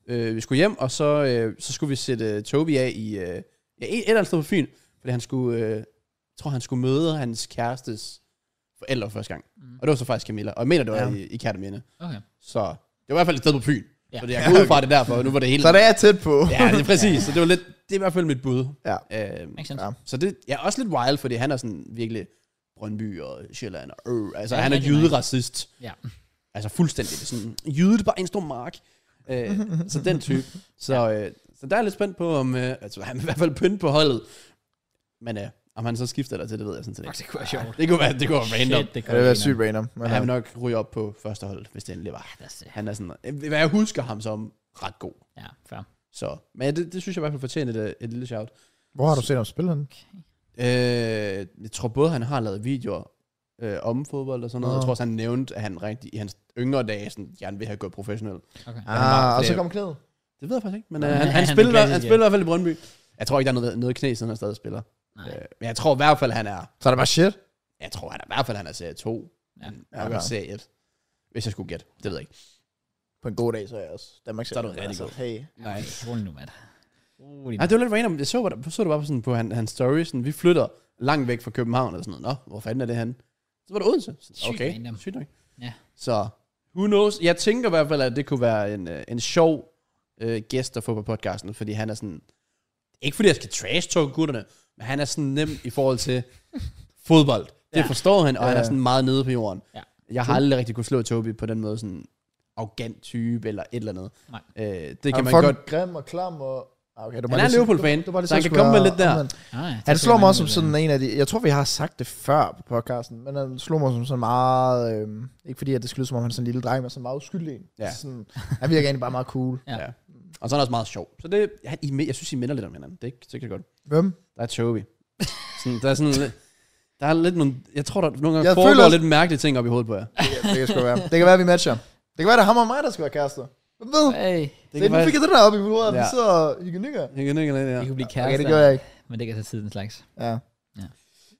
S3: øh, vi skulle hjem, og så, øh, så skulle vi sætte øh, Tobi af i, øh, ja, et et eller andet sted på Fyn, fordi han skulle, øh, jeg tror han skulle møde hans kærestes forældre for første gang. Mm. Og det var så faktisk Camilla. Og jeg mener, det var ja. i, i Kærteminde.
S1: Okay.
S3: Så det var i hvert fald et sted på Fyn.
S1: Ja.
S3: Ja. Så det, jeg går ud fra det derfor, og nu var det hele...
S2: Så det er tæt på.
S3: Ja, det er præcis. Så det var lidt... Det er i hvert fald mit bud.
S2: Ja.
S3: Øhm,
S1: Makes sense.
S2: Ja.
S3: så det er også lidt wild, fordi han er sådan virkelig Brøndby og Sjælland. Og, øh, altså,
S1: Ja,
S3: han er
S1: rigtig meget.
S3: jyderacist.
S1: Ja.
S3: Altså fuldstændig. Det er sådan, jyde, det er bare en stor mark. Øh, så den type. Så, øh, så der er jeg lidt spændt på, om... Øh, altså, han er i hvert fald pynt på holdet. Men øh, om han så skifter der til, det ved jeg sådan set
S1: Fuck,
S3: ikke.
S1: det kunne være sjovt.
S3: Det kunne være, det kunne være random.
S1: Shit, det
S2: Ja,
S1: kunne
S2: det
S1: være Ah,
S2: er sygt random. Men, øh,
S3: Men
S2: ja,
S3: han vil nok ryge op på første hold, hvis det endelig var.
S1: That's it.
S3: Han er sådan, øh, hvad jeg husker ham som, ret god.
S1: Ja, fair.
S3: Så, men ja, det, det synes jeg i hvert fald fortjener et, et lille shout.
S2: hvor har du set ham spille henne?
S3: Øh, jeg tror både, han har lavet videoer øh, om fodbold og sådan noget.
S2: Nå.
S3: Jeg tror også, han nævnte, at han rigtig, i hans yngre dage sådan, gerne vil have gået professionel.
S1: Okay.
S3: han var-
S2: Ah, og så
S3: det-
S2: kom knæet.
S3: Det ved jeg faktisk ikke, men
S1: Nå,
S3: øh,
S1: men
S3: han,
S1: han
S3: han,
S1: er den
S3: spiller, han
S1: klassiske.
S3: spiller i hvert fald i Brøndby. Jeg tror ikke, der er noget, noget knæ, siden han stadig spiller.
S1: Nej.
S3: Øh, men jeg tror i hvert fald, han er...
S2: Så er det bare shit.
S3: Jeg tror han er, i hvert fald, han er serie 2.
S1: Ja.
S3: Ja, ja,
S2: Okay.
S3: okay. serie 1. Hvis jeg skulle gætte. Det ved jeg ikke.
S2: På en god dag, så er jeg også Danmark
S3: Så er du rigtig god.
S2: Hey.
S1: Nej. Rolig nu, mand. Rolig nu.
S3: Nej, det var lidt random. Jeg så, bare- så det bare på, sådan, på hans han story. Sådan, vi flytter langt væk fra København. Eller sådan noget. Nå, hvor fanden er det han? Så var det Odense.
S1: Sygt
S3: Sådan, okay,
S1: random.
S3: sygt nok.
S1: Ja.
S3: Så, who knows? Jeg tænker i hvert fald, at det kunne være en, øh, en sjov øh, gæst at få på podcasten. Fordi han er sådan... Ikke fordi jeg skal trash talk gutterne, men han er sådan nem i forhold til fodbold. Det
S1: Ja.
S3: ja. forstår han, og han
S2: Ja.
S3: er sådan meget nede på jorden.
S1: Ja.
S3: Jeg har aldrig rigtig kunne slå Tobi på den måde, sådan arrogant type eller et eller andet.
S1: Nej.
S3: Øh, det kan
S2: Han
S3: man
S2: er
S3: godt...
S2: grim og klam og... Ah, Okay, du
S3: Han er en Liverpool-fan, så han kan komme med lidt der.
S1: Ah, ja,
S2: Han
S1: så
S2: slår
S1: skal
S2: mig
S1: man
S2: også som
S1: lige-
S2: sådan en af de... Jeg tror, vi har sagt det før på podcasten, men han slog mig som sådan meget... Øh, ikke fordi, at det skulle lyde, som om han er sådan en lille dreng, men sådan meget uskyldig en.
S3: Ja.
S2: Sådan, han virker egentlig bare meget cool.
S3: Og så er han også meget sjov. Så det, han, I, jeg synes, I minder lidt om hinanden. Det er ikke, det er ikke så godt.
S2: Hvem?
S3: Der er Toby. sådan, der er sådan lidt... Der er lidt nogle... Jeg tror, der nogle gange
S2: Jeg
S3: jeg foregår
S2: føler
S3: føler...
S2: også-
S3: lidt mærkelige ting op i hovedet på jer.
S2: Det, kan- det kan sgu være. Det kan være, vi matcher. Det kan være, det er ham og mig, der skal være kærester. Hvem ved?
S1: Hey.
S2: Det nu fik jeg det der op i hovedet, at vi
S3: Ja.
S2: sidder og hygger nykker.
S3: Jeg kan ikke lidt,
S1: Det
S3: ja.
S1: kunne blive
S2: Okay,
S1: kærester.
S2: det gør jeg ikke.
S1: Men det kan tage tid, den slags.
S2: Ja.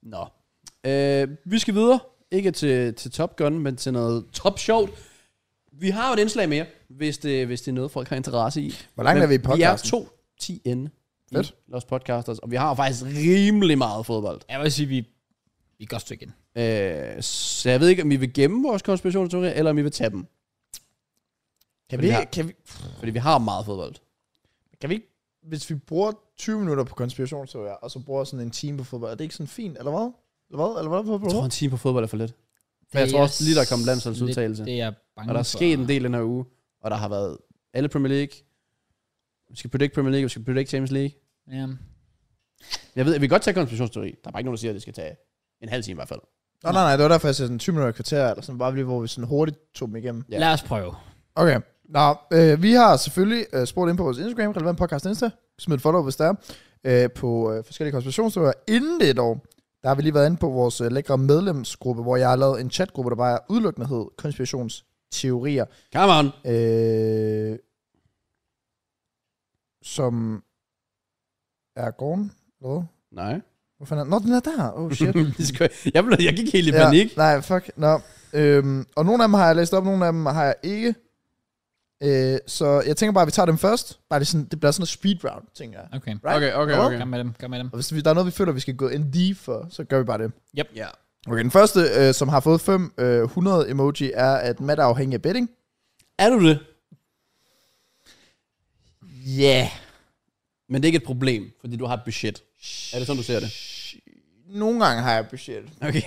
S3: Nå. Øh, vi skal videre. Ikke til, til Top Gun, men til noget top sjovt. Vi har jo et indslag mere, hvis det, hvis det er noget, folk har interesse i.
S2: Hvor langt
S3: Men
S2: er vi i podcasten?
S3: Vi er to 10 inde i
S2: Fedt.
S3: Los Podcasters, og vi har faktisk rimelig meget fodbold.
S1: Jeg vil sige, vi, vi er et godt stykke ind.
S3: Øh, så jeg ved ikke, om vi vil gemme vores konspirationsteorier, eller om vi vil tage dem.
S2: Kan
S3: Fordi
S2: vi,
S3: vi har-
S2: kan, vi,
S3: Fordi vi har meget fodbold.
S2: kan vi ikke... Hvis vi bruger 20 minutter på konspirationsteorier, og så bruger sådan en time på fodbold, er det ikke sådan fint, eller hvad? Eller hvad? Eller hvad?
S3: Jeg tror, en time på fodbold er for lidt. Men jeg
S1: Det
S3: tror
S1: er
S3: også lige, der er kommet landsholdsudtagelse.
S1: lidt Det er jeg bange
S3: Og der er sket en del den her uge, og der har været alle Premier League. Vi skal predict Premier League, vi skal predict Champions League.
S1: Ja.
S3: Jeg ved, vi kan godt tage konspirationsteori. Der er bare ikke nogen, der siger, at det skal tage en halv time i hvert fald.
S2: Nå, nej, nej, det var derfor, jeg sagde sådan 20 minutter i kvarter, eller sådan bare lige, hvor vi sådan hurtigt tog dem igennem.
S3: Ja.
S1: Lad os prøve.
S2: Okay. Nå, øh, vi har selvfølgelig øh, spurgt ind på vores Instagram, relevant podcast Insta. Smid et follow, hvis der er, øh, på øh, forskellige konspirationsteorier. Inden det dog, der har vi lige været inde på vores øh, lækre medlemsgruppe, hvor jeg har lavet en chatgruppe, der bare udelukkende hed konspirationsteorier.
S3: Come on!
S2: Øh, som er gården, eller hvad?
S3: Nej.
S2: Hvor fanden er Nå, den er der. Oh, shit.
S3: Det skal- jeg, blev, jeg gik helt i
S2: Ja,
S3: panik.
S2: nej, fuck. Nå. Øhm, og nogle af dem har jeg læst op, nogle af dem har jeg ikke. Øh, så jeg tænker bare, at vi tager dem først. Bare det, er sådan, det bliver sådan en speed round, tænker jeg.
S1: Okay.
S2: Right.
S3: Okay, okay,
S2: Hello?
S3: okay.
S1: Kom med dem, kom med dem.
S2: Og hvis vi- der er noget, vi føler, vi skal gå en D for, så gør vi bare det.
S3: Ja.
S2: Okay, den første, øh, som har fået 500 emoji, er, at Matt er afhængig af betting.
S3: Er du det?
S2: Ja. Yeah.
S3: Men det er ikke et problem, fordi du har et budget. Er det sådan, du ser det?
S2: Nogle gange har jeg budget.
S3: Okay.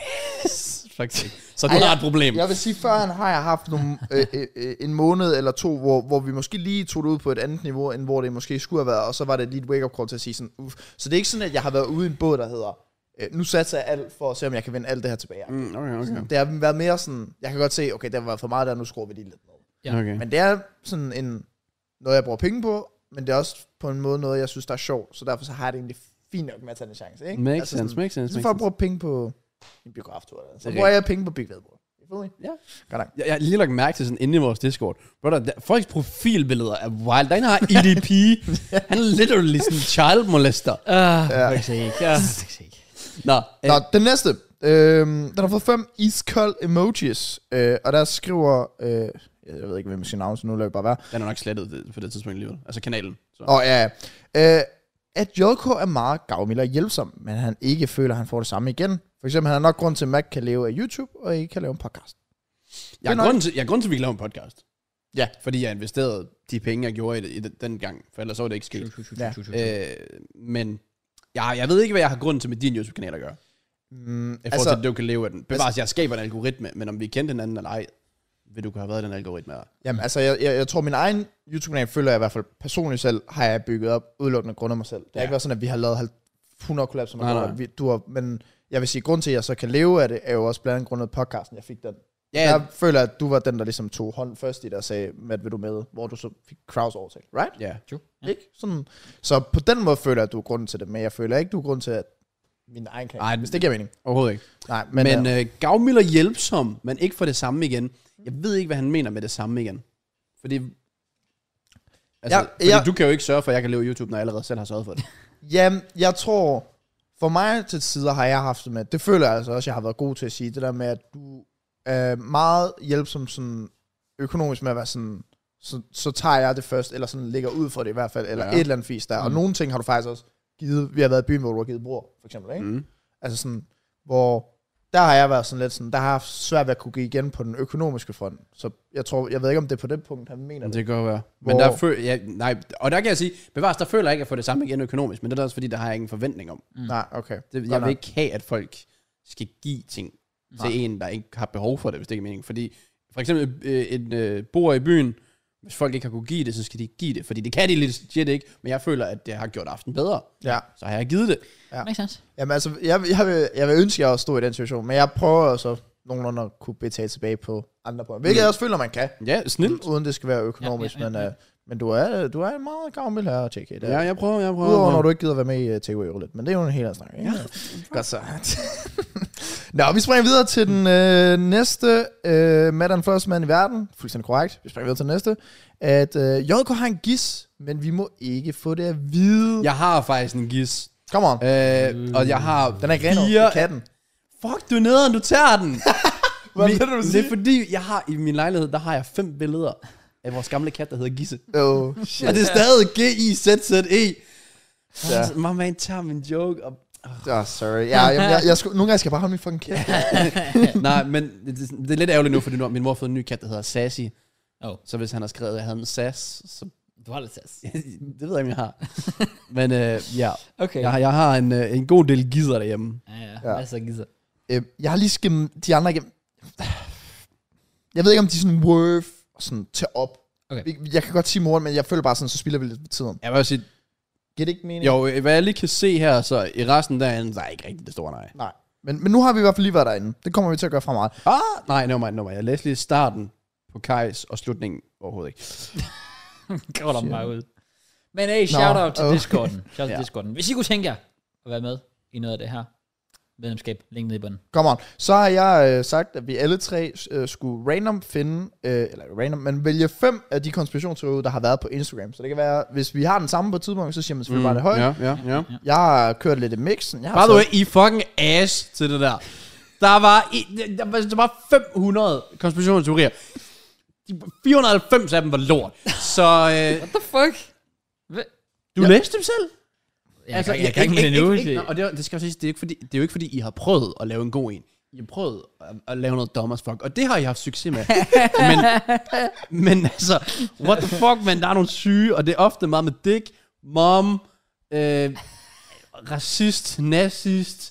S3: Faktisk. Så du
S2: Ej,
S3: har et problem.
S2: Jeg vil sige, før han har jeg haft nogle, øh, øh, øh, en måned eller to, hvor, hvor vi måske lige tog det ud på et andet niveau, end hvor det måske skulle have været, og så var det lige et wake-up call til at sige sådan, uff. Så det er ikke sådan, at jeg har været ude i en båd, der hedder, øh, nu satser jeg alt for at se, om jeg kan vinde alt det her tilbage. Mm.
S3: Mm, okay, okay.
S2: Det har været mere sådan, jeg kan godt se, okay, det har været for meget der, nu skruer vi lige lidt ned.
S1: Ja.
S3: okay.
S2: Men det er sådan en, noget, jeg bruger penge på, men det er også på en måde noget, jeg synes, der er sjovt, så derfor så har jeg det egentlig fint nok med at tage en chance. Ikke? Altså
S3: Makes sense,
S2: sådan,
S3: makes sense,
S2: Så
S3: makes
S2: får jeg
S3: sense.
S2: brugt penge på en biograftur, eller sådan. så
S3: Det er
S2: bruger jeg penge på Big Vedbord.
S3: Jeg, jeg har lige lagt mærke til sådan inde i vores Discord. Brother, der, folks profilbilleder er wild. Der er en, der har EDP. Han er literally sådan en child molester.
S1: Ah,
S2: Ja.
S1: for sake. Ah, for sake.
S3: Nå, øh,
S2: Nå, den næste. Øhm, den har fået fem iskold emojis, øh, og der skriver... Øh, jeg ved ikke, hvem skal navn, så nu lader vi bare være.
S3: den er nok slettet det- på det tidspunkt alligevel. Altså kanalen. Så.
S2: Åh, oh, ja. ja. Øh, at JK er meget gavmild og hjælpsom, men han ikke føler, at han får det samme igen. For eksempel, han har nok grund til, at Mac kan leve af YouTube, og ikke kan lave en podcast.
S3: Jeg
S2: Det er
S3: er,
S2: nok-
S3: grunden til, jeg er grunden til, at vi kan lave en podcast.
S2: Ja.
S3: Fordi jeg investerede de penge, jeg gjorde i, det, i den, den gang, for ellers så var det ikke sket.
S2: Ja.
S3: Øh, men jeg, jeg ved ikke, hvad jeg har grund til med din YouTube-kanal at gøre.
S2: Mm,
S3: I forhold altså, til,
S2: altså,
S3: at du kan leve af den. Bevares, altså, jeg skaber en algoritme, men om vi kendte hinanden eller ej, vil du kunne have været i den algoritme her.
S2: jamen, altså jeg, jeg, jeg tror, min egen YouTube-kanal føler jeg i hvert fald personligt selv, har jeg bygget op udelukkende grund af mig selv. Det har
S3: Ja.
S2: ikke været sådan, at vi har lavet halv- 100 kollapser,
S3: Nej, nej.
S2: nej, du har, men jeg vil sige, grund til, at jeg så kan leve af det, er jo også blandt andet grundet podcasten, jeg fik den.
S3: Ja,
S2: Jeg føler, at du var den, der ligesom tog hånd først i det og sagde, Matt, vil du med? Hvor du så fik Kraus overtalt, right?
S3: ja.
S2: Ja. Ikke? Sådan. Så på den måde føler jeg, at du er grunden til det, men jeg føler ikke, du er grunden til, at min egen kan.
S3: Ej,
S2: hvis det giver mening.
S3: Overhovedet ikke.
S2: Nej, men,
S3: Men,
S2: men øh,
S3: men øh, gavmild og hjælpsom, men ikke for det samme igen. Jeg ved ikke, hvad han mener med det samme igen. Fordi,
S2: Ja,
S3: altså, ja, fordi
S2: ja.
S3: du kan jo ikke sørge for, at jeg kan leve i YouTube, når jeg allerede selv har sørget for det.
S2: jamen, jeg tror, for mig til tider har jeg haft det med, det føler jeg altså også, jeg har været god til at sige, det der med, at du er meget hjælpsom sådan, økonomisk med at være sådan, så, så tager jeg det først, eller sådan ligger ud for det i hvert fald, eller
S3: Ja.
S2: ja. et eller andet fisk der. Mm. Og nogle ting har du faktisk også givet, vi har været i byen, hvor du har givet bror, for eksempel, ikke?
S3: Mm.
S2: Altså sådan, hvor der har jeg været sådan lidt sådan, der har jeg haft svært ved at kunne give igen på den økonomiske front. Så jeg tror, jeg ved ikke, om det er på det punkt, han mener
S3: Men
S2: det.
S3: det kan godt være. Men
S2: Hvor-
S3: der føler, ja, nej, og der kan jeg sige, bevares, der føler jeg ikke, at få det samme igen økonomisk, men det er også fordi, der har jeg ingen forventning om.
S2: Nej, okay.
S3: Det, jeg
S2: Godt
S3: vil
S2: nok.
S3: ikke have, at folk skal give ting
S1: Nej.
S3: til en, der ikke har behov for det, hvis det ikke er meningen. Fordi for eksempel øh, en øh, bor i byen, hvis folk ikke har kunne give det, så skal de ikke give det. Fordi det kan de lidt shit ikke, men jeg føler, at det har gjort aften bedre.
S2: Ja.
S3: Så har jeg givet det.
S1: Makes sense.
S2: Jamen altså, jeg, jeg, vil, jeg vil ønske, at jeg også stod i den situation, men jeg prøver også nogenlunde at kunne betale tilbage på andre punkter. Hvilket jeg også føler, man kan,
S3: Ja, snilt.
S2: uden det skal være økonomisk.
S1: Ja, ja, ja, ja.
S2: Men, uh, men du er, du er en meget gavmild her, JK. Det
S3: Ja,
S2: er-
S3: jeg prøver, jeg prøver.
S2: Udover når du ikke gider være med i uh, Takeaway Roulette, men det er jo en helt anden snak. Ikke? Ja. Godt så. Nå, vi springer videre til den øh, næste øh, Madden First Man i verden. Fuldstændig korrekt. Vi springer videre til den næste. At øh, JK har en gis, men vi må ikke få det at vide. Ja.
S3: Jeg har faktisk en gis.
S2: Come on.
S3: Øh, og jeg har...
S2: Den er Greno, det
S3: fire-
S2: er katten.
S3: Fuck, du er nederen, du tager den.
S2: Hvad
S3: Vi-
S2: vil du
S3: Det er
S2: sige?
S3: fordi, jeg har i min lejlighed, der har jeg fem billeder af vores gamle kat, der hedder Gisse.
S2: Oh,
S3: Og
S2: shit.
S3: det er stadig G-I-Z-Z-E.
S2: Ja.
S3: Ja. My man tager min joke. Og...
S2: Oh, sorry. Ja, jeg, jeg, jeg skulle, nogle gange skal jeg bare holde min fucking kæft.
S3: Nej, men det, det, det, er lidt ærgerligt nu, fordi nu, har min mor har fået en ny kat, der hedder Sassy.
S1: Oh.
S3: Så hvis han har skrevet, at jeg havde en sass, så
S1: Du har lidt sass.
S3: det ved jeg, om jeg har. men øh, ja,
S1: Okay.
S3: jeg, har- jeg har en, øh, en god del gisser derhjemme.
S1: Ja, ja.
S2: Ja.
S1: Altså, gisser.
S2: Øh, jeg har lige skimmet de andre igennem. Jeg ved ikke, om de er sådan worth at sådan tage op.
S1: Okay.
S2: Vi- Jeg kan godt sige morgen, men jeg føler bare sådan, så spilder vi lidt tiden.
S3: Jeg vil også sige,
S2: Giver det ikke mening?
S3: jo, øh, hvad jeg lige kan se her, så i resten derinde, der er ikke rigtig det store nej.
S2: Nej. Men, men nu har vi i hvert fald lige været derinde. Det kommer vi til at gøre fra meget.
S3: Ah, nej, no, no, jeg læste lige starten på Kajs og slutningen overhovedet ikke.
S1: Kravler dem bare ud. Men hey, shout out til
S2: okay.
S1: Discorden. Shout out til
S3: Ja.
S1: Discorden. Hvis I kunne tænke jer at være med i noget af det her medlemskab, link ned i bunden.
S2: Come on. Så har jeg øh, sagt, at vi alle tre øh, skulle random finde, øh, eller ikke random, men vælge fem af de konspirationsteorier, der har været på Instagram. Så det kan være, hvis vi har den samme på et tidspunkt, så siger man selvfølgelig mm, bare det højt.
S3: Ja, ja, ja.
S2: Jeg har kørt lidt i mixen. Jeg har
S3: By the
S2: taget-
S3: way, I er fucking ass til det der. Der var, i, der- der, var, der var 500 konspirationsteorier. De- 490 af dem var lort. Så øh,
S1: What the fuck?
S3: du ja. læste dem selv?
S1: Jeg, altså, jeg, jeg, kan ikke med det nu.
S3: Ikke, ikke, og det, er- det skal jeg sige, det er, ikke fordi, det er jo ikke fordi, I har prøvet at lave en god en. I har prøvet at, at lave noget dommers fuck, og det har I haft succes med. men, men altså, what the fuck, man, der er nogle syge, og det er ofte meget med dick, mom, øh, racist, nazist.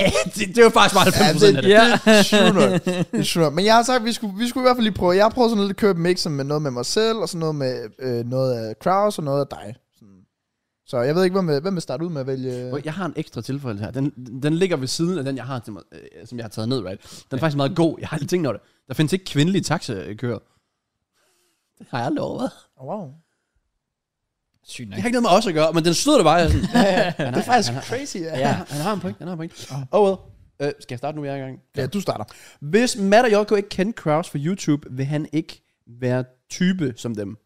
S3: Eh, det, det er jo faktisk bare
S2: Ja,
S3: 90% af
S2: det,
S3: det.
S2: det, er true nok. det er true nok. Men jeg har sagt, at vi skulle, vi skulle i hvert fald lige prøve. Jeg har prøvet sådan lidt at købe mixen med noget med mig selv, og sådan noget med øh, noget af Kraus og noget af dig. Sådan. Så jeg ved ikke, hvem, vil- hvem vil starte ud med at vælge...
S3: Prøv, Jeg har en ekstra tilføjelse her. Den, den ligger ved siden af den, jeg har til mig, øh, som jeg har taget ned, right? Den er faktisk meget god. Jeg har aldrig tænkt over det. Der findes ikke kvindelige taxakører. Det har jeg aldrig overvejet.
S2: Wow.
S1: Sygt nok.
S3: Det har ikke noget med os at gøre, men den stod der bare. Jeg er sådan,
S2: Det er faktisk crazy, ja.
S3: ja, han har en point, han har en point. Oh well. Øh, skal jeg starte nu, jeg er i gang?
S2: ja. du starter.
S3: Hvis Matt og Joko ikke kendte Kraus fra YouTube, vil han ikke være type som dem.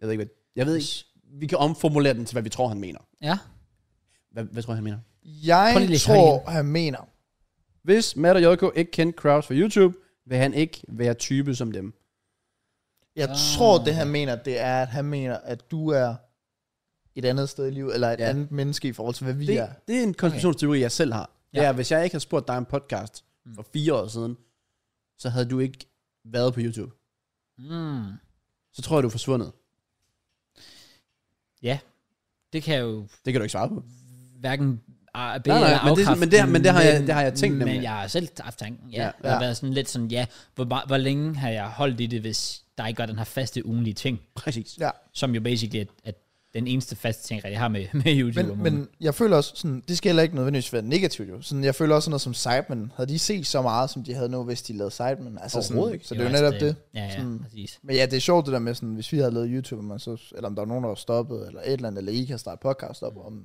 S3: Jeg ved ikke, hvad... Jeg ved ikke. Vi kan omformulere den til, hvad vi tror, han mener.
S1: Ja.
S3: Hvad, hvad tror jeg, han mener?
S1: Prøv lige
S2: Jeg
S1: at læse
S2: tror, han mener...
S3: Hvis Matt og Joko ikke kendte Kraus fra YouTube, vil han ikke være type som dem.
S2: Ah. Jeg tror, det han mener, det er, at han mener, at du er et andet sted i livet, eller et
S3: Ja.
S2: ja. andet menneske i forhold til, hvad vi det.
S3: Det,
S2: er.
S3: det er en konspirationsteori, okay. jeg selv har. Ja. Det
S1: Ja.
S3: er, hvis jeg ikke havde spurgt dig om podcast for fire år siden, så havde du ikke været på YouTube.
S1: Mm.
S3: Så tror jeg, du er forsvundet.
S1: Ja, det kan jeg jo
S3: Det kan du ikke svare på.
S1: hverken ah, bede
S3: Nej, nej,
S1: eller
S3: men det-
S1: afkræfte,
S3: men det- men det har jeg- det har jeg tænkt
S1: Men
S3: nemlig.
S1: jeg har selv haft tanken, ja.
S3: Ja,
S1: ja, Jeg har
S2: ja.
S1: været sådan lidt sådan, ja, hvor, ma- hvor længe har jeg holdt i det, hvis der ikke var den her faste ugenlige ting,
S3: Præcis.
S2: Ja.
S1: som jo basically er, at den eneste faste ting, jeg har med, med YouTube om
S2: Men,
S1: ugen.
S2: men jeg føler også, sådan, det skal heller ikke nødvendigvis være negativt jo. Sådan, jeg føler også sådan noget som Sidemen. Havde de set så meget, som de havde nu, hvis de lavede Sidemen? Altså, sådan,
S3: Overhovedet ikke.
S2: Så det er jo
S1: altså
S2: netop det.
S1: Ja, ja,
S2: Sådan-
S1: præcis.
S2: Men ja, det er sjovt det der med, sådan, hvis vi havde lavet YouTube, og man så, eller om der var nogen, der var stoppet, eller et eller andet, eller I kan starte podcast op om,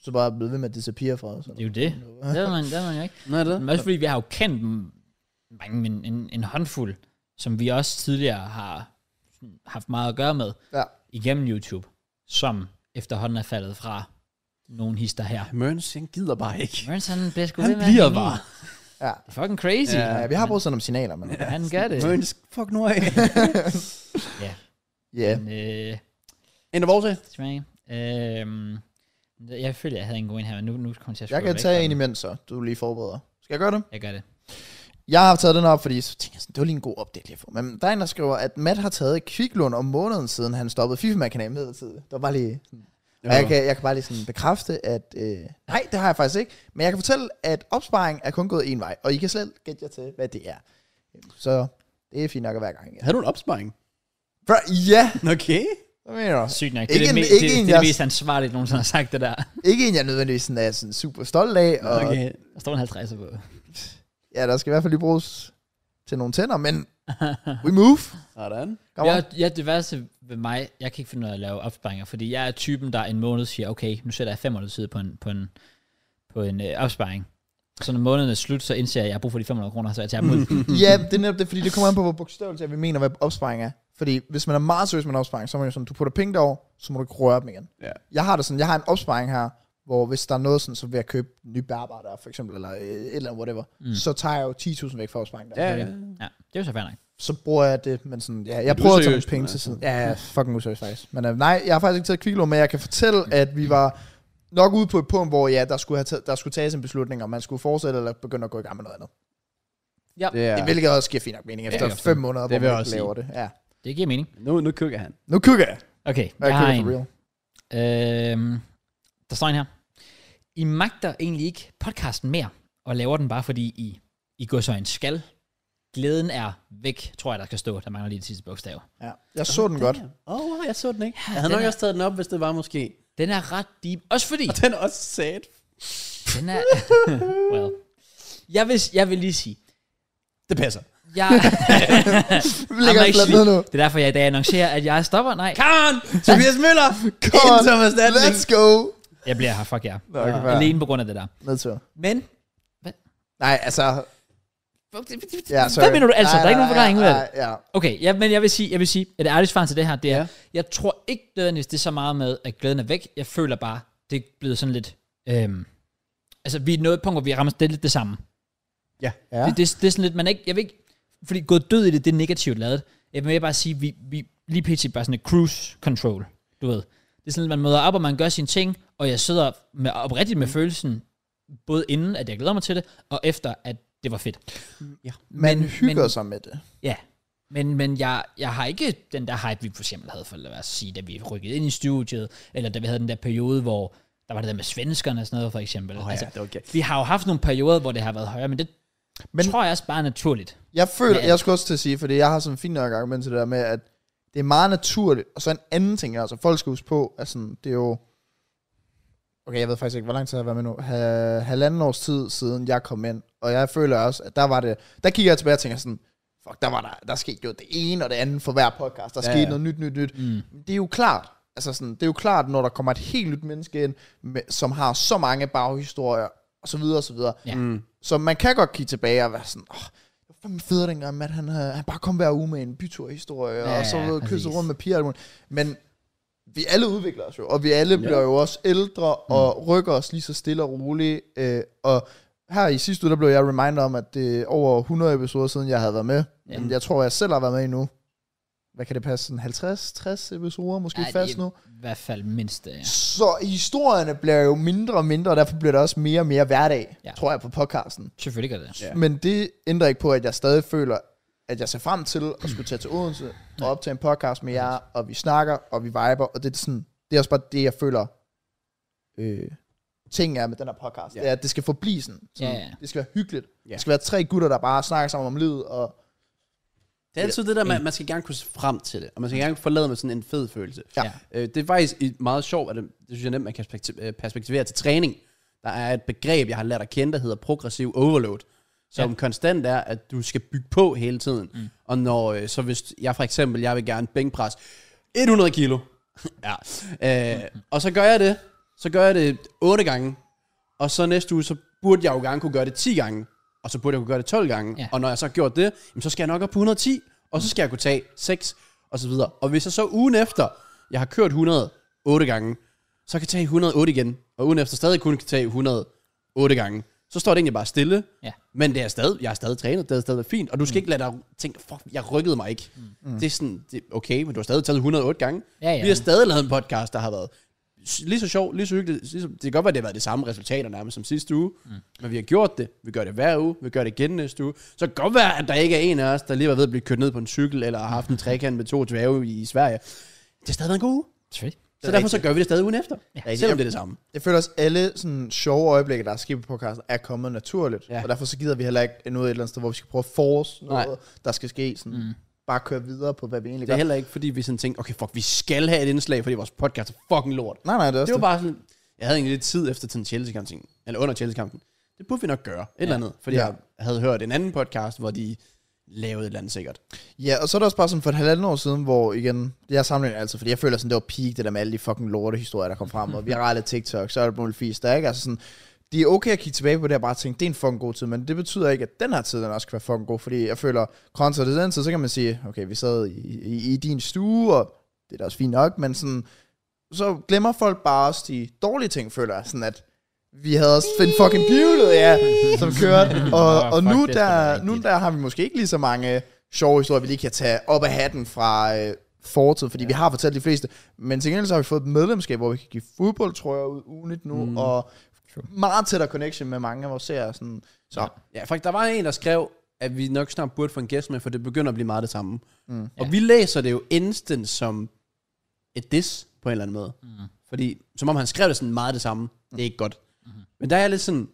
S2: så bare blevet ved med at disappear fra os.
S1: Det er jo det. Det er man, det er man jo ikke.
S3: Nej, det er
S1: Men
S3: det.
S1: også fordi vi har jo kendt m- mange, men en, en håndfuld, som vi også tidligere har sådan haft meget at gøre med
S2: Ja.
S1: igennem YouTube, som efterhånden er faldet fra nogle hister her.
S3: Mørns, han gider bare ikke.
S1: Mørens, han bliver sgu
S3: Han
S1: ved med at
S3: bliver
S1: hænge i.
S3: bare.
S2: Ja.
S1: Det er fucking crazy.
S3: Ja.
S2: Ja, vi har brugt sådan nogle signaler, men... Ja.
S1: Han gør det.
S3: Mørns, fuck nu af.
S2: Yeah.
S1: Men, øh,
S3: en af vores af.
S1: det smager ikke. Øhm, jeg følte, jeg havde en god en her, men nu, nu kommer jeg til at
S2: Jeg
S1: scrolle
S2: kan
S1: væk
S2: tage
S1: fra
S2: en
S1: den.
S2: imens, så du lige forbereder. Skal jeg gøre det?
S1: Jeg gør det.
S2: Jeg har taget den op, fordi så tænkte jeg sådan, det var lige en god update, jeg får. Men der er en, der skriver, at Matt har taget et kviklån om måneden, siden han stoppede FIFA-kanalen midlertidigt. Det var bare lige... Og jeg kan, jeg kan bare lige sådan bekræfte, at... Øh, nej, det har jeg faktisk ikke. Men jeg kan fortælle, at opsparing er kun gået en vej, og I kan slet gætte jer til, hvad det er. Øhm, Så det er fint nok at være gang. Ja.
S3: Havde du en opsparing?
S2: Bro, ja,
S3: Okay.
S2: hvad mener du?
S1: Sygt nok. Det,
S2: Ikke
S1: er det,
S2: en-
S1: me-
S2: ikke
S1: det,
S2: en,
S1: det, er det
S2: jeg-
S1: mest ansvarligt, nogensinde har sagt det der.
S2: Ikke en, jeg nødvendigvis sådan er sådan super stolt af, og okay.
S3: Okay.
S1: Der står en 50'er på.
S2: ja, der skal i hvert fald lige bruges til nogle tænder, men we move.
S3: Sådan.
S2: Kom on.
S1: Jeg, ja, det værste ved mig, jeg kan ikke finde ud af at lave opsparinger, fordi jeg er typen, der en måned siger, okay, nu sætter jeg 500 side på en, på en, på en øh, opsparing. Så når måneden er slut, så indser jeg, at jeg har brug for de 500 kroner, så jeg tager dem ud.
S2: Ja, det er netop det, fordi det kommer an på, hvor bogstaveligt vi mener, hvad opsparing er. Fordi hvis man er meget seriøs med en opsparing, så er man jo sådan, du putter penge derover, så må du ikke røre dem igen.
S3: Ja.
S2: Jeg har det sådan, jeg har en opsparing her, hvor hvis der er noget sådan, så vil jeg købe nye bærbare for eksempel, eller øh, et eller andet whatever, mm. så tager jeg jo 10.000 væk fra opsparingen der.
S3: Ja, ja.
S1: ja, det er jo så fair nok.
S2: Så bruger jeg det, men sådan, ja, jeg
S3: er
S2: prøver at tage
S3: useriøst,
S2: nogle penge
S3: men
S2: til
S3: altså.
S2: siden. Ja, ja, fucking useriøst faktisk. Men øh, nej, jeg har faktisk ikke taget kviklån, men jeg kan
S3: Mm.
S2: fortælle, at vi var nok ude på et punkt, hvor ja, der skulle, have taget, der skulle tages en beslutning, om man skulle fortsætte eller begynde at gå i gang med noget andet.
S3: Det er,
S2: Ja. Hvilket også giver fint nok mening efter
S1: det gør
S2: ja, fem måneder,
S3: Det
S2: det
S3: vil
S2: hvor
S3: jeg
S2: man ikke laver
S3: også
S2: det. Ja.
S1: Det giver mening.
S3: nu, nu køkker han.
S2: Nu kigger jeg.
S1: Okay,
S2: Jeg
S1: jeg har
S2: kigger
S1: en.
S2: for real.
S1: Øhm, der står en her. I magter egentlig ikke podcasten mere, og laver den bare, fordi I, I går så en skal. Glæden er væk, tror jeg, der skal stå. Der mangler lige det sidste bogstav.
S2: Ja. Jeg så den godt.
S3: Åh, oh, wow, jeg så den ikke. Jeg
S1: den
S3: havde nok
S1: er-
S3: også taget den op, hvis det var måske.
S1: Den er ret deep. Også fordi...
S3: Og den er også sad.
S1: Den er... well. Jeg vil, jeg vil lige sige,
S3: Det passer.
S1: jeg...
S2: Vi ligger
S1: I'm
S2: fladt ned nu.
S1: det er derfor, jeg i dag annoncerer, at jeg stopper. Nej,
S3: Karen! Tobias Møller!
S2: Come on.
S3: Ind som erstatning.
S2: Let's go.
S1: jeg bliver her. Fuck jer.
S2: Nå, okay, fair.
S1: Alene på grund af det der.
S2: Nedtur.
S1: Men...
S2: Nej, altså... Ja, sorry.
S1: Hvad mener du altså?
S2: Nej,
S1: Der er ikke nogen
S2: nej,
S1: forklaring ud af det.
S2: nej, Ja.
S1: Okay, ja, men jeg vil sige, jeg vil sige, at det ærlige svar til det her, det er,
S3: Ja.
S1: ja. jeg tror ikke nødvendigvis, det er så meget med, at glæden er væk. Jeg føler bare, det er blevet sådan lidt, øhm, altså vi er nået et punkt, hvor vi rammer det er lidt det samme.
S3: Ja.
S2: Ja.
S1: Det, det, det, er sådan lidt, man er ikke, jeg vil ikke, fordi gået død i det, det er negativt lavet. Jeg vil mere bare sige, vi, vi lige pt. bare sådan et cruise control, du ved. Det er sådan, at man møder op, og man gør sine ting, og jeg sidder med, oprigtigt
S2: Mm.
S1: med følelsen, både inden, at jeg glæder mig til det, og efter, at det var fedt.
S2: Man
S1: Men-
S2: hygger
S1: men-
S2: sig med det.
S1: Ja, men, men jeg, jeg har ikke den der hype, vi for eksempel havde, for at sige, da vi rykkede ind i studiet, eller da vi havde den der periode, hvor der var det der med svenskerne og sådan noget, for eksempel.
S3: Åh,
S1: Oh,
S3: ja,
S1: altså,
S3: det var okay.
S1: vi har jo haft nogle perioder, hvor det har været højere, men det men,
S2: Men-
S1: tror jeg også bare er naturligt.
S2: Jeg føler,
S1: Ja.
S2: jeg skulle også til at sige, fordi jeg har sådan en fin nok argument til det der med, at det er meget naturligt. Og så en anden ting, altså folk skal huske på, at sådan, det er jo... Okay, jeg ved faktisk ikke, hvor lang tid har jeg været med nu. Ha- halvanden års tid siden jeg kom ind. Og jeg føler også, at der var det... Der kigger jeg tilbage og tænker sådan, fuck, der var der, der skete jo det ene og det andet for hver podcast. Der
S3: Ja,
S2: ja, skete
S3: ja.
S2: noget nyt, nyt, nyt. Mm. Det er jo klart. Altså sådan, det er jo klart, når der kommer et helt nyt menneske ind, med, som har så mange baghistorier, og så videre, og så videre.
S1: Ja.
S3: Mm.
S2: Så man kan godt kigge tilbage og være sådan, åh, det var fandme federe dengang, at han, øh, han bare kom hver uge med en byturhistorie,
S1: Ja,
S2: ja, og så
S1: ja,
S2: ved,
S1: præcis.
S2: kysse rundt med piger og alt muligt." Men vi alle udvikler os jo, og vi alle bliver jo også ældre, og rykker os lige så stille og roligt. Øh, og her i sidste uge, der blev jeg reminder om, at det er over 100 episoder siden, jeg havde været med.
S1: Ja.
S2: Men jeg tror, jeg selv har været med endnu. hvad kan det passe, sådan 50-60 episoder måske
S1: Ja,
S2: ja,
S1: det er-
S2: fast nu.
S1: I hvert fald mindst øh, det, ja.
S2: Så historierne bliver jo mindre og mindre, og derfor bliver der også mere og mere hverdag,
S1: Ja.
S2: ja. tror jeg, på podcasten.
S1: Selvfølgelig gør det.
S3: Ja.
S2: Ja. Men det ændrer ikke på, at jeg stadig føler, at jeg ser frem til at skulle tage til Odense og optage en podcast med jer, og vi snakker, og vi viber, og det er, sådan, det er også bare det, jeg føler, øh, ting er med den her podcast.
S3: Ja.
S2: Ja. Det er, at det skal forblive sådan. sådan
S1: Ja, ja.
S2: Det skal være hyggeligt.
S3: Ja.
S2: Ja. Det skal være tre gutter, der bare snakker sammen om livet, og
S3: Det er altid det der, man, man skal gerne kunne se frem til det, og man skal gerne kunne forlade med sådan en fed følelse.
S2: Ja.
S3: Øh, det er faktisk et meget sjovt, at øh, det, det synes jeg nemt, man kan perspektiv- øh, perspektivere til træning. Der er et begreb, jeg har lært at kende, der hedder progressiv overload, som
S1: Ja.
S3: ja. konstant er, at du skal bygge på hele tiden. Mm. Og når, øh, så hvis jeg for eksempel, jeg vil gerne bænkpres 100 kilo, ja. øh, og så gør jeg det, så gør jeg det 8 gange, og så næste uge, så burde jeg jo gerne kunne gøre det 10 gange, og så burde jeg kunne gøre det 12 gange.
S1: Ja.
S3: Ja. Og når jeg så har gjort det, jamen, så skal jeg nok op på 110, og så skal jeg kunne tage 6, og så videre. Og hvis jeg så ugen efter, jeg har kørt 108 gange, så kan jeg tage 108 igen, og ugen efter stadig kun kan tage 108 gange, så står det egentlig bare stille.
S1: Ja.
S3: Men det er stadig, jeg har stadig trænet, det er stadig fint, og du skal mm. ikke lade dig tænke, fuck, jeg rykkede mig ikke. Mm. Det er sådan, det, okay, men du har stadig taget 108 gange.
S1: Ja, ja.
S3: Vi har stadig lavet en podcast, der har været s- lige så sjov, lige så hyggeligt. Lige så, det kan godt være, det har været det samme resultater nærmest som sidste uge. Mm. Men vi har gjort det. Vi gør det hver uge. Vi gør det igen næste uge. Så det kan godt være, at der ikke er en af os, der lige var ved at blive kørt ned på en cykel, eller har haft en trekant med to dværge i Sverige. Det har stadig været en god uge.
S1: Selvfølgelig.
S3: Så derfor så gør vi det stadig ugen efter. Ja. Selvom det er det samme.
S2: jeg føler også, alle sådan sjove øjeblikke, der er sket på podcasten, er kommet naturligt.
S3: Ja.
S2: Ja. Og derfor så gider vi heller ikke endnu et eller andet sted, hvor vi skal prøve at force noget,
S3: Nej.
S2: Nej. der skal ske. Sådan, mm. Bare køre videre på, hvad vi egentlig
S3: Det er
S2: gør.
S3: heller ikke, fordi vi sådan tænkte, okay, fuck, vi skal have et indslag, fordi vores podcast er fucking lort.
S2: Nej, nej, det er også
S3: Det var bare sådan, jeg havde egentlig lidt tid efter den Chelsea-kampen, eller under Chelsea-kampen. Det burde vi nok gøre, et ja. eller andet. Fordi
S2: Ja.
S3: jeg havde hørt en anden podcast, hvor de lavede et eller andet sikkert.
S2: Ja, og så er det også bare sådan for et halvandet år siden, hvor igen, jeg sammenligner altid, fordi jeg føler sådan, det var peak, det der med alle de fucking lorte historier, der kom frem, og virale TikTok, så er det fisk, der ikke, altså sådan, det er okay at kigge tilbage på det og bare tænke, det er en fucking god tid, men det betyder ikke, at den her tid, den også skal være fucking god, fordi jeg føler, kontra til den tid, så kan man sige, okay, vi sad i, i, i din stue, og det er da også fint nok, men sådan, så glemmer folk bare også de dårlige ting, føler jeg, sådan at, vi havde også en fucking pivlet, ja, som kørte. Og,
S1: Nå,
S2: og
S1: Ah, fuck,
S2: nu,
S1: det er sgu da
S2: der, nu
S1: rigtigt.
S2: der har vi måske ikke lige så mange øh, sjove historier, vi lige kan tage op af hatten fra øh, fortid, fordi ja. vi har fortalt de fleste. Men til gengæld så har vi fået et medlemskab, hvor vi kan give fodboldtrøjer ud ugenligt nu, mm. og meget tættere connection med mange af vores seere. Sådan. Så ja.
S3: Ja, faktisk der var en, der skrev, at vi nok snart burde få en gæst med, for det begynder at blive meget det samme. Mm. Og vi læser det jo instant som et diss, på en eller anden måde. Mm. Fordi, som om han skrev det sådan meget det samme, det er ikke godt. Mm. Men der er jeg lidt sådan,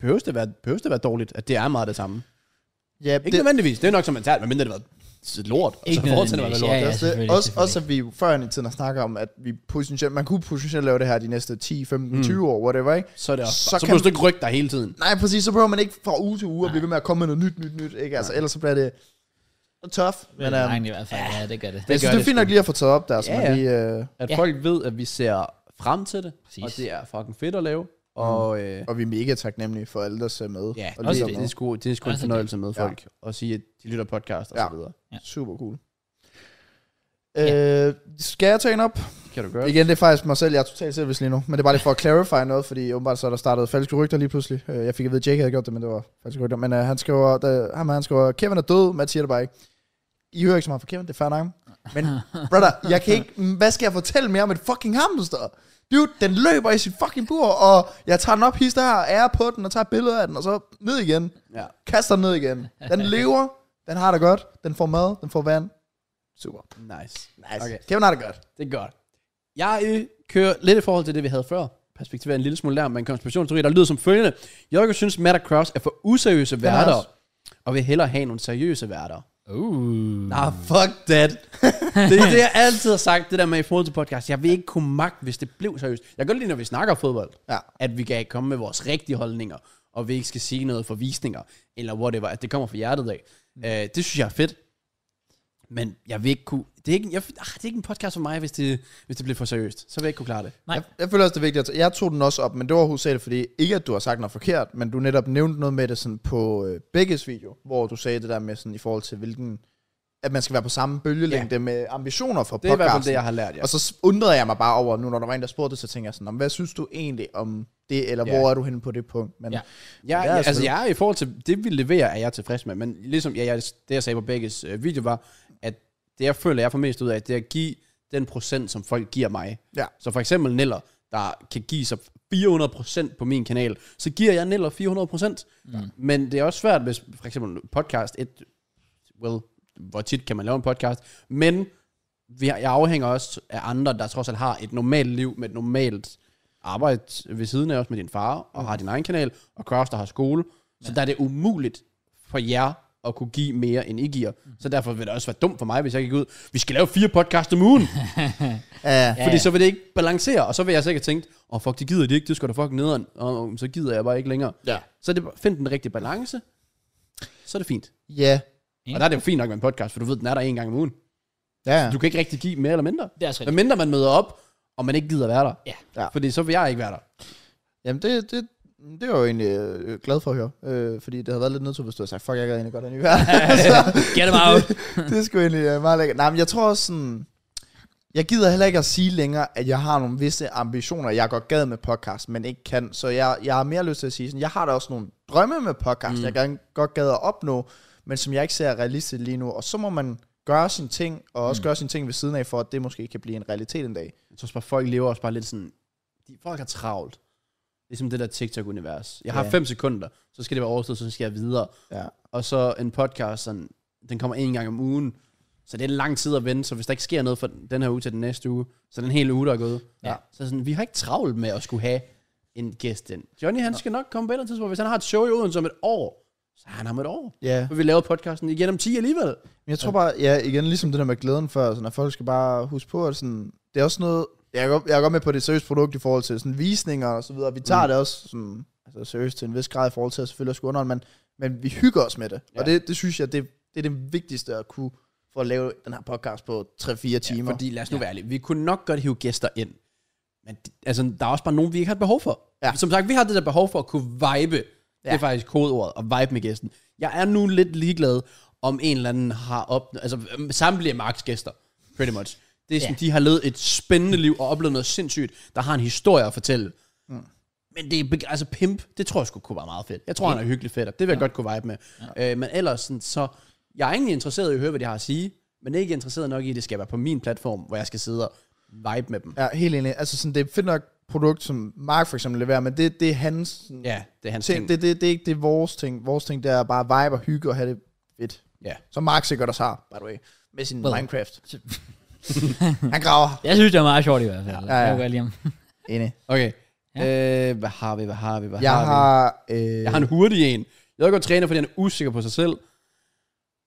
S3: behøves det, være, behøves det være dårligt, at det er meget det samme?
S2: ja
S3: Ikke
S2: det,
S3: nødvendigvis, det er nok som man tager, men mindre det var lort. og
S1: Ikke
S3: så fortsætter
S1: nødvendigvis,
S3: det med lort.
S1: ja, ja.
S2: altså, det,
S1: selvfølgelig,
S2: også, også at vi jo før i tiden har snakket om, at vi potentielt, man kunne potentielt lave det her de næste 10, 15, mm. 20 år, whatever, ikke?
S3: Så er det også.
S2: Så
S3: Så, så
S2: kan-
S3: kan du ikke rykke dig hele tiden.
S2: Nej, præcis, så behøver man ikke fra uge til uge at blive ved med at komme med noget nyt, nyt, nyt, ikke? Altså, ellers så bliver det tough. Men,
S1: Men,
S2: øhm,
S1: um, i hvert fald, ja, det gør det.
S2: det, jeg synes,
S3: gør
S2: det er
S3: det
S2: fint
S3: sgu.
S2: nok lige at få taget op der, så
S3: Ja,
S2: ja,
S3: ja.
S2: man lige... Øh,
S3: At
S1: Ja.
S3: ja. folk ved, at vi ser frem til det, Præcis. og
S1: Præcis.
S3: det er fucking fedt at lave. Og, øh,
S2: og vi er mega taknemmelige for alle, der ser med.
S3: Ja,
S2: og lytter
S3: også det. Det
S2: med.
S3: er sgu, det er sgu en
S1: Også det.
S3: fornøjelse med
S2: Ja.
S3: folk at sige, at de lytter podcast og
S2: Ja.
S3: så videre.
S2: Super cool.
S1: Ja.
S2: Øh, skal jeg tage en op?
S3: Det kan du gøre.
S2: Igen, det er faktisk mig selv. Jeg er totalt selvvis lige nu. Men det er bare lige for at clarify noget, fordi åbenbart så er der startet falske rygter lige pludselig. Øh, Jeg fik at vide, at Jake havde gjort det, men det var falske rygter. Men øh, han skriver, der, ham her, han skriver, Kevin er død, Mads siger det bare ikke. I hører ikke så meget fra Kevin, det er fair nok. Men brother, jeg kan ikke, hvad skal jeg fortælle mere om et fucking hamster? Dude, den løber i sit fucking bur, og jeg tager den op, hister her, ærer på den, og tager billeder af den, og så ned igen.
S3: Ja.
S2: Kaster den ned igen. Den lever, den har det godt, den får mad, den får vand. Super.
S3: Nice.
S2: Nice.
S3: Okay.
S2: Okay. Kevin har det godt.
S3: Det er godt. Jeg øh, kører lidt i forhold til det, vi havde før. Perspektivet en lille smule der, men konspirationsteori, der lyder som følgende. Jørgen synes, Matt og Cross er for useriøse værter,
S2: også.
S3: og vil hellere have nogle seriøse værter.
S1: Uh.
S3: Nah, fuck that. det er det, jeg altid har sagt, det der med i forhold til podcast. Jeg vil ikke kunne magt, hvis det blev seriøst. Jeg kan godt lide, når vi snakker fodbold,
S2: Ja.
S3: at vi kan komme med vores rigtige holdninger, og vi ikke skal sige noget for visninger, eller whatever, at det kommer fra hjertet af. Mm. Uh, det synes jeg er fedt. Men jeg vil ikke kunne... Det er ikke, jeg, ah, det er ikke en podcast for mig, hvis det, hvis det bliver for seriøst. Så vil jeg ikke kunne klare det.
S1: Nej.
S2: Jeg, jeg føler også, det er vigtigt. At jeg tog den også op, men det var hovedsageligt, fordi ikke at du har sagt noget forkert, men du netop nævnte noget med det sådan på øh, begges video, hvor du sagde det der med sådan i forhold til, hvilken at man skal være på samme bølgelængde ja. med ambitioner for
S3: Det er i hvert fald
S2: podcasten.
S3: det, jeg har lært, ja.
S2: Og så s- undrede jeg mig bare over, nu når der var en, der spurgte det, så tænkte jeg sådan, "Nå, men hvad synes du egentlig om det, eller
S3: Ja.
S2: hvor er du henne på det punkt? Men
S1: Ja.
S2: ja.
S3: Ja,
S2: Ja,
S3: ja, altså
S2: selvfølgelig.
S3: jeg er i forhold til det, vi leverer, er jeg tilfreds med. Men ligesom ja, jeg, det, jeg sagde på begges øh, video, var, at det jeg føler, jeg får mest ud af, det er at give den procent, som folk giver mig.
S2: Ja.
S3: Så for eksempel Niller, der kan give sig 400 på min kanal, så giver jeg Niller 400 Mm. Men det er også svært, hvis for eksempel podcast, et, well, hvor tit kan man lave en podcast, men vi- jeg afhænger også af andre, der trods alt har et normalt liv med et normalt arbejde ved siden af os med din far, og har din egen kanal, og Kraus, der har skole. Så der er det umuligt for jer at kunne give mere, end I giver. Så derfor vil det også være dumt for mig, hvis jeg gik ud, vi skal lave fire podcast om ugen,
S2: Ja.
S1: Ja,
S3: fordi
S1: ja.
S3: så vil det ikke balancere, og så vil jeg sikkert tænke, åh oh, fuck, det gider de ikke, det skal da fucking nederen, og oh, så gider jeg bare ikke længere.
S2: Ja.
S3: Så er det, find den rigtige balance, så er det fint.
S2: Ja.
S3: Og der er det jo fint nok med en podcast, for du ved, den er der en gang om ugen.
S2: Ja.
S3: Du kan ikke rigtig give mere eller mindre.
S1: Det er også
S3: Men
S1: rigtigt.
S3: mindre man møder op, og man ikke gider være der.
S1: Ja.
S2: Ja.
S3: Fordi så vil jeg ikke være der.
S2: Jamen, det, det, det er jeg jo egentlig øh, glad for at høre. Øh, fordi det havde været lidt nedtur, hvis du havde sagt, fuck, jeg gad egentlig godt have en ny verden. Så
S1: Get him out.
S2: det skulle egentlig øh, meget lækkert. Nej, men jeg tror også sådan... Jeg gider heller ikke at sige længere, at jeg har nogle visse ambitioner, jeg godt gad med podcast, men ikke kan. Så jeg, jeg har mere lyst til at sige sådan, jeg har da også nogle drømme med podcast, mm. jeg gerne, godt gad at opnå, men som jeg ikke ser er realistisk lige nu. Og så må man gøre sine ting, og også mm. gøre sine ting ved siden af, for at det måske kan blive en realitet en dag.
S3: Jeg tror også bare, folk lever også bare lidt sådan... De, folk er travlt. Ligesom det der TikTok-univers. Jeg har
S2: Ja.
S3: fem sekunder, så skal det være overstået, så skal jeg videre.
S2: Ja.
S3: Og så en podcast, sådan, den kommer en gang om ugen. Så det er lang tid at vente, så hvis der ikke sker noget fra den her uge til den næste uge, så er den hele uge, der er gået.
S1: Ja.
S3: Så sådan, vi har ikke travlt med at skulle have en gæst ind. Johnny, han skal nok komme på et eller andet tidspunkt. Hvis han har et show i Odense om et år, så er han om et år.
S2: Ja.
S3: Og vi laver podcasten igen om 10 alligevel.
S2: Men jeg tror bare, ja, igen, ligesom det der med glæden før, sådan, at folk skal bare huske på, at sådan, det er også noget, jeg er, godt, jeg er godt med på det seriøse produkt i forhold til sådan, visninger og så videre. Vi tager mm. det også sådan, altså, seriøst til en vis grad i forhold til at selvfølgelig også skulle underholde, men, men vi hygger os med det. Ja. Og det, det synes jeg, det, det er det vigtigste at kunne for at lave den her podcast på 3-4 timer. Ja,
S3: Fordi lad os nu ja. være ærlige, vi kunne nok godt hive gæster ind. Men d- altså, der er også bare nogen, vi ikke har et behov for.
S2: Ja.
S3: Som sagt, vi har det der behov for at kunne vibe. Ja. Det er faktisk kodeordet, at vibe med gæsten. Jeg er nu lidt ligeglad, om en eller anden har op... Altså, øhm, samtlige Marks gæster, pretty much. Det er sådan, ja. de har levet et spændende liv og oplevet noget sindssygt, der har en historie at fortælle. Men det er, beg- altså pimp, det tror jeg skulle kunne være meget fedt. Jeg tror, han er hyggelig fedt, og det vil jeg ja. godt kunne vibe med. Ja. Øh, men ellers, sådan, så jeg er egentlig interesseret i at høre, hvad de har at sige, men ikke interesseret nok i, at det skal være på min platform, hvor jeg skal sidde og vibe med dem. Ja,
S2: ja helt enig. Altså sådan, det er fedt nok produkt, som Mark for eksempel leverer, men det, det er hans sådan,
S3: ja det er hans ting.
S2: ting. Det, det, det, er ikke det er vores ting. Vores ting, det er bare vibe og hygge og have det fedt.
S3: Ja.
S2: Som Mark sikkert også har, by the way. Med sin
S1: Well.
S2: Minecraft. Han graver.
S1: Jeg synes, det var meget sjovt i hvert fald. Ja,
S2: ja.
S1: ja. Jeg lige om.
S2: Enig.
S3: Okay. Ja. Øh, hvad har vi, hvad har vi, hvad
S2: Jeg
S3: har, vi?
S2: har... Øh,
S3: Jeg har en hurtig en. Jeg ved godt træner, fordi han er usikker på sig selv.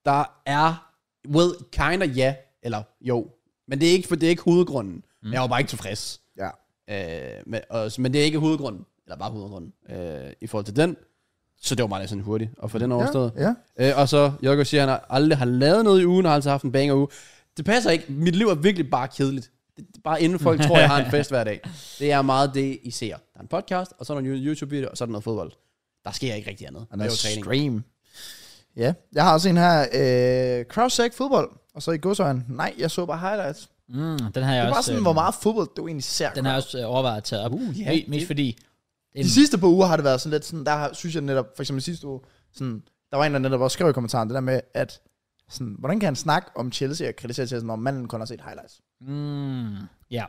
S3: Der er, well, kinda ja, eller jo. Men det er ikke, for det er ikke hovedgrunden. Mm. Jeg var bare ikke tilfreds.
S2: ja.
S3: Øh, men, og, men det er ikke hovedgrunden, eller bare hovedgrunden, øh, i forhold til den. Så det var meget sådan hurtigt at få den overstået.
S2: Ja,
S3: Øh, og så, Jørgen siger, at han aldrig har lavet noget i ugen, og har altså haft en banger uge. Det passer ikke. Mit liv er virkelig bare kedeligt. Det, det er bare inden folk tror, jeg har en fest hver dag. Det er meget det, I ser. Der er en podcast, og så er der en YouTube-video, og så er der noget fodbold. Der sker ikke rigtig andet.
S2: Og
S3: Det er
S2: noget
S3: jo træning.
S2: stream. Ja, jeg har også en her. Øh, Crowdsack fodbold. Og så i godsøjen. Nej, jeg så bare highlights. Det
S1: Mm, den har jeg
S2: er
S1: også...
S2: bare sådan,
S1: øh,
S2: hvor meget fodbold du egentlig ser.
S1: Den har jeg også øh, overvejet at tage op. Uh,
S3: ja,
S1: yeah, mest
S3: det-
S1: fordi...
S2: De sidste par uger har det været sådan lidt sådan, der har- synes jeg netop, for eksempel sidste uge, sådan, der var en, der netop også skrev i kommentaren, det der med, at sådan, hvordan kan han snakke om Chelsea og kritisere Chelsea, når manden kun har set highlights?
S1: Mm, ja.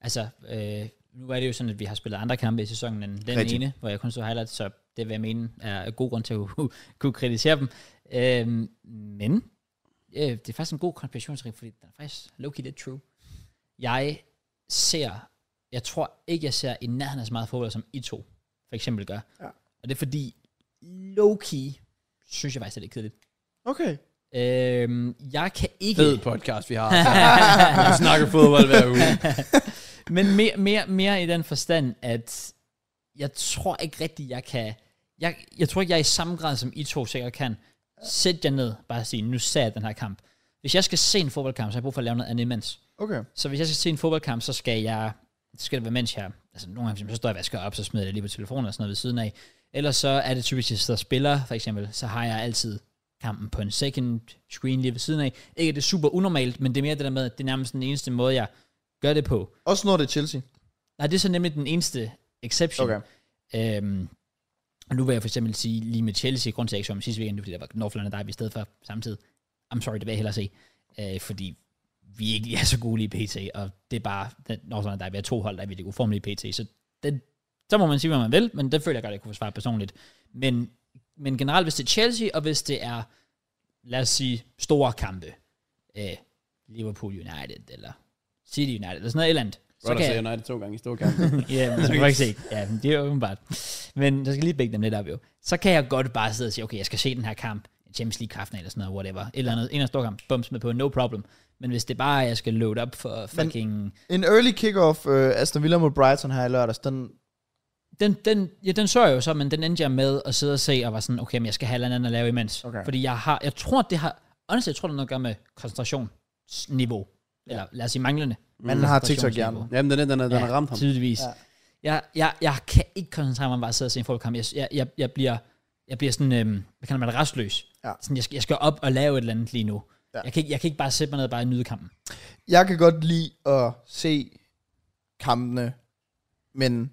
S1: Altså, øh, nu er det jo sådan, at vi har spillet andre kampe i sæsonen end den
S2: Rigtigt.
S1: Rigtig. ene, hvor jeg kun så highlights, så det vil jeg mene er god grund til at kunne kritisere dem. Øhm, men øh, det er faktisk en god konspirationsring, fordi den er faktisk low-key lidt true. Jeg ser, jeg tror ikke, jeg ser i nærheden af så meget fodbold, som I to for eksempel gør.
S2: Ja.
S1: Og det er fordi, low-key, synes jeg faktisk er lidt kedeligt.
S2: Okay.
S1: Øhm, jeg kan ikke...
S3: Fed podcast, vi har. vi snakker fodbold hver uge.
S1: Men mere, mere, mere i den forstand, at jeg tror ikke rigtigt, jeg kan... Jeg, jeg tror ikke, jeg er i samme grad, som I to sikkert kan. Sæt jer ned, bare sige, nu ser jeg den her kamp. Hvis jeg skal se en fodboldkamp, så har jeg brug for at lave noget andet imens.
S2: Okay.
S1: Så hvis jeg skal se en fodboldkamp, så skal jeg... Så skal det være mens jeg... Altså nogle gange, for eksempel, så står jeg og vasker op, så smider jeg det lige på telefonen og sådan noget ved siden af. Ellers så er det typisk, hvis jeg sidder og spiller, for eksempel, så har jeg altid kampen på en second screen lige ved siden af. Ikke at det er super unormalt, men det er mere det der med, at det er nærmest den eneste måde, jeg gør det på.
S2: Også når det er Chelsea.
S1: Nej, det er så nemlig den eneste exception.
S2: Okay.
S1: Øhm, og nu vil jeg for eksempel sige, lige med Chelsea, grund til, at jeg ikke så om sidste weekend, det er, fordi der var Northland og Derby i stedet for samtidig. I'm sorry, det vil jeg hellere se. øh, fordi vi ikke lige er så gode lige pt, og det er bare, den, når sådan, at der er to hold, der er virkelig uformelige pt, så den, så må man sige, hvad man vil, men det føler jeg godt, jeg kunne forsvare personligt. Men, men generelt, hvis det er Chelsea, og hvis det er, lad os sige, store kampe, øh, Liverpool United, eller City United, eller sådan noget et eller andet, så
S3: Rodgers
S1: kan
S3: sagde
S1: jeg,
S3: United to gange i store kampe.
S1: ja, men det kan ikke se. Ja, men det er åbenbart. Men der skal lige bække dem lidt op, jo. Så kan jeg godt bare sidde og sige, okay, jeg skal se den her kamp, Champions League kraften eller sådan noget, whatever. Et eller andet, en eller stor kamp, bums med på, no problem. Men hvis det bare er, at jeg skal load op for fucking... Men,
S2: En early kick-off øh, Aston Villa mod Brighton her i lørdags, den,
S1: den, den, ja, den så jeg jo så, men den endte jeg med at sidde og se, og var sådan, okay, men jeg skal have et eller andet at lave imens.
S2: Okay.
S1: Fordi jeg har, jeg tror, det har, honestly, jeg tror, det har noget at gøre med koncentrationsniveau. Ja. Eller lad os sige manglende.
S2: man har TikTok gerne.
S3: Jamen, den, er- den, er- den har ramt ham.
S1: Tydeligvis. Ja.
S2: Ja.
S1: Jeg, jeg, jeg kan ikke koncentrere mig om bare at sidde og se en fodboldkamp. Jeg, jeg, jeg, jeg, bliver, jeg bliver sådan, øhm, hvad kan man det, restløs.
S2: Ja.
S1: Sådan, jeg, skal, jeg skal op og lave et eller andet lige nu. Ja.
S2: Ja.
S1: Jeg, kan ikke, jeg kan ikke bare sætte mig ned og bare nyde kampen.
S2: Jeg kan godt lide at se kampene, men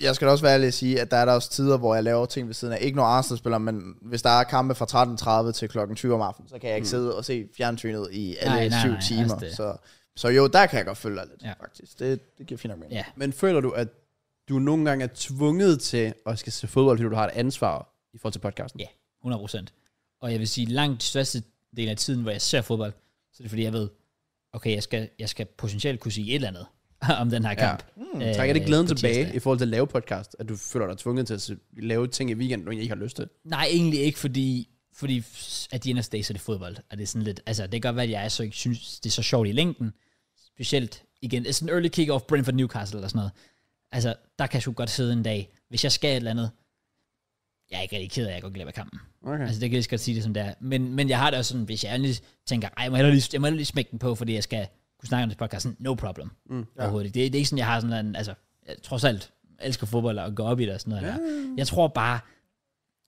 S2: jeg skal da også være ærlig at sige, at der er der også tider, hvor jeg laver ting ved siden af. Ikke når Arsenal spiller, men hvis der er kampe fra 13.30 til klokken 20 om aftenen, så kan jeg ikke sidde og se fjernsynet i alle
S1: Mm. Nej, nej,
S2: syv
S1: nej,
S2: timer.
S1: altså det.
S2: så, så jo, der kan jeg godt følge dig lidt,
S1: Ja.
S2: ja. faktisk. Det, det giver fint nok mening.
S1: Ja.
S3: Men føler du, at du nogle gange er tvunget til at skal se fodbold, fordi du har et ansvar i forhold til podcasten?
S1: Ja. 100%. Og jeg vil sige, langt største del af tiden, hvor jeg ser fodbold, så er det fordi, jeg ved, okay, jeg skal, jeg skal potentielt kunne sige et eller andet om den her kamp.
S2: Hmm.
S1: Ja. Mm,
S3: Trækker det glæden tilbage i forhold til at lave podcast, at du føler dig tvunget til at se- lave ting i weekenden, du egentlig ikke har lyst til?
S1: Nej, egentlig ikke, fordi, fordi at de ender stadig, så er det fodbold. Og det er sådan lidt, altså det kan godt være, at jeg så ikke synes, det er så sjovt i længden. Specielt igen, sådan en early kick-off Brentford Newcastle eller sådan noget. Altså, der kan jeg sgu godt sidde en dag, hvis jeg skal et eller andet. Jeg er ikke rigtig ked af, at jeg går glip af kampen.
S3: Okay.
S1: Altså, det kan jeg lige så godt sige det, som det er. Men, men jeg har det også sådan, hvis jeg endelig tænker, ej, jeg må hellere lige, jeg må hellere lige smække den på, fordi jeg skal kunne snakke om det i podcasten. No problem. Mm, ja. Overhovedet. Det, det, er ikke sådan, jeg har sådan en, altså, jeg, trods alt, elsker fodbold og går op i det og sådan noget. Ja. Der. Jeg tror bare,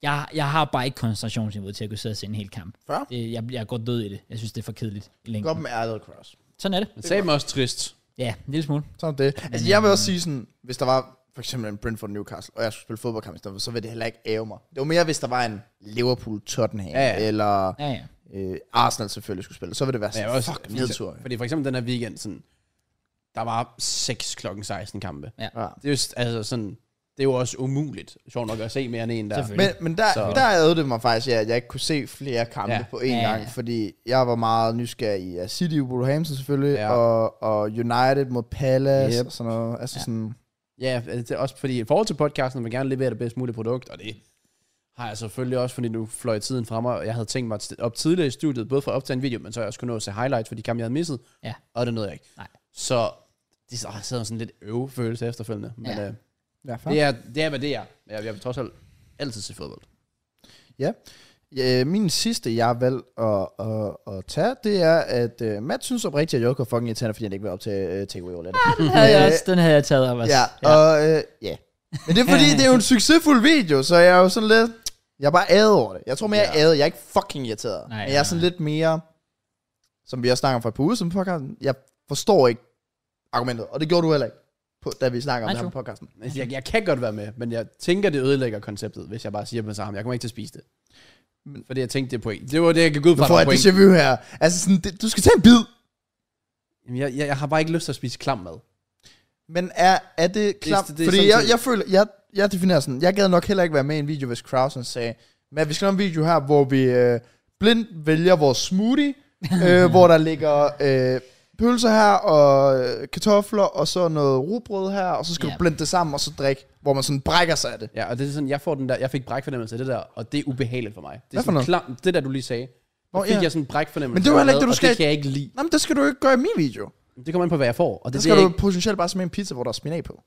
S1: jeg, jeg har bare ikke koncentrationsniveauet til at kunne sidde og se en hel kamp.
S2: Fair.
S1: Det, jeg, jeg går død i det. Jeg synes, det er for kedeligt i længden.
S2: Godt med ærlighed, Cross.
S1: Sådan er det.
S3: Men sagde mig også trist.
S1: Ja, en lille smule.
S2: Sådan er det. Altså, jeg vil
S1: øh,
S2: også sige sådan, hvis der var for eksempel en Brentford Newcastle, og jeg skulle spille fodboldkamp i stedet for, så ville det heller ikke æve mig. Det var mere, hvis der var en Liverpool Tottenham, ja,
S3: ja.
S2: ja. eller
S1: Ja, ja.
S2: øh, Arsenal selvfølgelig skulle spille, så ville det være
S3: Men jeg
S2: sådan,
S3: var også,
S2: fuck, nedtur.
S3: Fordi for eksempel den her weekend, sådan, der var 6 klokken 16 kampe.
S1: Ja.
S2: Ja.
S3: Det er jo s- altså sådan, det er jo også umuligt, sjovt nok at se mere end en der.
S1: Selvfølgelig.
S2: Men, men der,
S3: Så-
S2: så. der ævede det mig faktisk, ja, at jeg ikke kunne se flere kampe
S3: Ja.
S2: ja. på én
S1: Ja,
S2: ja,
S1: ja,
S2: gang,
S1: ja.
S2: fordi jeg var meget nysgerrig i ja, City, Wolverhampton selvfølgelig,
S3: Ja.
S2: ja. og, og United mod Palace
S3: Yep.
S2: yep. og sådan noget. Altså ja. sådan,
S3: Ja, altså, det er også fordi i forhold til podcasten, vil jeg gerne levere det bedst mulige produkt, og det har jeg selvfølgelig også, fordi nu fløj tiden fra mig, og jeg havde tænkt mig at st- op tidligere i studiet, både for at optage en video, men så jeg også kunne nå at se highlights for de kampe, jeg havde misset,
S1: Ja.
S3: og det nåede jeg ikke.
S1: Nej.
S3: Så det så jeg sidder sådan lidt øve følelse efterfølgende, men
S1: Ja.
S3: ja. øh,
S2: ja, fair.
S3: det, er, det er, hvad det er. Jeg, jeg vil trods alt altid se fodbold.
S2: Ja, min sidste, jeg har valgt at, at, at tage, det er, at uh, Matt synes oprigtigt, at Joko er fucking irriterende, fordi han ikke vil op til uh, Takeaway Roulette.
S1: Den havde, jeg også, den havde jeg taget op også.
S2: ja, og øh, ja. Men det er fordi, det er jo en succesfuld video, så jeg er jo sådan lidt... Jeg er bare æde over det. Jeg tror mere, jeg er æde. Jeg er ikke fucking
S1: Nej,
S2: irriteret. Nej, men
S1: nej,
S2: jeg er sådan
S1: nej.
S2: lidt mere... Som vi også snakker om for et par uger siden på podcasten. Jeg forstår ikke argumentet, og det gjorde du heller ikke, på, da vi snakker om
S1: Nej,
S2: det her
S1: true.
S2: på podcasten.
S3: Altså, Jeg, jeg kan godt være med, men jeg tænker, det ødelægger konceptet, hvis jeg bare siger med sammen, jeg kommer ikke til at spise det. Men,
S2: Men-
S3: fordi jeg tænkte, det er point. Det var det, jeg gik ud
S2: Nu
S3: fra,
S2: får
S3: der
S2: jeg
S3: var
S2: et
S3: point.
S2: déjà vu her. Altså sådan, det, du skal tage en bid.
S3: Jamen, Jeg, jeg, jeg, har bare ikke lyst til at spise klam mad.
S2: Men er, er det klart?
S3: det er
S2: Fordi
S3: sådan
S2: jeg,
S3: set-
S2: jeg føler, jeg, jeg definerer sådan, jeg gad nok heller ikke være med i en video, hvis Krausen sagde, men vi skal have en video her, hvor vi øh, blind vælger vores smoothie,
S3: Mhm.
S2: øh, hvor der ligger øh, pølser her, og øh, kartofler, og så noget rugbrød her, og så skal
S1: Ja.
S2: du blende det sammen, og så drikke, hvor man sådan brækker sig af det.
S3: Ja, og det er sådan, jeg, får den der, jeg fik brækfornemmelse af det der, og det er ubehageligt for mig. Det er
S2: Hvad for
S3: sådan
S2: noget?
S3: klam, det der, du lige sagde. Der
S2: Nå,
S3: fik
S2: ja.
S3: jeg sådan en brækfornemmelse.
S2: Men det var
S3: af
S2: heller ikke det, du
S3: mad, og
S2: skal-
S3: Det kan jeg ikke lide.
S2: Nå, men det skal du ikke gøre i min video.
S3: Det kommer an på, hvad jeg får. Og det,
S2: Der
S3: det
S2: skal
S3: er
S2: du
S3: ikke,
S2: potentielt bare smage en pizza, hvor der er spinat på.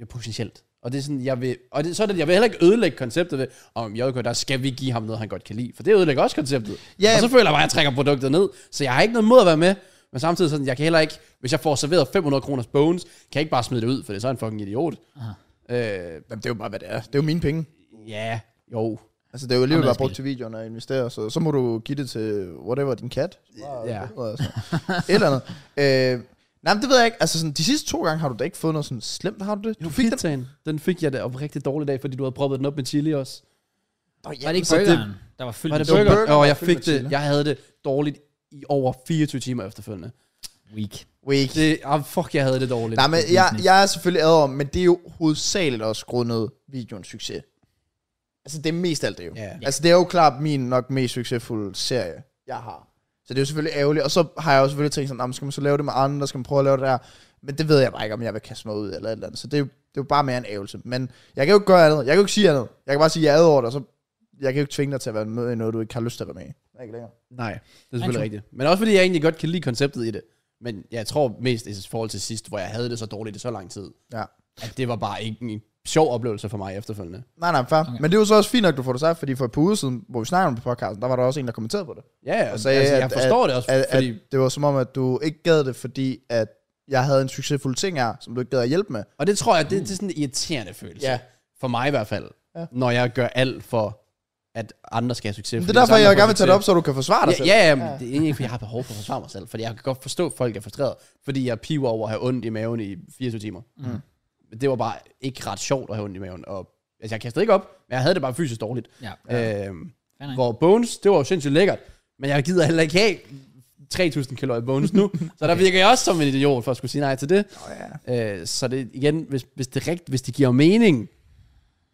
S3: ja, potentielt. Og det er sådan, jeg vil, og det, så er det, jeg vil heller ikke ødelægge konceptet ved, om JK, der skal vi give ham noget, han godt kan lide. For det ødelægger også konceptet.
S2: Ja,
S3: og så føler jeg bare, at jeg trækker produktet ned. Så jeg har ikke noget mod at være med. Men samtidig sådan, jeg kan heller ikke, hvis jeg får serveret 500 kroners bones, kan jeg ikke bare smide det ud, for det er så en fucking idiot. Øh,
S2: Jamen, det er jo bare, hvad det er. Det er jo mine penge.
S3: ja, jo.
S2: Altså, det er jo alligevel
S1: Og
S2: bare
S1: madspil.
S2: brugt til videoen og investere, så, så må du give det til whatever, din kat.
S3: Ja.
S2: Og sådan. Et eller andet. Øh, nej, men det ved jeg ikke. Altså, sådan, de sidste to gange har du da ikke fået noget sådan slemt, har du det?
S3: Du fik den. Den fik jeg da op rigtig dårlig dag, fordi du havde proppet den op med chili også.
S2: Oh,
S1: Var det ikke
S3: så det-
S1: burgeren, der var fyldt
S3: Var det
S1: med
S3: burger?
S2: burger,
S3: Åh,
S2: der
S3: jeg
S2: var fyldt
S3: fik
S2: med
S3: det.
S2: chili.
S3: Jeg havde det dårligt i over 24 timer efterfølgende.
S1: Weak.
S2: Weak.
S3: Det, ah, fuck, jeg havde det dårligt.
S2: Nej, men jeg, jeg er selvfølgelig ad om, men det er jo hovedsageligt også grundet videoens succes. Altså, det er mest alt det jo.
S3: Ja.
S2: Altså, det er jo klart min nok mest succesfulde serie, jeg har. Så det er jo selvfølgelig ærgerligt. Og så har jeg jo selvfølgelig tænkt sådan, "Nå, men skal man så lave det med andre, skal man prøve at lave det der. Men det ved jeg bare ikke, om jeg vil kaste mig ud eller et eller andet. Så det er jo, det er jo bare mere en ævelse. Men jeg kan jo ikke gøre andet. Jeg kan jo ikke sige andet. Jeg kan bare sige, at jeg er ad over det, og så jeg kan jo ikke tvinge dig til at være med i noget, du ikke har lyst til at være med i. Det er ikke længere.
S3: Nej, det er selvfølgelig rigtigt. Men også fordi jeg egentlig godt kan lide konceptet i det. Men jeg tror mest i forhold til sidst, hvor jeg havde det så dårligt i så lang tid,
S2: Ja.
S3: at det var bare ikke en sjov oplevelse for mig efterfølgende.
S2: Nej, nej, fair. Okay. Men det er jo så også fint nok, du får det sagt, fordi for et par uger siden, hvor vi snakkede om det på podcasten, der var der også en, der kommenterede på det.
S3: Ja,
S2: Og
S3: altså,
S2: sagde,
S3: altså,
S2: at-
S3: jeg forstår det også,
S2: at,
S3: fordi...
S2: at det var som om, at du ikke gad det, fordi at jeg havde en succesfuld ting her, som du ikke gad at hjælpe med.
S3: Og det tror jeg, det, det er sådan en irriterende følelse.
S2: Ja.
S3: For mig i hvert fald.
S2: Ja.
S3: Ja. Når jeg gør alt for, at andre skal have succes.
S2: Men det
S3: fordi
S2: er derfor,
S3: hvis andre
S2: jeg
S3: får
S2: gerne vil tage det op,
S3: succes-
S2: så du kan forsvare dig selv.
S3: Ja, ja, ja, men det er egentlig ikke, fordi jeg har behov for at forsvare mig selv. Fordi jeg kan godt forstå, at folk er frustreret. Fordi jeg piver over at have ondt i maven i 24 timer.
S1: Mm.
S3: Men Det var bare ikke ret sjovt at have ondt i maven. Og, altså, jeg kastede ikke op, men jeg havde det bare fysisk dårligt.
S1: Ja.
S3: Ja. Øhm,
S1: Fair nok.
S3: hvor Bones, det var jo sindssygt lækkert. Men jeg gider heller ikke have 3.000 kalorier Bones nu. så der virker jeg også som en idiot for at skulle sige nej til det. Øh, så det igen, hvis, hvis, det rigt, hvis det giver mening,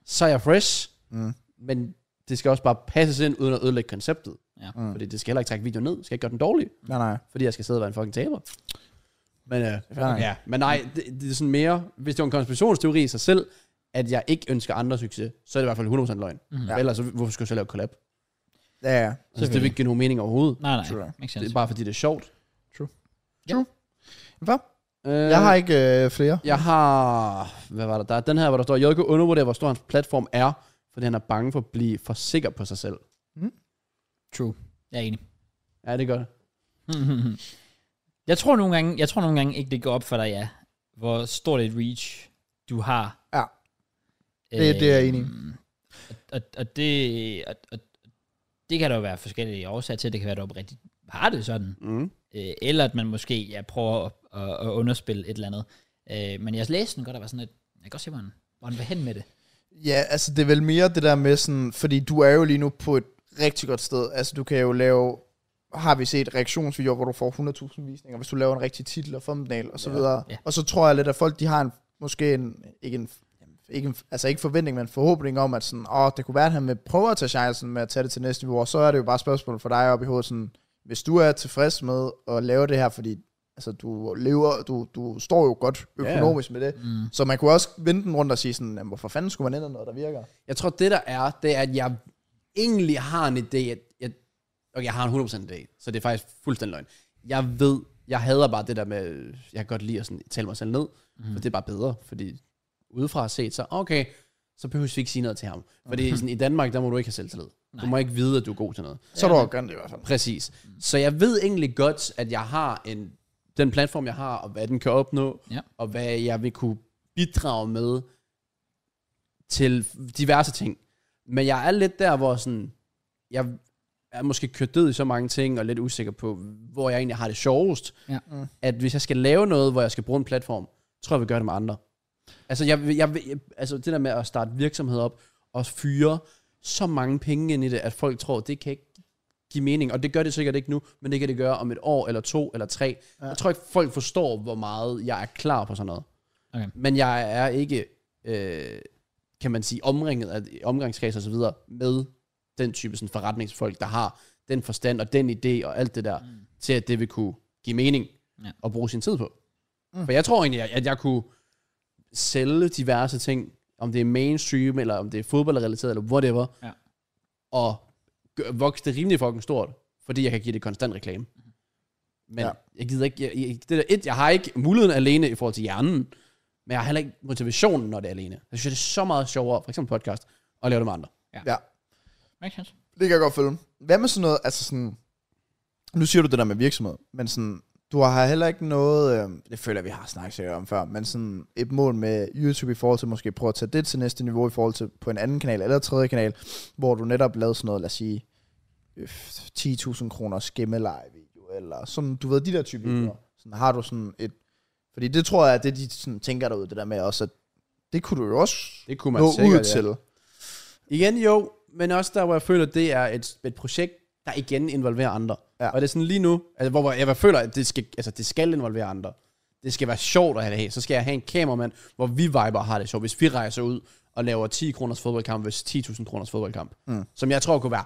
S3: så er jeg fresh.
S2: Mm.
S3: Men det skal også bare passes ind, uden at ødelægge konceptet.
S1: Ja.
S2: Mm.
S3: Fordi det skal heller ikke trække videoen ned. Det skal ikke gøre den dårlig,
S2: Nej, nej.
S3: fordi jeg skal sidde og være en fucking taber. Men, øh,
S2: fair nok.
S3: ja. men nej, det, det, er sådan mere, hvis det var en konspirationsteori i sig selv, at jeg ikke ønsker andre succes, så er det i hvert fald 100% løgn.
S1: Mhm.
S3: Mm. Ellers, så hvorfor skulle jeg så lave collab?
S2: Ja, ja.
S3: Så det vil ikke give nogen mening overhovedet.
S1: Nej, nej.
S2: True.
S1: Makes
S3: Det
S1: sense.
S3: er bare fordi, det er sjovt.
S2: Hvad?
S3: Øh,
S2: Jeg har ikke øh, flere.
S3: Jeg har... Hvad var der? Der er den her, hvor der står, Jørgen undervurderer, hvor stor hans platform er, fordi han er bange for at blive for sikker på sig selv.
S1: True. Jeg er enig.
S3: Ja, det gør det.
S1: jeg tror nogle gange, jeg tror nogle gange ikke, det går op for dig, ja. Hvor stort et reach du har.
S2: Ja. Det- det er jeg enig i.
S1: Øhm, Og, og, og, det, og, og, det kan der jo være forskellige årsager til. Det kan være, at du oprigtigt har det sådan.
S3: Mm.
S1: Øh, eller at man måske ja, prøver at, at, at underspille et eller andet. Øh, men jeg læste den godt, der var sådan et, jeg kan godt se, hvor han, hvor han vil hen med det.
S2: Ja, altså det er vel mere det der med sådan, fordi du er jo lige nu på et rigtig godt sted. Altså du kan jo lave, har vi set reaktionsvideoer, hvor du får 100.000 visninger, hvis du laver en rigtig titel og thumbnail og så
S3: Ja.
S2: videre.
S1: Ja.
S2: Og så tror jeg lidt, at folk de har en, måske en, ikke en, ikke en, altså ikke forventning, men en forhåbning om, at sådan, åh, det kunne være, at han vil prøve at tage chancen med at tage det til næste niveau, og så er det jo bare spørgsmålet for dig op i hovedet, sådan, hvis du er tilfreds med at lave det her, fordi altså, du, lever, du, du står jo godt
S3: Ja.
S2: økonomisk med det,
S1: Mm.
S2: så man kunne også vende den rundt og sige sådan, jamen, hvorfor fanden skulle man ændre noget, der virker?
S3: Jeg tror, det der er, det er, at jeg egentlig har en idé, at jeg, okay, jeg har en 100% idé, så det er faktisk fuldstændig løgn. Jeg ved, jeg hader bare det der med, øh, jeg kan godt lide at sådan, tale mig selv ned, mm. for det er bare bedre, fordi udefra set, så okay, så behøver vi ikke sige noget til ham. Fordi sådan, i Danmark, der må du ikke have selvtillid. Du må ikke vide, at du er god til noget.
S2: Så er du også det i hvert fald.
S3: Præcis. Så jeg ved egentlig godt, at jeg har en, den platform, jeg har, og hvad den kan opnå,
S1: Ja.
S3: og hvad jeg vil kunne bidrage med til diverse ting. Men jeg er lidt der, hvor sådan, jeg er måske kørt død i så mange ting, og lidt usikker på, hvor jeg egentlig har det sjovest.
S1: Ja.
S2: Mm.
S3: At hvis jeg skal lave noget, hvor jeg skal bruge en platform, tror jeg, vi gør det med andre. Altså, jeg, vil- jeg, vil- altså det der med at starte virksomheder op, og fyre så mange penge ind i det, at folk tror, det kan ikke give mening. Og det gør det sikkert ikke nu, men det kan det gøre om et år, eller to, eller tre. Ja. Jeg tror ikke, folk forstår, hvor meget jeg er klar på sådan noget.
S1: Okay.
S3: Men jeg er ikke, øh, kan man sige, omringet af omgangskreds og så videre, med den type sådan, forretningsfolk, der har den forstand og den idé og alt det der, mm. til at det vil kunne give mening
S1: Ja.
S3: og bruge sin tid på. Mm. For jeg tror egentlig, at- at jeg kunne sælge diverse ting, om det er mainstream, eller om det er fodboldrelateret, eller whatever,
S1: Ja.
S3: og gø- vokse det rimelig fucking stort, fordi jeg kan give det konstant reklame. Men
S2: Mhm. Ja.
S3: ja. jeg gider ikke, jeg, jeg, det der, et, jeg har ikke muligheden alene i forhold til hjernen, men jeg har heller ikke motivationen, når det er alene. Jeg synes, det er så meget sjovere, for eksempel podcast, at lave det med andre.
S1: Makes sense.
S2: Det kan jeg godt følge. Hvad med sådan noget, altså sådan, nu siger du det der med virksomhed, men sådan, du har heller ikke noget, øh, det føler jeg, vi har snakket sikkert om før, men sådan et mål med YouTube i forhold til måske prøve at tage det til næste niveau i forhold til på en anden kanal eller tredje kanal, hvor du netop lavede sådan noget, lad os sige, øh, 10.000 kroner skemmeleje-video, eller sådan, du ved, de der type
S3: Mm.
S2: videoer. Sådan, har du sådan et, fordi det tror jeg, er det de sådan, tænker derude, det der med også, at det kunne du jo også
S3: Det kunne man
S2: nå
S3: sikkert,
S2: ud til. Ja.
S3: Igen jo, men også der, hvor jeg føler, det er et, et projekt, der igen involverer andre.
S2: Ja.
S3: Ja. Og det er sådan lige nu, altså, hvor hvor jeg føler, at det skal, altså, det skal involvere andre. Det skal være sjovt at have det her. Så skal jeg have en kameramand, hvor vi viber har det sjovt. Hvis vi rejser ud og laver 10 kroners fodboldkamp, hvis 10.000 kroners fodboldkamp. Mm. Som jeg tror kunne være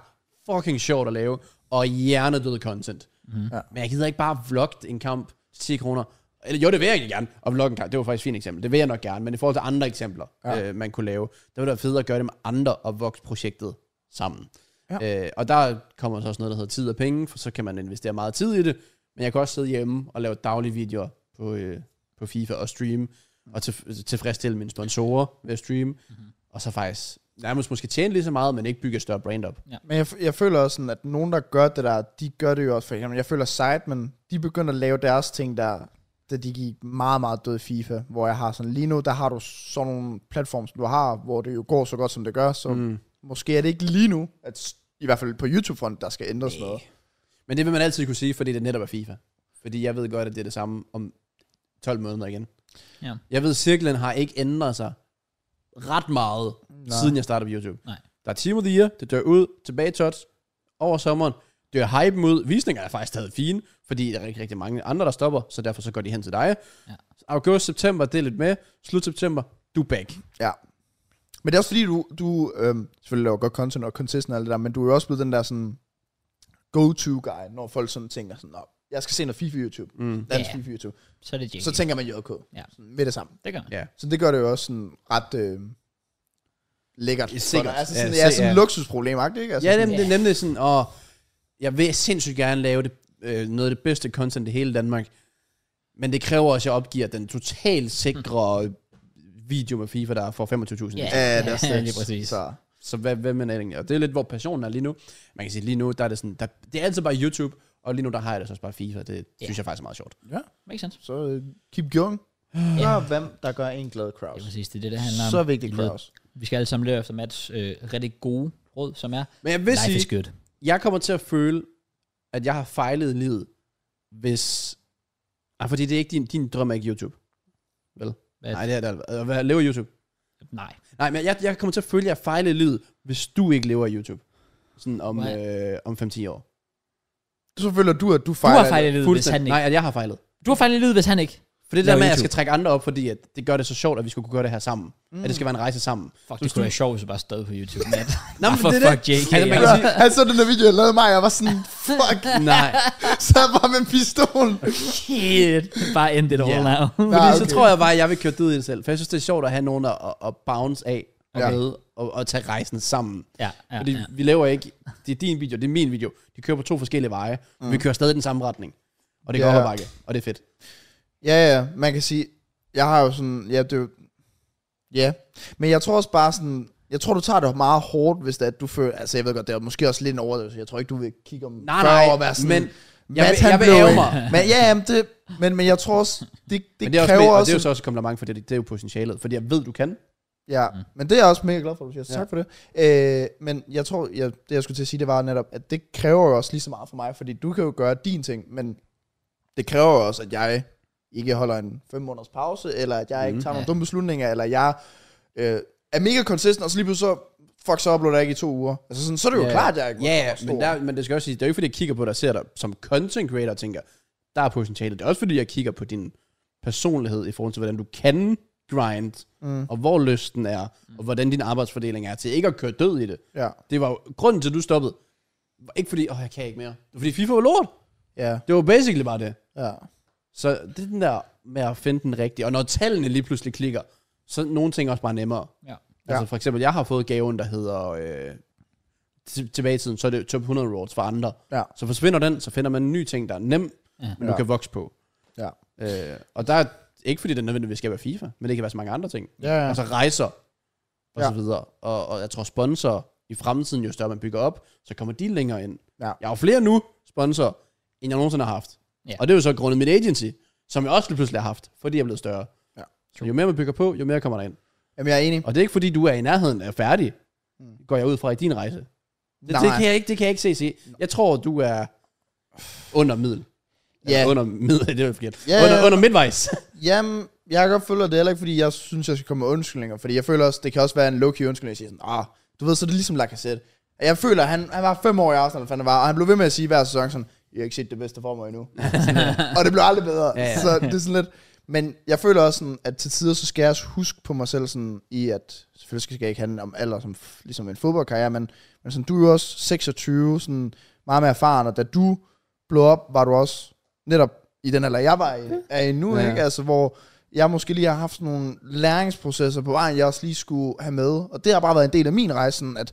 S3: fucking sjovt at lave, og hjernedød content. Mm. Ja. Men jeg gider ikke bare vlogge en kamp til 10 kroner. Eller, jo, det vil jeg egentlig gerne, at vlogge en kamp. Det var faktisk et fint eksempel. Det vil jeg nok gerne, men i forhold til andre eksempler, ja. øh, man kunne lave, der ville det være fedt at gøre det med andre og vokse projektet sammen. Ja. Øh, og der kommer så også noget, der hedder tid og penge, for så kan man investere meget tid i det. Men jeg kan også sidde hjemme og lave daglige videoer på, øh, på FIFA og streame, og til, tilfredsstille mine sponsorer ved at streame. Mm-hmm. Og så faktisk nærmest måske tjene lige så meget, men ikke bygge et større brand op.
S2: Men jeg, jeg føler også sådan, at nogen, der gør det der, de gør det jo også. For eksempel, jeg føler Sidemen, de begyndte at lave deres ting der, da de gik meget, meget død i FIFA. Hvor jeg har sådan, lige nu, der har du sådan nogle platforme, som du har, hvor det jo går så godt, som det gør. Så mm. måske er det ikke lige nu, at s- i hvert fald på YouTube-fronten, der skal ændres noget.
S3: Men det vil man altid kunne sige, fordi det netop er FIFA. Fordi jeg ved godt, at det er det samme om 12 måneder igen.
S1: Ja.
S3: Jeg ved, at cirklen har ikke ændret sig ret meget, Nej. siden jeg startede på YouTube.
S1: Nej.
S3: Der er Team of the Year, det dør ud, tilbage i touch, over sommeren, dør hypen ud, visninger er faktisk stadig fine, fordi der er rigtig, rigtig mange andre, der stopper, så derfor så går de hen til dig.
S1: Ja.
S3: August, september, det er lidt med, slut september, du er back.
S2: Men det er også fordi, du, du øhm, selvfølgelig laver godt content og consistent og alt det der, men du er jo også blevet den der sådan go-to-guy, når folk sådan tænker sådan, "Nå, jeg skal se noget FIFA YouTube,
S3: Mm.
S2: dansk
S1: Ja.
S2: FIFA YouTube.
S1: Så er det JK.
S2: Så tænker man JK
S1: Ja.
S2: sådan, ved det samme.
S1: det gør man.
S3: Ja.
S2: Så det gør det jo også sådan ret øh, lækkert.
S3: Ja,
S2: for
S3: sikkert.
S2: dig. Altså
S3: Ja,
S2: sådan, ja,
S3: se-
S2: ja, sådan
S3: ja.
S2: et luksusproblem, ikke? Altså,
S3: Ja,
S2: sådan,
S3: det, det er nemlig sådan, og jeg vil sindssygt gerne lave det, øh, noget af det bedste content i hele Danmark, men det kræver også, at jeg opgiver den totalt sikre mm. video med FIFA, der får 25.000.
S1: Ja.
S3: Yeah.
S2: ja, det er
S1: Ja,
S2: også det.
S1: lige præcis.
S2: Så,
S3: Så hvad, hvad man er egentlig? Og det er lidt, hvor passionen er lige nu. Man kan sige, lige nu, der er det sådan, der, det er altid bare YouTube, og lige nu, der har jeg det så også bare FIFA, det yeah. synes jeg faktisk er meget sjovt.
S1: Makes sense.
S2: så øh, keep going.
S1: Ja.
S9: Gør hvem, der gør en glad
S1: Det
S9: crowd.
S1: er præcis, det er det, det handler om.
S9: Så vigtigt
S1: Ved-
S9: crowd.
S1: Vi skal alle sammen leve efter Mats øh, rigtig gode råd, som er,
S3: Men jeg vil
S1: life is
S3: sige,
S1: good.
S3: jeg kommer til at føle, at jeg har fejlet i livet, hvis... Nej, fordi det er ikke din, din drøm er ikke YouTube. Vel?
S1: Hvad?
S3: Nej, det er det aldrig. At være- leve af YouTube.
S1: Nej.
S3: Nej, men jeg, jeg kommer til at følge jer fejle i livet, hvis du ikke lever af YouTube. Sådan om,
S1: What?
S3: øh, om 5-10 år.
S2: Så føler du, at du
S1: Du
S2: fejler.
S1: har fejlet i livet, hvis han
S3: Fuldstændig.
S1: ikke.
S3: Nej, at jeg har fejlet.
S1: Du har fejlet i livet, hvis han ikke.
S3: For det
S1: Laver
S3: der med, at jeg
S1: YouTube.
S3: skal trække andre op, fordi at det gør det så sjovt, at vi skulle kunne gøre det her sammen. Mm. At det skal være en rejse sammen.
S1: Fuck,
S3: Hvis
S1: det kunne
S3: du-
S1: være sjovt, hvis du bare stod på YouTube, Matt.
S3: Nej,
S1: Ah, for fuck JK.
S3: Altså, man
S2: det.
S3: kan sige,
S2: Han så den der video, jeg lavede mig, og jeg var sådan, fuck,
S3: nej.
S2: så jeg bare med en pistol.
S1: Shit. Bare end it all
S3: Ja.
S1: now.
S3: Fordi
S2: Ah,
S3: så
S2: okay.
S3: tror jeg bare, at jeg vil køre det ud i det selv. For jeg synes, det er sjovt at have nogen at, at- at bounce af og
S2: Ja.
S3: ja. med, og, og tage rejsen sammen.
S1: ja, ja,
S3: Fordi
S1: ja.
S3: vi laver ikke, det er din video, det er min video. De kører på to forskellige veje. Mm. Vi kører stadig den samme retning. Og det går
S2: Ja.
S3: op ad bakke, og det er fedt.
S2: Ja, ja, man kan sige, jeg har jo sådan, ja, det er jo, ja, men jeg tror også bare sådan, jeg tror, du tager det meget hårdt, hvis det er, at du føler, altså jeg ved godt, det er måske også lidt en overdrivelse, jeg tror ikke, du vil kigge om
S3: Nej,
S2: 40
S3: nej,
S2: år og være sådan,
S3: men jeg
S2: Mads,
S3: vil-
S2: han
S3: jeg vil
S2: blev
S3: ærgre
S2: en-
S3: mig.
S2: Men, ja, jamen, det, men, men jeg tror også, det, det,
S3: Det men det er også,
S2: kræver
S3: med,
S2: også,
S3: og det er jo så også et kompliment, for det, det er jo potentialet. Fordi jeg ved, du kan.
S2: Ja, mm. men det er jeg også mega glad for, at du siger. Tak for det. Øh, men jeg tror, jeg, det jeg skulle til at sige, det var netop, at det kræver jo også lige så meget for mig, fordi du kan jo gøre din ting, men det kræver jo også, at jeg ikke holder en fem måneders pause, eller at jeg mm. ikke tager nogle dumme beslutninger, eller jeg øh, er mega consistent, og så lige pludselig så, fuck, så uploader jeg ikke i to uger. Altså sådan, så er det jo
S3: Ja.
S2: klart, at jeg ikke
S3: Ja, ja
S2: stor.
S3: men, der, men det skal jeg også sige, det er jo ikke, fordi jeg kigger på dig og ser dig som content creator og tænker, der er potentialet. Det er også, fordi jeg kigger på din personlighed i forhold til, hvordan du kan grind, mm. og hvor lysten er, og hvordan din arbejdsfordeling er til ikke at køre død i det.
S2: Ja,
S3: Det var jo grunden til, at du stoppede. Var ikke fordi, åh, jeg kan ikke mere. Det var fordi FIFA var lort.
S2: ja,
S3: Det var basically bare det.
S2: ja.
S3: Så det er den der med at finde den rigtige. Og når tallene lige pludselig klikker, så er nogle ting også bare nemmere.
S1: Ja.
S3: Altså for eksempel, jeg har fået gaven, der hedder... Øh, til- tilbage i tiden, så er det top 100 rewards for andre.
S2: Ja.
S3: Så forsvinder den, så finder man en ny ting, der er nem,
S1: Ja.
S3: ja. men du
S2: Ja.
S3: kan vokse på.
S2: Ja.
S3: Øh, og der er ikke fordi, det nødvendigvis skal være FIFA, men det kan være så mange andre ting.
S2: Ja, ja.
S3: Altså rejser, og
S2: Ja.
S3: så videre. Og, og jeg tror, sponsorer i fremtiden, jo større man bygger op, så kommer de længere ind.
S2: Ja.
S3: Jeg har jo flere nu sponsorer, end jeg nogensinde har haft.
S1: Ja.
S3: Og det er jo så grundet mit agency, som jeg også lige pludselig har haft, fordi jeg er blevet større.
S2: Ja.
S3: Så jo mere man bygger på, jo mere kommer der ind.
S2: Jamen, jeg er enig.
S3: Og det er ikke fordi, du er i nærheden af færdig, går jeg ud fra i din rejse. Det, det,
S2: Mm. Nej.
S3: kan, jeg ikke, det kan jeg ikke se, se. Jeg tror, du er under middel.
S2: Ja.
S3: Eller Under middel, det er jo forkert.
S2: Ja, ja,
S3: Under,
S2: ja.
S3: under midtvejs.
S2: Jamen, jeg kan godt følge, at det er heller ikke, fordi jeg synes, jeg skal komme med undskyldninger. Fordi jeg føler også, det kan også være en low-key undskyldning, at sige sådan, ah, du ved, så er det ligesom Lacazette. Jeg føler, at han, han var fem år i Arsenal, eller hvad fanden det var, og han blev ved med at sige hver sæson sådan, jeg har ikke set det bedste for mig endnu. Sådan der. og det blev aldrig bedre.
S3: Ja,
S2: Ja,
S3: ja.
S2: ja. Så det er sådan lidt... Men jeg føler også sådan, at til tider, så skal jeg også huske på mig selv sådan, i at, selvfølgelig skal jeg ikke handle om alder, som, f- ligesom en fodboldkarriere, men, men sådan, du er jo også 26, sådan meget mere erfaren, og da du blev op, var du også netop i den alder, jeg var i, er i nu,
S3: Ja.
S2: ja. ikke? Altså, hvor jeg måske lige har haft sådan nogle læringsprocesser på vejen, jeg også lige skulle have med, og det har bare været en del af min rejse, sådan, at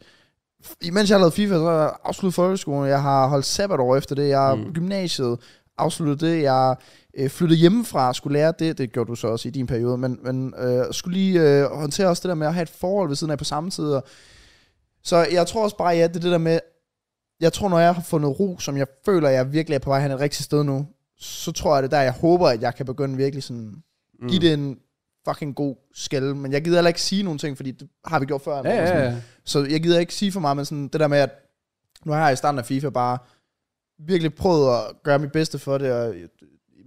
S2: imens jeg har lavet FIFA, så har jeg afsluttet folkeskolen, jeg har holdt sabbatår efter det, jeg har
S3: Mm.
S2: mm. gymnasiet, afsluttet det, jeg øh, flyttede hjemmefra, skulle lære det, det gjorde du så også i din periode, men, men øh, skulle lige øh, håndtere også det der med at have et forhold ved siden af på samme tid. Og, så jeg tror også bare, ja, det er det der med, jeg tror, når jeg har fundet ro, som jeg føler, jeg virkelig er på vej hen et rigtigt sted nu, så tror jeg, det er der, jeg håber, at jeg kan begynde virkelig sådan,
S3: Mm.
S2: give det en fucking god skæld, men jeg gider heller ikke sige nogen ting, fordi det har vi gjort før.
S3: Ja,
S2: men
S3: ja,
S2: sådan,
S3: ja.
S2: så jeg gider ikke sige for meget, men sådan det der med, at nu har jeg i starten af FIFA bare virkelig prøvet at gøre mit bedste for det, og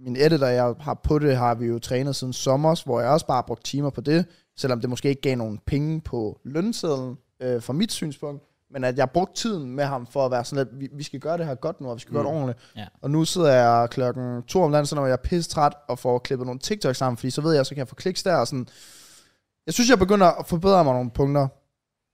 S2: min editor, jeg har på det, har vi jo trænet siden sommer, hvor jeg også bare har brugt timer på det, selvom det måske ikke gav nogen penge på lønsedlen øh, fra mit synspunkt, men at jeg brugte tiden med ham for at være sådan lidt, vi, vi skal gøre det her godt nu, og vi skal mm. gøre det
S3: Mm.
S2: ordentligt.
S1: Ja.
S2: Og nu sidder jeg klokken to om natten, så når jeg er pisse træt og får klippet nogle TikTok sammen, fordi så ved jeg, så kan jeg få kliks der, og sådan. Jeg synes, jeg begynder at forbedre mig nogle punkter,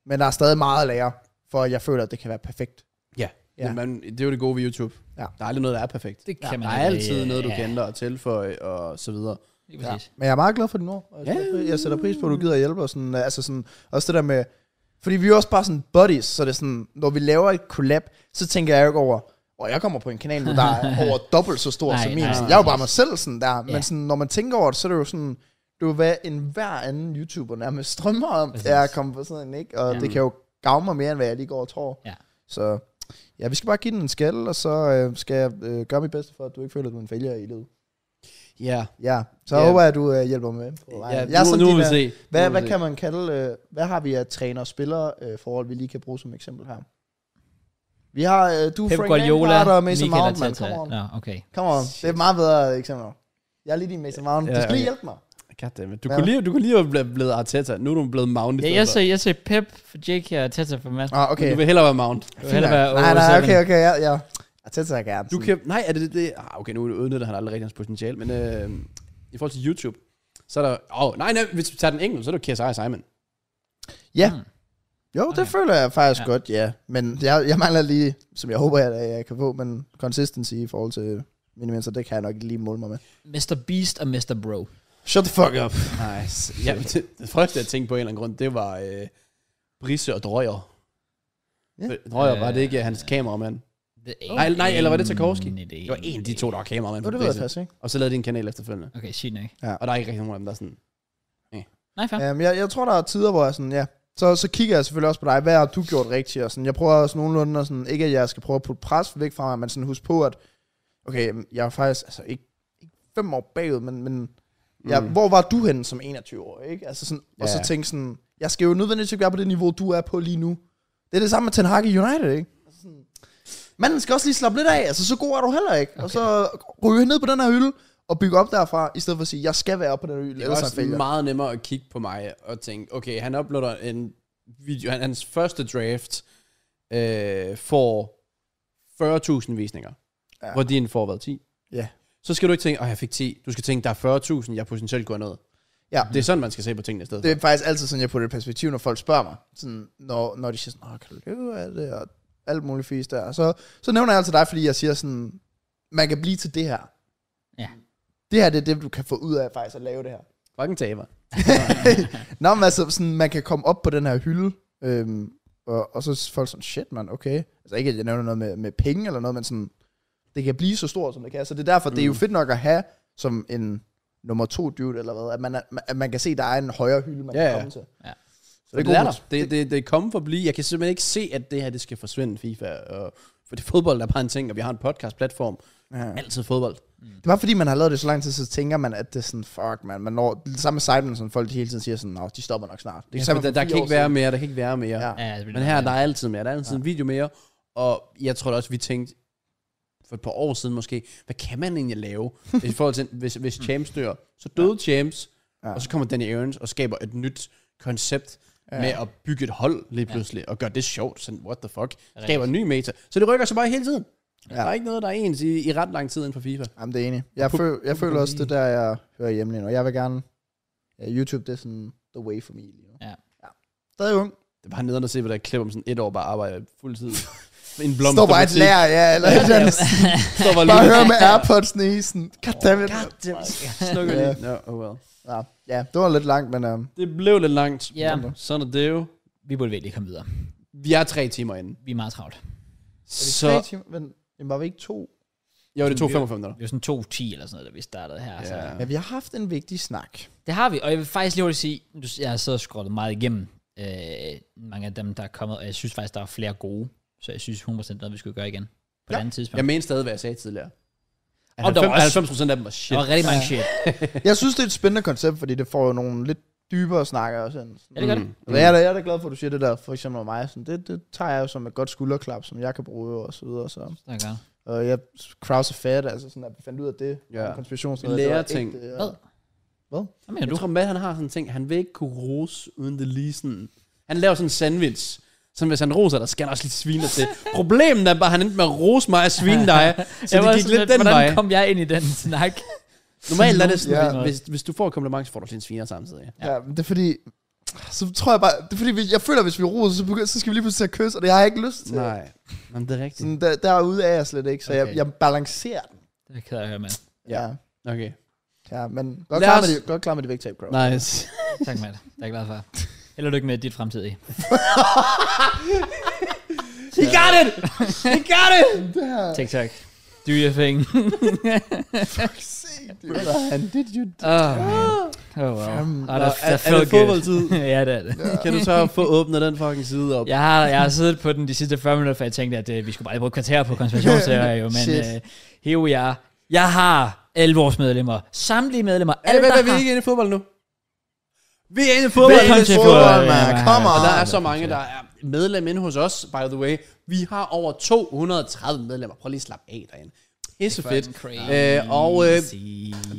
S2: men der er stadig meget at lære, for jeg føler, at det kan være perfekt.
S3: Ja. Men man, det er jo det gode ved YouTube.
S2: Ja.
S3: Der er aldrig noget, der er perfekt.
S1: Det kan man
S3: der er
S1: aldrig,
S3: altid
S1: øh,
S3: noget, du
S1: ja.
S3: kan ændre og tilføje og så videre.
S1: Lige præcis.
S2: Men jeg er meget glad for din ord. og Jeg, sætter
S3: Ja.
S2: pris- jeg sætter pris på, at du gider at hjælpe. Og sådan, altså sådan, også det der med... Fordi vi er også bare sådan buddies, så det er sådan, når vi laver et collab, så tænker jeg jo ikke over, og jeg kommer på en kanal, nu, der er over dobbelt så stor
S1: Nej,
S2: som min.
S1: nej,
S2: Sådan,
S1: nej,
S2: jeg er jo
S1: præcis.
S2: bare mig selv sådan der.
S1: Ja.
S2: Men sådan, når man tænker over det, så er det jo sådan, det er jo hvad en hver anden YouTuber nærmest strømmer om,
S1: Præcis.
S2: er at komme på sådan en, ikke? Og
S1: Ja.
S2: det kan jo gavne mig mere, end hvad jeg lige går og tror.
S1: Ja.
S2: Så ja, vi skal bare give den en skæld, og så øh, skal jeg øh, gøre mit bedste for, at du ikke føler, at du er en failure i livet.
S3: Ja.
S2: Ja, så
S3: Ja.
S2: yeah. håber jeg, at du øh, hjælper med på vejen.
S3: ja
S2: jeg er
S3: nu,
S2: sådan
S3: nu
S2: de
S3: må vi
S2: der-
S3: se.
S2: Hvad,
S3: Nu må
S2: hvad
S3: vi
S2: kan man kalde, øh, hvad har vi af træner- og spiller-forhold, vi lige kan bruge som eksempel her? Vi har, øh, du er
S1: Pep
S2: Frank
S1: Guardiola,
S2: Lampard og Mason
S1: Michael
S2: Mount, man.
S1: Arteta.
S2: Come on.
S1: Nå, okay.
S2: Come on. Det er meget bedre eksempler. Jeg er lige din Mason Mount.
S3: Ja,
S2: Du skal lige
S3: okay.
S2: hjælpe mig.
S3: se. Goddammit. Du,
S2: Hvad?
S3: kunne lige, du kunne lige være blevet- blevet Arteta. Nu er du blevet Mount i
S1: Ja,
S3: stedet
S1: jeg
S3: for.
S1: sagde, jeg sagde Pep for Jake her, og Tata for Mads.
S2: Ah,
S3: Men
S2: okay.
S3: Du vil hellere være Mount.
S1: Det vil hellere være
S2: nej,
S1: 07.
S2: nej, okay, okay. Ja, ja. Jeg tætter jeg gerne.
S3: Du kan, nej, er det det? Ah, okay, nu udnytter han aldrig rigtig hans potentiale, men øh, i forhold til YouTube, så er der... Åh, oh, nej, nej, hvis vi tager den engelske, så er det jo KSI og Simon.
S2: Ja.
S1: Mm.
S2: Jo, det
S1: Okay.
S2: føler jeg faktisk
S1: Ja.
S2: ja. godt, ja. Men jeg, jeg mangler lige, som jeg håber, at jeg kan få, men consistency i forhold til minimum, det kan jeg nok ikke lige måle mig med.
S1: Mr. Beast og Mr. Bro.
S2: Shut the fuck up.
S3: Nice. Ja, men det, det første, jeg tænkte på en eller anden grund, det var øh, Brisse og Drøjer.
S2: Ja.
S3: Ja. Drøjer, var
S2: Øh,
S3: det ikke hans kameramand?
S1: Det er
S3: Nej, nej, eller var det
S1: ingen
S3: Tarkovsky?
S1: idé.
S3: Det var en af de to, der var kameramand.
S2: Nå,
S3: på
S2: det ved jeg
S3: Brisse.
S2: faktisk ikke.
S3: Og så lavede de en kanal efterfølgende.
S1: Okay, sygt nok.
S3: Og der er ikke rigtig nogen af dem, der er sådan...
S1: Nej, fair.
S2: Ja. Um, jeg, jeg tror, der er tider, hvor jeg sådan, ja, så, så kigger jeg selvfølgelig også på dig. Hvad har du gjort rigtigt? Og sådan, jeg prøver også nogenlunde, og sådan, ikke at jeg skal prøve at putte pres væk fra mig, men sådan husk på, at okay, jamen, jeg er faktisk altså, ikke, ikke fem år bagud, men, men mm. ja, hvor var du henne som 21 år? Ikke? Altså sådan, og
S3: Ja.
S2: så tænke sådan, jeg skal jo nødvendigvis ikke være på det niveau, du er på lige nu. Det er det samme med Ten Hag i United, ikke? Altså sådan, Manden skal også lige slappe lidt af, altså så god er du heller ikke. Okay. Og så ryge ned på den her hylde, og bygge op derfra, i stedet for at sige, jeg skal være oppe på den her hylde,
S3: Det er
S2: ellers er jeg
S3: også
S2: failure.
S3: meget nemmere at kigge på mig og tænke, okay, han uploader en video, han, hans første draft øh, får 40.000 visninger, ja.
S2: Ja.
S3: hvor din får været 10.
S2: Ja.
S3: Så skal du ikke tænke, at jeg fik 10. Du skal tænke, der er 40.000, jeg potentielt går ned.
S2: Ja.
S3: Det er sådan, man skal se på tingene i stedet.
S2: Det er faktisk altid sådan, jeg putter det i perspektiv, når folk spørger mig. Sådan, når, når de siger sådan, "Åh, kan du leve af det, og alt muligt fis der. Og Så, så nævner jeg altid dig, fordi jeg siger sådan, man kan blive til det her.
S1: Ja.
S2: Det her, det er det, du kan få ud af faktisk at lave det her.
S3: for. Fucking taber.
S2: Nå, men altså, sådan, man kan komme op på den her hylde, øhm, og, og så er folk sådan, shit man, okay. Altså ikke, at jeg nævner noget med, med penge eller noget, men sådan, det kan blive så stort, som det kan. Så det er derfor, mm. det er jo fedt nok at have som en nummer to dude, eller hvad, at man, er, at man kan se, der er en højere hylde, man
S3: Ja,
S2: kan
S3: ja.
S2: komme til.
S1: Ja.
S2: Så det er,
S3: det, er
S2: god
S3: der. Det, det, det er kommet for at blive. Jeg kan simpelthen ikke se, at det her det skal forsvinde, FIFA. Og, for det fodbold er bare en ting, og vi har en podcast-platform.
S2: Ja.
S3: Altid fodbold.
S2: Det var fordi, man har lavet det så lang tid, så tænker man, at det er sådan, fuck man, man når, det samme med Seidel, sådan folk de hele tiden siger sådan, nå, de stopper nok snart. Det
S3: Ja,
S2: samme
S3: for
S2: for
S3: der, der
S2: fire
S3: kan
S2: år
S3: ikke være
S2: siden.
S3: mere, der kan ikke være mere.
S2: Ja.
S1: Ja, det bliver
S3: Men her, der er altid mere. Der er altid ja. en video mere. Og jeg tror da også, vi tænkte for et par år siden måske, hvad kan man egentlig lave? I forhold til, hvis, hvis James dør, så døde James, ja.
S2: Ja.
S3: og så kommer Danny Aarons og skaber et nyt koncept ja.
S2: Ja.
S3: med at bygge et hold lige pludselig, og gøre det sjovt, sådan what the fuck, skaber
S1: Rigtigt.
S3: en ny meta. Så det rykker sig bare hele tiden. Ja. Der er ikke noget, der er ens i, i ret lang tid inden for FIFA.
S2: Jamen, det er enig. Jeg, føl, jeg føler også, det er der, jeg hører hjemme lige nu. Jeg vil gerne... Ja, YouTube, det er sådan the way for me lige nu.
S1: Ja.
S2: ja. Stadig ung.
S3: Det var bare nederen at se, hvordan jeg klipper om sådan et år bare arbejder fuldtid. en blomst.
S2: Står bare et lær, ja, eller et eller andet.
S3: Står bare
S2: Bare
S3: lige.
S2: høre med Airpods'ne i sådan... Goddammit.
S3: Snukker
S2: Ja.
S3: lige. No, oh well.
S2: Ja, ja, det var lidt langt, men... Um,
S3: Det blev lidt langt.
S1: Ja,
S3: Sådan er det jo.
S1: vi burde virkelig komme videre.
S3: Vi er tre timer inde.
S1: Vi er meget travlt.
S3: Så,
S2: timer, men jamen, var vi ikke to?
S3: jo, det tog 55 minutter.
S1: Det er jo sådan 2.10 eller sådan noget, da vi startede her. Så.
S2: Ja, vi har haft en vigtig snak.
S1: Det har vi, og jeg vil faktisk lige hurtigt sige, nu s- jeg har siddet og scrollet meget igennem øh, mange af dem, der er kommet, og jeg synes faktisk, der er flere gode, så jeg synes 100% noget, vi skulle gøre igen på ja. et andet tidspunkt.
S3: Jeg mener stadig, hvad jeg sagde tidligere. At
S1: Og der var
S3: 90
S1: også-
S3: 90 procent af dem var
S1: der
S3: shit.
S1: var rigtig mange shit.
S3: Mm.
S2: Jeg synes, det er et spændende koncept, fordi det får jo nogle lidt dybere snakker og sådan.
S1: Ja, det gør det.
S2: Mm. Jeg, er da, jeg er da glad for, at du siger det der, for eksempel om mig. Sådan, det, det tager jeg jo som et godt skulderklap, som jeg kan bruge og så videre. Så.
S1: Det er godt.
S2: Og jeg, Kraus og Fat, altså sådan, at vi fandt ud af det.
S3: Ja.
S2: Om konspirations-
S3: Vi
S2: noget, det var
S3: lærer
S2: ægte,
S3: ting.
S2: og-
S1: Hvad? Hvad mener
S3: Jeg
S1: du?
S3: tror, Matt han har sådan en ting, han vil ikke kunne rose uden det lige sådan... Han laver sådan en sandwich, som hvis han roser dig, skal han også lige svine dig til. Problemet er bare, at han endte med at rose mig og svine dig, så
S1: Jeg var
S3: det gik
S1: sådan
S3: lidt den
S1: hvordan
S3: vej.
S1: kom jeg ind i den snak?
S3: Normalt er det sådan,
S1: Ja.
S3: ja. hvis, hvis du får et kompliment, så får du også en sviner samtidig.
S2: Ja, men det er fordi... Så tror jeg bare... Det er fordi, vi- jeg føler, hvis vi roser, så, begynder, så skal vi lige pludselig til at kysse, og det har jeg ikke lyst til.
S3: Nej, men det er rigtigt.
S2: Sådan, der, derude er jeg slet ikke, så okay.
S1: Okay.
S2: jeg, jeg balancerer den.
S1: Det er jeg ked af at høre, mand.
S2: Ja.
S3: Okay,
S2: Ja, men godt
S3: Lad
S2: klar,
S3: os-
S2: med, de, godt klar med de vægttab, Kraus.
S3: nice.
S1: Tak, Matt. Det er jeg glad for. Held og lykke med dit fremtidige.
S3: He got it! He got it!
S1: TikTok. Do your thing.
S2: Han, did you
S1: Oh, man. Oh, wow. Oh, der,
S3: er,
S1: der
S3: er
S1: felt
S3: det
S1: good.
S3: fodboldtid?
S1: ja, det er det.
S3: Kan du så få åbnet den fucking side op?
S1: Jeg har, jeg har siddet på den de sidste 40 minutter, for jeg tænkte, at øh, vi skulle bare lige bruge et kvarter på konspirationsteorier, jo, men
S2: Shit.
S1: øh, here we are. Jeg har alle vores medlemmer, samtlige medlemmer,
S3: Er det,
S1: alle,
S3: hvad, hvad,
S1: der
S3: vi er
S1: har...
S3: ikke inde i fodbold nu? Vi er inde i
S1: Hvad
S3: fodbold.
S1: er
S3: Inde i
S1: konspirationsteorier,
S2: fodbold, mand?
S1: mand?
S2: Come on.
S3: Og der er så mange, der er medlem inde hos os, by the way. Vi har over 230 medlemmer. Prøv lige at slappe af derinde. Det er så fedt. Øh, og øh,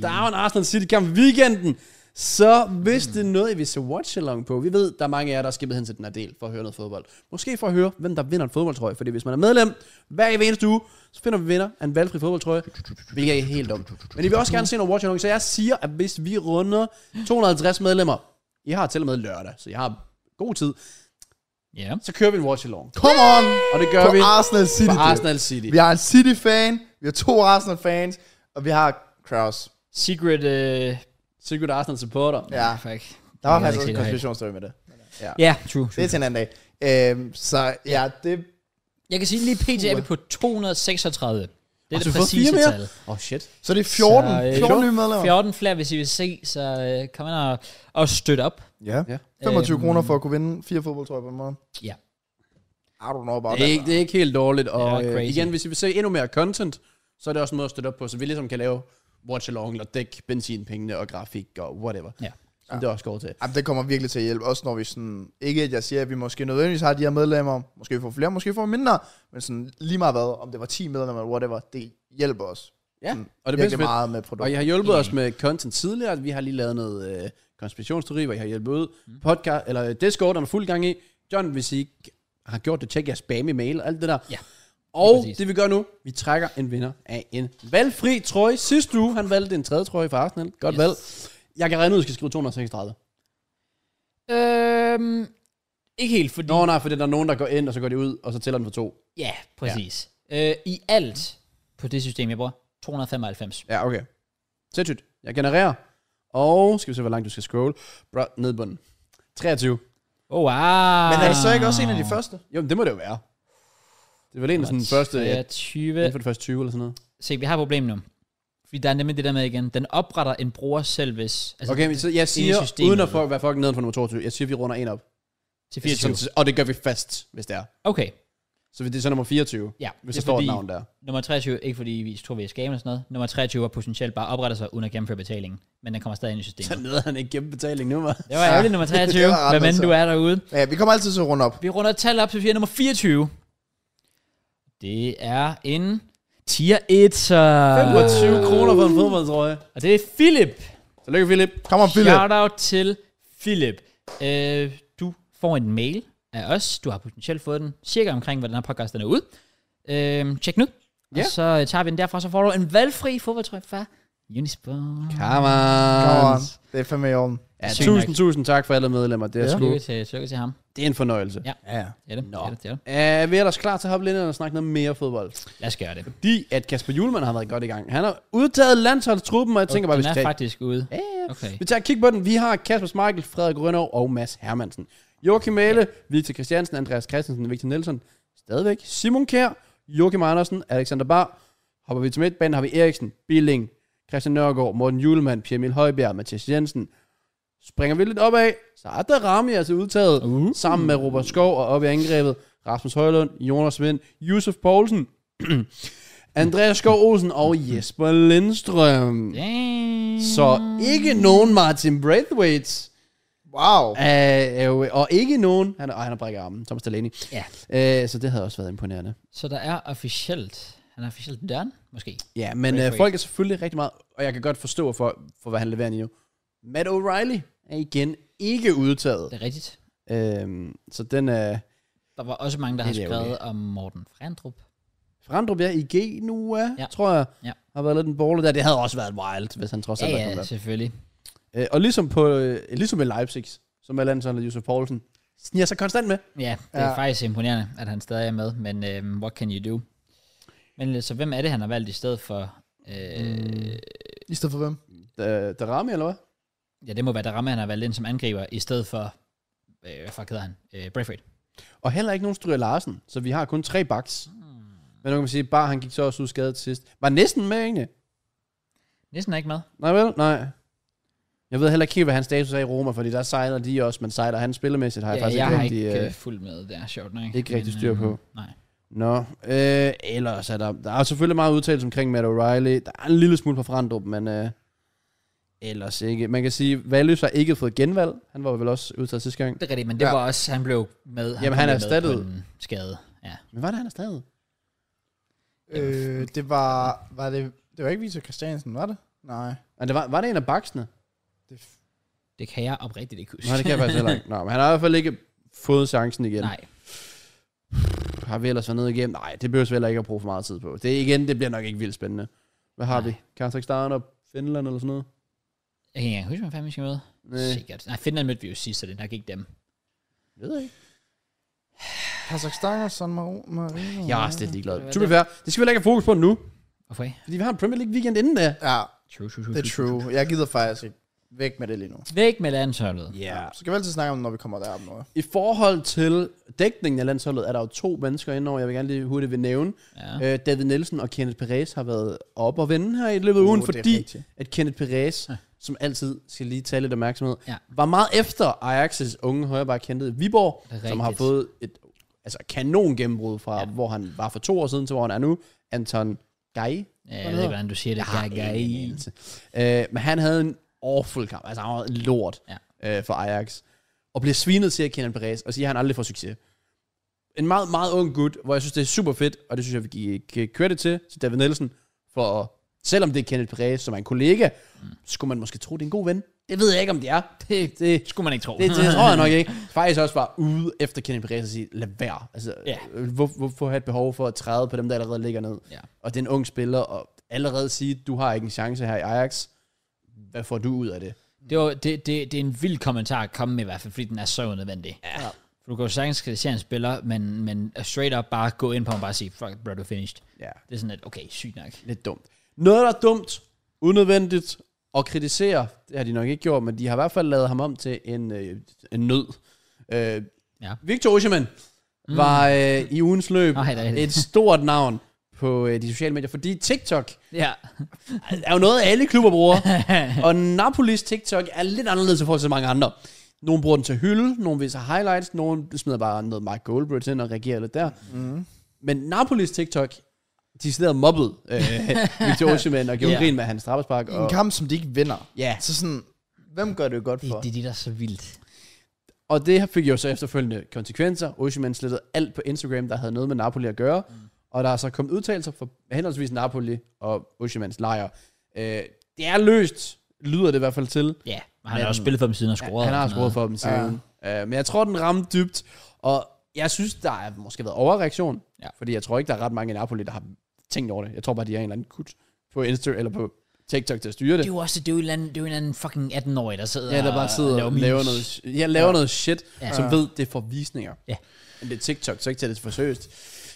S3: der er jo en Arsenal City kamp i weekenden. Så hvis det er noget, I vil se watch along på, vi ved, der er mange af jer, der er skippet hen til den her del for at høre noget fodbold. Måske for at høre, hvem der vinder en fodboldtrøje, fordi hvis man er medlem hver evig eneste uge, så finder vi vinder af en valgfri fodboldtrøje, hvilket er helt dumt. Men I vil også gerne se noget watch along, så jeg siger, at hvis vi runder 250 medlemmer, I har til og med lørdag, så jeg har god tid,
S1: Ja.
S3: så kører vi en watch along.
S2: Come on!
S3: Og det gør
S2: På
S3: vi
S2: Arsenal City.
S3: for
S2: dude.
S3: Arsenal City.
S2: Vi har en City-fan, vi har to Arsenal-fans, og vi har Kraus.
S1: Secret... Øh,
S3: Secret Arsenal supporter.
S2: Ja,
S1: fuck.
S2: der var
S1: Jeg
S2: faktisk
S1: ved ikke
S2: også en
S1: helt,
S2: konspirationsteori med det.
S1: Ja, true.
S2: Det er
S1: true.
S2: til en anden dag. Øhm, så ja, det...
S1: Jeg kan sige, lige pt. er vi på 236. Det er det
S3: Og så får
S1: præcise
S3: fire mere.
S1: tal.
S3: Åh, oh, shit.
S2: Så det er 14.
S1: Så, øh,
S2: 14 nye medlemmer.
S1: 14 flere, hvis I vil se, så øh, kom ind og, og støtte op.
S2: Ja.
S3: Ja.
S2: 25
S1: Øhm.
S2: kroner for at kunne vinde fire fodboldtrøjer på en måned.
S1: Ja.
S2: I don't know about
S3: Det er, ikke, det er ikke helt dårligt, og
S1: Det er
S3: øh,
S1: crazy.
S3: igen, hvis I vil se endnu mere content, så er det også en måde at støtte op på, så vi ligesom kan lave watch-along og dække benzinpengene og grafik og whatever.
S1: Ja.
S3: Som det også går til.
S2: Jamen, det kommer virkelig til at hjælpe, også når vi sådan, ikke at jeg siger, at vi måske nødvendigvis har de her medlemmer, måske vi får flere, måske vi får mindre, men sådan lige meget hvad, om det var 10 medlemmer eller whatever, det hjælper os
S3: Ja,
S2: Mm.
S3: og det er
S2: virkelig
S3: fedt.
S2: meget med produkter.
S3: Og I har hjulpet os med content tidligere. Vi har lige lavet noget øh, konspirationsteori, hvor I har hjulpet ud.
S1: Mm.
S3: Podcast, eller øh, Discord er der fuld gang i. John, hvis I ikke har gjort det, tjek jeres spam i mail og alt det der.
S1: Ja,
S3: Og
S1: præcis.
S3: det vi gør nu, vi trækker en vinder af en valgfri trøje. Sidste uge, han valgte en tredje trøje fra Arsenal. Godt
S1: Yes.
S3: yes. valg. Jeg kan regne ud, at I skal skrive 236.
S1: Øhm, ikke helt, fordi...
S3: Nå nej, for der er nogen, der går ind, og så går de ud, og så tæller den for to.
S1: Ja, præcis. Øh, I alt på det system, jeg bruger, 295.
S3: Ja, okay. Sindssygt. Jeg genererer. Og skal vi se, hvor langt du skal scrolle. Bro, ned i bunden. 23.
S1: Oh, wow.
S2: Men er det så ikke også en af de første?
S3: Jo, men det må det jo være. Det var en af sådan den første, ja,
S1: 23.
S3: inden for det første 20 eller sådan noget.
S1: Se, vi har et problem nu. Fordi der er nemlig det der med igen. Den opretter en bruger selv, hvis... Altså
S3: Okay, men så jeg siger,
S1: systemet,
S3: uden at
S1: eller?
S3: for, være fucking neden for nummer 22, jeg siger, vi runder en op.
S1: til 24.
S3: 24. og det gør vi fast, hvis det er.
S1: Okay,
S3: Så det er så nummer 24,
S1: ja.
S3: hvis
S1: det er
S3: der står
S1: fordi,
S3: et navn der.
S1: Nummer 23, ikke fordi vi tror, vi er skam eller sådan noget. Nummer 23 var potentielt bare opretter sig uden at gennemføre betalingen. Men den kommer stadig ind i
S3: Så
S1: systemet.
S3: nede han ikke gennem betaling nu, var.
S1: Det var ærgerligt, nummer 23.
S2: Det var ret
S1: Hvem end
S2: altså.
S1: du er derude.
S2: Ja, vi kommer altid til at runde op.
S1: Vi runder et tal op, så vi er nummer 24. Det er en tier 1.
S3: 25 kroner for en fodboldtrøje.
S1: Og det er Philip.
S3: Tillykke, Philip.
S2: Kom on, Philip.
S1: Shout out til Philip. Øh, du får en mail af os. Du har potentielt fået den cirka omkring, hvordan den her podcast den er ud. Øh, tjek den ud. Og
S3: Ja.
S1: så øh, tager vi den derfra, så får du en valgfri fodboldtrøje fra Unisport.
S3: Come
S6: Come
S3: on.
S6: on. Det er fandme i orden.
S3: Ja,
S1: Sygt
S3: tusind, tusind tak for alle medlemmer. Det er,
S6: Ja.
S3: ja. sgu,
S1: Lykke til, lykke til ham.
S3: det er en fornøjelse.
S1: Ja.
S6: Ja.
S1: Det er det.
S3: Nå.
S1: Det er det, det er det.
S3: Er vi ellers klar til at hoppe lidt ind og snakke noget mere fodbold?
S1: Lad os gøre det.
S3: Fordi at Kasper Julemand har været godt i gang. Han har udtaget landsholdstruppen, og jeg tænker bare,
S1: den
S3: vi skal,
S1: er
S3: tage,
S1: faktisk ude. Okay.
S3: vi tager et kig på den. Vi har Kasper Schmeichel, Frederik Rønov og Mads Hermansen. Joachim Mæle, Victor Christiansen, Andreas Christensen, Victor Nielsen. Stadigvæk Simon Kjær, Joachim Andersen, Alexander Bar. Hopper vi til midtbanen, har vi Eriksen, Billing, Christian Nørgaard, Morten Julemand, Pierre Emil Højbjerg, Mathias Jensen. Springer vi lidt opad, så er der Rami altså udtaget, uh. sammen med Robert Skov og op i angrebet, Rasmus Højlund, Jonas Vind, Yusuf Poulsen, Andreas Skov Olsen og Jesper Lindstrøm.
S1: Damn.
S3: Så ikke nogen Martin Braithwaite,
S6: Wow.
S3: øh, øh, og ikke nogen, han, ej, han har brækket armen, Thomas Delaney.
S1: Ja.
S3: Øh, så det havde også været imponerende.
S1: Så der er officielt, han er officielt done, måske.
S3: Ja, men øh,
S1: Braithwaite.
S3: folk er selvfølgelig rigtig meget, og jeg kan godt forstå for, for hvad han leverer lige nu. Matt O'Reilly er igen ikke udtaget.
S1: Det er rigtigt.
S3: Øhm, så den er... Øh,
S1: Der var også mange, der har
S3: Det er
S1: skrevet om Morten Frandrup.
S3: Frandrup er i G nu, er,
S1: Ja.
S3: ja. tror jeg,
S1: Ja.
S3: har været lidt en borle der. Det havde også været wild, hvis han trods
S1: Ja,
S3: alt var
S1: ja,
S3: kommet
S1: selvfølgelig.
S3: op. Øh, og ligesom, på, øh, ligesom med Leipzig, som er landsholdet Josef Poulsen, sniger sig konstant med.
S1: Ja, det er
S6: Ja.
S1: faktisk imponerende, at han stadig er med, men øhm, what can you do? Men øh, så hvem er det, han har valgt i stedet for?
S3: Mm.
S1: Øh,
S6: I stedet for hvem?
S3: Da- Darami, eller hvad?
S1: ja, det må være Darama, han har valgt ind som angriber, i stedet for, øh, hvad fuck hedder han? Øh, Braithwaite.
S3: Og heller ikke nogen Stryger Larsen, så vi har kun tre backs. Men nu kan man sige, bare han gik så også ud skadet til sidst. Var næsten med egentlig?
S1: Næsten er ikke med.
S3: Nej vel? Nej. Jeg ved heller ikke helt, hvad hans status er i Roma, fordi der sejler de også, men sejler han spillemæssigt, har jeg
S1: Ja,
S3: faktisk
S1: jeg
S3: ikke
S1: har
S3: rigtig,
S1: ikke øh,
S3: øh,
S1: fuldt med, det er sjovt nok.
S3: ikke rigtig
S1: Men,
S3: styr på.
S1: Nej.
S3: Nå, øh, ellers er der, der er selvfølgelig meget udtalelse omkring Matt O'Reilly. Der er en lille smule på Frandrup, men øh, ellers ikke. Man kan sige, Valøs har ikke fået genvalg. Han var vel også udtaget sidste gang.
S1: Det er rigtigt, men det ja.
S6: Ja.
S1: var også, han blev med.
S3: Jamen,
S1: kom
S3: han er
S1: med på
S3: erstattet.
S1: en skade. Ja.
S3: Men var det, han er stadig?
S6: Øh, det var... Var det... Det var ikke Victor Christiansen, var det? Nej.
S3: Men det var, var det en af baksene?
S6: Det er f-
S1: Det kan jeg oprigtigt ikke huske.
S3: Nej, det kan jeg faktisk heller ikke. Nå, men han har i hvert fald ikke fået chancen igen.
S1: Nej,
S3: Har vi ellers været nede igennem? Nej, det behøver vi heller ikke at bruge for meget tid på. Det er igen, det bliver nok ikke vildt spændende. Hvad har
S1: Nej.
S3: Nej. vi? Kazakhstan og Finland eller sådan noget?
S1: jeg kan ikke engang huske, hvem fanden vi skal møde.
S3: Nej.
S1: Sikkert. Nej, Finland mødte vi jo sidst, så det er nok ikke dem.
S3: Jeg ved ikke.
S6: Kazakhstan og San Marino. Marino.
S3: Jeg er også lidt ligeglad.
S1: Det var
S3: To be fair, det skal vi heller ikke have fokus på nu,
S1: Okay.
S3: fordi vi har en Premier League weekend inden da.
S6: Ja,
S1: True, true, true.
S6: det er true. Jeg gider faktisk ikke. Væk med det lige nu.
S1: Væk med landsholdet.
S3: Ja.
S6: Så kan vi altid snakke om, det, når vi kommer derop nu.
S3: I forhold til dækningen af landsholdet, er der jo to mennesker indover, jeg vil gerne lige hurtigt vil nævne.
S1: Ja.
S3: Ja. Øh, David Nielsen og Kenneth Perez har været op og vende her i løbet af ugen,
S6: Uh, det er
S3: fordi
S6: rigtigt.
S3: at Kenneth Perez,
S1: Ja.
S3: ja. som altid skal lige tage lidt opmærksomhed,
S1: Ja.
S3: var meget efter Ajax' unge højreback hentet Viborg,
S1: Det er
S3: som har
S1: rigtigt.
S3: fået et altså, kanon gennembrud fra,
S1: Ja.
S3: ja. hvor han var for to år siden til, hvor han er nu. Anton Gay.
S1: Ja, jeg ved ikke, hvordan du siger det.
S3: Ah,
S1: Gag, gag.
S3: Øh, men han havde en awful kamp. Altså, han var en lort øh, for Ajax. Og bliver svinet til at Kenan Perez, og siger, at han aldrig får succes. En meget, meget ung gut, hvor jeg synes, det er super fedt, og det synes jeg, vi giver give credit til, til David Nielsen, for at- selvom det er Kenneth Perez, som er en kollega, mm. skulle man måske tro, det er en god ven. Det ved jeg ikke, om det er. Det, det,
S1: Skulle man ikke tro.
S3: det, det tror jeg nok ikke. Faktisk også bare ude efter Kenneth Perez og sige, lad være. Altså,
S1: Ja.
S3: ja. hvor, hvorfor have et behov for at træde på dem, der allerede ligger ned?
S1: Ja.
S3: Og det er en ung spiller, og allerede sige, du har ikke en chance her i Ajax. Hvad får du ud af det?
S1: Det, var, det, det, det er en vild kommentar at komme med i hvert fald, fordi den er så nødvendig. Ja. Du kan jo sagtens kritisere en spiller, men, men straight up bare gå ind på ham og bare sige, fuck, bro, du er finished.
S3: Ja.
S1: Det er sådan lidt, okay, sygt nok.
S3: Lidt dumt. Noget, der er dumt, unødvendigt og kritisere, det har de nok ikke gjort, men de har i hvert fald lavet ham om til en, øh, en nød. Øh,
S1: Ja.
S3: Victor Osimhen mm. var øh, i ugens løb
S1: Nej, det er rigtigt.
S3: et stort navn på øh, de sociale medier, fordi TikTok
S1: Ja.
S3: Altså, er jo noget, alle klubber bruger, og Napolis TikTok er lidt anderledes i forhold til mange andre. Nogle bruger den til at hylde, nogle viser highlights, nogle smider bare noget Mark Goldbridge ind og reagerer lidt der.
S6: Mm.
S3: Men Napolis TikTok, de sidder mobbet øh, Victor Osimhen og gjorde
S1: Ja.
S3: yeah. grin med hans straffespark.
S6: I en
S3: Og,
S6: kamp, som de ikke vinder.
S3: ja,
S6: Så sådan, hvem gør det jo godt
S1: Det,
S6: for?
S1: det er det, der er så vildt.
S3: og det fik jo så efterfølgende konsekvenser. Osimhen slettede alt på Instagram, der havde noget med Napoli at gøre. Mm. Og der er så kommet udtalelser fra henholdsvis Napoli og Osimhens lejr. Øh, det er løst, lyder det i hvert fald til.
S1: Ja, og han har også spillet for dem siden og scoret.
S3: Han
S1: og
S3: har
S1: sådan
S3: scoret
S1: noget.
S3: for dem siden. Ja. Øh, men jeg tror, den ramte dybt. Og jeg synes, der har måske været overreaktion.
S1: Ja.
S3: Fordi jeg tror ikke, der er ret mange i Napoli, der har tænkt over det. Jeg tror bare, de er en eller anden kut på Insta eller på TikTok til at styre
S1: Det
S3: det.
S1: er jo også, det er jo en eller anden, det er jo en eller anden fucking 18-årig, der sidder
S3: Ja, der bare sidder og laver
S1: memes.
S3: noget, jeg laver ja. noget shit,
S1: Ja.
S3: ja. som ved, det er for visninger.
S1: Ja.
S3: Men det er TikTok, så ikke til det for seriøst.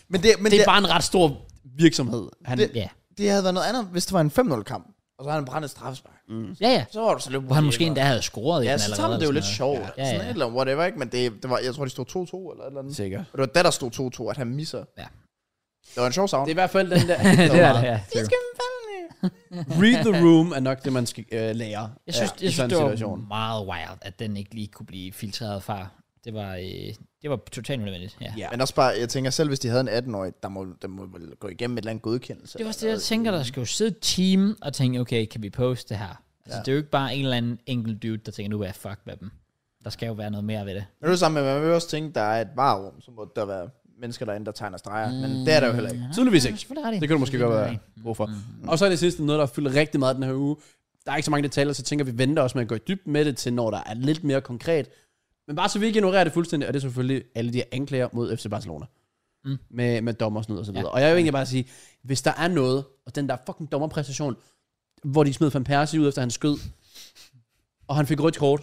S2: Men det, men
S3: Det er bare en ret stor virksomhed. Han, det,
S1: Ja,
S2: det havde været noget andet, hvis det var en 5-0-kamp, og så havde han brændt et straffespark.
S1: ja, ja.
S2: Så var du så løbet.
S1: Hvor han måske endda havde scoret i
S2: Ja,
S1: den
S2: så tager
S1: allerede
S2: man det jo
S1: og
S2: lidt
S1: sådan
S2: sjovt. Ja,
S1: noget. Ja,
S2: Sådan et
S1: ja.
S2: eller andet, whatever, ikke? Men det, det var, jeg tror, de stod 2-2 eller et eller andet.
S3: Sikkert.
S2: Og det var da, der stod 2-2, at han misser.
S1: Ja.
S2: Det var en sjov savn.
S3: det er i hvert fald den der.
S1: det er det, ja.
S3: Read the room er nok det, man skal øh, lære.
S1: Jeg synes,
S3: af
S1: ja, jeg
S3: i
S1: synes
S3: sådan
S1: det
S3: en
S1: var
S3: situation.
S1: meget wild, at den ikke lige kunne blive filtreret fra. Det var, øh, det var totalt unødvendigt. Ja.
S3: Ja.
S2: Men også bare, jeg tænker selv, hvis de havde en 18-årig, der må, der må vel gå igennem et eller andet godkendelse.
S1: Det var også det, jeg tænker, der skal jo sidde et team og tænke, okay, kan vi poste det her? Altså, ja. det er jo ikke bare en eller anden enkelt dude, der tænker, nu vil jeg fuck med dem. Der skal jo være noget mere ved det.
S2: Men det er jo samme med, man vil også tænke, der er et varerum, så må der være mennesker derinde, der tegner streger. Mm. Men det er der jo heller ikke.
S3: Tydeligvis
S1: Ja,
S3: ikke.
S1: selvfølgelig ret i.
S3: Det kan du måske godt
S1: Selvfølgelig Mm-hmm.
S3: være
S1: ret
S3: brug for. Og så er det sidste noget, der har fyldt rigtig meget den her uge. Der er ikke så mange detaljer, så jeg tænker, vi venter også med at gå i dybden med det, til når der er lidt mere konkret. Men bare så vi ikke ignorerer det fuldstændig, og det er selvfølgelig alle de her anklager mod FC Barcelona.
S1: Mm.
S3: Mm. Med, med dommer og sådan noget og så videre.
S1: Ja.
S3: Ja. Og jeg vil egentlig bare sige, hvis der er noget, og den der fucking dommerpræstation, hvor de smed Van Persie ud efter han skød, og han fik rødt kort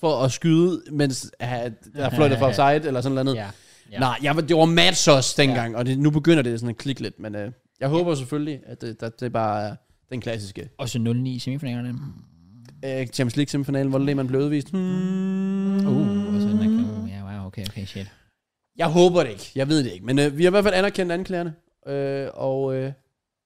S3: for at skyde, mens han, der fløjtede for offside eller sådan noget.
S1: i.
S3: andet.
S1: Ja.
S3: Ja. Nej, jeg, var- det var mad sauce dengang, ja. og det, nu begynder det sådan at klikke lidt, men øh, jeg håber selvfølgelig, at det, der, det er bare er den klassiske
S1: Og så 0-9 i semifinalerne.
S3: øh, Champions League semifinalen, hvor Lehmann blev udvist. Hmm.
S1: Uh, og så den der kamp. Ja, wow, okay, okay, shit.
S3: Jeg håber det ikke, jeg ved det ikke, men øh, vi har i hvert fald anerkendt anklagerne, øh, og øh,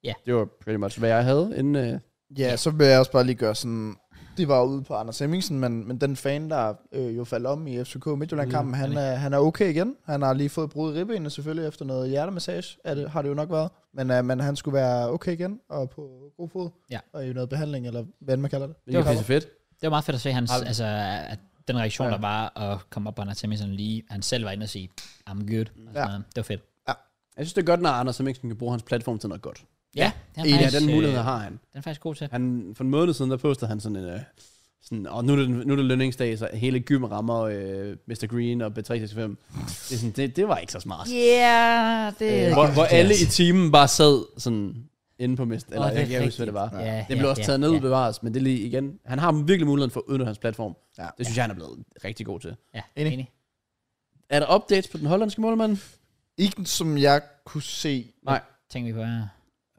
S1: Ja.
S3: det var pretty much, hvad jeg havde inden... Øh,
S2: Ja, så vil jeg også bare lige gøre sådan... Det var ude på Anders Hemmingsen, men, men den fan, der øh, jo faldt om i FCK Midtjylland-kampen, han, er, han er okay igen. Han har lige fået brud i ribbenene selvfølgelig efter noget hjertemassage, er det, har det jo nok været. Men, øh, men han skulle være okay igen og på god fod.
S1: Ja.
S2: Og i noget behandling, eller hvad end man kalder det.
S3: det var
S1: var-
S3: pisse fedt.
S1: Det var meget fedt at se hans,
S3: Har-
S1: altså, at den reaktion, ja. der var at komme op på Anders Hemmingsen lige, han selv var inde og sige, I'm good. Altså, ja. Det var fedt.
S3: Jeg synes, det er godt, når Anders Hemmingsen kan bruge hans platform til noget godt.
S1: Ja, ja
S3: En af den mulighed har han.
S1: øh, Den er faktisk god til.
S3: Han, for en måned siden, der postede han sådan en... Øh, sådan, og nu er, det, nu er det lønningsdag, så hele gym rammer øh, Mr. Green og B365. Det, er sådan, det, det var ikke så smart.
S10: Yeah,
S3: Øh, hvor, hvor alle i timen bare sad sådan inde på mist, eller
S1: det er
S3: jeg kan ikke huske, hvad
S1: rigtigt.
S3: det var.
S1: Ja,
S3: det blev
S1: ja,
S3: også
S1: ja,
S3: taget ned
S1: ja.
S3: bevares, men det er lige igen, han har virkelig muligheden for at udnytte hans platform.
S2: Ja.
S3: Det synes jeg, han er blevet rigtig god til.
S1: Ja,
S2: Enig.
S1: enig.
S3: Er der updates på den hollandske målmand?
S2: Ikke som jeg kunne se.
S1: Tænker vi på her.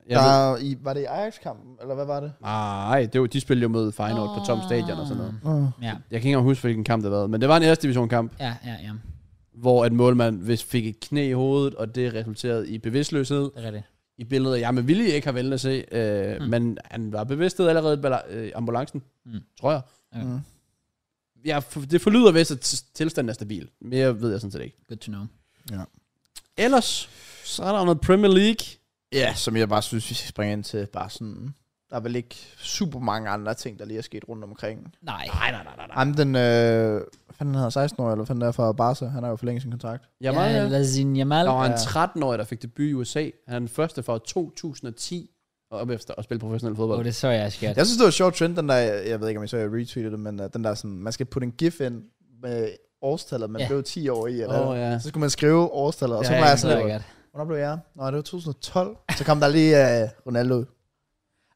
S3: Jeg ved-
S2: Der, i, var det i Ajax-kampen, eller hvad var det?
S3: Nej, det var, de spillede jo mod Feyenoord på Tom Stadion og sådan noget.
S2: Uh.
S1: Ja,
S3: Jeg kan ikke engang huske, hvilken kamp det var, men det var en første division kamp,
S1: ja, ja, ja.
S3: hvor en målmand hvis fik et knæ i hovedet, og det resulterede i bevidstløshed.
S1: Det er rigtigt.
S3: I billeder, jeg med vilje ikke har valgt at se, øh,
S1: Mm.
S3: mm. men han var bevidstet allerede i bala- øh, ambulancen,
S1: Mm.
S3: mm. tror jeg.
S1: Okay.
S2: Mm.
S3: Ja, f- det forlyder vist, at t- tilstanden er stabil. Mere ved jeg sådan set ikke.
S1: Good to know.
S3: Ellers, så er der noget Premier League.
S2: Ja, som jeg bare synes, vi skal springe ind til. Bare sådan, der er vel ikke super mange andre ting, der lige er sket rundt omkring.
S1: Nej.
S3: Nej, nej, nej, nej. nej.
S2: Ham den, øh, hvad fanden hedder 16 år eller hvad fanden der fra Barca, han har jo forlænget sin kontrakt.
S1: Ja,
S3: Jamal, ja,
S1: Lazin Jamal.
S3: der var en
S2: Ja.
S3: 13-årig, der fik debut i USA. Han er den første fra 2010 og op efter at spille professionel fodbold.
S1: Åh,
S3: Oh,
S1: det så jeg skært.
S2: Jeg synes, det var en sjov trend, den der, jeg ved ikke, om I så jeg retweetede det, men uh, den der sådan, man skal putte en gif ind med årstallet, man
S1: Ja.
S2: ja. blev 10 år i, eller
S3: Åh, ja.
S2: så skulle man skrive årstallet, og så
S1: Ja,
S2: var
S1: ja,
S2: jeg
S1: det så jeg
S2: sådan,
S1: godt.
S2: hvornår blev jeg? Nå, det var 2012. Så kom der lige uh, Ronaldo.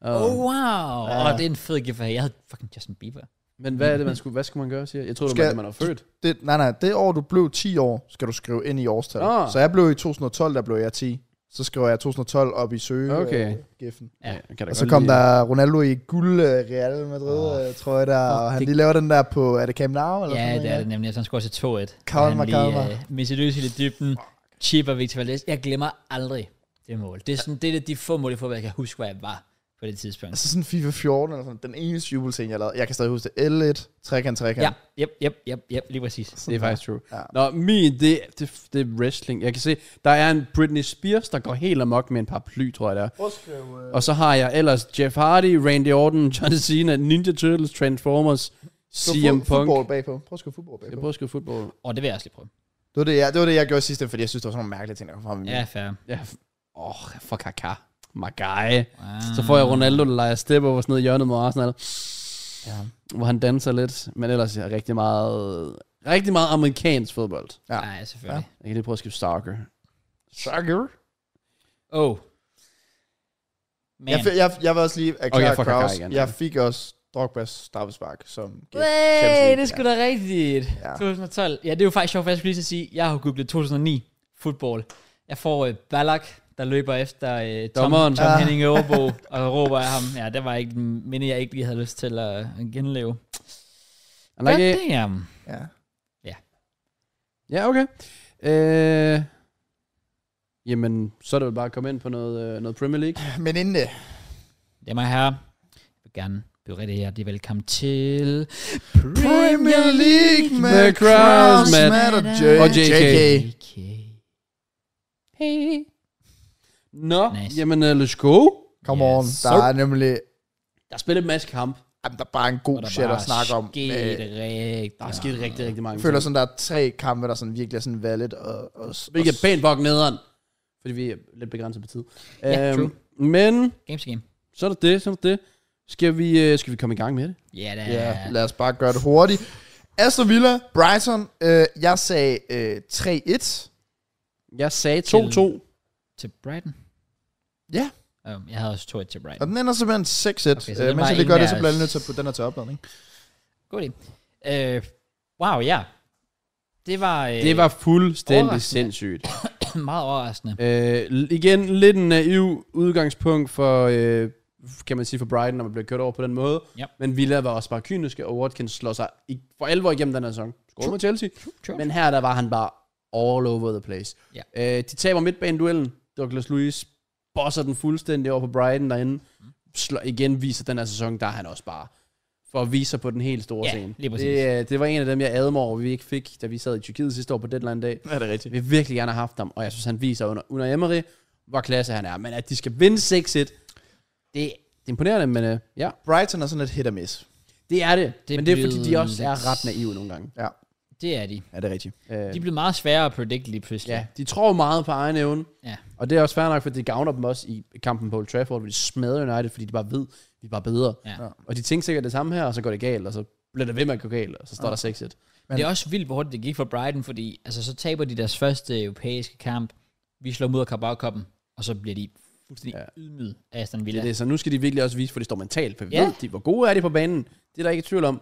S1: Oh, wow.
S2: Ja.
S1: Åh, det er en fed gift. Jeg havde fucking Justin Bieber.
S3: Men hvad er det, man skulle, hvad skulle man gøre, siger jeg? Jeg troede, det
S2: Skal-
S3: var, at man var født.
S2: Det, nej, nej, det år, du blev 10 år, skal du skrive ind i årstallet.
S3: Nå.
S2: Så jeg blev i 2012, der blev jeg 10. Så skriver jeg 2012 op i søge
S3: Okay.
S2: øh, giffen.
S1: Ja.
S3: jeg kan da
S2: Og så
S3: godt
S2: kom
S3: lide-
S2: der Ronaldo i guld øh, Real Madrid, oh, tror jeg der, og han
S1: det-
S2: lige laver den der på, er det Camp Nou? Eller
S1: Ja,
S2: sådan
S1: det
S2: noget,
S1: er det nemlig. Så han skulle også 2-1.
S2: Kalmar,
S1: Han lige,
S2: Kalmar.
S1: øh, Messi løs i lidt dybden. Chip og Victor Valdes. Jeg glemmer aldrig det mål. Det er sådan, det er de få mål i fodbold, jeg kan huske, hvor jeg var på det tidspunkt.
S2: Altså sådan FIFA 14 eller sådan, den eneste jubelscene, jeg lavede. Jeg kan stadig huske det. L1, trekant, trekant.
S1: Ja, yep, yep, yep, yep, lige præcis.
S3: Det er faktisk true.
S2: Ja.
S3: Ja. Nå, min, det, det, det er wrestling. Jeg kan se, der er en Britney Spears, der går helt amok med en paraply, tror jeg det er. Og så har jeg ellers Jeff Hardy, Randy Orton, John Cena, Ninja Turtles, Transformers, CM
S2: Punk.
S3: Punk.
S2: Football bagpå. Prøv at skrive football
S3: Jeg
S2: bagpå.
S3: prøver at skrive fodbold.
S1: Og det vil jeg også lige prøve.
S2: Det var det, jeg, det var det, jeg gjorde sidst, fordi jeg synes, det var sådan nogle mærkelige ting, der kom frem.
S1: Ja, fair.
S3: Ja. Åh, oh, for kaka. My guy.
S1: Wow.
S3: Så får jeg Ronaldo, der leger step over sådan noget i hjørnet mod Arsenal.
S2: Ja.
S3: Hvor han danser lidt. Men ellers er rigtig meget, rigtig meget amerikansk fodbold.
S2: Ja.
S1: Nej, Ah, selvfølgelig.
S3: Jeg kan lige prøve at skrive soccer.
S2: Sucker.
S1: Åh. Oh. Man.
S2: Jeg, fi- jeg, jeg vil også lige erklære
S3: jeg
S2: okay,
S3: fucker Kaká
S2: Kraus.
S3: igen.
S2: Jeg fik også Drogba's straffespark som gik
S1: Hey,
S2: Champions League.
S1: det er sgu da rigtigt.
S2: Ja.
S1: 2012. Ja, det er jo faktisk sjovt, for jeg skulle lige til at sige, jeg har jo googlet 2009 fodbold. Jeg får øh, Ballack, der løber efter øh, Tom,
S3: Dommeren.
S1: Tom
S2: Ah.
S1: Henning Overbo, og råber af ham. Ja, det var ikke den minde, jeg ikke lige havde lyst til at øh, genleve.
S3: Han er ikke...
S1: God damn.
S2: Ja.
S3: Ja, okay. Øh, jamen, så er det vel bare at komme ind på noget, øh, noget Premier League.
S2: Men inden det,
S1: Jamen her, jeg vil gerne byde rigtig hjertelig velkommen til Premier League
S3: med Kraus, Matt og JK.
S1: Okay.
S3: Hey. Nå,
S1: Nice.
S3: nice. jamen uh, let's go.
S2: Come
S1: Ja,
S2: on,
S1: så-
S2: der er nemlig
S3: Der er spillet en masse kamp.
S2: jamen, der er bare en
S1: Og
S2: god
S1: der
S2: shit
S1: bare
S2: at snakke om.
S1: Sket
S2: Øh,
S1: rigtigt.
S3: Der er sket rigtig, rigtig mange
S2: Jeg føler
S3: ting.
S2: sådan, der er tre kampe, der sådan virkelig er sådan valid. Og, og,
S3: Hvilket er pænt bok nederen. Fordi vi er lidt begrænset på tid.
S1: Ja,
S3: Øhm,
S1: true.
S3: Men,
S1: Games to game.
S3: så er der det, så er der det. Skal vi, øh, skal vi komme i gang med det?
S1: Ja, det
S2: Ja,
S1: er...
S2: lad os bare gøre det hurtigt. Aston Villa, Brighton. Øh, jeg sagde øh, 3-1.
S3: Jeg sagde øh, 2-2.
S1: Til- Til Brighton?
S2: Ja.
S1: Um, jeg havde også 2 til
S2: Og
S1: Brighton.
S2: den ender simpelthen 6-1.
S1: Okay,
S2: Okay,
S1: så
S2: så
S1: den
S2: øh, mens
S1: var
S2: jeg lige gør
S1: en
S2: det,
S1: af
S2: så bliver jeg
S1: os.
S2: nødt til at putte den her til opladning.
S1: God idé. Uh, wow, ja. Det var, uh,
S3: Det var fuldstændig
S1: Overraskende.
S3: sindssygt.
S1: meget overraskende.
S3: Øh, l- igen, lidt en naiv udgangspunkt for, øh, kan man sige, for Brighton, når man bliver kørt over på den måde.
S1: Ja.
S3: Men Villa var også bare kyniske, og Watkins slår sig i, for alvor igennem den her sæson. Skål med Chelsea.
S1: true.
S3: Men her, der var han bare all over the place.
S1: Ja.
S3: Øh, de taber midtbaneduellen. Douglas Luiz bosser den fuldstændig over på Brighton derinde.
S1: Mm.
S3: Slår, igen viser den her sæson, der er han også bare for at vise sig på den helt store
S1: Ja,
S3: scene.
S1: lige præcis.
S3: det, øh, det var en af dem, jeg adede mig over, vi ikke fik, da vi sad i Tyrkiet sidste år på deadline dag.
S2: Ja, det er rigtigt.
S3: Vi vil virkelig gerne have haft ham, og jeg synes, han viser under, under Emery, hvor klasse han er. Men at de skal vinde 6-1, det, det er imponerende, men øh, ja,
S2: Brighton er sådan et hit og miss.
S3: det er det.
S1: Det
S3: det men det er
S1: blev
S3: fordi, de også
S1: lidt-
S3: er ret naive nogle gange.
S1: Det er de.
S2: Ja, det er rigtigt.
S3: Øh,
S1: De blev meget sværere at predict lige pludselig.
S3: ja, de tror meget på egen evne,
S1: Ja.
S3: og det er også fair nok, for det gavner dem også i kampen på Old Trafford, hvor de smadrer United, fordi de bare ved, vi er bare bedre.
S1: Ja.
S3: Og de tænker sikkert det samme her, og så går det galt, og så bliver det ved med at gå galt, og så står der 6-1.
S1: Men, det er også vildt, hvor hurtigt det gik for Brighton, fordi altså, så taber de deres første europæiske kamp. Vi slår mod carabao koppen og så bliver de fuldstændig ja.
S3: Ja.
S1: ydmyget af Aston Villa.
S3: Det er det, så nu skal de virkelig også vise, hvor de står mentalt, for vi
S1: Ja.
S3: ja. ved, de, hvor gode er de på banen. Det er der ikke tvivl om.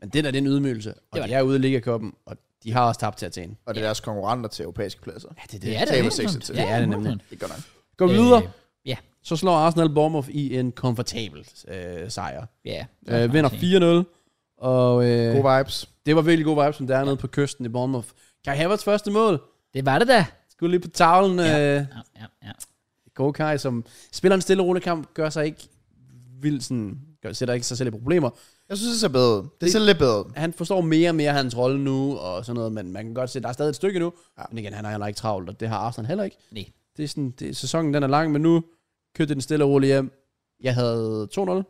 S3: Men det der, det er en ydmygelse. Og
S1: Det var
S3: de er ude i Ligakoppen, og de har også tabt til Athen.
S2: Og det er deres konkurrenter til europæiske pladser.
S3: Ja, det er
S1: det er det.
S2: Taber
S1: helt
S2: 6-1
S1: klart.
S2: til.
S1: Ja,
S3: Det er det nemlig.
S1: 100%.
S2: Det er godt nok.
S3: Går vi videre,
S1: Øh, Ja,
S3: så slår Arsenal Bournemouth i en komfortabel øh, sejr.
S1: ja.
S3: Øh, vinder 4-0, og øh,
S2: Gode vibes.
S3: det var virkelig god vibe, som der er nede på kysten i Bournemouth. Kai Havertz første mål,
S1: Det var det da.
S3: skulle lige på tavlen. Ja. Øh,
S1: Ja, ja, ja.
S3: gode Kai, som spiller en stille og rolig kamp, gør sig ikke vildt sådan, gør, sætter ikke sig selv i problemer.
S2: Jeg synes, det ser bedre. ud. Det ser lidt bedre. ud.
S3: han forstår mere og mere hans rolle nu, og sådan noget, men man kan godt se, at der er stadig et stykke nu. Ja. Men igen, han har heller ikke travlt, og det har Arsenal heller ikke.
S1: Nej.
S3: Det er sådan, det, sæsonen den er lang, men nu kørte den stille og roligt hjem. Jeg havde 2-0.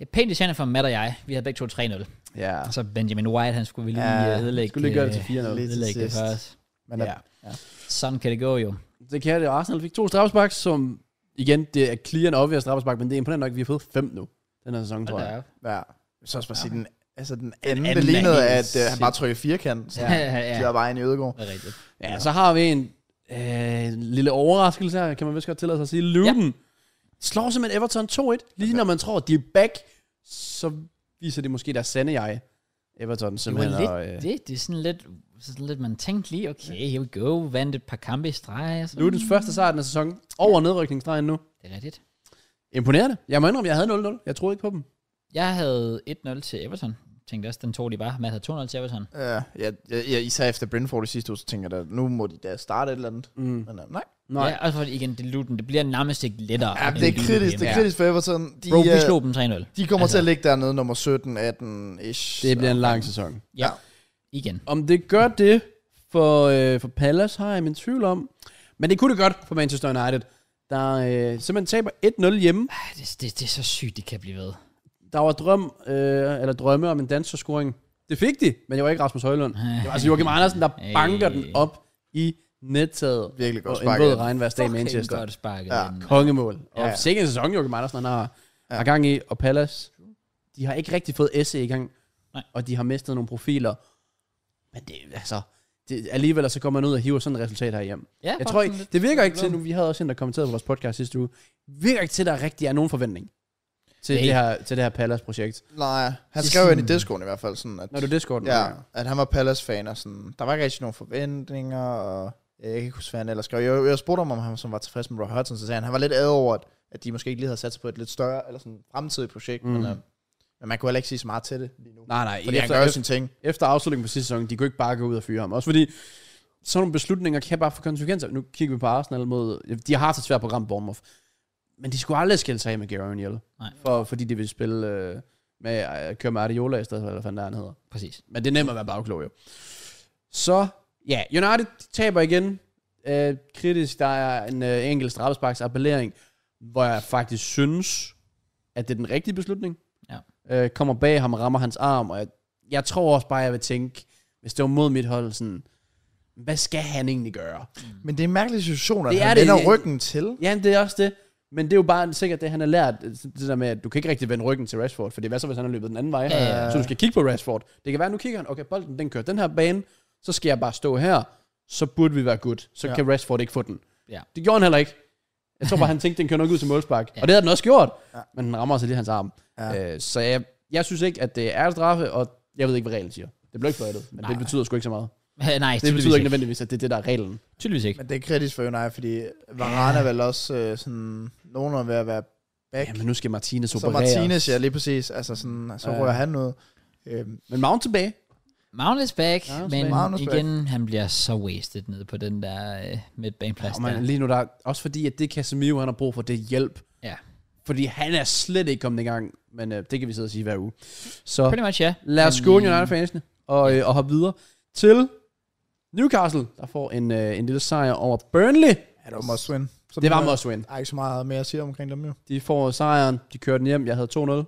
S1: Ja, Pænt i for Matt og jeg. Vi havde begge to 3-0.
S3: Ja.
S1: Og så Benjamin White, han skulle vi lige
S2: Ja,
S1: ja, ødelægge.
S3: skulle lige gøre det til 4-0.
S1: øh,
S2: Lige til
S1: ødelægge det
S2: sidst.
S1: for os.
S2: Men
S3: ja.
S1: Sådan kan det gå jo.
S3: Det kan det. Arsenal fik to straffespark, som igen, det er clear and obvious straffespark, men det er imponerende nok, at vi har fået fem nu. Den her sæson, tror jeg.
S2: Ja. Så også bare sige, den, altså den anden,
S3: anden
S2: det
S3: er
S2: lignede, at
S3: helt
S2: øh, han bare trykkede firkant. Så
S1: Ja, ja, ja.
S2: ja. der bare en i Ødegård.
S1: Det er rigtigt.
S3: Ja, så har vi en øh, lille overraskelse her, kan man vist godt tillade sig at sige. Luton ja. slår simpelthen Everton 2-1. Lige når man tror, de er back, så viser det måske deres sande jeg. Everton
S1: Det var
S3: simpelthen.
S1: lidt
S3: og, øh,
S1: det. Det er sådan lidt, sådan lidt, man tænkte lige, okay, here we go. Vandt et par kampe i streg. Og sådan.
S3: Lutens første sejr den her sæson. Over nedrykningsstregen nu.
S1: Det er rigtigt.
S3: Imponerende. Jeg må indrømme, jeg havde 0-0. Jeg troede ikke på dem.
S1: Jeg havde 1-0 til Everton. Tænkte også, den tog de bare. Matt havde 2-0 til Everton.
S2: Ja, ja, ja, især efter Brentford i sidste uge, så tænker jeg, da, nu må de da starte et eller andet.
S3: Mm.
S2: Men øh, nej.
S3: Nej.
S1: Ja, også fordi igen, det Luton, det bliver nærmest ikke lettere.
S2: Ja,
S1: end
S2: det er
S1: Luton
S2: kritisk, det
S1: hjemme.
S2: er kritisk for Everton. De,
S1: Bro, vi
S2: øh,
S1: slog dem 3-0.
S2: de kommer
S1: altså-
S2: til at ligge dernede nummer 17, 18 ish.
S3: Det bliver en lang sæson.
S1: Ja.
S2: Ja.
S1: Igen.
S3: Om det gør det for, øh, for Palace, har jeg min tvivl om. Men det kunne det godt for Manchester United. Der øh, simpelthen taber 1-0 hjemme.
S1: Ej, Det, det, det, er så sygt, det kan blive ved.
S3: Der var drøm, øh, eller drømme om en danserscoring. Det fik de, men det var ikke Rasmus Højlund. Det var altså Joachim Andersen, der
S1: Hey.
S3: banker den op i nettaget.
S2: Virkelig godt
S3: Og en
S2: sparket
S3: våd
S2: ind.
S3: regnværsdag i Manchester.
S1: Fucking godt sparket.
S2: Ja.
S1: ind.
S3: Kongemål. Og
S2: Ja.
S3: ja. sikkert en sæson, Joachim Andersen han har, ja. har gang i. Og Palace, de har ikke rigtig fået SE i gang.
S1: Nej.
S3: Og de har mistet nogle profiler. Men det, er altså, det, alligevel så kommer man ud og hiver sådan et resultat her hjem.
S1: Ja,
S3: Jeg tror ikke, det virker ikke til nu, vi havde også en, der kommenterede på vores podcast sidste uge, virker ikke til, at der rigtig er nogen forventning til,
S1: Nej.
S3: det her, til det her Pallas-projekt.
S2: Nej, han
S1: Det er
S2: skrev jo ind i
S1: sådan-
S2: Discorden i hvert fald, sådan at,
S3: Når du Discord
S2: ja, at han var Palace-fan, og sådan, der var ikke rigtig nogen forventninger, og jeg kan ikke huske, hvad han ellers skrev. Jeg, jeg spurgte ham, om han som var tilfreds med Roy Hodgson, så sagde han, han var lidt ad over, at- at de måske ikke lige havde sat sig på et lidt større, eller sådan fremtidigt projekt, mm. men,
S3: Mm.
S2: øh, men man kunne heller ikke sige så meget til det lige nu. Nej,
S3: Nej, nej.
S2: fordi han
S3: efter,
S2: gør jo
S3: efter,
S2: sine ting.
S3: efter afslutningen på sidste sæson, de kunne ikke bare gå ud og fyre ham. Også fordi sådan nogle beslutninger kan bare få konsekvenser. Nu kigger vi på Arsenal mod... De har haft et svært program, Bournemouth. Men de skulle aldrig skille sig af med Gary O'Neill.
S1: Nej.
S3: For, fordi de ville spille øh, med at køre med Ariola i stedet for, eller hvad fanden der han hedder.
S1: Præcis.
S3: Men det er nemt at være bagklog, jo. Så, ja, United taber igen. Øh, kritisk, der er en øh, enkelt straffesparks appellering, hvor jeg faktisk synes, at det er den rigtige beslutning.
S1: Ja.
S3: Øh, kommer bag ham og rammer hans arm, og jeg, jeg tror også bare, jeg vil tænke, hvis det var mod mit hold, sådan, hvad skal han egentlig gøre?
S2: Men det er en mærkelig situation, at
S3: Det
S2: det
S3: er
S2: han
S3: det.
S2: vender ryggen til.
S3: Ja, det er også det. Men det er jo bare sikkert det, han har lært. Det der med, at du kan ikke rigtig vende ryggen til Rashford, for det er hvad så, hvis han har løbet den anden vej.
S1: Ja, ja, ja.
S3: Så du skal kigge på Rashford. Det kan være, nu kigger han, okay, bolden den kører den her bane, så skal jeg bare stå her, så burde vi være godt. Så
S2: Ja.
S3: ja. kan Rashford ikke få den.
S1: Ja.
S3: Det gjorde han heller ikke. Jeg tror bare, han tænkte, den kører nok ud til målspark. Ja. Og det havde den også gjort, ja. men den rammer sig lige hans arm. Ja. Øh, så jeg, jeg synes ikke, at det er straffe, og jeg ved ikke, hvad reglen siger. Det blev ikke fløjtet, men Nej. det betyder sgu ikke så meget.
S1: Nej,
S3: Det betyder ikke
S1: ikke.
S3: nødvendigvis, at det er det, der er reglen.
S1: Tydeligvis ikke.
S2: Men det er kritisk for United, fordi Varane er vel også øh, sådan, nogen er ved at være back.
S3: Ja, men nu skal Martinez
S2: så
S3: opereres.
S2: Martinez, ja, lige præcis. Altså sådan, så
S3: Ja.
S2: rører han ud. Øhm,
S3: Men Mount tilbage.
S1: Magnus back,
S3: Magnus
S1: men
S3: back.
S2: Magnus back.
S1: igen, han bliver så wasted nede på den der øh, midtbaneplads.
S3: Og
S1: der.
S3: man, lige nu, der er, også fordi, at det Casemiro, han har brug for, det er hjælp.
S1: Ja.
S3: Fordi han er slet ikke kommet i gang, men øh, det kan vi sidde og sige hver uge. Så
S1: Pretty much, ja.
S3: lad os
S1: Men,
S3: skåne
S1: øh,
S3: United-fansene og, øh, og hoppe videre til Newcastle, der får en, øh, en lille sejr over Burnley.
S2: ja, det var must win. Så
S3: Det var
S2: der-
S3: must win.
S2: Der er ikke så meget mere at sige omkring dem jo.
S3: De får sejren, de kører den hjem. Jeg havde 2-0. Oh,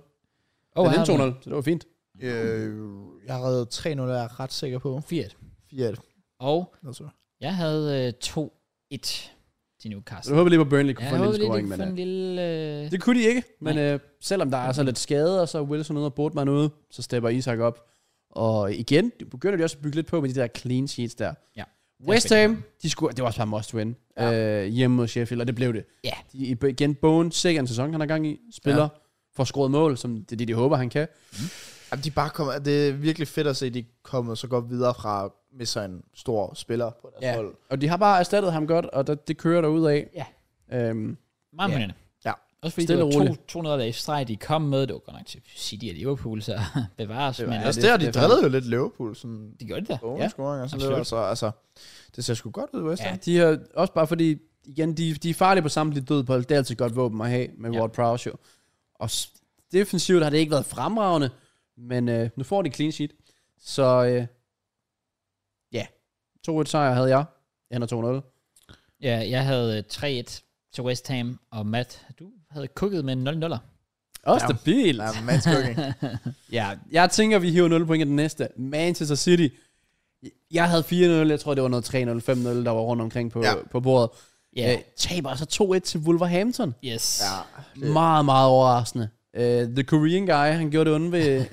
S1: Oh,
S3: den
S1: her er
S3: endte 2-0, så det var fint.
S2: Øh, jeg har reddet 3-0, er jeg ret sikker på.
S1: vi 4-1.
S2: 4-1.
S1: Og
S2: Altså.
S1: jeg havde øh, 2-1 til Newcastle.
S3: Så jeg håber lige, at Burnley kunne
S1: Ja,
S3: få
S1: jeg
S3: en lille
S1: håber lige,
S3: scoring.
S1: de
S3: Men,
S1: får en
S3: øh,
S1: lille... Øh,
S3: det kunne de ikke, men øh, selvom der er så lidt skade, og så er Wilson ude og Bortman ude, så stepper Isak op. Og igen, det begynder de også at bygge lidt på med de der clean sheets der.
S1: Ja.
S3: West Ham, de skulle, det var også bare must win ja. øh, hjemme mod Sheffield, og det blev det.
S1: Ja.
S3: De, igen, Bowen, sikkert en sæson, han har gang i, spiller, ja. får scoret mål, som det er det, de håber, han kan.
S2: Jamen, de er bare kommer, det er virkelig fedt at se, at de er kommet så godt videre fra at miste sig en stor spiller på deres ja. hold.
S3: Og de har bare erstattet ham godt, og der, det kører der ud af.
S1: Ja.
S3: Øhm,
S1: Meget
S3: Ja.
S1: imponerende.
S2: Ja.
S1: Også fordi
S3: Stille
S1: Stille
S3: og
S1: det var to,
S3: roligt.
S1: 200 dage i streg, de kom med. Det var godt nok til City og Liverpool, så bevares.
S3: Det
S1: Det
S3: var-
S1: men
S3: ja,
S1: ja,
S2: altså,
S1: det,
S2: det, der,
S3: det
S2: de
S3: er
S2: drillede jo lidt Liverpool, sådan
S1: de gjorde det der.
S2: ja. scoring og sådan lidt,
S1: absolut.
S2: altså, altså, det ser sgu godt ud, West Ham.
S1: Ja.
S2: Ja.
S3: de har også bare fordi, igen, de, de er farlige på samtlige dødbold. Det er altid et godt våben at have med
S1: Ja.
S3: ja. Ward Prowse jo. Og s- defensivt har det ikke været fremragende, men øh, nu får de clean sheet. Så øh, ja, 2-1 sejr havde jeg. Jeg ender 2-0.
S1: Ja, jeg havde øh, 3-1 til West Ham, og Matt, du havde kukket med en 0-0'er.
S3: Også ja. stabilt.
S2: Nej, men cooking.
S3: Ja, jeg tænker, vi hiver 0 point i den næste. Manchester City. Jeg havde 4-0, jeg tror, det var noget 3-0, 5-0, der var rundt omkring på, ja.
S2: Ja.
S3: på bordet.
S1: Ja,
S3: Ja. Øh, taber så 2-1 til Wolverhampton.
S1: yes.
S2: ja.
S3: Det. Meget, meget overraskende. Uh, the Korean guy, han gjorde det onde ved,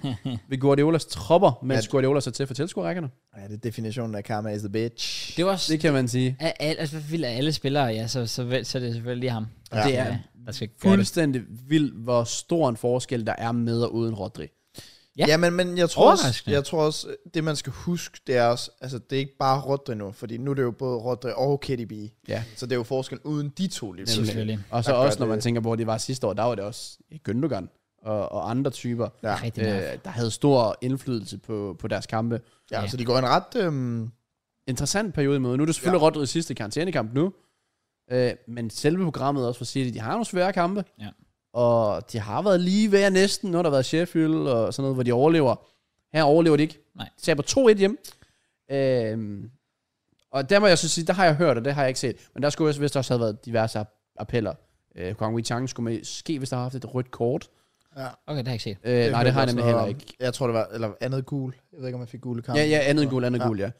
S3: ved Guardiolas tropper, mens
S2: Ja.
S3: Guardiola så til for tilskuerrækkerne.
S2: ja, det er definitionen af karma is the bitch.
S1: Det var også...
S3: Det kan man sige.
S1: Af, al, altså, hvad vildt af alle spillere, ja, så, så, vel, så er det selvfølgelig lige ham.
S2: Ja.
S3: Det er
S1: der skal gøre det.
S3: Fuldstændig vildt, hvor stor en forskel der er med og uden Rodri.
S1: Ja.
S2: Ja, ja men, men jeg, tror også,
S1: Overraskende.
S2: jeg tror også, øh, det man skal huske, det er også, altså det er ikke bare Rodri nu, fordi nu er det jo både Rodri og Kitty B.
S3: Ja.
S2: Så det er jo forskel uden de to lige pludselig.
S1: Selvfølgelig.
S3: Og så
S2: Der gør
S3: også, når man
S2: det-
S3: tænker på, hvor de var sidste år, der var det også Gündogan og, og andre typer,
S2: Ja.
S1: Rigtig øh,
S3: øh, der havde stor indflydelse på, på deres kampe.
S2: Ja,
S1: Ja.
S2: så de går en ret... Øhm,
S3: Interessant periode imod. Nu er det selvfølgelig ja. Rodri's sidste karantænekamp nu, øh, men selve programmet også for City, de har nogle svære kampe,
S1: Ja.
S3: og de har været lige ved næsten, når der har været Sheffield og sådan noget, hvor de overlever. Her overlever de ikke.
S1: Nej.
S3: De taber 2-1 hjem. Øh, og der må jeg så sige, der har jeg hørt, og det har jeg ikke set, men der skulle også, hvis der også havde været diverse appeller. Øh, Kwang Wei-Chang skulle måske, hvis der har haft et rødt kort.
S1: Okay, det har jeg ikke set.
S3: Øh, nej,
S2: hørte
S3: det har jeg
S2: også
S3: nemlig
S2: noget
S3: heller
S2: om.
S3: ikke.
S2: Jeg tror, det var... Eller andet gul. Jeg ved ikke, om jeg fik gule kamp.
S3: Ja, ja, andet end guld, andet end
S2: Ja.
S3: guld,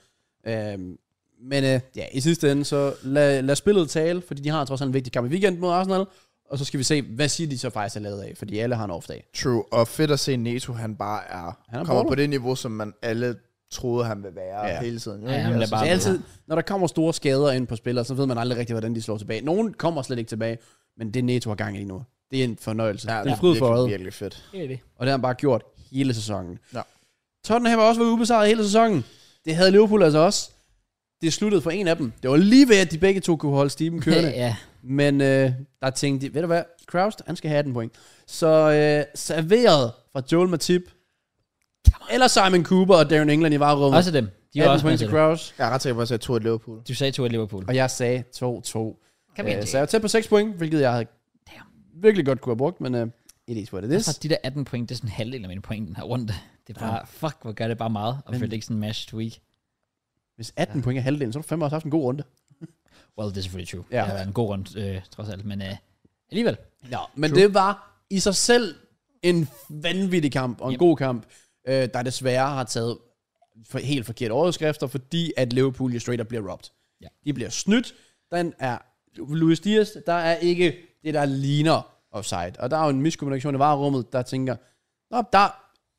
S3: ja. Øhm, men øh, ja, i sidste ende, så lad, lad spillet tale, fordi de har trods alt en vigtig kamp i weekenden mod Arsenal, og så skal vi se, hvad siger de så faktisk er lavet af, fordi alle har en off-dag.
S2: True. Og fedt at se Neto, han bare er...
S3: Han er
S2: kommer
S3: baller.
S2: på det niveau, som man alle troede, han ville være
S3: Ja.
S2: ja. hele tiden. Jo,
S1: Ja,
S2: ikke?
S1: han bliver
S3: Det
S1: bare
S3: er altid, når der kommer store skader ind på spillere, så ved man aldrig rigtig, hvordan de slår tilbage. Nogen kommer slet ikke tilbage, men det Neto har gang i nu. Det er en fornøjelse. Ja, det er fryd for
S2: virkelig,
S3: øjet,
S2: virkelig fedt.
S1: Det er det.
S3: og det har han bare gjort hele sæsonen.
S2: Ja.
S3: Tottenham har også været ubesejret hele sæsonen. Det havde Liverpool altså også. Det sluttede for en af dem. Det var lige ved, at de begge to kunne holde stiben kørende.
S1: ja.
S3: Men øh, der tænkte de, ved du hvad, Kraus, han skal have 18 point. Så øh, serveret fra Joel Matip, eller Simon Cooper og Darren England i varerummet.
S1: Også dem. De var
S3: 18
S1: også med
S3: point
S1: til
S3: til
S1: det.
S3: Kraus,
S2: Jeg er ret sikker på, at jeg tog et Liverpool.
S1: Du sagde 2 Liverpool.
S3: og jeg sagde 2-2.
S1: Kom igen,
S3: Øh, så jeg var tæt på 6 point, hvilket jeg havde virkelig godt kunne have brugt, men øh, it is what it is.
S1: Så de der 18 point, det er sådan en halvdel af mine point den her runde. Det er bare, ja. fuck, hvor gør det bare meget, og
S3: Men-
S1: følte ikke sådan en match week.
S3: Hvis 18 point er halvdelen, så har du fandme også haft en god runde.
S1: Well, det er selvfølgelig true.
S3: Ja.
S1: Ja. Det har været en god runde, øh, trods alt, men øh, alligevel.
S3: Ja, men True. det var i sig selv en vanvittig kamp, og en
S1: Yep.
S3: yep. god kamp, øh, der desværre har taget for, helt forkerte overskrifter, fordi at Liverpool jo straight up bliver robbed.
S1: Ja.
S3: De bliver snydt. Den er Luis Dias, der er ikke det, der ligner offside. Og der er jo en miskommunikation i varerummet, der tænker, Nå, der,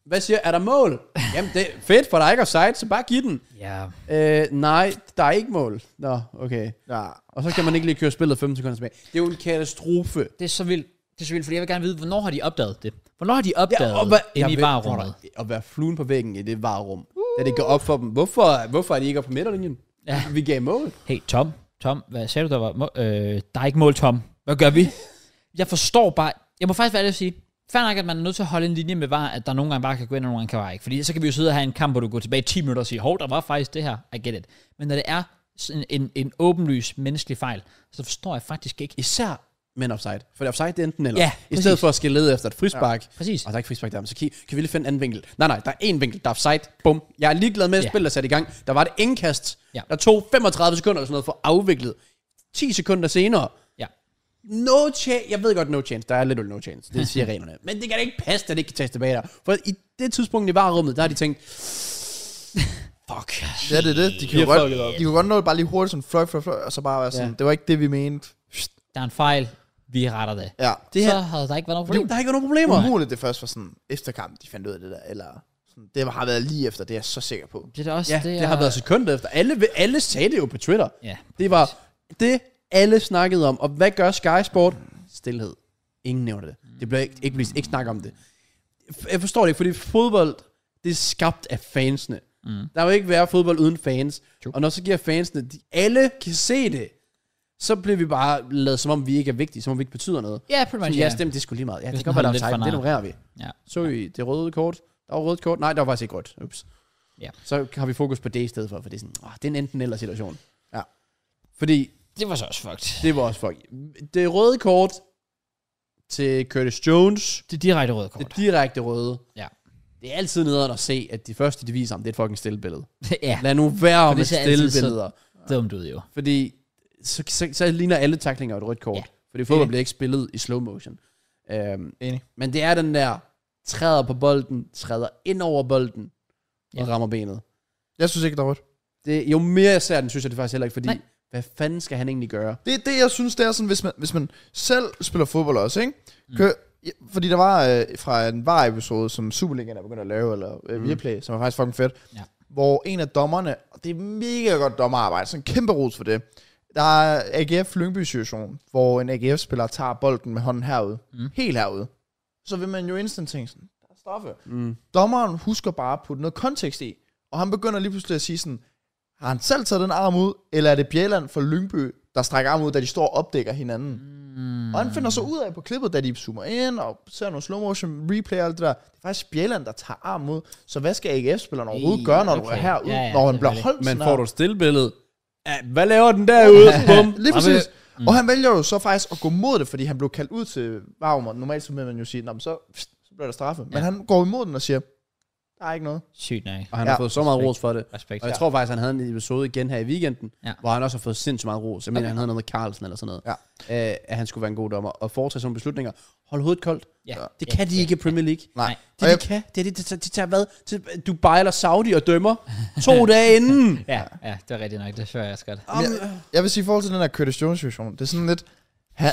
S3: hvad siger, er der mål? Jamen, det er fedt, for der er ikke offside, så bare giv den.
S1: Ja,
S3: Øh, nej, der er ikke mål. Nå, okay.
S2: Ja.
S3: Og så kan man ikke lige køre spillet 15 sekunder tilbage. Det er jo en katastrofe.
S1: det er så vildt. Det er så vildt, fordi jeg vil gerne vide, hvornår har de opdaget det? Hvornår har de opdaget ja,
S3: og hvad-
S1: inde
S3: Jeg
S1: i
S3: ved-
S1: varerummet?
S3: prøv at- At være fluen på væggen i det varerum. Uh. Da det går op for dem. Hvorfor, hvorfor er de ikke oppe på midterlinjen?
S1: Ja.
S3: Ja. Vi gav mål.
S1: Hey, Tom. Tom, hvad sagde du, der var... må- Øh, der er ikke mål, Tom. Hvad gør vi? jeg forstår bare... Jeg må faktisk være ærlig at sige, fair nok, at man er nødt til at holde en linje med var, at der nogle gange bare kan gå ind, og nogle gange kan bare ikke. Fordi så kan vi jo sidde og have en kamp, hvor du går tilbage 10 minutter og siger, hov, der var faktisk det her. I get it. Men når det er sådan en, en åbenlys menneskelig fejl, så forstår jeg faktisk ikke.
S3: Især men offside. For det offside, det er enten eller.
S1: Ja,
S3: I stedet
S1: præcis.
S3: for at skal lede efter et frispark. Ja.
S1: Præcis.
S3: Og der er ikke frispark der, men så kan, kan vi lige finde en anden vinkel. Nej, nej, der er en vinkel, der er offside. Bum. Jeg er ligeglad med, at
S1: Ja.
S3: spillet er sat i gang. Der var et indkast.
S1: Ja.
S3: Der tog 35 sekunder eller sådan noget for afviklet. 10 sekunder senere.
S1: Ja.
S3: No chance. Jeg ved godt, no chance. Der er lidt no chance. Det siger reglerne. Men det kan da ikke passe, at det ikke kan tages tilbage der. For i det tidspunkt i varerummet, der har de tænkt,
S1: Fuck.
S2: Ja, det er det. De kan, jo godt, de kan godt nå det bare lige hurtigt, sådan fløj, fløj, fløj, og så bare være sådan,
S3: Ja.
S2: ja. det var ikke det, vi mente.
S1: Der er en fejl. Vi retter det.
S2: Ja.
S3: det
S1: Så
S3: her,
S1: havde der ikke været nogen
S3: det,
S1: problem.
S3: der har ikke været nogen problemer.
S2: Umuligt, det først var sådan, efter kampen, de fandt ud af det der, eller sådan, det har været lige efter, det er jeg så sikker på.
S1: Det er da også,
S3: Ja, det, det har været sekund efter. Alle, alle sagde det jo på Twitter.
S1: Ja,
S3: Det var det, alle snakkede om. Og hvad gør Sky Sport? Stilhed. Ingen nævner det. Det bliver ikke, ikke, ikke snak om det. F- Jeg forstår det ikke, fordi fodbold, det er skabt af fansene. Mm. Der vil ikke være fodbold uden fans.
S1: True.
S3: Og når så giver fansene, de, alle kan se det, så bliver vi bare lavet, som om vi ikke er vigtige, som om vi ikke betyder noget.
S1: Ja, pretty
S3: Sådan,
S1: much,
S3: ja,
S1: ja.
S3: stemt, det skulle lige meget. Ja, det
S1: Hvis
S3: kan
S1: den
S3: godt være,
S1: holder
S3: der er
S1: lidt for
S3: offside, det ignorerer vi.
S1: ja.
S3: Så I det røde kort. Der var rødt kort. Nej, der var faktisk ikke rødt. Ups.
S1: Ja.
S3: Så har vi fokus på det i stedet for, for det er sådan, åh, det er en enten eller situation.
S2: Ja.
S3: Fordi
S1: Det var så også fucked.
S3: det var også fuck. Det røde kort til Curtis Jones.
S1: Det er direkte røde kort.
S3: Det direkte røde.
S1: Ja.
S3: Det er altid nederen at se, at de første, de viser om, det er et fucking stille billede.
S1: ja,
S3: Lad nu være
S1: det
S3: med
S1: ser altid
S3: stille billeder.
S1: dumt ud jo.
S3: Fordi så, så, så ligner alle taklinger et rødt kort.
S1: Ja.
S3: Ja. Fordi fodbold bliver ikke spillet i slow motion. Øhm,
S2: Enig.
S3: Men det er den der, træder på bolden, træder ind over bolden, ja.
S1: Ja.
S3: og rammer benet.
S2: Jeg synes ikke, der var rødt.
S3: Det, jo mere jeg ser den, synes jeg det faktisk heller ikke, fordi
S1: Nej.
S3: Nej. hvad fanden skal han egentlig gøre?
S2: Det er det, jeg synes, det er sådan, hvis man, hvis man selv spiller fodbold også, ikke? Kø, ja, fordi der var øh, fra en VAR-episode, som Superligaen er begyndt at lave, eller øh, Viaplay, som er faktisk fucking fedt,
S1: Ja.
S2: hvor en af dommerne, og det er mega godt dommerarbejde, sådan en kæmpe ros for det, der er AGF Lyngby-situation, hvor en AGF-spiller tager bolden med hånden herude, mm. helt herude, så vil man jo instant tænke sådan, der er straffe.
S3: Mm.
S2: Dommeren husker bare at putte noget kontekst i, og han begynder lige pludselig at sige sådan, har han selv taget den arm ud, eller er det Bjelland fra Lyngby, der strækker armen ud, da de står og opdækker hinanden? Mm. Og han finder så ud af på klippet, da de zoomer ind og ser nogle slow motion replay og alt det der. Det er faktisk Bjelland, der tager armen ud. Så hvad skal AGF-spilleren overhovedet
S1: Ej,
S2: gøre, når du
S1: okay.
S2: er herude,
S1: Ja,
S2: ja,
S1: ja,
S2: ja, når han
S1: selvfølgelig.
S2: bliver holdt
S3: Men
S2: sådan
S3: får
S2: her?
S3: du et stillbillede? Ja, hvad laver den derude? Bum.
S2: Lige
S1: Jamen,
S2: præcis. Mm. Og han vælger jo så faktisk at gå mod det, fordi han blev kaldt ud til varmer. Normalt så vil man jo sige, "Nå, men så, pst, så bliver der straffe. Men
S1: Ja.
S2: han går imod den og siger, der er ikke noget.
S1: Sygt nej.
S3: Og han ja. har
S2: Ja.
S3: fået så meget ros for det.
S1: Respekt.
S3: Og jeg tror faktisk, han havde en episode igen her i weekenden,
S1: Ja.
S3: ja. hvor han også har fået sindssygt meget ros. Jeg mener, okay. han havde noget med Carlsen eller sådan noget. Ja. Øh, at han skulle være en god dommer. Og foretage sådan nogle beslutninger. Hold hovedet koldt.
S1: Ja.
S3: Det kan de ikke i Premier League.
S1: Nej. Nej.
S3: Det, de kan, det er det, de, de tager hvad? Til Dubai eller Saudi og dømmer to dage inden.
S1: Ja, ja, det var rigtigt nok. Det tror jeg også godt.
S2: Men jeg, jeg vil sige, i forhold til den her Curtis Jones situation, det er sådan lidt, ha,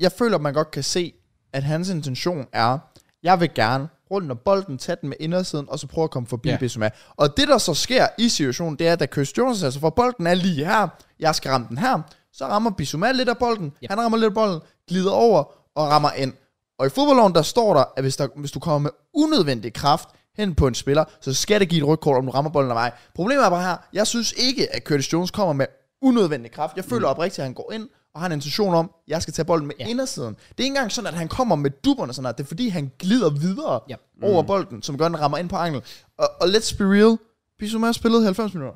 S2: jeg føler, at man godt kan se, at hans intention er, jeg vil gerne rundt om bolden, tage den med indersiden, og så prøve at komme forbi
S1: Ja.
S2: ja. Bissouma. Og det, der så sker i situationen, det er, at da Chris Jones altså for bolden er lige her, jeg skal ramme den her, så rammer Bissouma lidt af bolden,
S1: Ja.
S2: yep. han rammer lidt af bolden, glider over og rammer ind. Og i fodboldloven, der står der, at hvis, der, hvis du kommer med unødvendig kraft hen på en spiller, så skal det give et rygkort, om du rammer bolden eller ej. Problemet er bare her, jeg synes ikke, at Curtis Jones kommer med unødvendig kraft. Jeg føler oprigtigt, at han går ind og har en intention om, at jeg skal tage bolden med
S1: Mm. Ja.
S2: ja. indersiden. Det er ikke engang sådan, at han kommer med duberne sådan her. Det er fordi, han glider videre
S1: Ja. Mm.
S2: ja. over bolden, som gør, at den rammer ind på angel. Og, og let's be real, Bissouma har spillet 90 minutter.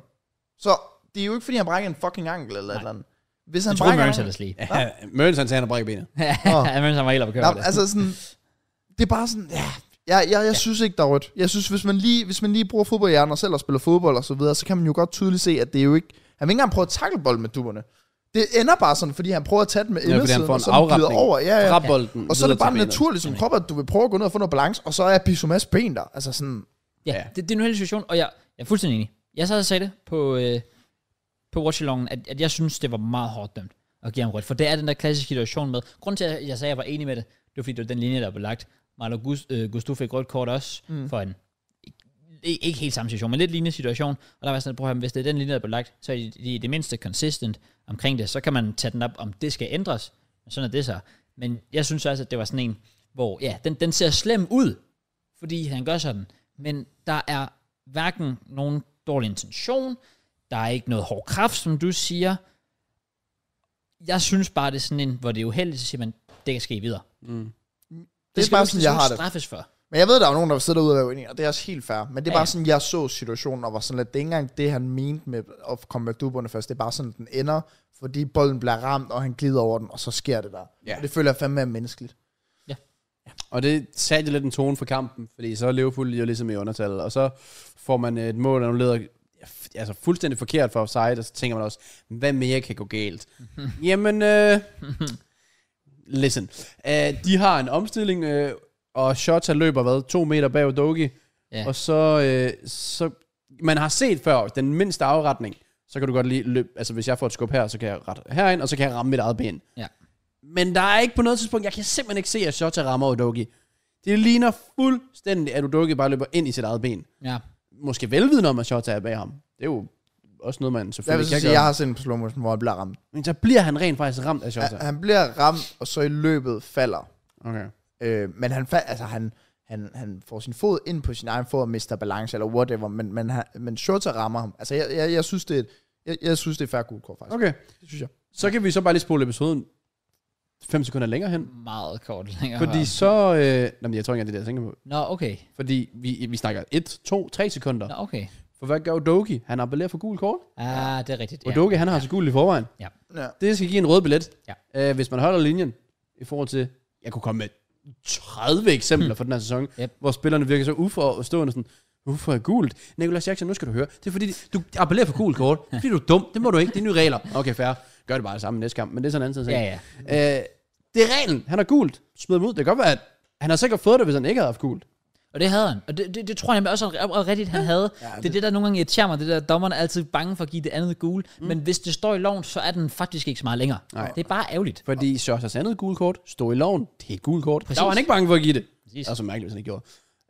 S2: Så det er jo ikke, fordi han brækker en fucking ankel eller et eller andet. Hvis han
S1: Jeg troede,
S2: brækker
S1: Mørens
S2: anklen-
S1: ellers lige.
S3: Ja, Mørens han sagde, han har brækket benet.
S1: Ja, Mørens han var helt oppe at køre
S2: Nå,
S1: over det.
S2: altså sådan, det er bare sådan, ja, jeg, jeg, jeg synes ikke, der er rødt. Jeg synes, hvis man lige, hvis man lige bruger fodboldhjernen og selv og spiller fodbold og så videre, så kan man jo godt tydeligt se, at det er jo ikke... Han vil ikke engang prøve at tackle bolden med dubberne. Det ender bare sådan, fordi han prøver at tage den med
S3: fordi han
S2: indersiden,
S3: får en
S2: og så den glider
S3: afretning.
S2: over. Ja, ja.
S3: Fra bolden.
S2: Og så er det
S3: videre
S2: bare
S3: til benet.
S2: naturligt som krop, at du vil prøve at gå ned og få noget balance, og så er Bissomas ben der. Altså sådan,
S1: Ja,
S3: Ja.
S1: Det, det er en uheldig situation, og jeg, jeg er fuldstændig enig. Jeg sad og sagde det på, øh, på watchalongen, at, at jeg synes, det var meget hårdt dømt at give ham rødt. For det er den der klassiske situation med. Grunden til, at jeg sagde, at jeg var enig med det, det var fordi, det var den linje, der blev lagt. Marlo Gust, øh, Gustu fik rødt kort også mm. for en ikke- ikke helt samme situation, men lidt lignende situation. Og der var jeg sådan, prøv at høre, hvis det er den linje, der blev lagt, så er de, de i det mindste consistent omkring det. Så kan man tage den op, om det skal ændres. Men sådan er det så. Men jeg synes også, at det var sådan en, hvor ja, den, den ser slem ud, fordi han gør sådan. Men der er hverken nogen dårlig intention, der er ikke noget hård kraft, som du siger. Jeg synes bare, det er sådan en, hvor det er uheldigt, så siger man, det kan ske videre. Det,
S2: Mm. det er
S1: skal
S2: bare
S1: du- skal
S2: sådan, jeg
S1: du
S2: har det.
S1: straffes for.
S2: Men jeg ved, der er nogen, der sidder derude og er uenige, og det er også helt fair. Men det er
S1: Ja,
S2: bare
S1: ja.
S2: sådan, jeg så situationen, og var sådan lidt, det er ikke engang det, han mente med at komme med duberne først. Det er bare sådan, den ender, fordi bolden bliver ramt, og han glider over den, og så sker det der.
S3: Ja.
S2: Og det føler jeg fandme er menneskeligt.
S3: Og det satte lidt en tone for kampen, fordi så er Liverpool jo ligesom i undertal, og så får man øh, et mål, der nu leder altså fuldstændig forkert for offside, og så tænker man også, hvad mere kan gå galt? Jamen, øh, listen. Øh, de har en omstilling, øh, og Shota løber, hvad, to meter bag Dogi,
S1: Ja.
S3: og så, øh, så, man har set før, den mindste afretning, så kan du godt lige løbe, altså hvis jeg får et skub her, så kan jeg rette herind, og så kan jeg ramme mit eget ben.
S1: Ja.
S3: Men der er ikke på noget tidspunkt, jeg kan simpelthen ikke se, at Shota rammer Udogi. Det ligner fuldstændig, at Udogi bare løber ind i sit eget ben.
S1: Ja.
S3: Måske velvidende om, at Shota er bag ham. Det er jo også noget, man
S2: Jeg vil
S3: selvfølgelig
S2: så
S3: kan
S2: sige,
S3: gøre.
S2: jeg har set en på slow motion, hvor han bliver ramt.
S3: Men så bliver han rent faktisk ramt af Shota.
S2: Han, han bliver ramt, og så i løbet falder.
S3: Okay.
S2: Øh, men han, fa- altså, han, han, han får sin fod ind på sin egen fod og mister balance, eller whatever, men, men, han, men Shota rammer ham. Altså, jeg, jeg, jeg synes, det er, et- jeg, jeg synes, det er fair gult kort, faktisk.
S3: okay.
S2: Det synes jeg.
S3: Så kan vi så bare lige spole episoden 5 sekunder længere hen.
S1: Meget kort længere.
S3: Fordi så... Øh, jamen, jeg tror ikke, engang, det er det, jeg tænker på.
S1: Nå, okay.
S3: Fordi vi, vi snakker 1, 2, 3 sekunder.
S1: Nå, okay.
S3: For hvad gør Udogi? Han appellerer for gul kort.
S1: Ah, det er rigtigt.
S3: Ja. Udogi, han har så gul i forvejen.
S1: Ja.
S2: Ja.
S3: Det skal give en rød billet.
S1: Ja.
S3: Øh, hvis man holder linjen i forhold til, jeg kunne komme med 30 eksempler for den her sæson,
S1: Yep.
S3: hvor spillerne virker så uforstående sådan, hvorfor er gult? Nicolas Jackson, nu skal du høre. Det er fordi, du appellerer for gul kort. Det er fordi, du er dum. Det må du ikke. Det er nye regler. Okay, fair. Gør det bare det samme næste kamp, men det er sådan en anden
S1: Ja,
S3: ting.
S1: ja.
S3: ja. Øh, det er reglen. Han har gult. Smid ham ud. Det kan godt være, at han har sikkert fået det, hvis han ikke havde haft gult.
S1: Og det havde han. Og det, det, det tror jeg nemlig også er- er rigtigt, han havde. Ja, det, det er det, der nogle gange irriterer mig. Det der, dommerne er altid bange for at give det andet gule. Mm. Men hvis det står i loven, så er den faktisk ikke så meget længere. Nej. Det er bare ærgerligt.
S3: Fordi Shotas andet gul kort stod i loven. Det er et gul kort. Præcis. Der var han ikke bange for at give det. Præcis. Det er så mærkeligt, hvis han ikke gjorde.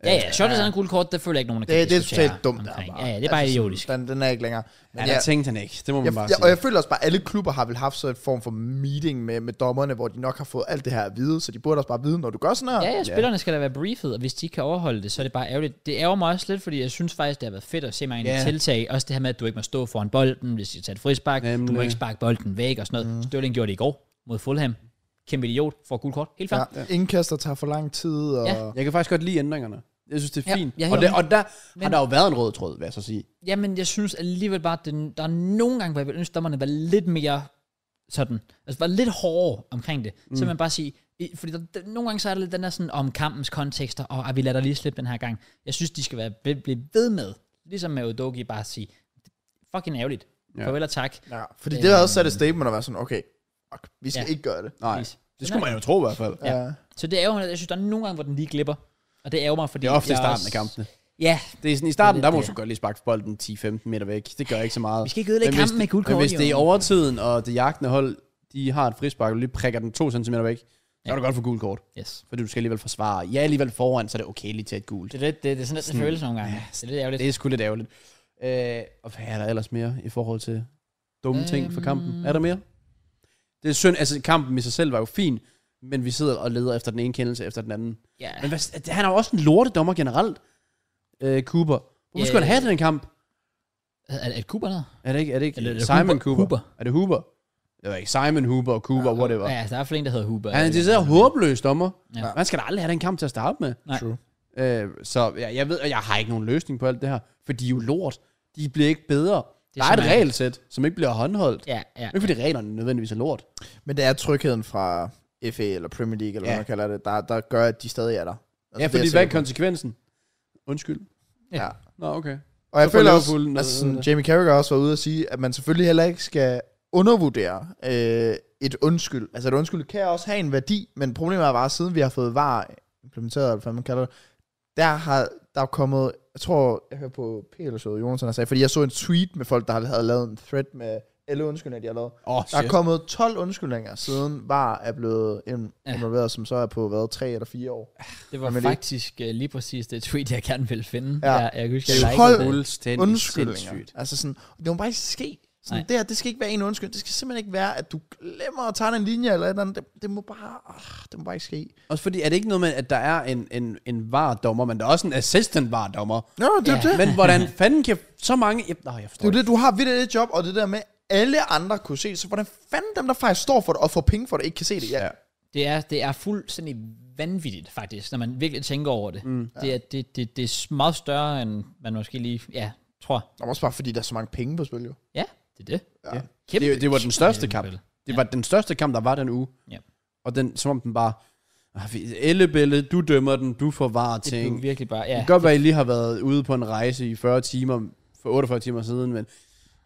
S1: Ja, ja. Shot er en gul kort, det føler jeg ikke nogen, der kan
S2: Det, det er
S1: diskutere
S2: totalt dumt. Der,
S1: omkring.
S2: bare. Altså,
S1: Ja, ja, det er bare
S2: sådan,
S1: idiotisk.
S2: Den, den er ikke længere. Men
S3: Ja,
S2: ja,
S3: der
S2: jeg,
S3: tænkte han ikke. Det må man
S2: jeg,
S3: bare
S2: jeg,
S3: sige.
S2: og jeg føler også bare, at alle klubber har vel haft så et form for meeting med, med dommerne, hvor de nok har fået alt det her at vide, så de burde også bare vide, når du gør sådan her.
S1: Ja, ja, spillerne skal da være briefet, og hvis de ikke kan overholde det, så er det bare ærgerligt. Det ærger mig også lidt, fordi jeg synes faktisk, det har været fedt at se mange
S3: Ja.
S1: yeah. tiltag. Også det her med, at du ikke må stå foran bolden, hvis de tager et frispark. Nemlig. Du må
S3: Nemlig.
S1: ikke sparke bolden væk og sådan noget. Mm. Stirling gjorde det i går mod Fulham. Kæmpe idiot, får gul kort. Helt fair.
S2: Ja, ja. Indkaster tager for lang tid, og
S1: Ja.
S2: ja.
S3: Jeg kan faktisk godt lide ændringerne. Jeg synes, det
S1: Ja,
S3: er fint.
S1: jeg er
S3: og,
S1: helt
S3: det, og der har der jo været en rød tråd, vil jeg så sige.
S1: Jamen, jeg synes alligevel bare, at den, der er nogle gange, hvor jeg vil ønske, at dommerne var lidt mere sådan, altså var lidt hårdere omkring det. Mm. Så man bare sige, i- fordi der, der, nogle gange så er der lidt den der sådan, om kampens kontekster, og at vi lader dig lige slippe den her gang. Jeg synes, de skal være, blive, blive ved med, ligesom med Udogi, bare at sige, fucking ærgerligt. Ja.
S3: Ja.
S1: Farvel og tak.
S2: ja. Fordi det har også sat et statement at være sådan, okay, fuck, vi skal
S1: Ja.
S2: ja. ikke gøre det.
S3: Nej,
S1: Præcis.
S3: det skulle man jo tro i hvert fald.
S1: Ja.
S2: Ja.
S1: Så det er jo, jeg synes, der er nogle gange, hvor den lige glipper. Og det ærger mig, fordi...
S3: Det er ofte i
S1: jeg
S3: starten
S1: også-
S3: af kampene.
S1: Ja,
S3: Det er sådan, I starten,
S1: lidt
S3: der må
S1: det.
S3: du sgu godt lige sparke bolden 10-15 meter væk. Det gør ikke så meget.
S1: Vi skal ikke ødelægge
S3: Men hvis
S1: kampen med
S3: det-
S1: gult kort,
S3: Men hvis det er i
S1: jo.
S3: overtiden, og det jagtende hold, de har et frispark, og du lige prikker den 2 cm væk, Så kan du godt få gul kort.
S1: Yes.
S3: Fordi du skal alligevel forsvare. Ja, alligevel foran, så er det okay lige til et gult.
S1: Det er, lidt, det, det er sådan lidt en følelse nogle gange. Det er lidt ærgerligt.
S3: Det er sgu lidt ærgerligt. Øh, og hvad er der ellers mere i forhold til dumme øhm. ting for kampen?
S1: Øhm.
S3: Er der mere? Det er synd, altså kampen i sig selv var jo fin, men vi sidder og leder efter den ene kendelse efter den anden.
S1: Ja.
S3: Men hvad, altså, han er jo også en lortedommer generelt, øh, Cooper. Hvorfor
S1: Ja,
S3: skulle han
S1: ja,
S3: have den kamp?
S1: Er, er det Cooper noget?
S3: Er det ikke, er det ikke
S1: Eller er det
S3: Simon
S1: Huber?
S3: Cooper?
S1: Huber.
S3: Er det Huber? Det var ikke Simon Huber, Cooper, ja, whatever.
S1: Ja, der er flere, der hedder Huber.
S3: Han er en decideret håbløs dommer.
S1: Ja.
S3: Ja. Man skal da aldrig have den kamp til at starte med.
S1: Nej.
S6: True.
S3: Øh, så jeg, jeg ved, og jeg har ikke nogen løsning på alt det her, for de er jo lort. De bliver ikke bedre.
S1: Det
S3: Det
S1: er
S3: er der er
S1: så
S3: et
S1: mærkeligt.
S3: regelsæt, som ikke bliver håndholdt. Ja.
S1: Ja, ja.
S3: Ikke fordi reglerne nødvendigvis er lort. Altså,
S2: Men det er trygheden fra FA eller Premier League, eller ja.
S3: Ja.
S2: hvad man kalder det, der, der gør, at de stadig er der. Altså,
S3: Ja,
S2: det er
S3: fordi
S2: jeg
S3: hvad er
S2: sikker på.
S3: konsekvensen? Undskyld.
S1: Ja.
S3: Nå, okay.
S2: Og jeg
S3: så får
S2: føler
S3: Liverpool
S2: også,
S3: noget-
S2: altså sådan, Jamie Carragher har også været ude at sige, at man selvfølgelig heller ikke skal undervurdere øh, et undskyld. Altså et undskyld kan også have en værdi, men problemet er bare, at siden vi har fået VAR implementeret, eller hvad man kalder det, der har der er kommet, jeg tror, jeg hørte på P eller showet, Jonas han sagde, fordi jeg så en tweet med folk, der havde lavet en thread med alle undskyldninger, de har lavet.
S3: Åh, oh,
S2: Der er
S3: shit.
S2: kommet 12 undskyldninger, siden VAR er blevet ind-
S1: Ja.
S2: involveret, som så er på, hvad, 3 eller 4 år.
S1: Det var
S2: Jamen, det-
S1: faktisk uh, lige præcis det tweet, jeg gerne ville finde.
S2: Ja.
S1: Jeg, jeg husker, jeg
S2: Hold
S1: likede det.
S3: Fuldstændig
S2: undskyldninger.
S3: sindssygt.
S2: Altså sådan, det må bare ikke ske. Sådan,
S1: Nej.
S2: det, her, det skal ikke være en undskyld. Det skal simpelthen ikke være, at du glemmer at tegne en linje eller et eller andet. Det, det må bare, ah, det må bare ikke ske.
S3: Også fordi, er det ikke noget med, at der er en, en, en vardommer, men der er også en assistant vardommer.
S2: Nå, det er
S1: Ja.
S2: jo det.
S3: Men hvordan fanden kan så mange... Jeg, nej, jeg
S2: Det er
S3: forstår
S2: jo det, du har vidt det job, og det der med, alle andre kunne se det. Så hvordan fanden dem, der faktisk står for det og får penge for det, ikke kan se det? Ja.
S3: Ja.
S1: Det er, det er fuldstændig vanvittigt, faktisk, når man virkelig tænker over det. Mm, ja. det, er, det, det, det er meget større, end man måske lige ja, tror.
S2: Og også bare fordi, der er så mange penge på spil, jo.
S1: Ja, det er det.
S2: Ja.
S1: Kæmpe,
S3: Det- det var den største kamp.
S1: kæmpe-
S3: Det var den største kamp, der var den uge.
S1: Ja.
S3: Og den, som om den bare... "Ah, vi- Ellebælle, du dømmer den, du forvarer
S1: Det blev
S3: ting.
S1: virkelig bare, ja.
S3: Det kan godt være, at I lige har været ude på en rejse i 40 timer, for 48 timer siden, men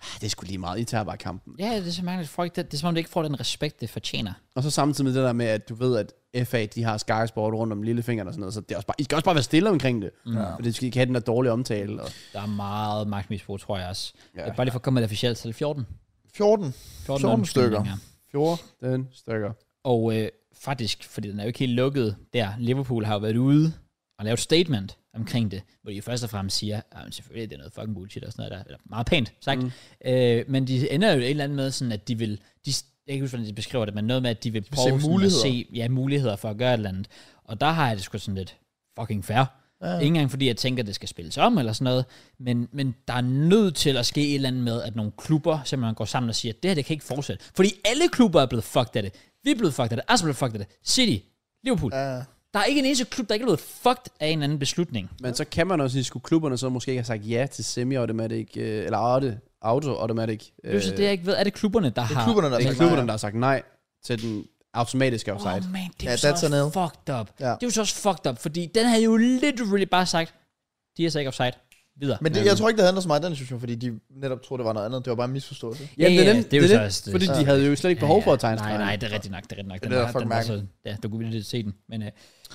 S3: ah, det er sgu lige meget. I tager bare kampen.
S1: Ja, det er så mærkeligt. Folk, det, det er som om, det ikke får den respekt, det fortjener.
S3: Og så samtidig med det der med, at du ved, at FA, de har Sky Sport rundt om lillefingeren og sådan noget, så det er også bare, I skal også bare være stille omkring det. Ja. For det skal I ikke have den der dårlige omtale. Og,
S1: Der er meget magtmisbrug, tror jeg også.
S3: Ja.
S1: Ja. Bare lige for at komme med det officielt, så er det 14.
S2: 14.
S1: 14,
S2: 14 stykker.
S1: undskyldninger.
S3: 14 stykker.
S1: Og øh, faktisk, fordi den er jo ikke helt lukket der, Liverpool har jo været ude og lavet et statement omkring det, hvor de først og fremmest siger, at selvfølgelig det er noget fucking bullshit og sådan noget der, eller meget pænt sagt, mm. øh, men de ender jo et eller andet med sådan, at de vil, de, jeg kan ikke huske, hvordan de beskriver det, men noget med, at de vil prøve
S2: se
S1: sådan
S2: muligheder.
S1: at se ja, muligheder for at gøre et eller andet. Og der har jeg det sgu sådan lidt fucking fair. Ja. Ikke engang fordi jeg tænker, at det skal spilles om eller sådan noget, men, men der er nødt til at ske et eller andet med, at nogle klubber simpelthen går sammen og siger, at det her det kan ikke fortsætte. Fordi alle klubber er blevet fucked af det. Vi er blevet fucked af det. Arsenal er blevet fucked af det. City, Liverpool. Ja.
S2: Uh,
S1: Der er ikke en eneste klub, der ikke er blevet fucked af en anden beslutning.
S3: Men så kan man også sige, skulle klubberne så måske ikke have sagt ja til semi-automatic, øh, eller auto, auto-automatic.
S1: Det er jo så det, jeg ikke ved. Er det klubberne, der har...
S2: Øh, klubberne, der
S3: det er
S2: sagt
S3: klubberne,
S2: Altså, nej.
S3: der har sagt nej til den automatiske offside.
S1: Åh, oh, man, det er
S2: Ja,
S1: jo så
S2: that's a
S1: også
S2: nail.
S1: fucked up. Ja.
S2: Ja.
S1: Det er jo så også fucked up, fordi den har jo literally bare sagt, de er så ikke offside. Videre.
S2: Men det, jeg tror ikke, det handler så meget i den situation, fordi de netop troede, det var noget andet. Det var bare en misforståelse.
S3: Jamen,
S1: Ja,
S3: det er
S1: ja,
S3: dem,
S1: det er jo
S3: det
S1: så
S3: er
S1: også
S3: det,
S1: det.
S3: fordi de havde jo slet ikke behov for at tegne
S1: Nej,
S3: stregen.
S1: nej, det er rigtigt nok, det er rigtigt nok. Den
S2: Det er
S1: var-
S2: fucking
S1: den var så, ja, du kunne virkelig se den, men øh,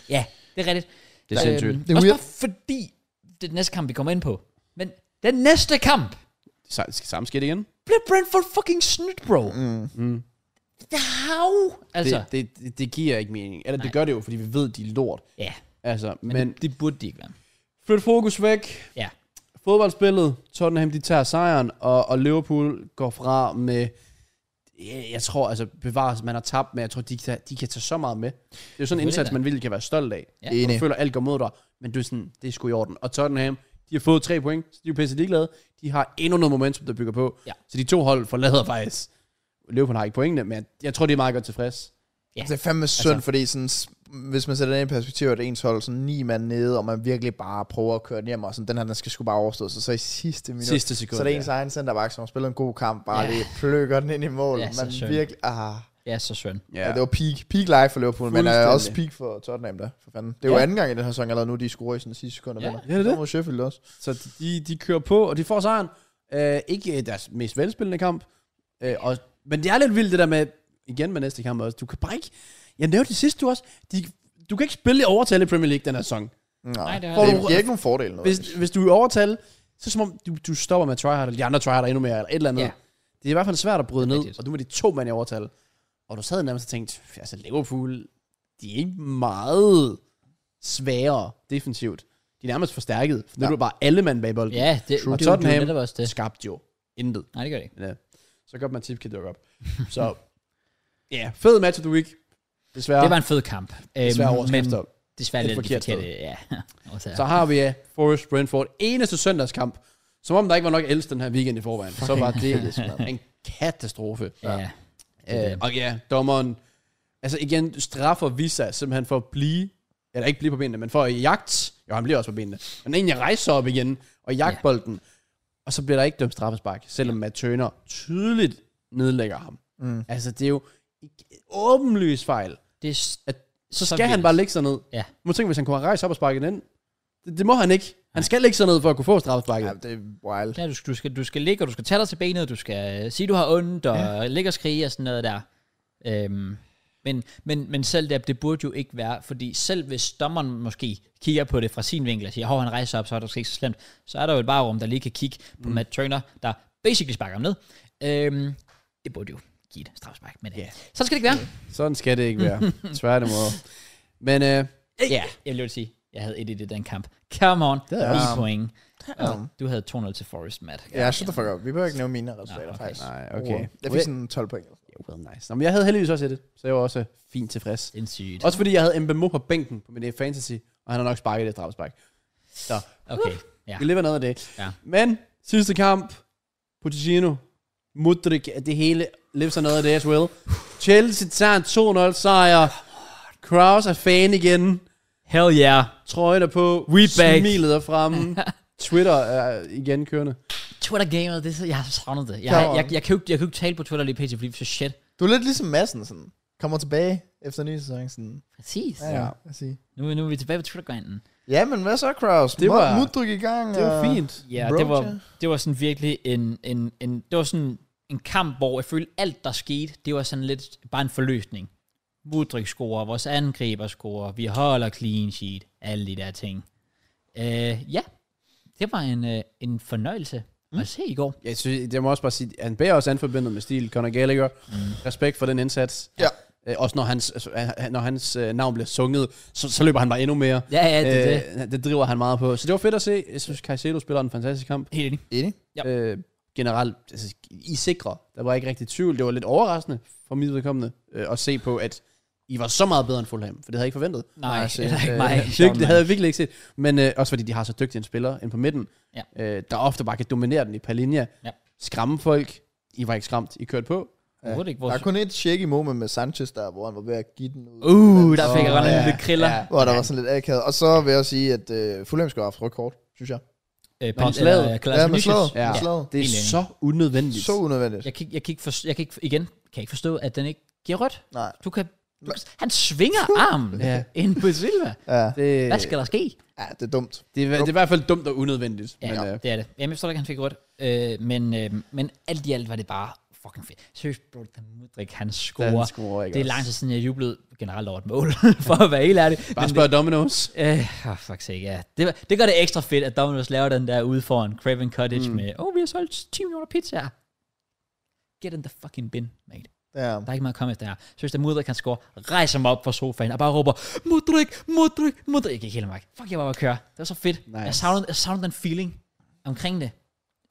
S1: ja, det er rigtigt.
S3: Det er sindssygt.
S1: Øhm,
S2: Det er
S1: også
S2: weird.
S1: bare fordi, det er den næste kamp, vi kommer ind på. Men den næste kamp
S3: Så- Skal samme skete igen?
S1: blev Brentford fucking snydt, bro. Mm. How? Altså,
S3: Det, det, det, det giver ikke mening. Eller nej. det gør det jo, fordi vi ved, de er lort.
S1: ja,
S3: Altså, men,
S1: men,
S3: men
S1: det, det burde de ikke være.
S3: flyt fokus væk.
S1: Ja,
S3: Fodboldspillet, Tottenham, de tager sejren, og, og Liverpool går fra med... Jeg, jeg tror, altså bevares, man har tabt, men jeg tror, de, kan- de kan tage så meget med. Det er jo sådan en
S1: Selvfølgelig
S3: indsats,
S1: da.
S3: man virkelig kan være stolt af.
S1: Ja.
S3: Ja. Du føler, alt går mod dig, men du er sådan, det er sgu i orden. Og Tottenham, de har fået tre point, så de er jo pisse ligeglade. De har endnu noget momentum, der bygger på.
S1: Ja.
S3: Så de to hold forlader faktisk. Liverpool har ikke pointene, men jeg tror, de er meget godt tilfreds.
S1: Ja.
S2: Det er fandme synd, altså, fordi sådan, s- hvis man sætter det ind i perspektiv, at ens hold sådan ni mand nede, og man virkelig bare prøver at køre den hjem, og sådan, den her, den skal sgu bare overstå sig, så i sidste minut,
S3: Sidste sekund,
S2: så er det ens
S3: ja.
S2: egen centerback, som har spillet en god kamp, bare
S1: Ja.
S2: ja. lige pløkker den ind i mål.
S1: Ja,
S2: Ja,
S1: så
S2: man
S1: synd.
S2: virkelig, ah.
S1: ja så synd.
S2: Ja. ja. det var peak, peak live for Liverpool, men er
S3: Fuldstændig.
S2: også peak for Tottenham der, for fanden. Det er jo
S1: Ja.
S2: anden gang i den her sæson allerede nu, de scorer i sådan sidste sekund og
S1: Ja.
S2: vinder.
S3: Ja, det er det.
S2: Så mod Sheffield også.
S3: Så de, de kører på, og de får sejren. Øh, ikke øh, deres mest velspillende kamp. Øh, og, men det er lidt vildt det der med, igen med næste kamp også, du kan bare ikke, jeg nævnte det sidste du også, de, du kan ikke spille i overtal i Premier League den her sæson.
S1: Nej, det er
S2: det,
S3: rigtigt.
S2: det giver ikke nogen fordel noget.
S3: Hvis, hvis du er i overtal, så er det som om du, du stopper med at tryhard, eller de andre tryharder endnu mere, eller et eller andet.
S1: Ja.
S3: Ja. Det er i hvert fald svært at bryde ned,
S1: rigtigt.
S3: og du var de to mand i overtal. Og du sad nærmest og tænkte, altså Liverpool, de er ikke meget sværere defensivt. De er nærmest forstærket. For nu ja. er det bare alle mand bag bolden.
S1: Ja, det,
S3: True.
S1: det, det, det,
S3: Tottenham-
S1: er netop også det.
S3: Det skabte jo intet.
S1: Nej, det gør det ikke.
S3: Ja. Så godt, man tip kan dukke op. Så ja, yeah, fed match of the week. Desværre.
S1: Det var en fed kamp. Øhm,
S3: desværre
S1: men
S3: overskrifter.
S1: desværre
S3: Et
S1: lidt
S3: forkert
S1: forkert. Forkerte, ja. Årsager.
S3: Så har vi ja, Forest Brentford. Eneste søndagskamp. Som om der ikke var nok els den her weekend i forvejen. Så var det en katastrofe.
S1: ja. er
S3: Øh,
S1: det.
S3: og ja, dommeren, altså igen, straffer Visa simpelthen for at blive, eller ikke blive på benene, men for at jagt, jo han bliver også på benene, men egentlig rejser sig op igen og jagter
S1: Ja.
S3: bolden, og så bliver der ikke dømt straffespark, selvom Matt Turner tydeligt nedlægger ham. Mm. Altså det er jo ikke- åbenlyst fejl,
S1: det er s-
S3: at så
S1: Så
S3: skal
S1: vildt.
S3: han bare ligge sig ned.
S1: Ja.
S3: Må tænke, hvis han kunne have rejst op og sparket den ind. Det, det må han ikke. Han skal ligge sig ned for at kunne få straffesparket.
S2: Ja, det er wild.
S1: Ja, du, skal- du, skal, du skal ligge, og du skal tage dig til benet, du skal øh, sige, du har ondt, og ja. ligge og skrige og sådan noget der. Øhm, men, men, men selv det, det burde jo ikke være, fordi selv hvis dommeren måske kigger på det fra sin vinkel og siger, hov, han rejser op, så er det måske ikke så slemt, så er der jo et barrum, der lige kan kigge på mm. Matt Turner, der basically sparker ham ned. Øhm, det burde jo give et strafspark, men yeah. så skal det ikke være.
S3: Sådan skal det ikke være. Tværtimod. Men øh,
S1: Ja, jeg vil jo sige, jeg havde et i det den kamp. Come on, det
S3: havde
S1: er point. Og du havde 2-0 til Forest, Matt.
S2: Ja, shut the fuck up. Vi behøver ikke nævne mine resultater,
S1: okay.
S2: faktisk.
S3: nej, okay.
S2: Jeg fik sådan 12 point.
S3: Well, nice. Nå, men jeg havde heldigvis også et, så jeg var også øh, fint tilfreds.
S1: Sindssygt.
S3: Også fordi jeg havde Mbemo på bænken på min øh, fantasy, og han har nok sparket det drabspark. Så
S1: Okay, ja.
S3: vi lever noget af det.
S1: Ja.
S3: Men sidste kamp, Pochettino, Mudrik, det hele lever sig noget af det as well. Chelsea tager en 2-0 sejr. Kraus er fan igen.
S1: Hell yeah.
S3: Trøjen er på.
S1: We back.
S3: Smilet er fremme. Twitter er igen kørende.
S1: Twitter gamet, det er så, jeg har savnet det. Jeg,
S2: Come
S1: jeg,
S2: on.
S1: jeg, jeg, kan jo, ikke- jeg kan jo ikke tale på Twitter lige pt. fordi det er så shit.
S2: Du er lidt ligesom Madsen, sådan. Kommer tilbage efter ny sæson, sådan.
S1: Præcis.
S2: Ja, ja. Lad os sige.
S1: Nu, nu er vi tilbage på Twitter-grinden.
S2: Ja, men hvad så, Kraus?
S3: Det
S2: Det
S3: var-
S2: var... Mudryk i gang.
S3: Det var
S2: og-
S3: fint.
S1: Ja,
S2: Bro,
S1: det
S2: ja.
S1: var, det var sådan virkelig en, en, en, det var sådan en kamp, hvor jeg følte alt, der skete, det var sådan lidt bare en forløsning. Mudrik scorer, vores angriber scorer, vi holder clean sheet, alle de der ting. Øh, ja, det var en, øh, en fornøjelse mm. at se i går.
S3: Jeg synes, jeg må også bare sige, han bærer også anforbindet med stil. Conor Gallagher, mm. respekt for den indsats.
S2: Ja.
S3: Øh, også når hans, altså, han- når hans øh, navn bliver sunget, så, så løber han bare endnu mere.
S1: Ja, ja, det er det.
S3: øh, det. det driver han meget på. Så det var fedt at se. Jeg synes, Caicedo spiller en fantastisk kamp.
S1: Helt enig.
S2: Enig.
S1: Ja.
S3: Øh, generelt, altså, I er sikre. Der var ikke rigtig tvivl. Det var lidt overraskende for mit vedkommende øh, at se på, at I var så meget bedre end Fulham, for det havde jeg ikke forventet.
S1: Nej,
S2: se,
S1: det er ikke
S2: øh,
S1: mig.
S3: Virkelig, det havde jeg virkelig ikke set. Men øh, også fordi de har så dygtig en spiller ind på midten,
S1: Ja.
S3: øh, der ofte bare kan dominere den i per linje.
S1: Ja.
S3: Skræmme folk. I var ikke skræmt. I kørte på.
S1: Overhovedet ikke,
S2: Der
S1: vores
S2: er kun et shaky moment med Sanchez der, hvor han var ved at give den ud.
S1: Uh, der fik jeg
S2: Åh,
S1: godt en
S2: ja.
S1: lille kriller.
S3: Ja.
S2: Hvor der var sådan lidt akavet. Og så vil jeg også sige, at øh, Fulham skal have haft rødt kort, synes jeg.
S1: Øh,
S3: Men
S1: Pons,
S3: slaget.
S1: eller,
S2: Ja, med
S1: Klaas
S2: slaget.
S1: ja,
S3: Ja.
S2: Med slaget.
S3: Det er
S1: Helt enig.
S3: så unødvendigt.
S2: Så unødvendigt.
S1: jeg, kan, ikke- jeg, kan ikke forstå, jeg kan ikke, igen, kan jeg ikke forstå, at den ikke giver rødt.
S2: Nej.
S1: Du kan, du kan han svinger armen
S3: Ja.
S1: ja. ind på Silva.
S2: Ja,
S3: det,
S1: Hvad skal der ske?
S2: ja det er dumt.
S3: det, er, det er i hvert fald dumt og unødvendigt.
S1: Ja,
S3: men, øh,
S1: det er det. Jamen, jeg forstår ikke, han fik rødt. Øh, men, øh, men alt i alt var det bare fucking fedt. Seriøst, bro, den Mudrik, han scorer.
S3: den scorer ikke
S1: det er lang
S3: også.
S1: tid siden, jeg jublede generelt over et mål, for at være helt ærlig.
S3: Bare spørg Domino's.
S1: Øh, oh, fuck sake, ja. Det, det gør det ekstra fedt, at Domino's laver den der ude foran Craven Cottage mm. med, åh, oh, vi har solgt 10 millioner pizzaer. Get in the fucking bin, mate.
S2: Ja.
S1: Der er ikke meget at komme efter her. Så hvis der Mudrik kan score, rejser mig op fra sofaen og bare råber, Mudrik, Mudrik, Mudrik. Jeg gik helt amok. Fuck, jeg var oppe at køre. Det var så fedt.
S3: Nice.
S1: Nice. Jeg, savnede, jeg savnede den feeling omkring det.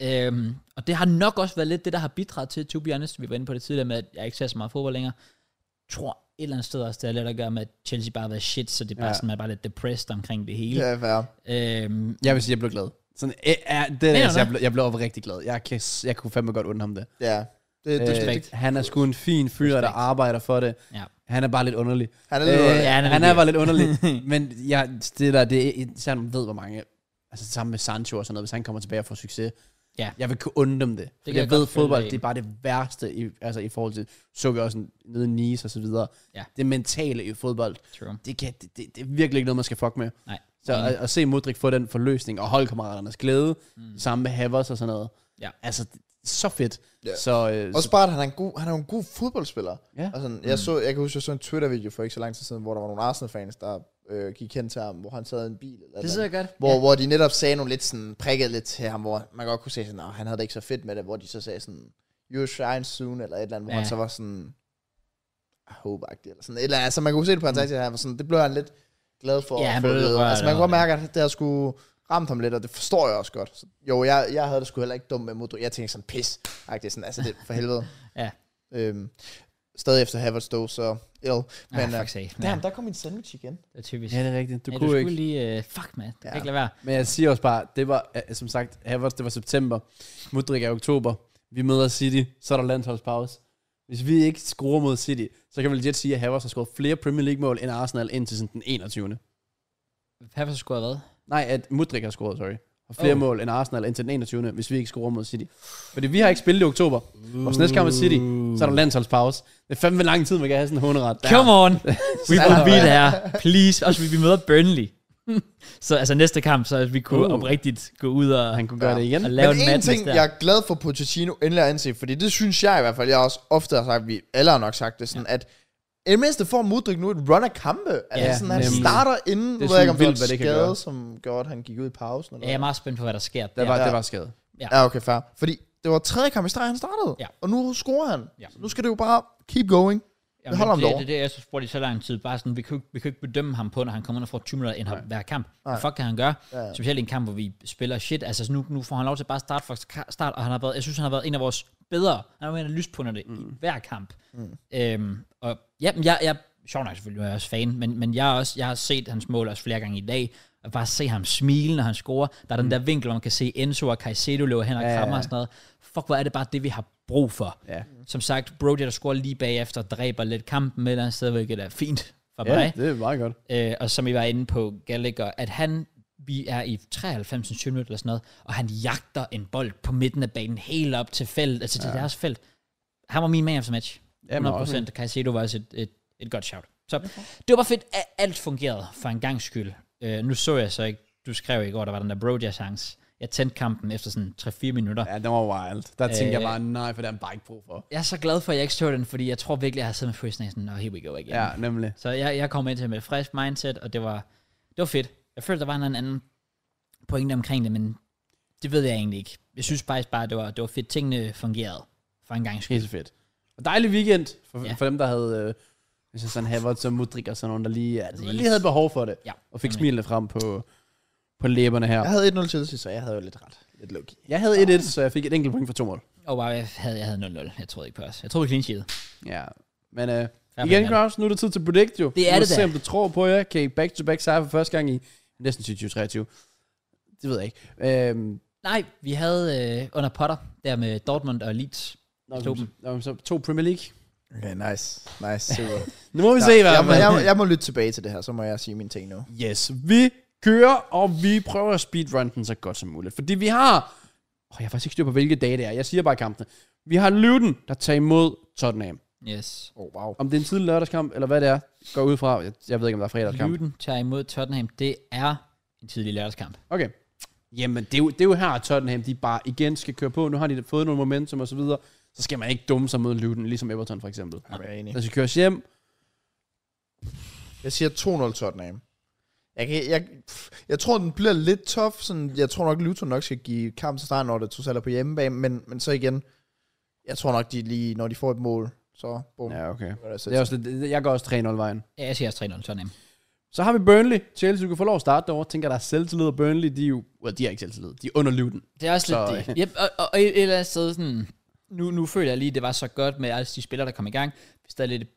S1: Øhm, og det har nok også været lidt det, der har bidraget til, to be honest, vi var inde på det tidligere med, at jeg ikke ser så meget fodbold længere. Jeg tror et eller andet sted også, det er lidt at gøre med, at Chelsea bare har været shit, så det er bare
S3: Ja.
S1: ja. sådan, man er bare lidt depressed omkring det hele.
S2: Det er fair.
S1: Ja. Øhm,
S3: Jeg vil sige, jeg blev glad. Sådan, øh, er, det, er,
S1: Mener
S3: altså,
S1: du
S3: jeg, blev, jeg blev rigtig glad. Jeg, kan, jeg kunne fandme godt undre ham det.
S2: Ja. Det, det,
S3: Øh,
S2: det,
S1: Respekt.
S3: han er sgu en fin fyr, der
S1: Respekt.
S3: arbejder for det.
S1: Ja.
S3: Han er bare lidt underlig.
S2: han er
S3: Øh,
S2: lidt...
S1: ja,
S3: han,
S1: han
S3: er
S1: er
S3: han er
S1: lidt-
S3: bare lidt underlig. men ja, det der, det er, især når man ved, hvor mange... Altså sammen med Sancho og sådan noget, hvis han kommer tilbage og får succes.
S1: Ja.
S3: Jeg vil kunne undre dem det. Fordi
S1: kan
S3: jeg,
S1: jeg
S3: ved,
S1: godt følge
S3: fodbold,
S1: dig i.
S3: det er bare det værste i, altså, i forhold til... Så vi også nede i Nice og så videre.
S1: Ja.
S3: Det mentale i fodbold,
S1: true.
S3: det, kan, det, det, det er virkelig ikke noget, man skal fuck med.
S1: Nej.
S3: Så
S1: Enig.
S3: at, at se Modric få den forløsning, og holdkammeraternes glæde, mm. sammen med Havers og sådan noget.
S1: Ja.
S3: Altså, det- så fedt.
S2: Ja.
S3: Så, øh,
S2: Også
S3: så,
S2: bare, at han er en god, han er jo en god fodboldspiller.
S3: Ja.
S2: Og sådan, jeg, så, jeg kan huske, jeg så en Twitter-video for ikke så lang tid siden, hvor der var nogle Arsenal-fans, der øh, gik hen til ham, hvor han sad i en bil. Eller
S1: Det
S2: et
S1: sidder
S2: eller
S1: jeg godt.
S2: andet. hvor, hvor de netop sagde nogle lidt sådan, prikket lidt til ham, hvor man godt kunne se sådan, at han havde det ikke så fedt med det, hvor de så sagde sådan, you shine soon, eller et eller andet, hvor
S1: Ja.
S2: han så var sådan, håbagtigt, eller sådan et eller andet. Så man kunne se det på hans ansigt, at han var sådan, det blev han lidt glad for.
S1: Mm. Ja,
S2: at
S1: han
S2: få
S1: blev lidt
S2: ved.
S1: rørt
S2: Altså, man kunne
S1: over
S2: godt mærke, at det har sgu ramt ham lidt, og det forstår jeg også godt. Så, jo, jeg, jeg havde det sgu heller ikke dumt med Modric. Jeg tænkte sådan, pis. Agtigt, sådan, altså, det er for helvede.
S1: Ja.
S2: Øhm, stadig efter Havertz dog, så ill. Men,
S1: ah,
S2: ah,
S1: fuck sake.
S2: ja.
S1: Ja,
S2: der kom min sandwich igen.
S1: det er typisk.
S3: øh, Ja, det er rigtigt. Du
S1: Ja,
S3: ja, kunne
S1: du
S3: ikke.
S1: skulle lige... Uh, fuck, man. Du
S2: Ja.
S1: kan ikke lade være.
S3: Men jeg siger også bare, det var, øh, som sagt, Havertz, det var september. Mudrik er oktober. Vi møder City, så er der landsholdspause. Hvis vi ikke scorer mod City, så kan vi legit sige, at Havertz har scoret flere Premier League-mål end Arsenal indtil sådan den 21.
S1: Havertz har scoret hvad?
S3: Nej, at Mudrik har scoret, sorry. Og flere
S1: Oh.
S3: oh. mål end Arsenal indtil den 21. Hvis vi ikke scorer mod City. Fordi vi har ikke spillet i oktober. Vores næste kamp er City, så er der landsholdspause. Det er fandme lang tid, man kan have sådan en hånderet. Der.
S1: Come on! We will be there. Please. Også vi, vi møder Burnley. så altså næste kamp, så vi kunne
S3: Uh.
S1: uh. oprigtigt gå ud og,
S3: Han kunne gøre
S2: Ja.
S3: det igen.
S1: og lave
S2: Men
S1: en
S2: en
S1: madness
S2: ting,
S1: der.
S2: jeg er glad for Pochettino endelig at anse, fordi det synes jeg i hvert fald, jeg også ofte har sagt, vi alle har nok sagt det, sådan, ja. at i det mindste får Mudrik nu et run af kampe. Altså,
S1: Ja,
S2: ja, sådan, han
S3: nemlig.
S2: starter inden,
S3: Det er
S2: det ved jeg ikke, om
S3: sådan
S2: det var
S3: vildt, hvad
S2: en
S3: det kan
S2: skade,
S3: gøre.
S2: som gjorde, at han gik ud i pausen. Eller
S1: Ja, jeg er meget spændt på, hvad der sker.
S3: Der var,
S2: Ja.
S3: det var skade.
S2: ja. ja, okay, fair. Fordi det var tredje kamp i streg, han startede,
S1: Ja.
S2: og nu scorer han.
S1: Ja.
S2: Ja. Nu skal det jo bare keep going.
S1: Jamen,
S2: holder ham
S1: det, det,
S2: derovre.
S1: det, er det, jeg så spurgte i så lang tid. Bare sådan, vi kan, jo ikke- vi kan jo ikke bedømme ham på, når han kommer ind og får 20 minutter indhop hver kamp. Hvad fuck kan han gøre?
S2: Ja, ja.
S1: Specielt i en kamp, hvor vi spiller shit. Altså så nu, nu får han lov til bare at starte fra ska- start, og han har været, jeg synes, han har været en af vores bedre. Han har været en af lyspunderne mm. i hver kamp. Mm. Øhm, og ja, men jeg, jeg sjov nok selvfølgelig, jeg er også fan, men, men jeg, er også, jeg har set hans mål også flere gange i dag, og bare se ham smile, når han scorer. Der er den der vinkel, hvor man kan se Enzo og Caicedo løbe hen og
S3: Ja,
S1: krammer
S3: ja.
S1: og sådan noget. Fuck, hvor er det bare det, vi har brug for.
S3: Ja.
S1: Som sagt, Brody, der scorer lige bagefter, dræber lidt kampen, men han er stadigvæk er fint for mig
S3: Ja, det er meget godt.
S1: øh, og som I var inde på, Gallagher, at han, vi er i 93. 20 minutter eller sådan noget, og han jagter en bold på midten af banen, helt op til felt, altså til ja. deres felt. Han var min man of the match. 100 procent. Caicedo var også et, et, et godt shout. Så det var bare fedt, at alt fungerede for en gang skyld. Øh, nu så jeg så ikke, du skrev i går, der var den der Brodia chance. Jeg tændte kampen efter sådan 3-4 minutter.
S3: Ja, den var wild. Der tænkte
S1: Øh,
S3: jeg bare, nej, for det har han bare ikke brug for.
S1: Jeg er så glad for, at jeg ikke så den, fordi jeg tror virkelig, jeg har siddet med Chris Nathan, og here we go igen.
S3: Ja, nemlig.
S1: Så jeg, jeg kom ind til med et frisk mindset, og det var, det var fedt. Jeg følte, der var en eller anden pointe omkring det, men det ved jeg egentlig ikke. Jeg synes faktisk bare, det var, det var fedt. Tingene fungerede for en gang skyld.
S3: Helt fedt. Og dejlig weekend for,
S1: Ja.
S3: ja. for dem, der havde... Øh, hvis jeg sådan Havertz og Mudrik og sådan nogen, der lige, altså,
S1: Præcis.
S3: lige havde behov for det.
S1: Ja.
S3: Og fik smilene frem på, på læberne her.
S2: Jeg havde 1-0 Chelsea, så jeg havde jo lidt ret. Lidt low
S3: Jeg havde 1-1, så jeg fik et enkelt point for to mål.
S1: Og wow, jeg havde, jeg havde 0-0. Jeg troede ikke på os. Jeg troede clean sheet.
S3: Ja. Men øh,
S1: Ja,
S3: igen,
S1: men-
S3: Kraus, nu er det tid til Predict, jo.
S1: Det er
S3: nu
S1: det
S3: se,
S1: da.
S3: om du tror på jer. Kan I back-to-back sejre for første gang i næsten 2023? Det ved jeg ikke. Øhm,
S1: Nej, vi havde øh, under Potter, der med Dortmund og Leeds.
S3: nå,
S1: Slå dem.
S3: nå, så to Premier League.
S2: Okay, nice. Nice, super.
S3: Nu må vi se, hvad
S2: jeg, må, jeg, jeg må lytte tilbage til det her, så må jeg sige mine ting nu.
S3: Yes, vi kører, og vi prøver at speedrun den så godt som muligt. Fordi vi har... Oh, jeg har faktisk ikke styr på, hvilke dage det er. Jeg siger bare kampene. Vi har Luton, der tager imod Tottenham.
S1: Yes.
S2: Oh, wow.
S3: Om det er en tidlig lørdagskamp, eller hvad det er, går ud fra. Jeg, jeg ved ikke, om der er fredagskamp.
S1: Luton tager imod Tottenham. Det er en tidlig lørdagskamp.
S3: Okay. Jamen, det er, jo, det er jo her, at Tottenham de bare igen skal køre på. Nu har de fået noget momentum og så videre. Så skal man ikke dumme sig mod Luton, ligesom Everton for eksempel.
S2: Jamen, jeg er enig.
S3: Der skal køres hjem.
S2: Jeg siger 2-0 Tottenham. Jeg, kan, jeg, pff, jeg tror, den bliver lidt tough. Sådan, jeg tror nok, Luton nok skal give kamp til stregen, når det totalt er på hjemmebane. Men, men så igen, jeg tror nok, de lige, når de får et mål, så bum. Ja.
S3: Ja, okay.
S2: Altså,
S3: Det er også lidt, jeg går også 3-0 vejen.
S1: Ja, Jeg siger også 3-0 Tottenham.
S3: Så har vi Burnley. Chelsea, du kan få lov at starte derovre. Tænker, der er selvtillid, og Burnley, de er jo... Well, de er ikke selvtillid. De er under Luton.
S1: Det er også
S3: Så,
S1: lidt det. Yep, og, og, og et et eller andet sted sådan, nu, nu føler jeg lige, det var så godt med alle de spillere, der kom i gang. Vi er stadig lidt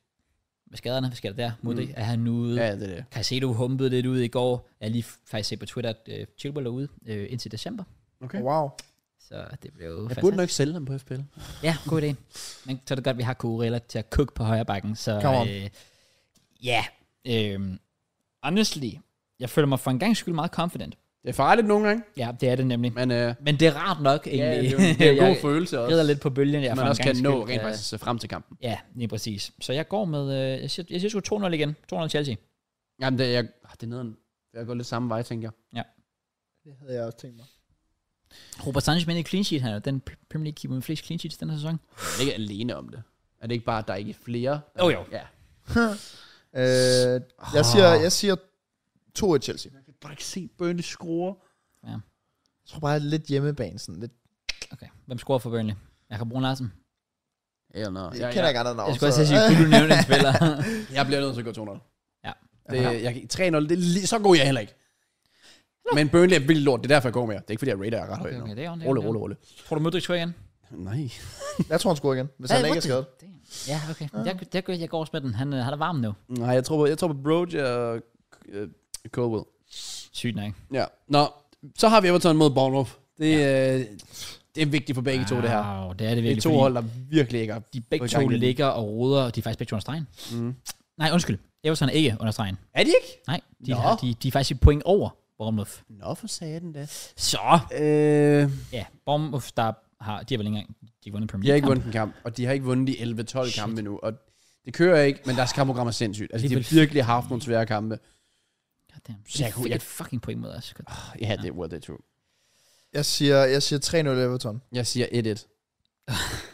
S1: med skaderne, hvad sker der der? Modric er han ude.
S3: Mm. Ja,
S1: Ja.
S3: det er det.
S1: Caicedo humpede lidt ud i går. Jeg har lige faktisk set på Twitter, at øh, Chilwell er ude øh, indtil december.
S3: Okay.
S2: Wow.
S1: Så det blev jo
S3: Jeg
S1: fantastisk.
S3: burde nok sælge ham på FPL.
S1: Ja, god idé. Men så er det godt, at vi har Kurella til at cook på højre bakken. Så,
S2: Come on.
S1: øh, ja. Øh, honestly, jeg føler mig for en gang skyld meget confident.
S3: Det er farligt nogle gange,
S1: Ja, det er det nemlig.
S3: men øh,
S1: Men det er rart nok,
S3: ja,
S1: egentlig.
S3: det er jo det er en god
S1: Jeg
S3: følelse også.
S1: rider lidt på bølgen. Jeg
S3: at man også kan nå rent faktisk se frem til kampen.
S1: Ja, lige præcis. Så jeg går med, øh, jeg siger, jeg siger sgu 2-0 igen. 2-0 Chelsea.
S3: Jamen, det er, jeg, ah, det er nederen. Jeg går lidt samme vej, tænker jeg.
S2: Det havde jeg også tænkt mig.
S1: Robert Sanchez med en clean sheet her. Den P- Premier League keeper med flest clean sheets den her sæson.
S3: Jeg er ikke alene om det. Er det ikke bare, at der er ikke er flere?
S1: Jo, jo.
S3: Ja.
S2: Øh, jeg, siger, jeg siger 2-1 Chelsea.
S3: Jeg kan bare ikke se Burnley score.
S2: Jeg tror bare lidt hjemmebane, sådan lidt.
S1: Okay. Hvem scorer for Burnley? Jakob Brun Larsen.
S3: Hell no.
S6: Jeg
S3: Jeg,
S6: kender
S3: jeg,
S6: ikke andre navn.
S1: Jeg skulle også sige, kunne du nævne en spiller?
S3: jeg bliver nødt til at gå 2-0.
S1: Ja.
S3: Det, jeg, 3-0, det er lige, så god er jeg heller ikke. Men Burnley er vildt lort, det er derfor, jeg går med jer. Det er ikke, fordi jeg rater jer ret højt
S1: Okay,
S3: nu.
S1: okay, det er ordentligt.
S3: Rolle, rolle, rolle.
S1: Tror du, Mødrik tror igen?
S3: Nej.
S6: Jeg tror, han scorer igen, hvis han ikke er skadet.
S1: Ja, okay. Jeg, jeg, jeg, jeg går også med den. Han, øh, han er varm nu.
S3: Nej, jeg tror på, jeg tror på Broge og øh, Colwell.
S1: Sygt nok.
S3: Ja. Nå, så har vi Everton mod Bournemouth. Det, ja. øh, det er vigtigt for begge to, det her.
S1: Wow, det er det
S3: Det er
S1: virkelig.
S3: to
S1: fordi
S3: hold, der virkelig ikke har...
S1: De begge
S3: på
S1: to
S3: gang i den.
S1: ligger og roder, og de er faktisk begge to under stregen.
S3: Mm.
S1: Nej, undskyld. Everton er ikke under stregen.
S3: Er de ikke?
S1: Nej, de,
S3: Nå.
S1: har, de, de er faktisk et point over Bournemouth.
S3: Nå, for satan da.
S1: Så,
S3: Øh,
S1: ja, Bournemouth, der har, de har vel ikke engang de har vundet Premier League.
S3: de har ikke vundet en kamp, og de har ikke vundet de 11-12 kampe nu. Og det kører ikke, men deres kampprogram er sindssygt. Altså,
S1: Det
S3: de
S1: er
S3: har
S1: vel-
S3: virkelig haft nogle svære kampe.
S1: Goddamn.
S3: Så jeg
S1: De
S3: kunne-
S1: fik
S3: jeg- Ah.
S1: et fucking point mod os. God.
S3: Ja, det var det, tror
S6: Jeg siger, jeg siger 3-0 Everton.
S3: jeg. siger 1-1.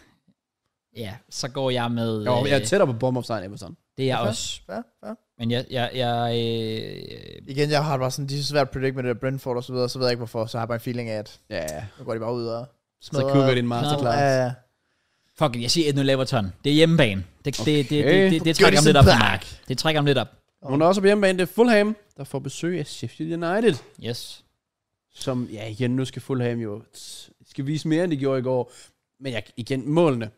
S1: Ja, så går jeg med...
S3: Jo, jeg er
S1: øh,
S3: tættere på Bournemouth sejren Everton.
S1: det er jeg også.
S6: Ja, ja.
S1: Men jeg... jeg, jeg øh,
S6: Igen, jeg har det bare sådan, de er så svært at predict med det der Brentford og så videre, så ved jeg ikke hvorfor, så har jeg bare en feeling af, at
S3: Ja, ja.
S6: nu går de bare ud og
S3: Så kukker det en masterclass.
S6: Ja, ja.
S1: fuck it, jeg siger 1-0 Everton. Det er hjemmebane. Det, okay. det, det, det, det, det
S6: Gør de
S1: trækker ham lidt
S6: sådan
S1: op,
S6: back.
S1: Mark. Det trækker ham lidt op.
S3: Hun er også på hjemmebane, det er Fulham, der får besøg af Sheffield United.
S1: Yes.
S3: Som, ja igen, nu skal Fulham jo t- skal vise mere, end de gjorde i går. Men jeg, igen, målene,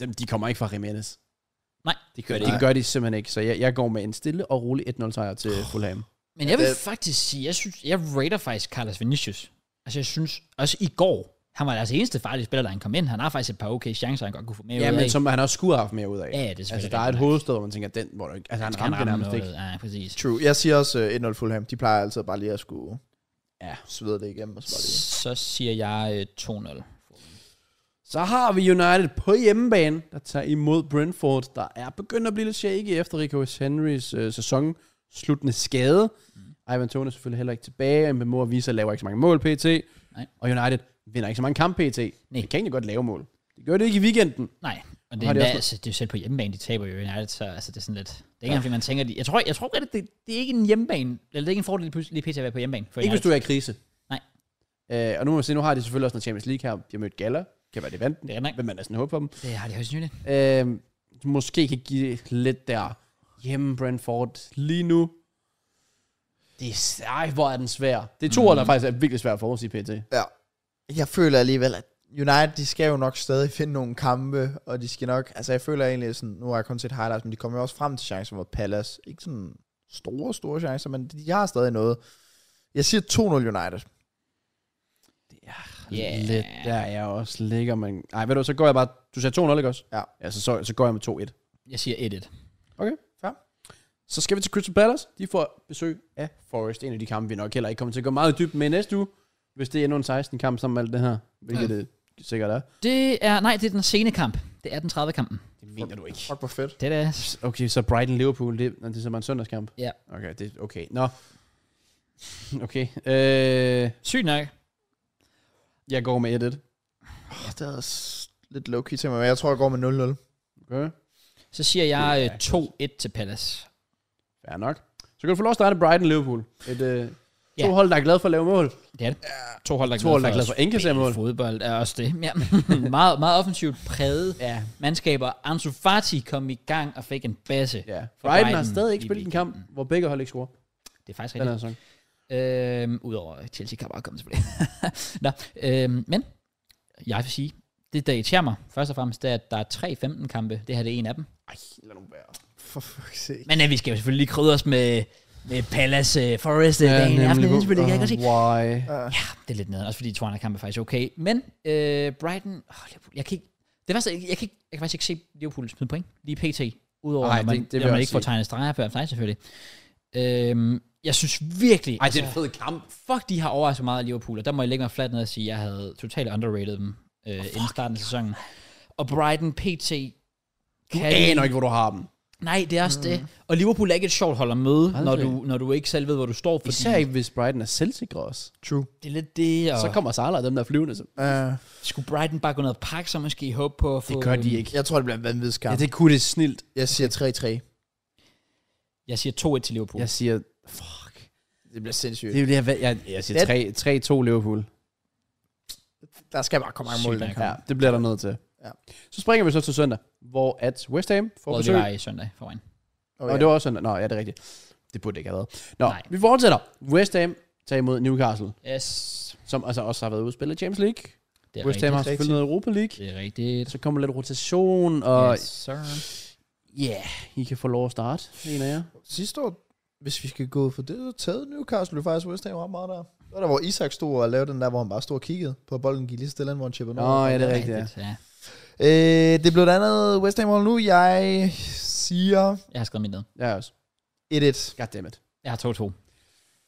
S3: dem, de kommer ikke fra Jimenez.
S1: Nej,
S3: det gør de,
S6: ikke.
S3: det gør de simpelthen ikke. Så jeg, jeg går med en stille og rolig 1-0 sejr til Fulham.
S1: Men jeg vil
S6: det-
S1: faktisk sige, jeg, synes, jeg rater faktisk Carlos Vinicius. Altså jeg synes, også i går, han var deres eneste farlige spiller, der han kom ind. Han har faktisk et par okay chancer, han godt kunne få med
S3: Ja,
S1: ud
S3: men
S1: af.
S3: som han også skulle have haft mere ud af.
S1: Ja, det er selvfølgelig
S3: altså, der er et
S1: rigtigt.
S3: hovedstød, hvor man tænker, den, hvor der, ikke- altså, han
S1: Skal han
S3: ramte det
S1: ramme
S3: nærmest ikke.
S1: noget? Ja, præcis.
S6: True. Jeg siger også øh, 1-0 Fulham. De plejer altid bare lige at skulle
S3: Ja.
S6: svede det igennem og så bare lige.
S1: Så siger jeg øh, 2-0.
S3: Så har vi United på hjemmebane, der tager imod Brentford, der er begyndt at blive lidt shaky efter Rico Henrys øh, sæson sluttende skade. Mm. Ivan Tone er selvfølgelig heller ikke tilbage, men Mor Visa laver ikke så mange mål pt.
S1: Nej.
S3: Og United vinder ikke så mange kampe pt.
S1: Nej.
S3: Nej. De kan egentlig godt lave mål. Det gør det ikke i weekenden.
S1: Nej, og det
S3: Har
S1: er,
S3: de
S1: endda,
S3: også-
S1: altså, det er jo selv på hjemmebane, de taber jo United, så altså, det er sådan lidt... Det er ikke engang, fordi man tænker... De, jeg tror, jeg tror at det, det er ikke en hjemmebane, eller det er ikke en fordel lige lige pt. at være på hjemmebane. For
S3: Ikke
S1: United.
S3: hvis du er i krise.
S1: Nej.
S3: Øh, og nu må vi se, nu har de selvfølgelig også noget Champions League her. De har mødt Gala. Kan være, det vandt den.
S1: Det er nok.
S3: Vil man næsten håbe på dem.
S1: Det har de højst nyligt.
S3: Øh, måske kan give lidt der hjemme Brentford lige nu. Det er, ej, hvor er den svær. Det er to hold, der faktisk er virkelig svært for at sige pt.
S6: Ja. Jeg føler alligevel, at United, de skal jo nok stadig finde nogle kampe, og de skal nok, altså jeg føler egentlig sådan, nu har jeg kun set highlights, men de kommer jo også frem til chancer mod Palace. Ikke sådan store, store chancer, men de har stadig noget. Jeg siger 2-0 United.
S1: Ja.
S3: Lidt der er jeg også ligger, men... Ej, ved du, så går jeg bare... Du sagde 2-0, ikke også?
S6: Ja.
S3: ja så, så, så går jeg med 2-1.
S1: Jeg siger 1-1.
S3: Okay,
S6: fair.
S3: Så skal vi til Crystal Palace. De får besøg af Forest. En af de kampe, vi nok heller ikke kommer til at gå meget dybt med næste uge. Hvis det er endnu en 16-kamp sammen med alt det her. Hvilket det sikkert er.
S1: Det er... Nej, det er den sene kamp. Det er den 30. kampen.
S3: Det mener du ikke.
S6: Fuck, hvor fedt.
S1: Det er det.
S3: Okay, så Brighton-Liverpool, det, nå, det er simpelthen en søndagskamp?
S1: Ja.
S3: Okay, det, okay. Nå. Okay. Øh,
S1: Sygt nok.
S3: jeg går med 1-1.
S6: Oh, det er også lidt low-key til mig, men jeg tror, jeg går med 0-0.
S3: Okay.
S1: Så siger jeg
S3: Det er
S1: øh, 2-1 til Palace.
S3: Fair nok. Så kan du få lov at starte Brighton-Liverpool. Et, øh, to
S1: Ja.
S3: hold, der er glade for at lave mål.
S1: Det er det. To hold, der er
S3: To hold, der er glade for enkeltseriemål.
S1: Fodbold er også det. Ja. meget, meget offensivt præget
S3: Ja.
S1: mandskaber. Ansu Fati kom i gang og fik en basse.
S3: ja. Brighton,
S1: For
S3: har
S1: Brighton
S3: stadig ikke
S1: i
S3: spillet en kamp, hvor begge hold ikke scorer.
S1: Det er faktisk
S3: Den her
S1: rigtigt.
S3: sæson.
S1: Øhm, Udover Chelsea kan bare komme tilbage. Nå, øhm, men jeg vil sige, det der irriterer mig først og fremmest, det er, at der er 3-15 kampe. Det her det er en af dem.
S3: Ej, lad nu være.
S6: For fuck's sake.
S1: Men øh, vi skal jo selvfølgelig lige krydre os med, med Palace øh, Forest øh, dagen i aften. Det er jeg kan se.
S3: Ah, Why?
S1: Det er lidt nederen, også fordi Toronto kamp er faktisk okay. Men øh, Brighton, åh, Liverpool, jeg kan ikke, det værste, er, jeg, jeg, kan ikke, jeg kan faktisk ikke se Liverpool smide point, lige pt. Udover,
S3: Ej,
S1: Ej, når man,
S3: det-
S1: det,
S3: det vil
S1: det
S3: jeg
S1: når man
S3: også
S1: ikke får
S3: sige.
S1: tegnet streger før offside selvfølgelig. Øhm, jeg synes virkelig, altså,
S3: Ej, det er en fed kamp.
S1: fuck, de har overrasket meget af Liverpool, og der må jeg lægge mig fladt ned og sige, at jeg havde totalt underrated dem øh, oh, inden starten af sæsonen. Og Brighton pt.
S3: Du
S1: kan-
S3: aner ikke, hvor du har dem.
S1: Nej, det er også mm. det. Og Liverpool er ikke et sjovt hold at møde, når
S3: Aldrig.
S1: du, når du ikke selv ved, hvor du står. Fordi
S3: Især ikke, hvis Brighton er selvsikre også.
S6: True.
S1: Det er lidt det, og
S3: Så kommer Salah og dem, der er flyvende. Så.
S6: Uh,
S1: skulle Brighton bare gå ned og pakke, så måske håbe på at få...
S3: Det gør de ikke.
S6: jeg tror, det bliver en vanvittig
S3: Ja,
S6: kamp.
S3: det kunne det snilt.
S6: Jeg siger 3-3.
S1: Jeg siger 2-1 til Liverpool.
S3: Jeg siger, fuck.
S6: Det bliver sindssygt.
S3: Det er jo det, jeg, valg- jeg, jeg siger
S6: Det-
S3: 3, 3-2 Liverpool.
S6: Der skal bare komme mange mål, i den
S1: Sygt
S6: kamp.
S3: Ja, det bliver der nødt til. Så springer vi så til søndag, hvor at West Ham får
S1: Og det
S3: besøg.
S1: var i søndag foran.
S3: Og det var også søndag. Nå, ja, det er rigtigt. Det burde det ikke have været. Nå,
S1: Nej.
S3: Nej. vi fortsætter. West Ham tager imod Newcastle,
S1: Yes.
S3: som altså også har været ude at spille i Champions League.
S1: Det er
S3: West Ham har
S1: rigtigt.
S3: selvfølgelig noget Europa League.
S1: Det er rigtigt.
S3: Så kommer lidt rotation, og
S1: Yes, sir.
S3: ja, yeah, I kan få lov at starte, en af jer.
S2: Sidste år, hvis vi skal gå ud for det, så taget Newcastle jo faktisk West Ham ret meget der. Det var der, hvor Isak stod og lavede den der, hvor han bare stod og kiggede på at bolden, gik lige så stille ind, hvor han chippede den
S3: Nå,
S2: over.
S3: ja, det er rigtigt. Ja.
S1: Ja.
S2: Øh, det blev et andet West Ham mål nu. Jeg siger
S1: Jeg har skrevet mit ned.
S3: Jeg er også.
S2: 1-1.
S3: Goddammit.
S1: Jeg har 2-2.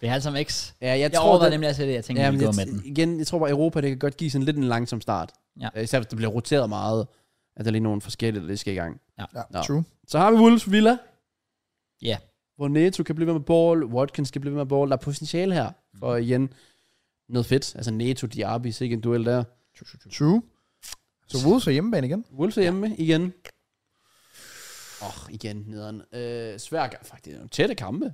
S1: Det er alle sammen X.
S3: Ja, jeg,
S1: Jeg, jeg
S3: tror,
S1: overvejede
S3: det,
S1: nemlig også det, jeg tænkte,
S3: ja,
S1: at vi
S3: men jeg,
S1: går med den.
S3: igen, jeg tror bare, Europa, det kan godt give sådan lidt en langsom start.
S1: Ja.
S3: Øh, Især hvis det bliver roteret meget, at der lige er nogle forskellige, der lige skal i gang.
S2: Ja,
S3: Nå.
S2: true.
S3: Så har vi Wolves Villa.
S1: Ja.
S3: Hvor Neto kan blive ved med ball, Watkins kan blive ved med ball. Der er potentiale her. Og igen, noget fedt. Altså Neto, Diaby, sikke en duel der.
S2: True. Så Wolves er hjemmebane igen.
S3: Wolves er hjemme igen. Åh, oh, igen nederen. Øh, svær gang, faktisk. Nogle tætte kampe.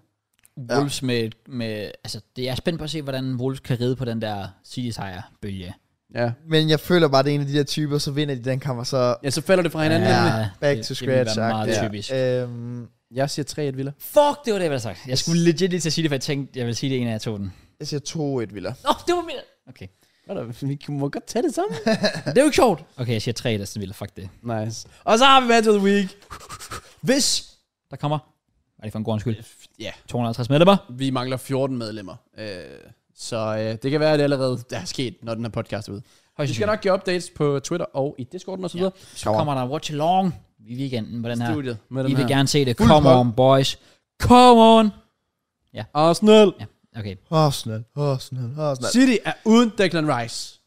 S1: Wolves med, med... Altså, det, jeg er spændt på at se, hvordan Wolves kan ride på den der City-sejr-bølge.
S3: Ja.
S2: Men jeg føler bare, at det er en af de der typer, så vinder de den kamp, og så...
S3: ja, så falder det fra hinanden.
S2: Ja.
S3: Ja.
S2: Back
S1: det,
S2: to
S1: det ville være
S2: scratch-agtigt.
S1: meget
S3: Ja.
S1: typisk.
S2: Øhm,
S3: Jeg siger 3-1 Villa.
S1: Fuck, det var det, jeg ville have sagt. Jeg skulle legit lige til at sige det, for jeg tænkte, jeg ville sige det, en af jer tog den.
S2: jeg siger 2-1, Villa.
S1: Nå, det var min... Okay.
S3: Hvad der? Vi må godt tage det sammen.
S1: Det er jo ikke sjovt. Okay, jeg siger 3, der sådan ville. Fuck det.
S3: nice. Og så har vi Match of the Week.
S1: Hvis der kommer... Var det for en god skyld?
S3: Ja.
S1: 250 medlemmer.
S3: Vi mangler 14 medlemmer. Øh, så øh, det kan være, at det allerede der er sket, når den her podcast er ude.
S1: Højst
S3: Vi skal nok give updates på Twitter og i Discorden og så videre. Ja,
S1: Så kommer der watch along i weekenden på den her.
S3: Studiet med
S1: I
S3: den
S1: vil
S3: her.
S1: gerne se det.
S2: Fuld
S1: Come
S2: kok.
S1: on, boys. Come on.
S3: Arsenal.
S1: Ja, okay.
S2: Arsenal, Arsenal, Arsenal.
S3: City er uden Declan Rice.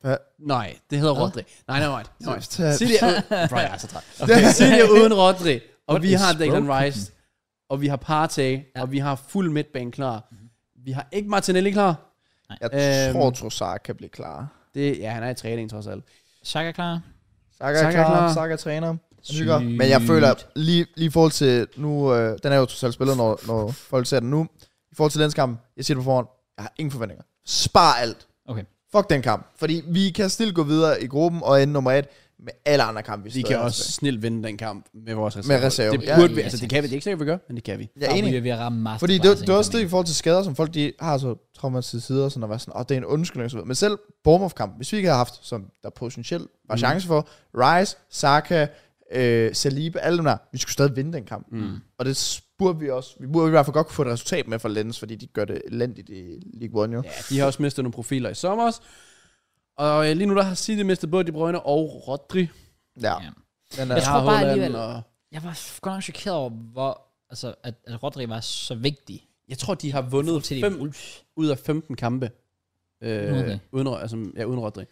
S2: Hvad?
S3: Nej, det hedder Rodri. Nej, nej, nej. nej.
S2: Seriøst?
S3: City er uden... Bro, jeg er så træt. Okay. City er uden Rodri, og vi har Declan Rice, og vi har Partey, og vi har fuld midtbane klar. Vi har ikke Martinelli klar.
S2: Jeg
S3: Øhm.
S2: tror, Trossard kan blive klar.
S3: Det, ja, han er i træning trods alt.
S1: Saka er klar.
S2: Saka er
S3: Saka er klar.
S2: klar, Saka træner. Han hygger. Men jeg
S1: Sygt.
S2: føler, lige, lige i forhold til nu, øh, den er jo totalt spillet, når, når folk ser den nu. I forhold til den kamp, jeg siger det på forhånd, jeg har ingen forventninger. Spar alt.
S1: Okay.
S2: Fuck den kamp. Fordi vi kan stille gå videre i gruppen og ende nummer et med alle andre kampe.
S3: Vi kan også snilt vinde den kamp med vores reserve.
S2: reserve,
S3: Det
S2: ja.
S3: burde vi,
S1: Ja,
S3: altså det
S1: tak.
S3: kan vi, det er ikke sikkert, vi gør, men det kan vi.
S2: Jeg er
S1: Og
S2: enig.
S1: Vi er ved at ramme master.
S2: Fordi det, det er også det i forhold til skader, som folk de har så traumatiserede sider, sådan at være sådan, og det er en undskyldning og så videre. Men selv Bournemouth-kampen, hvis vi ikke havde haft, som der potentielt
S3: Mm.
S2: var chance for, Rice, Saka, øh, Saliba, alle dem der, vi skulle stadig vinde den kamp. Mm. Og det burde vi også. Vi burde i hvert fald godt kunne få et resultat med for Lens, fordi de gør det elendigt i League One, jo.
S3: Ja, de har også mistet nogle profiler i sommer også. Og øh, lige nu der har City mistet både De Bruyne og Rodri.
S2: Ja.
S1: Ja.
S2: Men,
S1: Jeg
S2: øh,
S1: tror bare
S3: Haaland
S1: alligevel-
S3: Og
S1: Jeg var f- godt nok chokeret over, hvor, altså, at, at Rodri var så vigtig.
S3: jeg tror, de har vundet
S1: Til de
S3: 5
S1: Wolves.
S3: ud af 15 kampe. Øh,
S1: Rodri.
S3: uden, Ro- altså, ja, uden Rodri.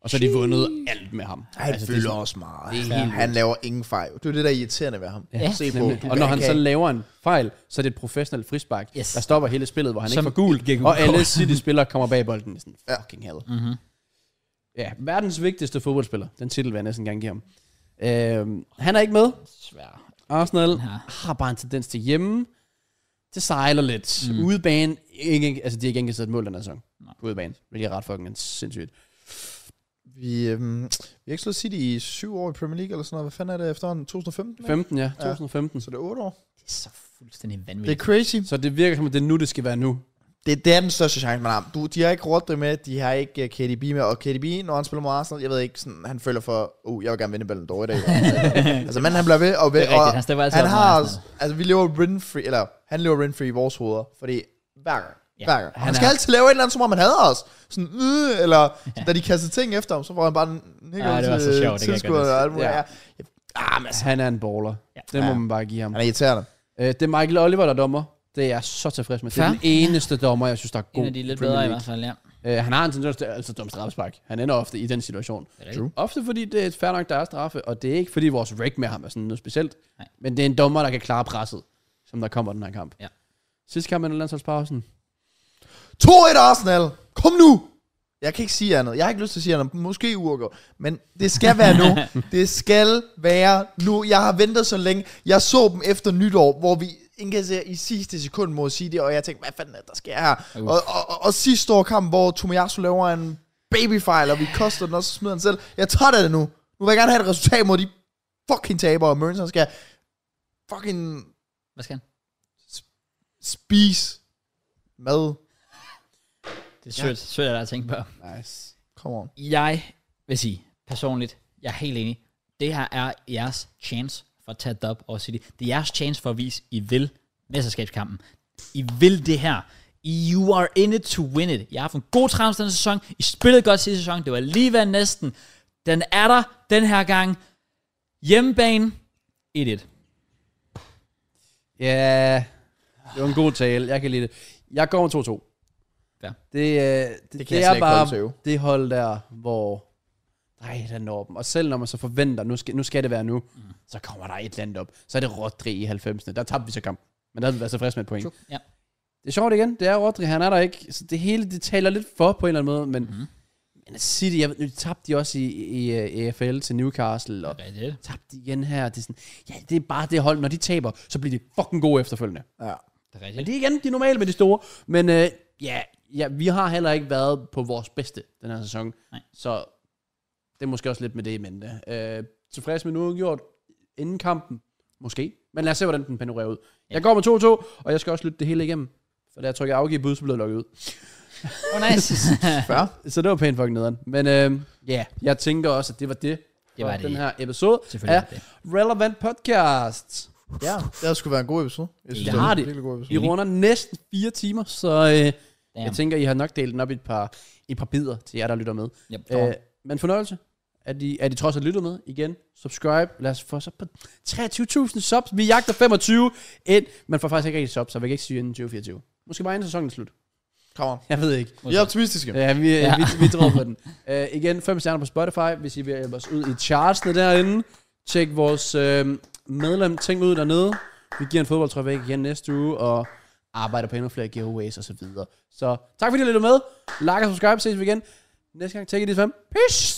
S3: Og så har de vundet alt med ham.
S2: han altså, fylder
S3: det er sådan-
S2: også meget.
S3: det er
S2: ja.
S3: helt
S2: Han laver ingen fejl. Det er det, der er irriterende ved ham.
S1: Ja.
S2: Se på.
S3: Nemlig.
S2: Du
S3: Og når
S2: kan
S3: han
S2: ikke
S3: så
S2: have-
S3: laver en fejl, så er det et professionelt frispark,
S1: Yes.
S3: der stopper hele spillet, hvor han
S1: Som
S3: ikke får gul,
S1: gik ud.
S3: og alle City-spillere kommer bag bolden. Det er Sådan,
S2: Ja.
S3: fucking hell.
S1: Mm-hmm.
S3: Ja, verdens vigtigste fodboldspiller. Den titel vil jeg næsten gerne give ham. Øhm, han er ikke med.
S1: Svær.
S3: Arsenal
S1: Den her.
S3: har bare en tendens til hjemme. Det sejler lidt. Mm. Udebane, ikke, altså de har ikke engang sat mål den her sæson.
S1: Nej.
S3: På udebane, hvilket er ret fucking sindssygt.
S2: Vi, øhm, vi har ikke slået City i syv år i Premier League, eller sådan noget. Hvad fanden er det efterhånden? 2015? ikke?
S3: 15, ja. 2015.
S2: Så det er otte år.
S1: Det er så fuldstændig
S2: Det er
S1: vanvittigt.
S2: crazy.
S3: Så det virker som, at det er nu, det skal være nu.
S2: Det, det er den største chance, man har. Du, de har ikke Rodri med, de har ikke uh, KDB med, og KDB, når han spiller mod Arsenal, jeg ved ikke, sådan, han føler for, uh, jeg vil gerne vinde Ballon d'Or i dag. altså, men han bliver ved og ved,
S1: Det er rigtigt, han
S2: og
S1: stemmer altid
S2: han
S1: op med
S2: har,
S1: Arsenal.
S2: altså, vi lever rent-free, eller han lever rent-free i vores hoveder, fordi hver gang,
S1: Ja,
S2: ja, hver gang. Han,
S1: han
S2: han skal
S1: er-
S2: altid lave et eller andet, som om han hader os. Sådan, øh, eller da de kaster ting efter ham, så får han bare en nikker
S1: Ja, det var så sjovt,
S2: til
S1: det kan jeg
S2: tilskuere
S1: godt
S2: og alt muligt.
S3: Ja.
S2: Ja. Ah, men altså,
S3: Han er en baller.
S1: Ja.
S3: Ja. Det må man bare give ham.
S2: han er irriterende.
S3: Øh, det er Michael Oliver, der er dommer. Det er jeg så tilfreds med. Det er
S1: Fair.
S3: den eneste dommer, jeg synes, der er god.
S1: En af de lidt
S3: i Premier
S1: bedre i
S3: League.
S1: hvert fald, ja.
S3: Øh, han har en tendens til altid dumme straffespark. Han ender ofte i den situation.
S1: rigtigt. True.
S3: Ofte fordi det er fair nok, der er straffe, og det er ikke fordi vores rig med ham er sådan noget specielt.
S1: Nej.
S3: Nej. Men det er en dommer, der kan klare presset, som der kommer i den her kamp.
S1: Ja.
S3: Sidste kamp under landsholdspausen.
S2: 2-1 Arsenal. Kom nu. Jeg kan ikke sige andet. Jeg har ikke lyst til at sige andet. Måske uafgjort. Men det skal være nu. det skal være nu. Jeg har ventet så længe. Jeg så dem efter nytår, hvor vi indkasserer i sidste sekund mod City, og jeg tænkte, hvad fanden er det, der sker her? Og, og, og, og sidste år kamp, hvor Tomiyasu laver en babyfejl, og vi koster den også og smider den selv. Jeg er træt af det nu.
S6: Nu vil jeg gerne have et resultat mod de fucking tabere, og Mørns han skal fucking
S1: Hvad skal han?
S6: spise mad.
S1: Det er sødt, ja. sødt af dig at tænke på.
S3: Nice.
S6: Come on.
S1: Jeg vil sige, personligt, jeg er helt enig. Det her er jeres chance for at tage det op over City. Det er jeres chance for at vise, I vil mesterskabskampen. I vil det her. You are in it to win it. Jeg har haft en god trams denne sæson. I spillede godt sidste sæson. Det var lige ved næsten. Den er der den her gang. Hjemmebane. 1-1.
S3: Ja, yeah. det var en god tale. Jeg kan lide det. Jeg går 2-2.
S1: Ja.
S3: Det, øh, det, det,
S2: kan jeg slet
S3: det er
S2: ikke holde til,
S3: bare
S2: jo.
S3: det hold der, hvor... Nej, der når dem. Og selv når man så forventer, nu skal, nu skal det være nu, mm. så kommer der et eller andet op. Så er det Rodri i 90'erne. Der tabte vi så kamp. Men der havde vi været så friske med et point.
S1: Ja.
S3: Det er sjovt igen. Det er Rodri, han er der ikke. Så det hele, det taler lidt for på en eller anden måde. Men, mm. men City, jeg, ved- nu tabte de også i, i, øh, EFL til Newcastle. Og,
S1: Hvad er det?
S3: tabt igen her. Det er, sådan, ja, det er bare det hold, når de taber, så bliver de fucking gode efterfølgende.
S1: Det er rigtigt.
S3: Men det er igen, de er normale med de store. Men øh, ja, ja, vi har heller ikke været på vores bedste den her sæson.
S1: Nej.
S3: Så det er måske også lidt med det i mente. Øh, tilfreds med nu gjort inden kampen, måske. Men lad os se, hvordan den panorerer ud. Ja. Jeg går med 2-2, og jeg skal også lytte det hele igennem. For da jeg trykker afgive bud, så blev jeg lukket ud.
S1: Oh, nice.
S3: Så det var pænt fucking nederen. Men øh, ja, jeg tænker også, at det var det.
S1: Det var
S3: for
S1: det.
S3: Den her episode
S1: Selvfølgelig
S3: af
S1: er det.
S3: Relevant Podcast.
S6: Ja, det havde sgu været en god episode. Jeg
S1: Det
S6: var
S3: har
S6: en
S3: det.
S6: Virkelig god episode.
S3: Vi runder næsten fire timer, så øh,
S1: Damn.
S3: jeg tænker, I har nok delt den op i et par, i et par bidder til jer, der lytter med.
S1: Yep.
S3: Øh, men fornøjelse, at I, at I trods alt lytter med igen. Subscribe. Lad os få så på 23.000 subs. Vi jagter 25 ind. Man får faktisk ikke rigtig subs, så vi kan ikke sige inden 2024. Måske bare inden sæsonen er slut.
S6: Come on.
S3: Jeg ved ikke.
S6: Vi er optimistiske.
S3: Ja, vi,
S1: Ja.
S3: ja. vi, vi tror på den. Uh, igen, fem stjerner på Spotify, hvis I vil hjælpe os ud i chartsene derinde. Tjek vores øh, medlem ting ud dernede. Vi giver en fodboldtrøje væk igen næste uge, og arbejder på endnu flere giveaways og så videre. Så tak fordi I lyttede med. Like og subscribe. Ses vi igen. Næste gang. Tjek i de fem. Peace!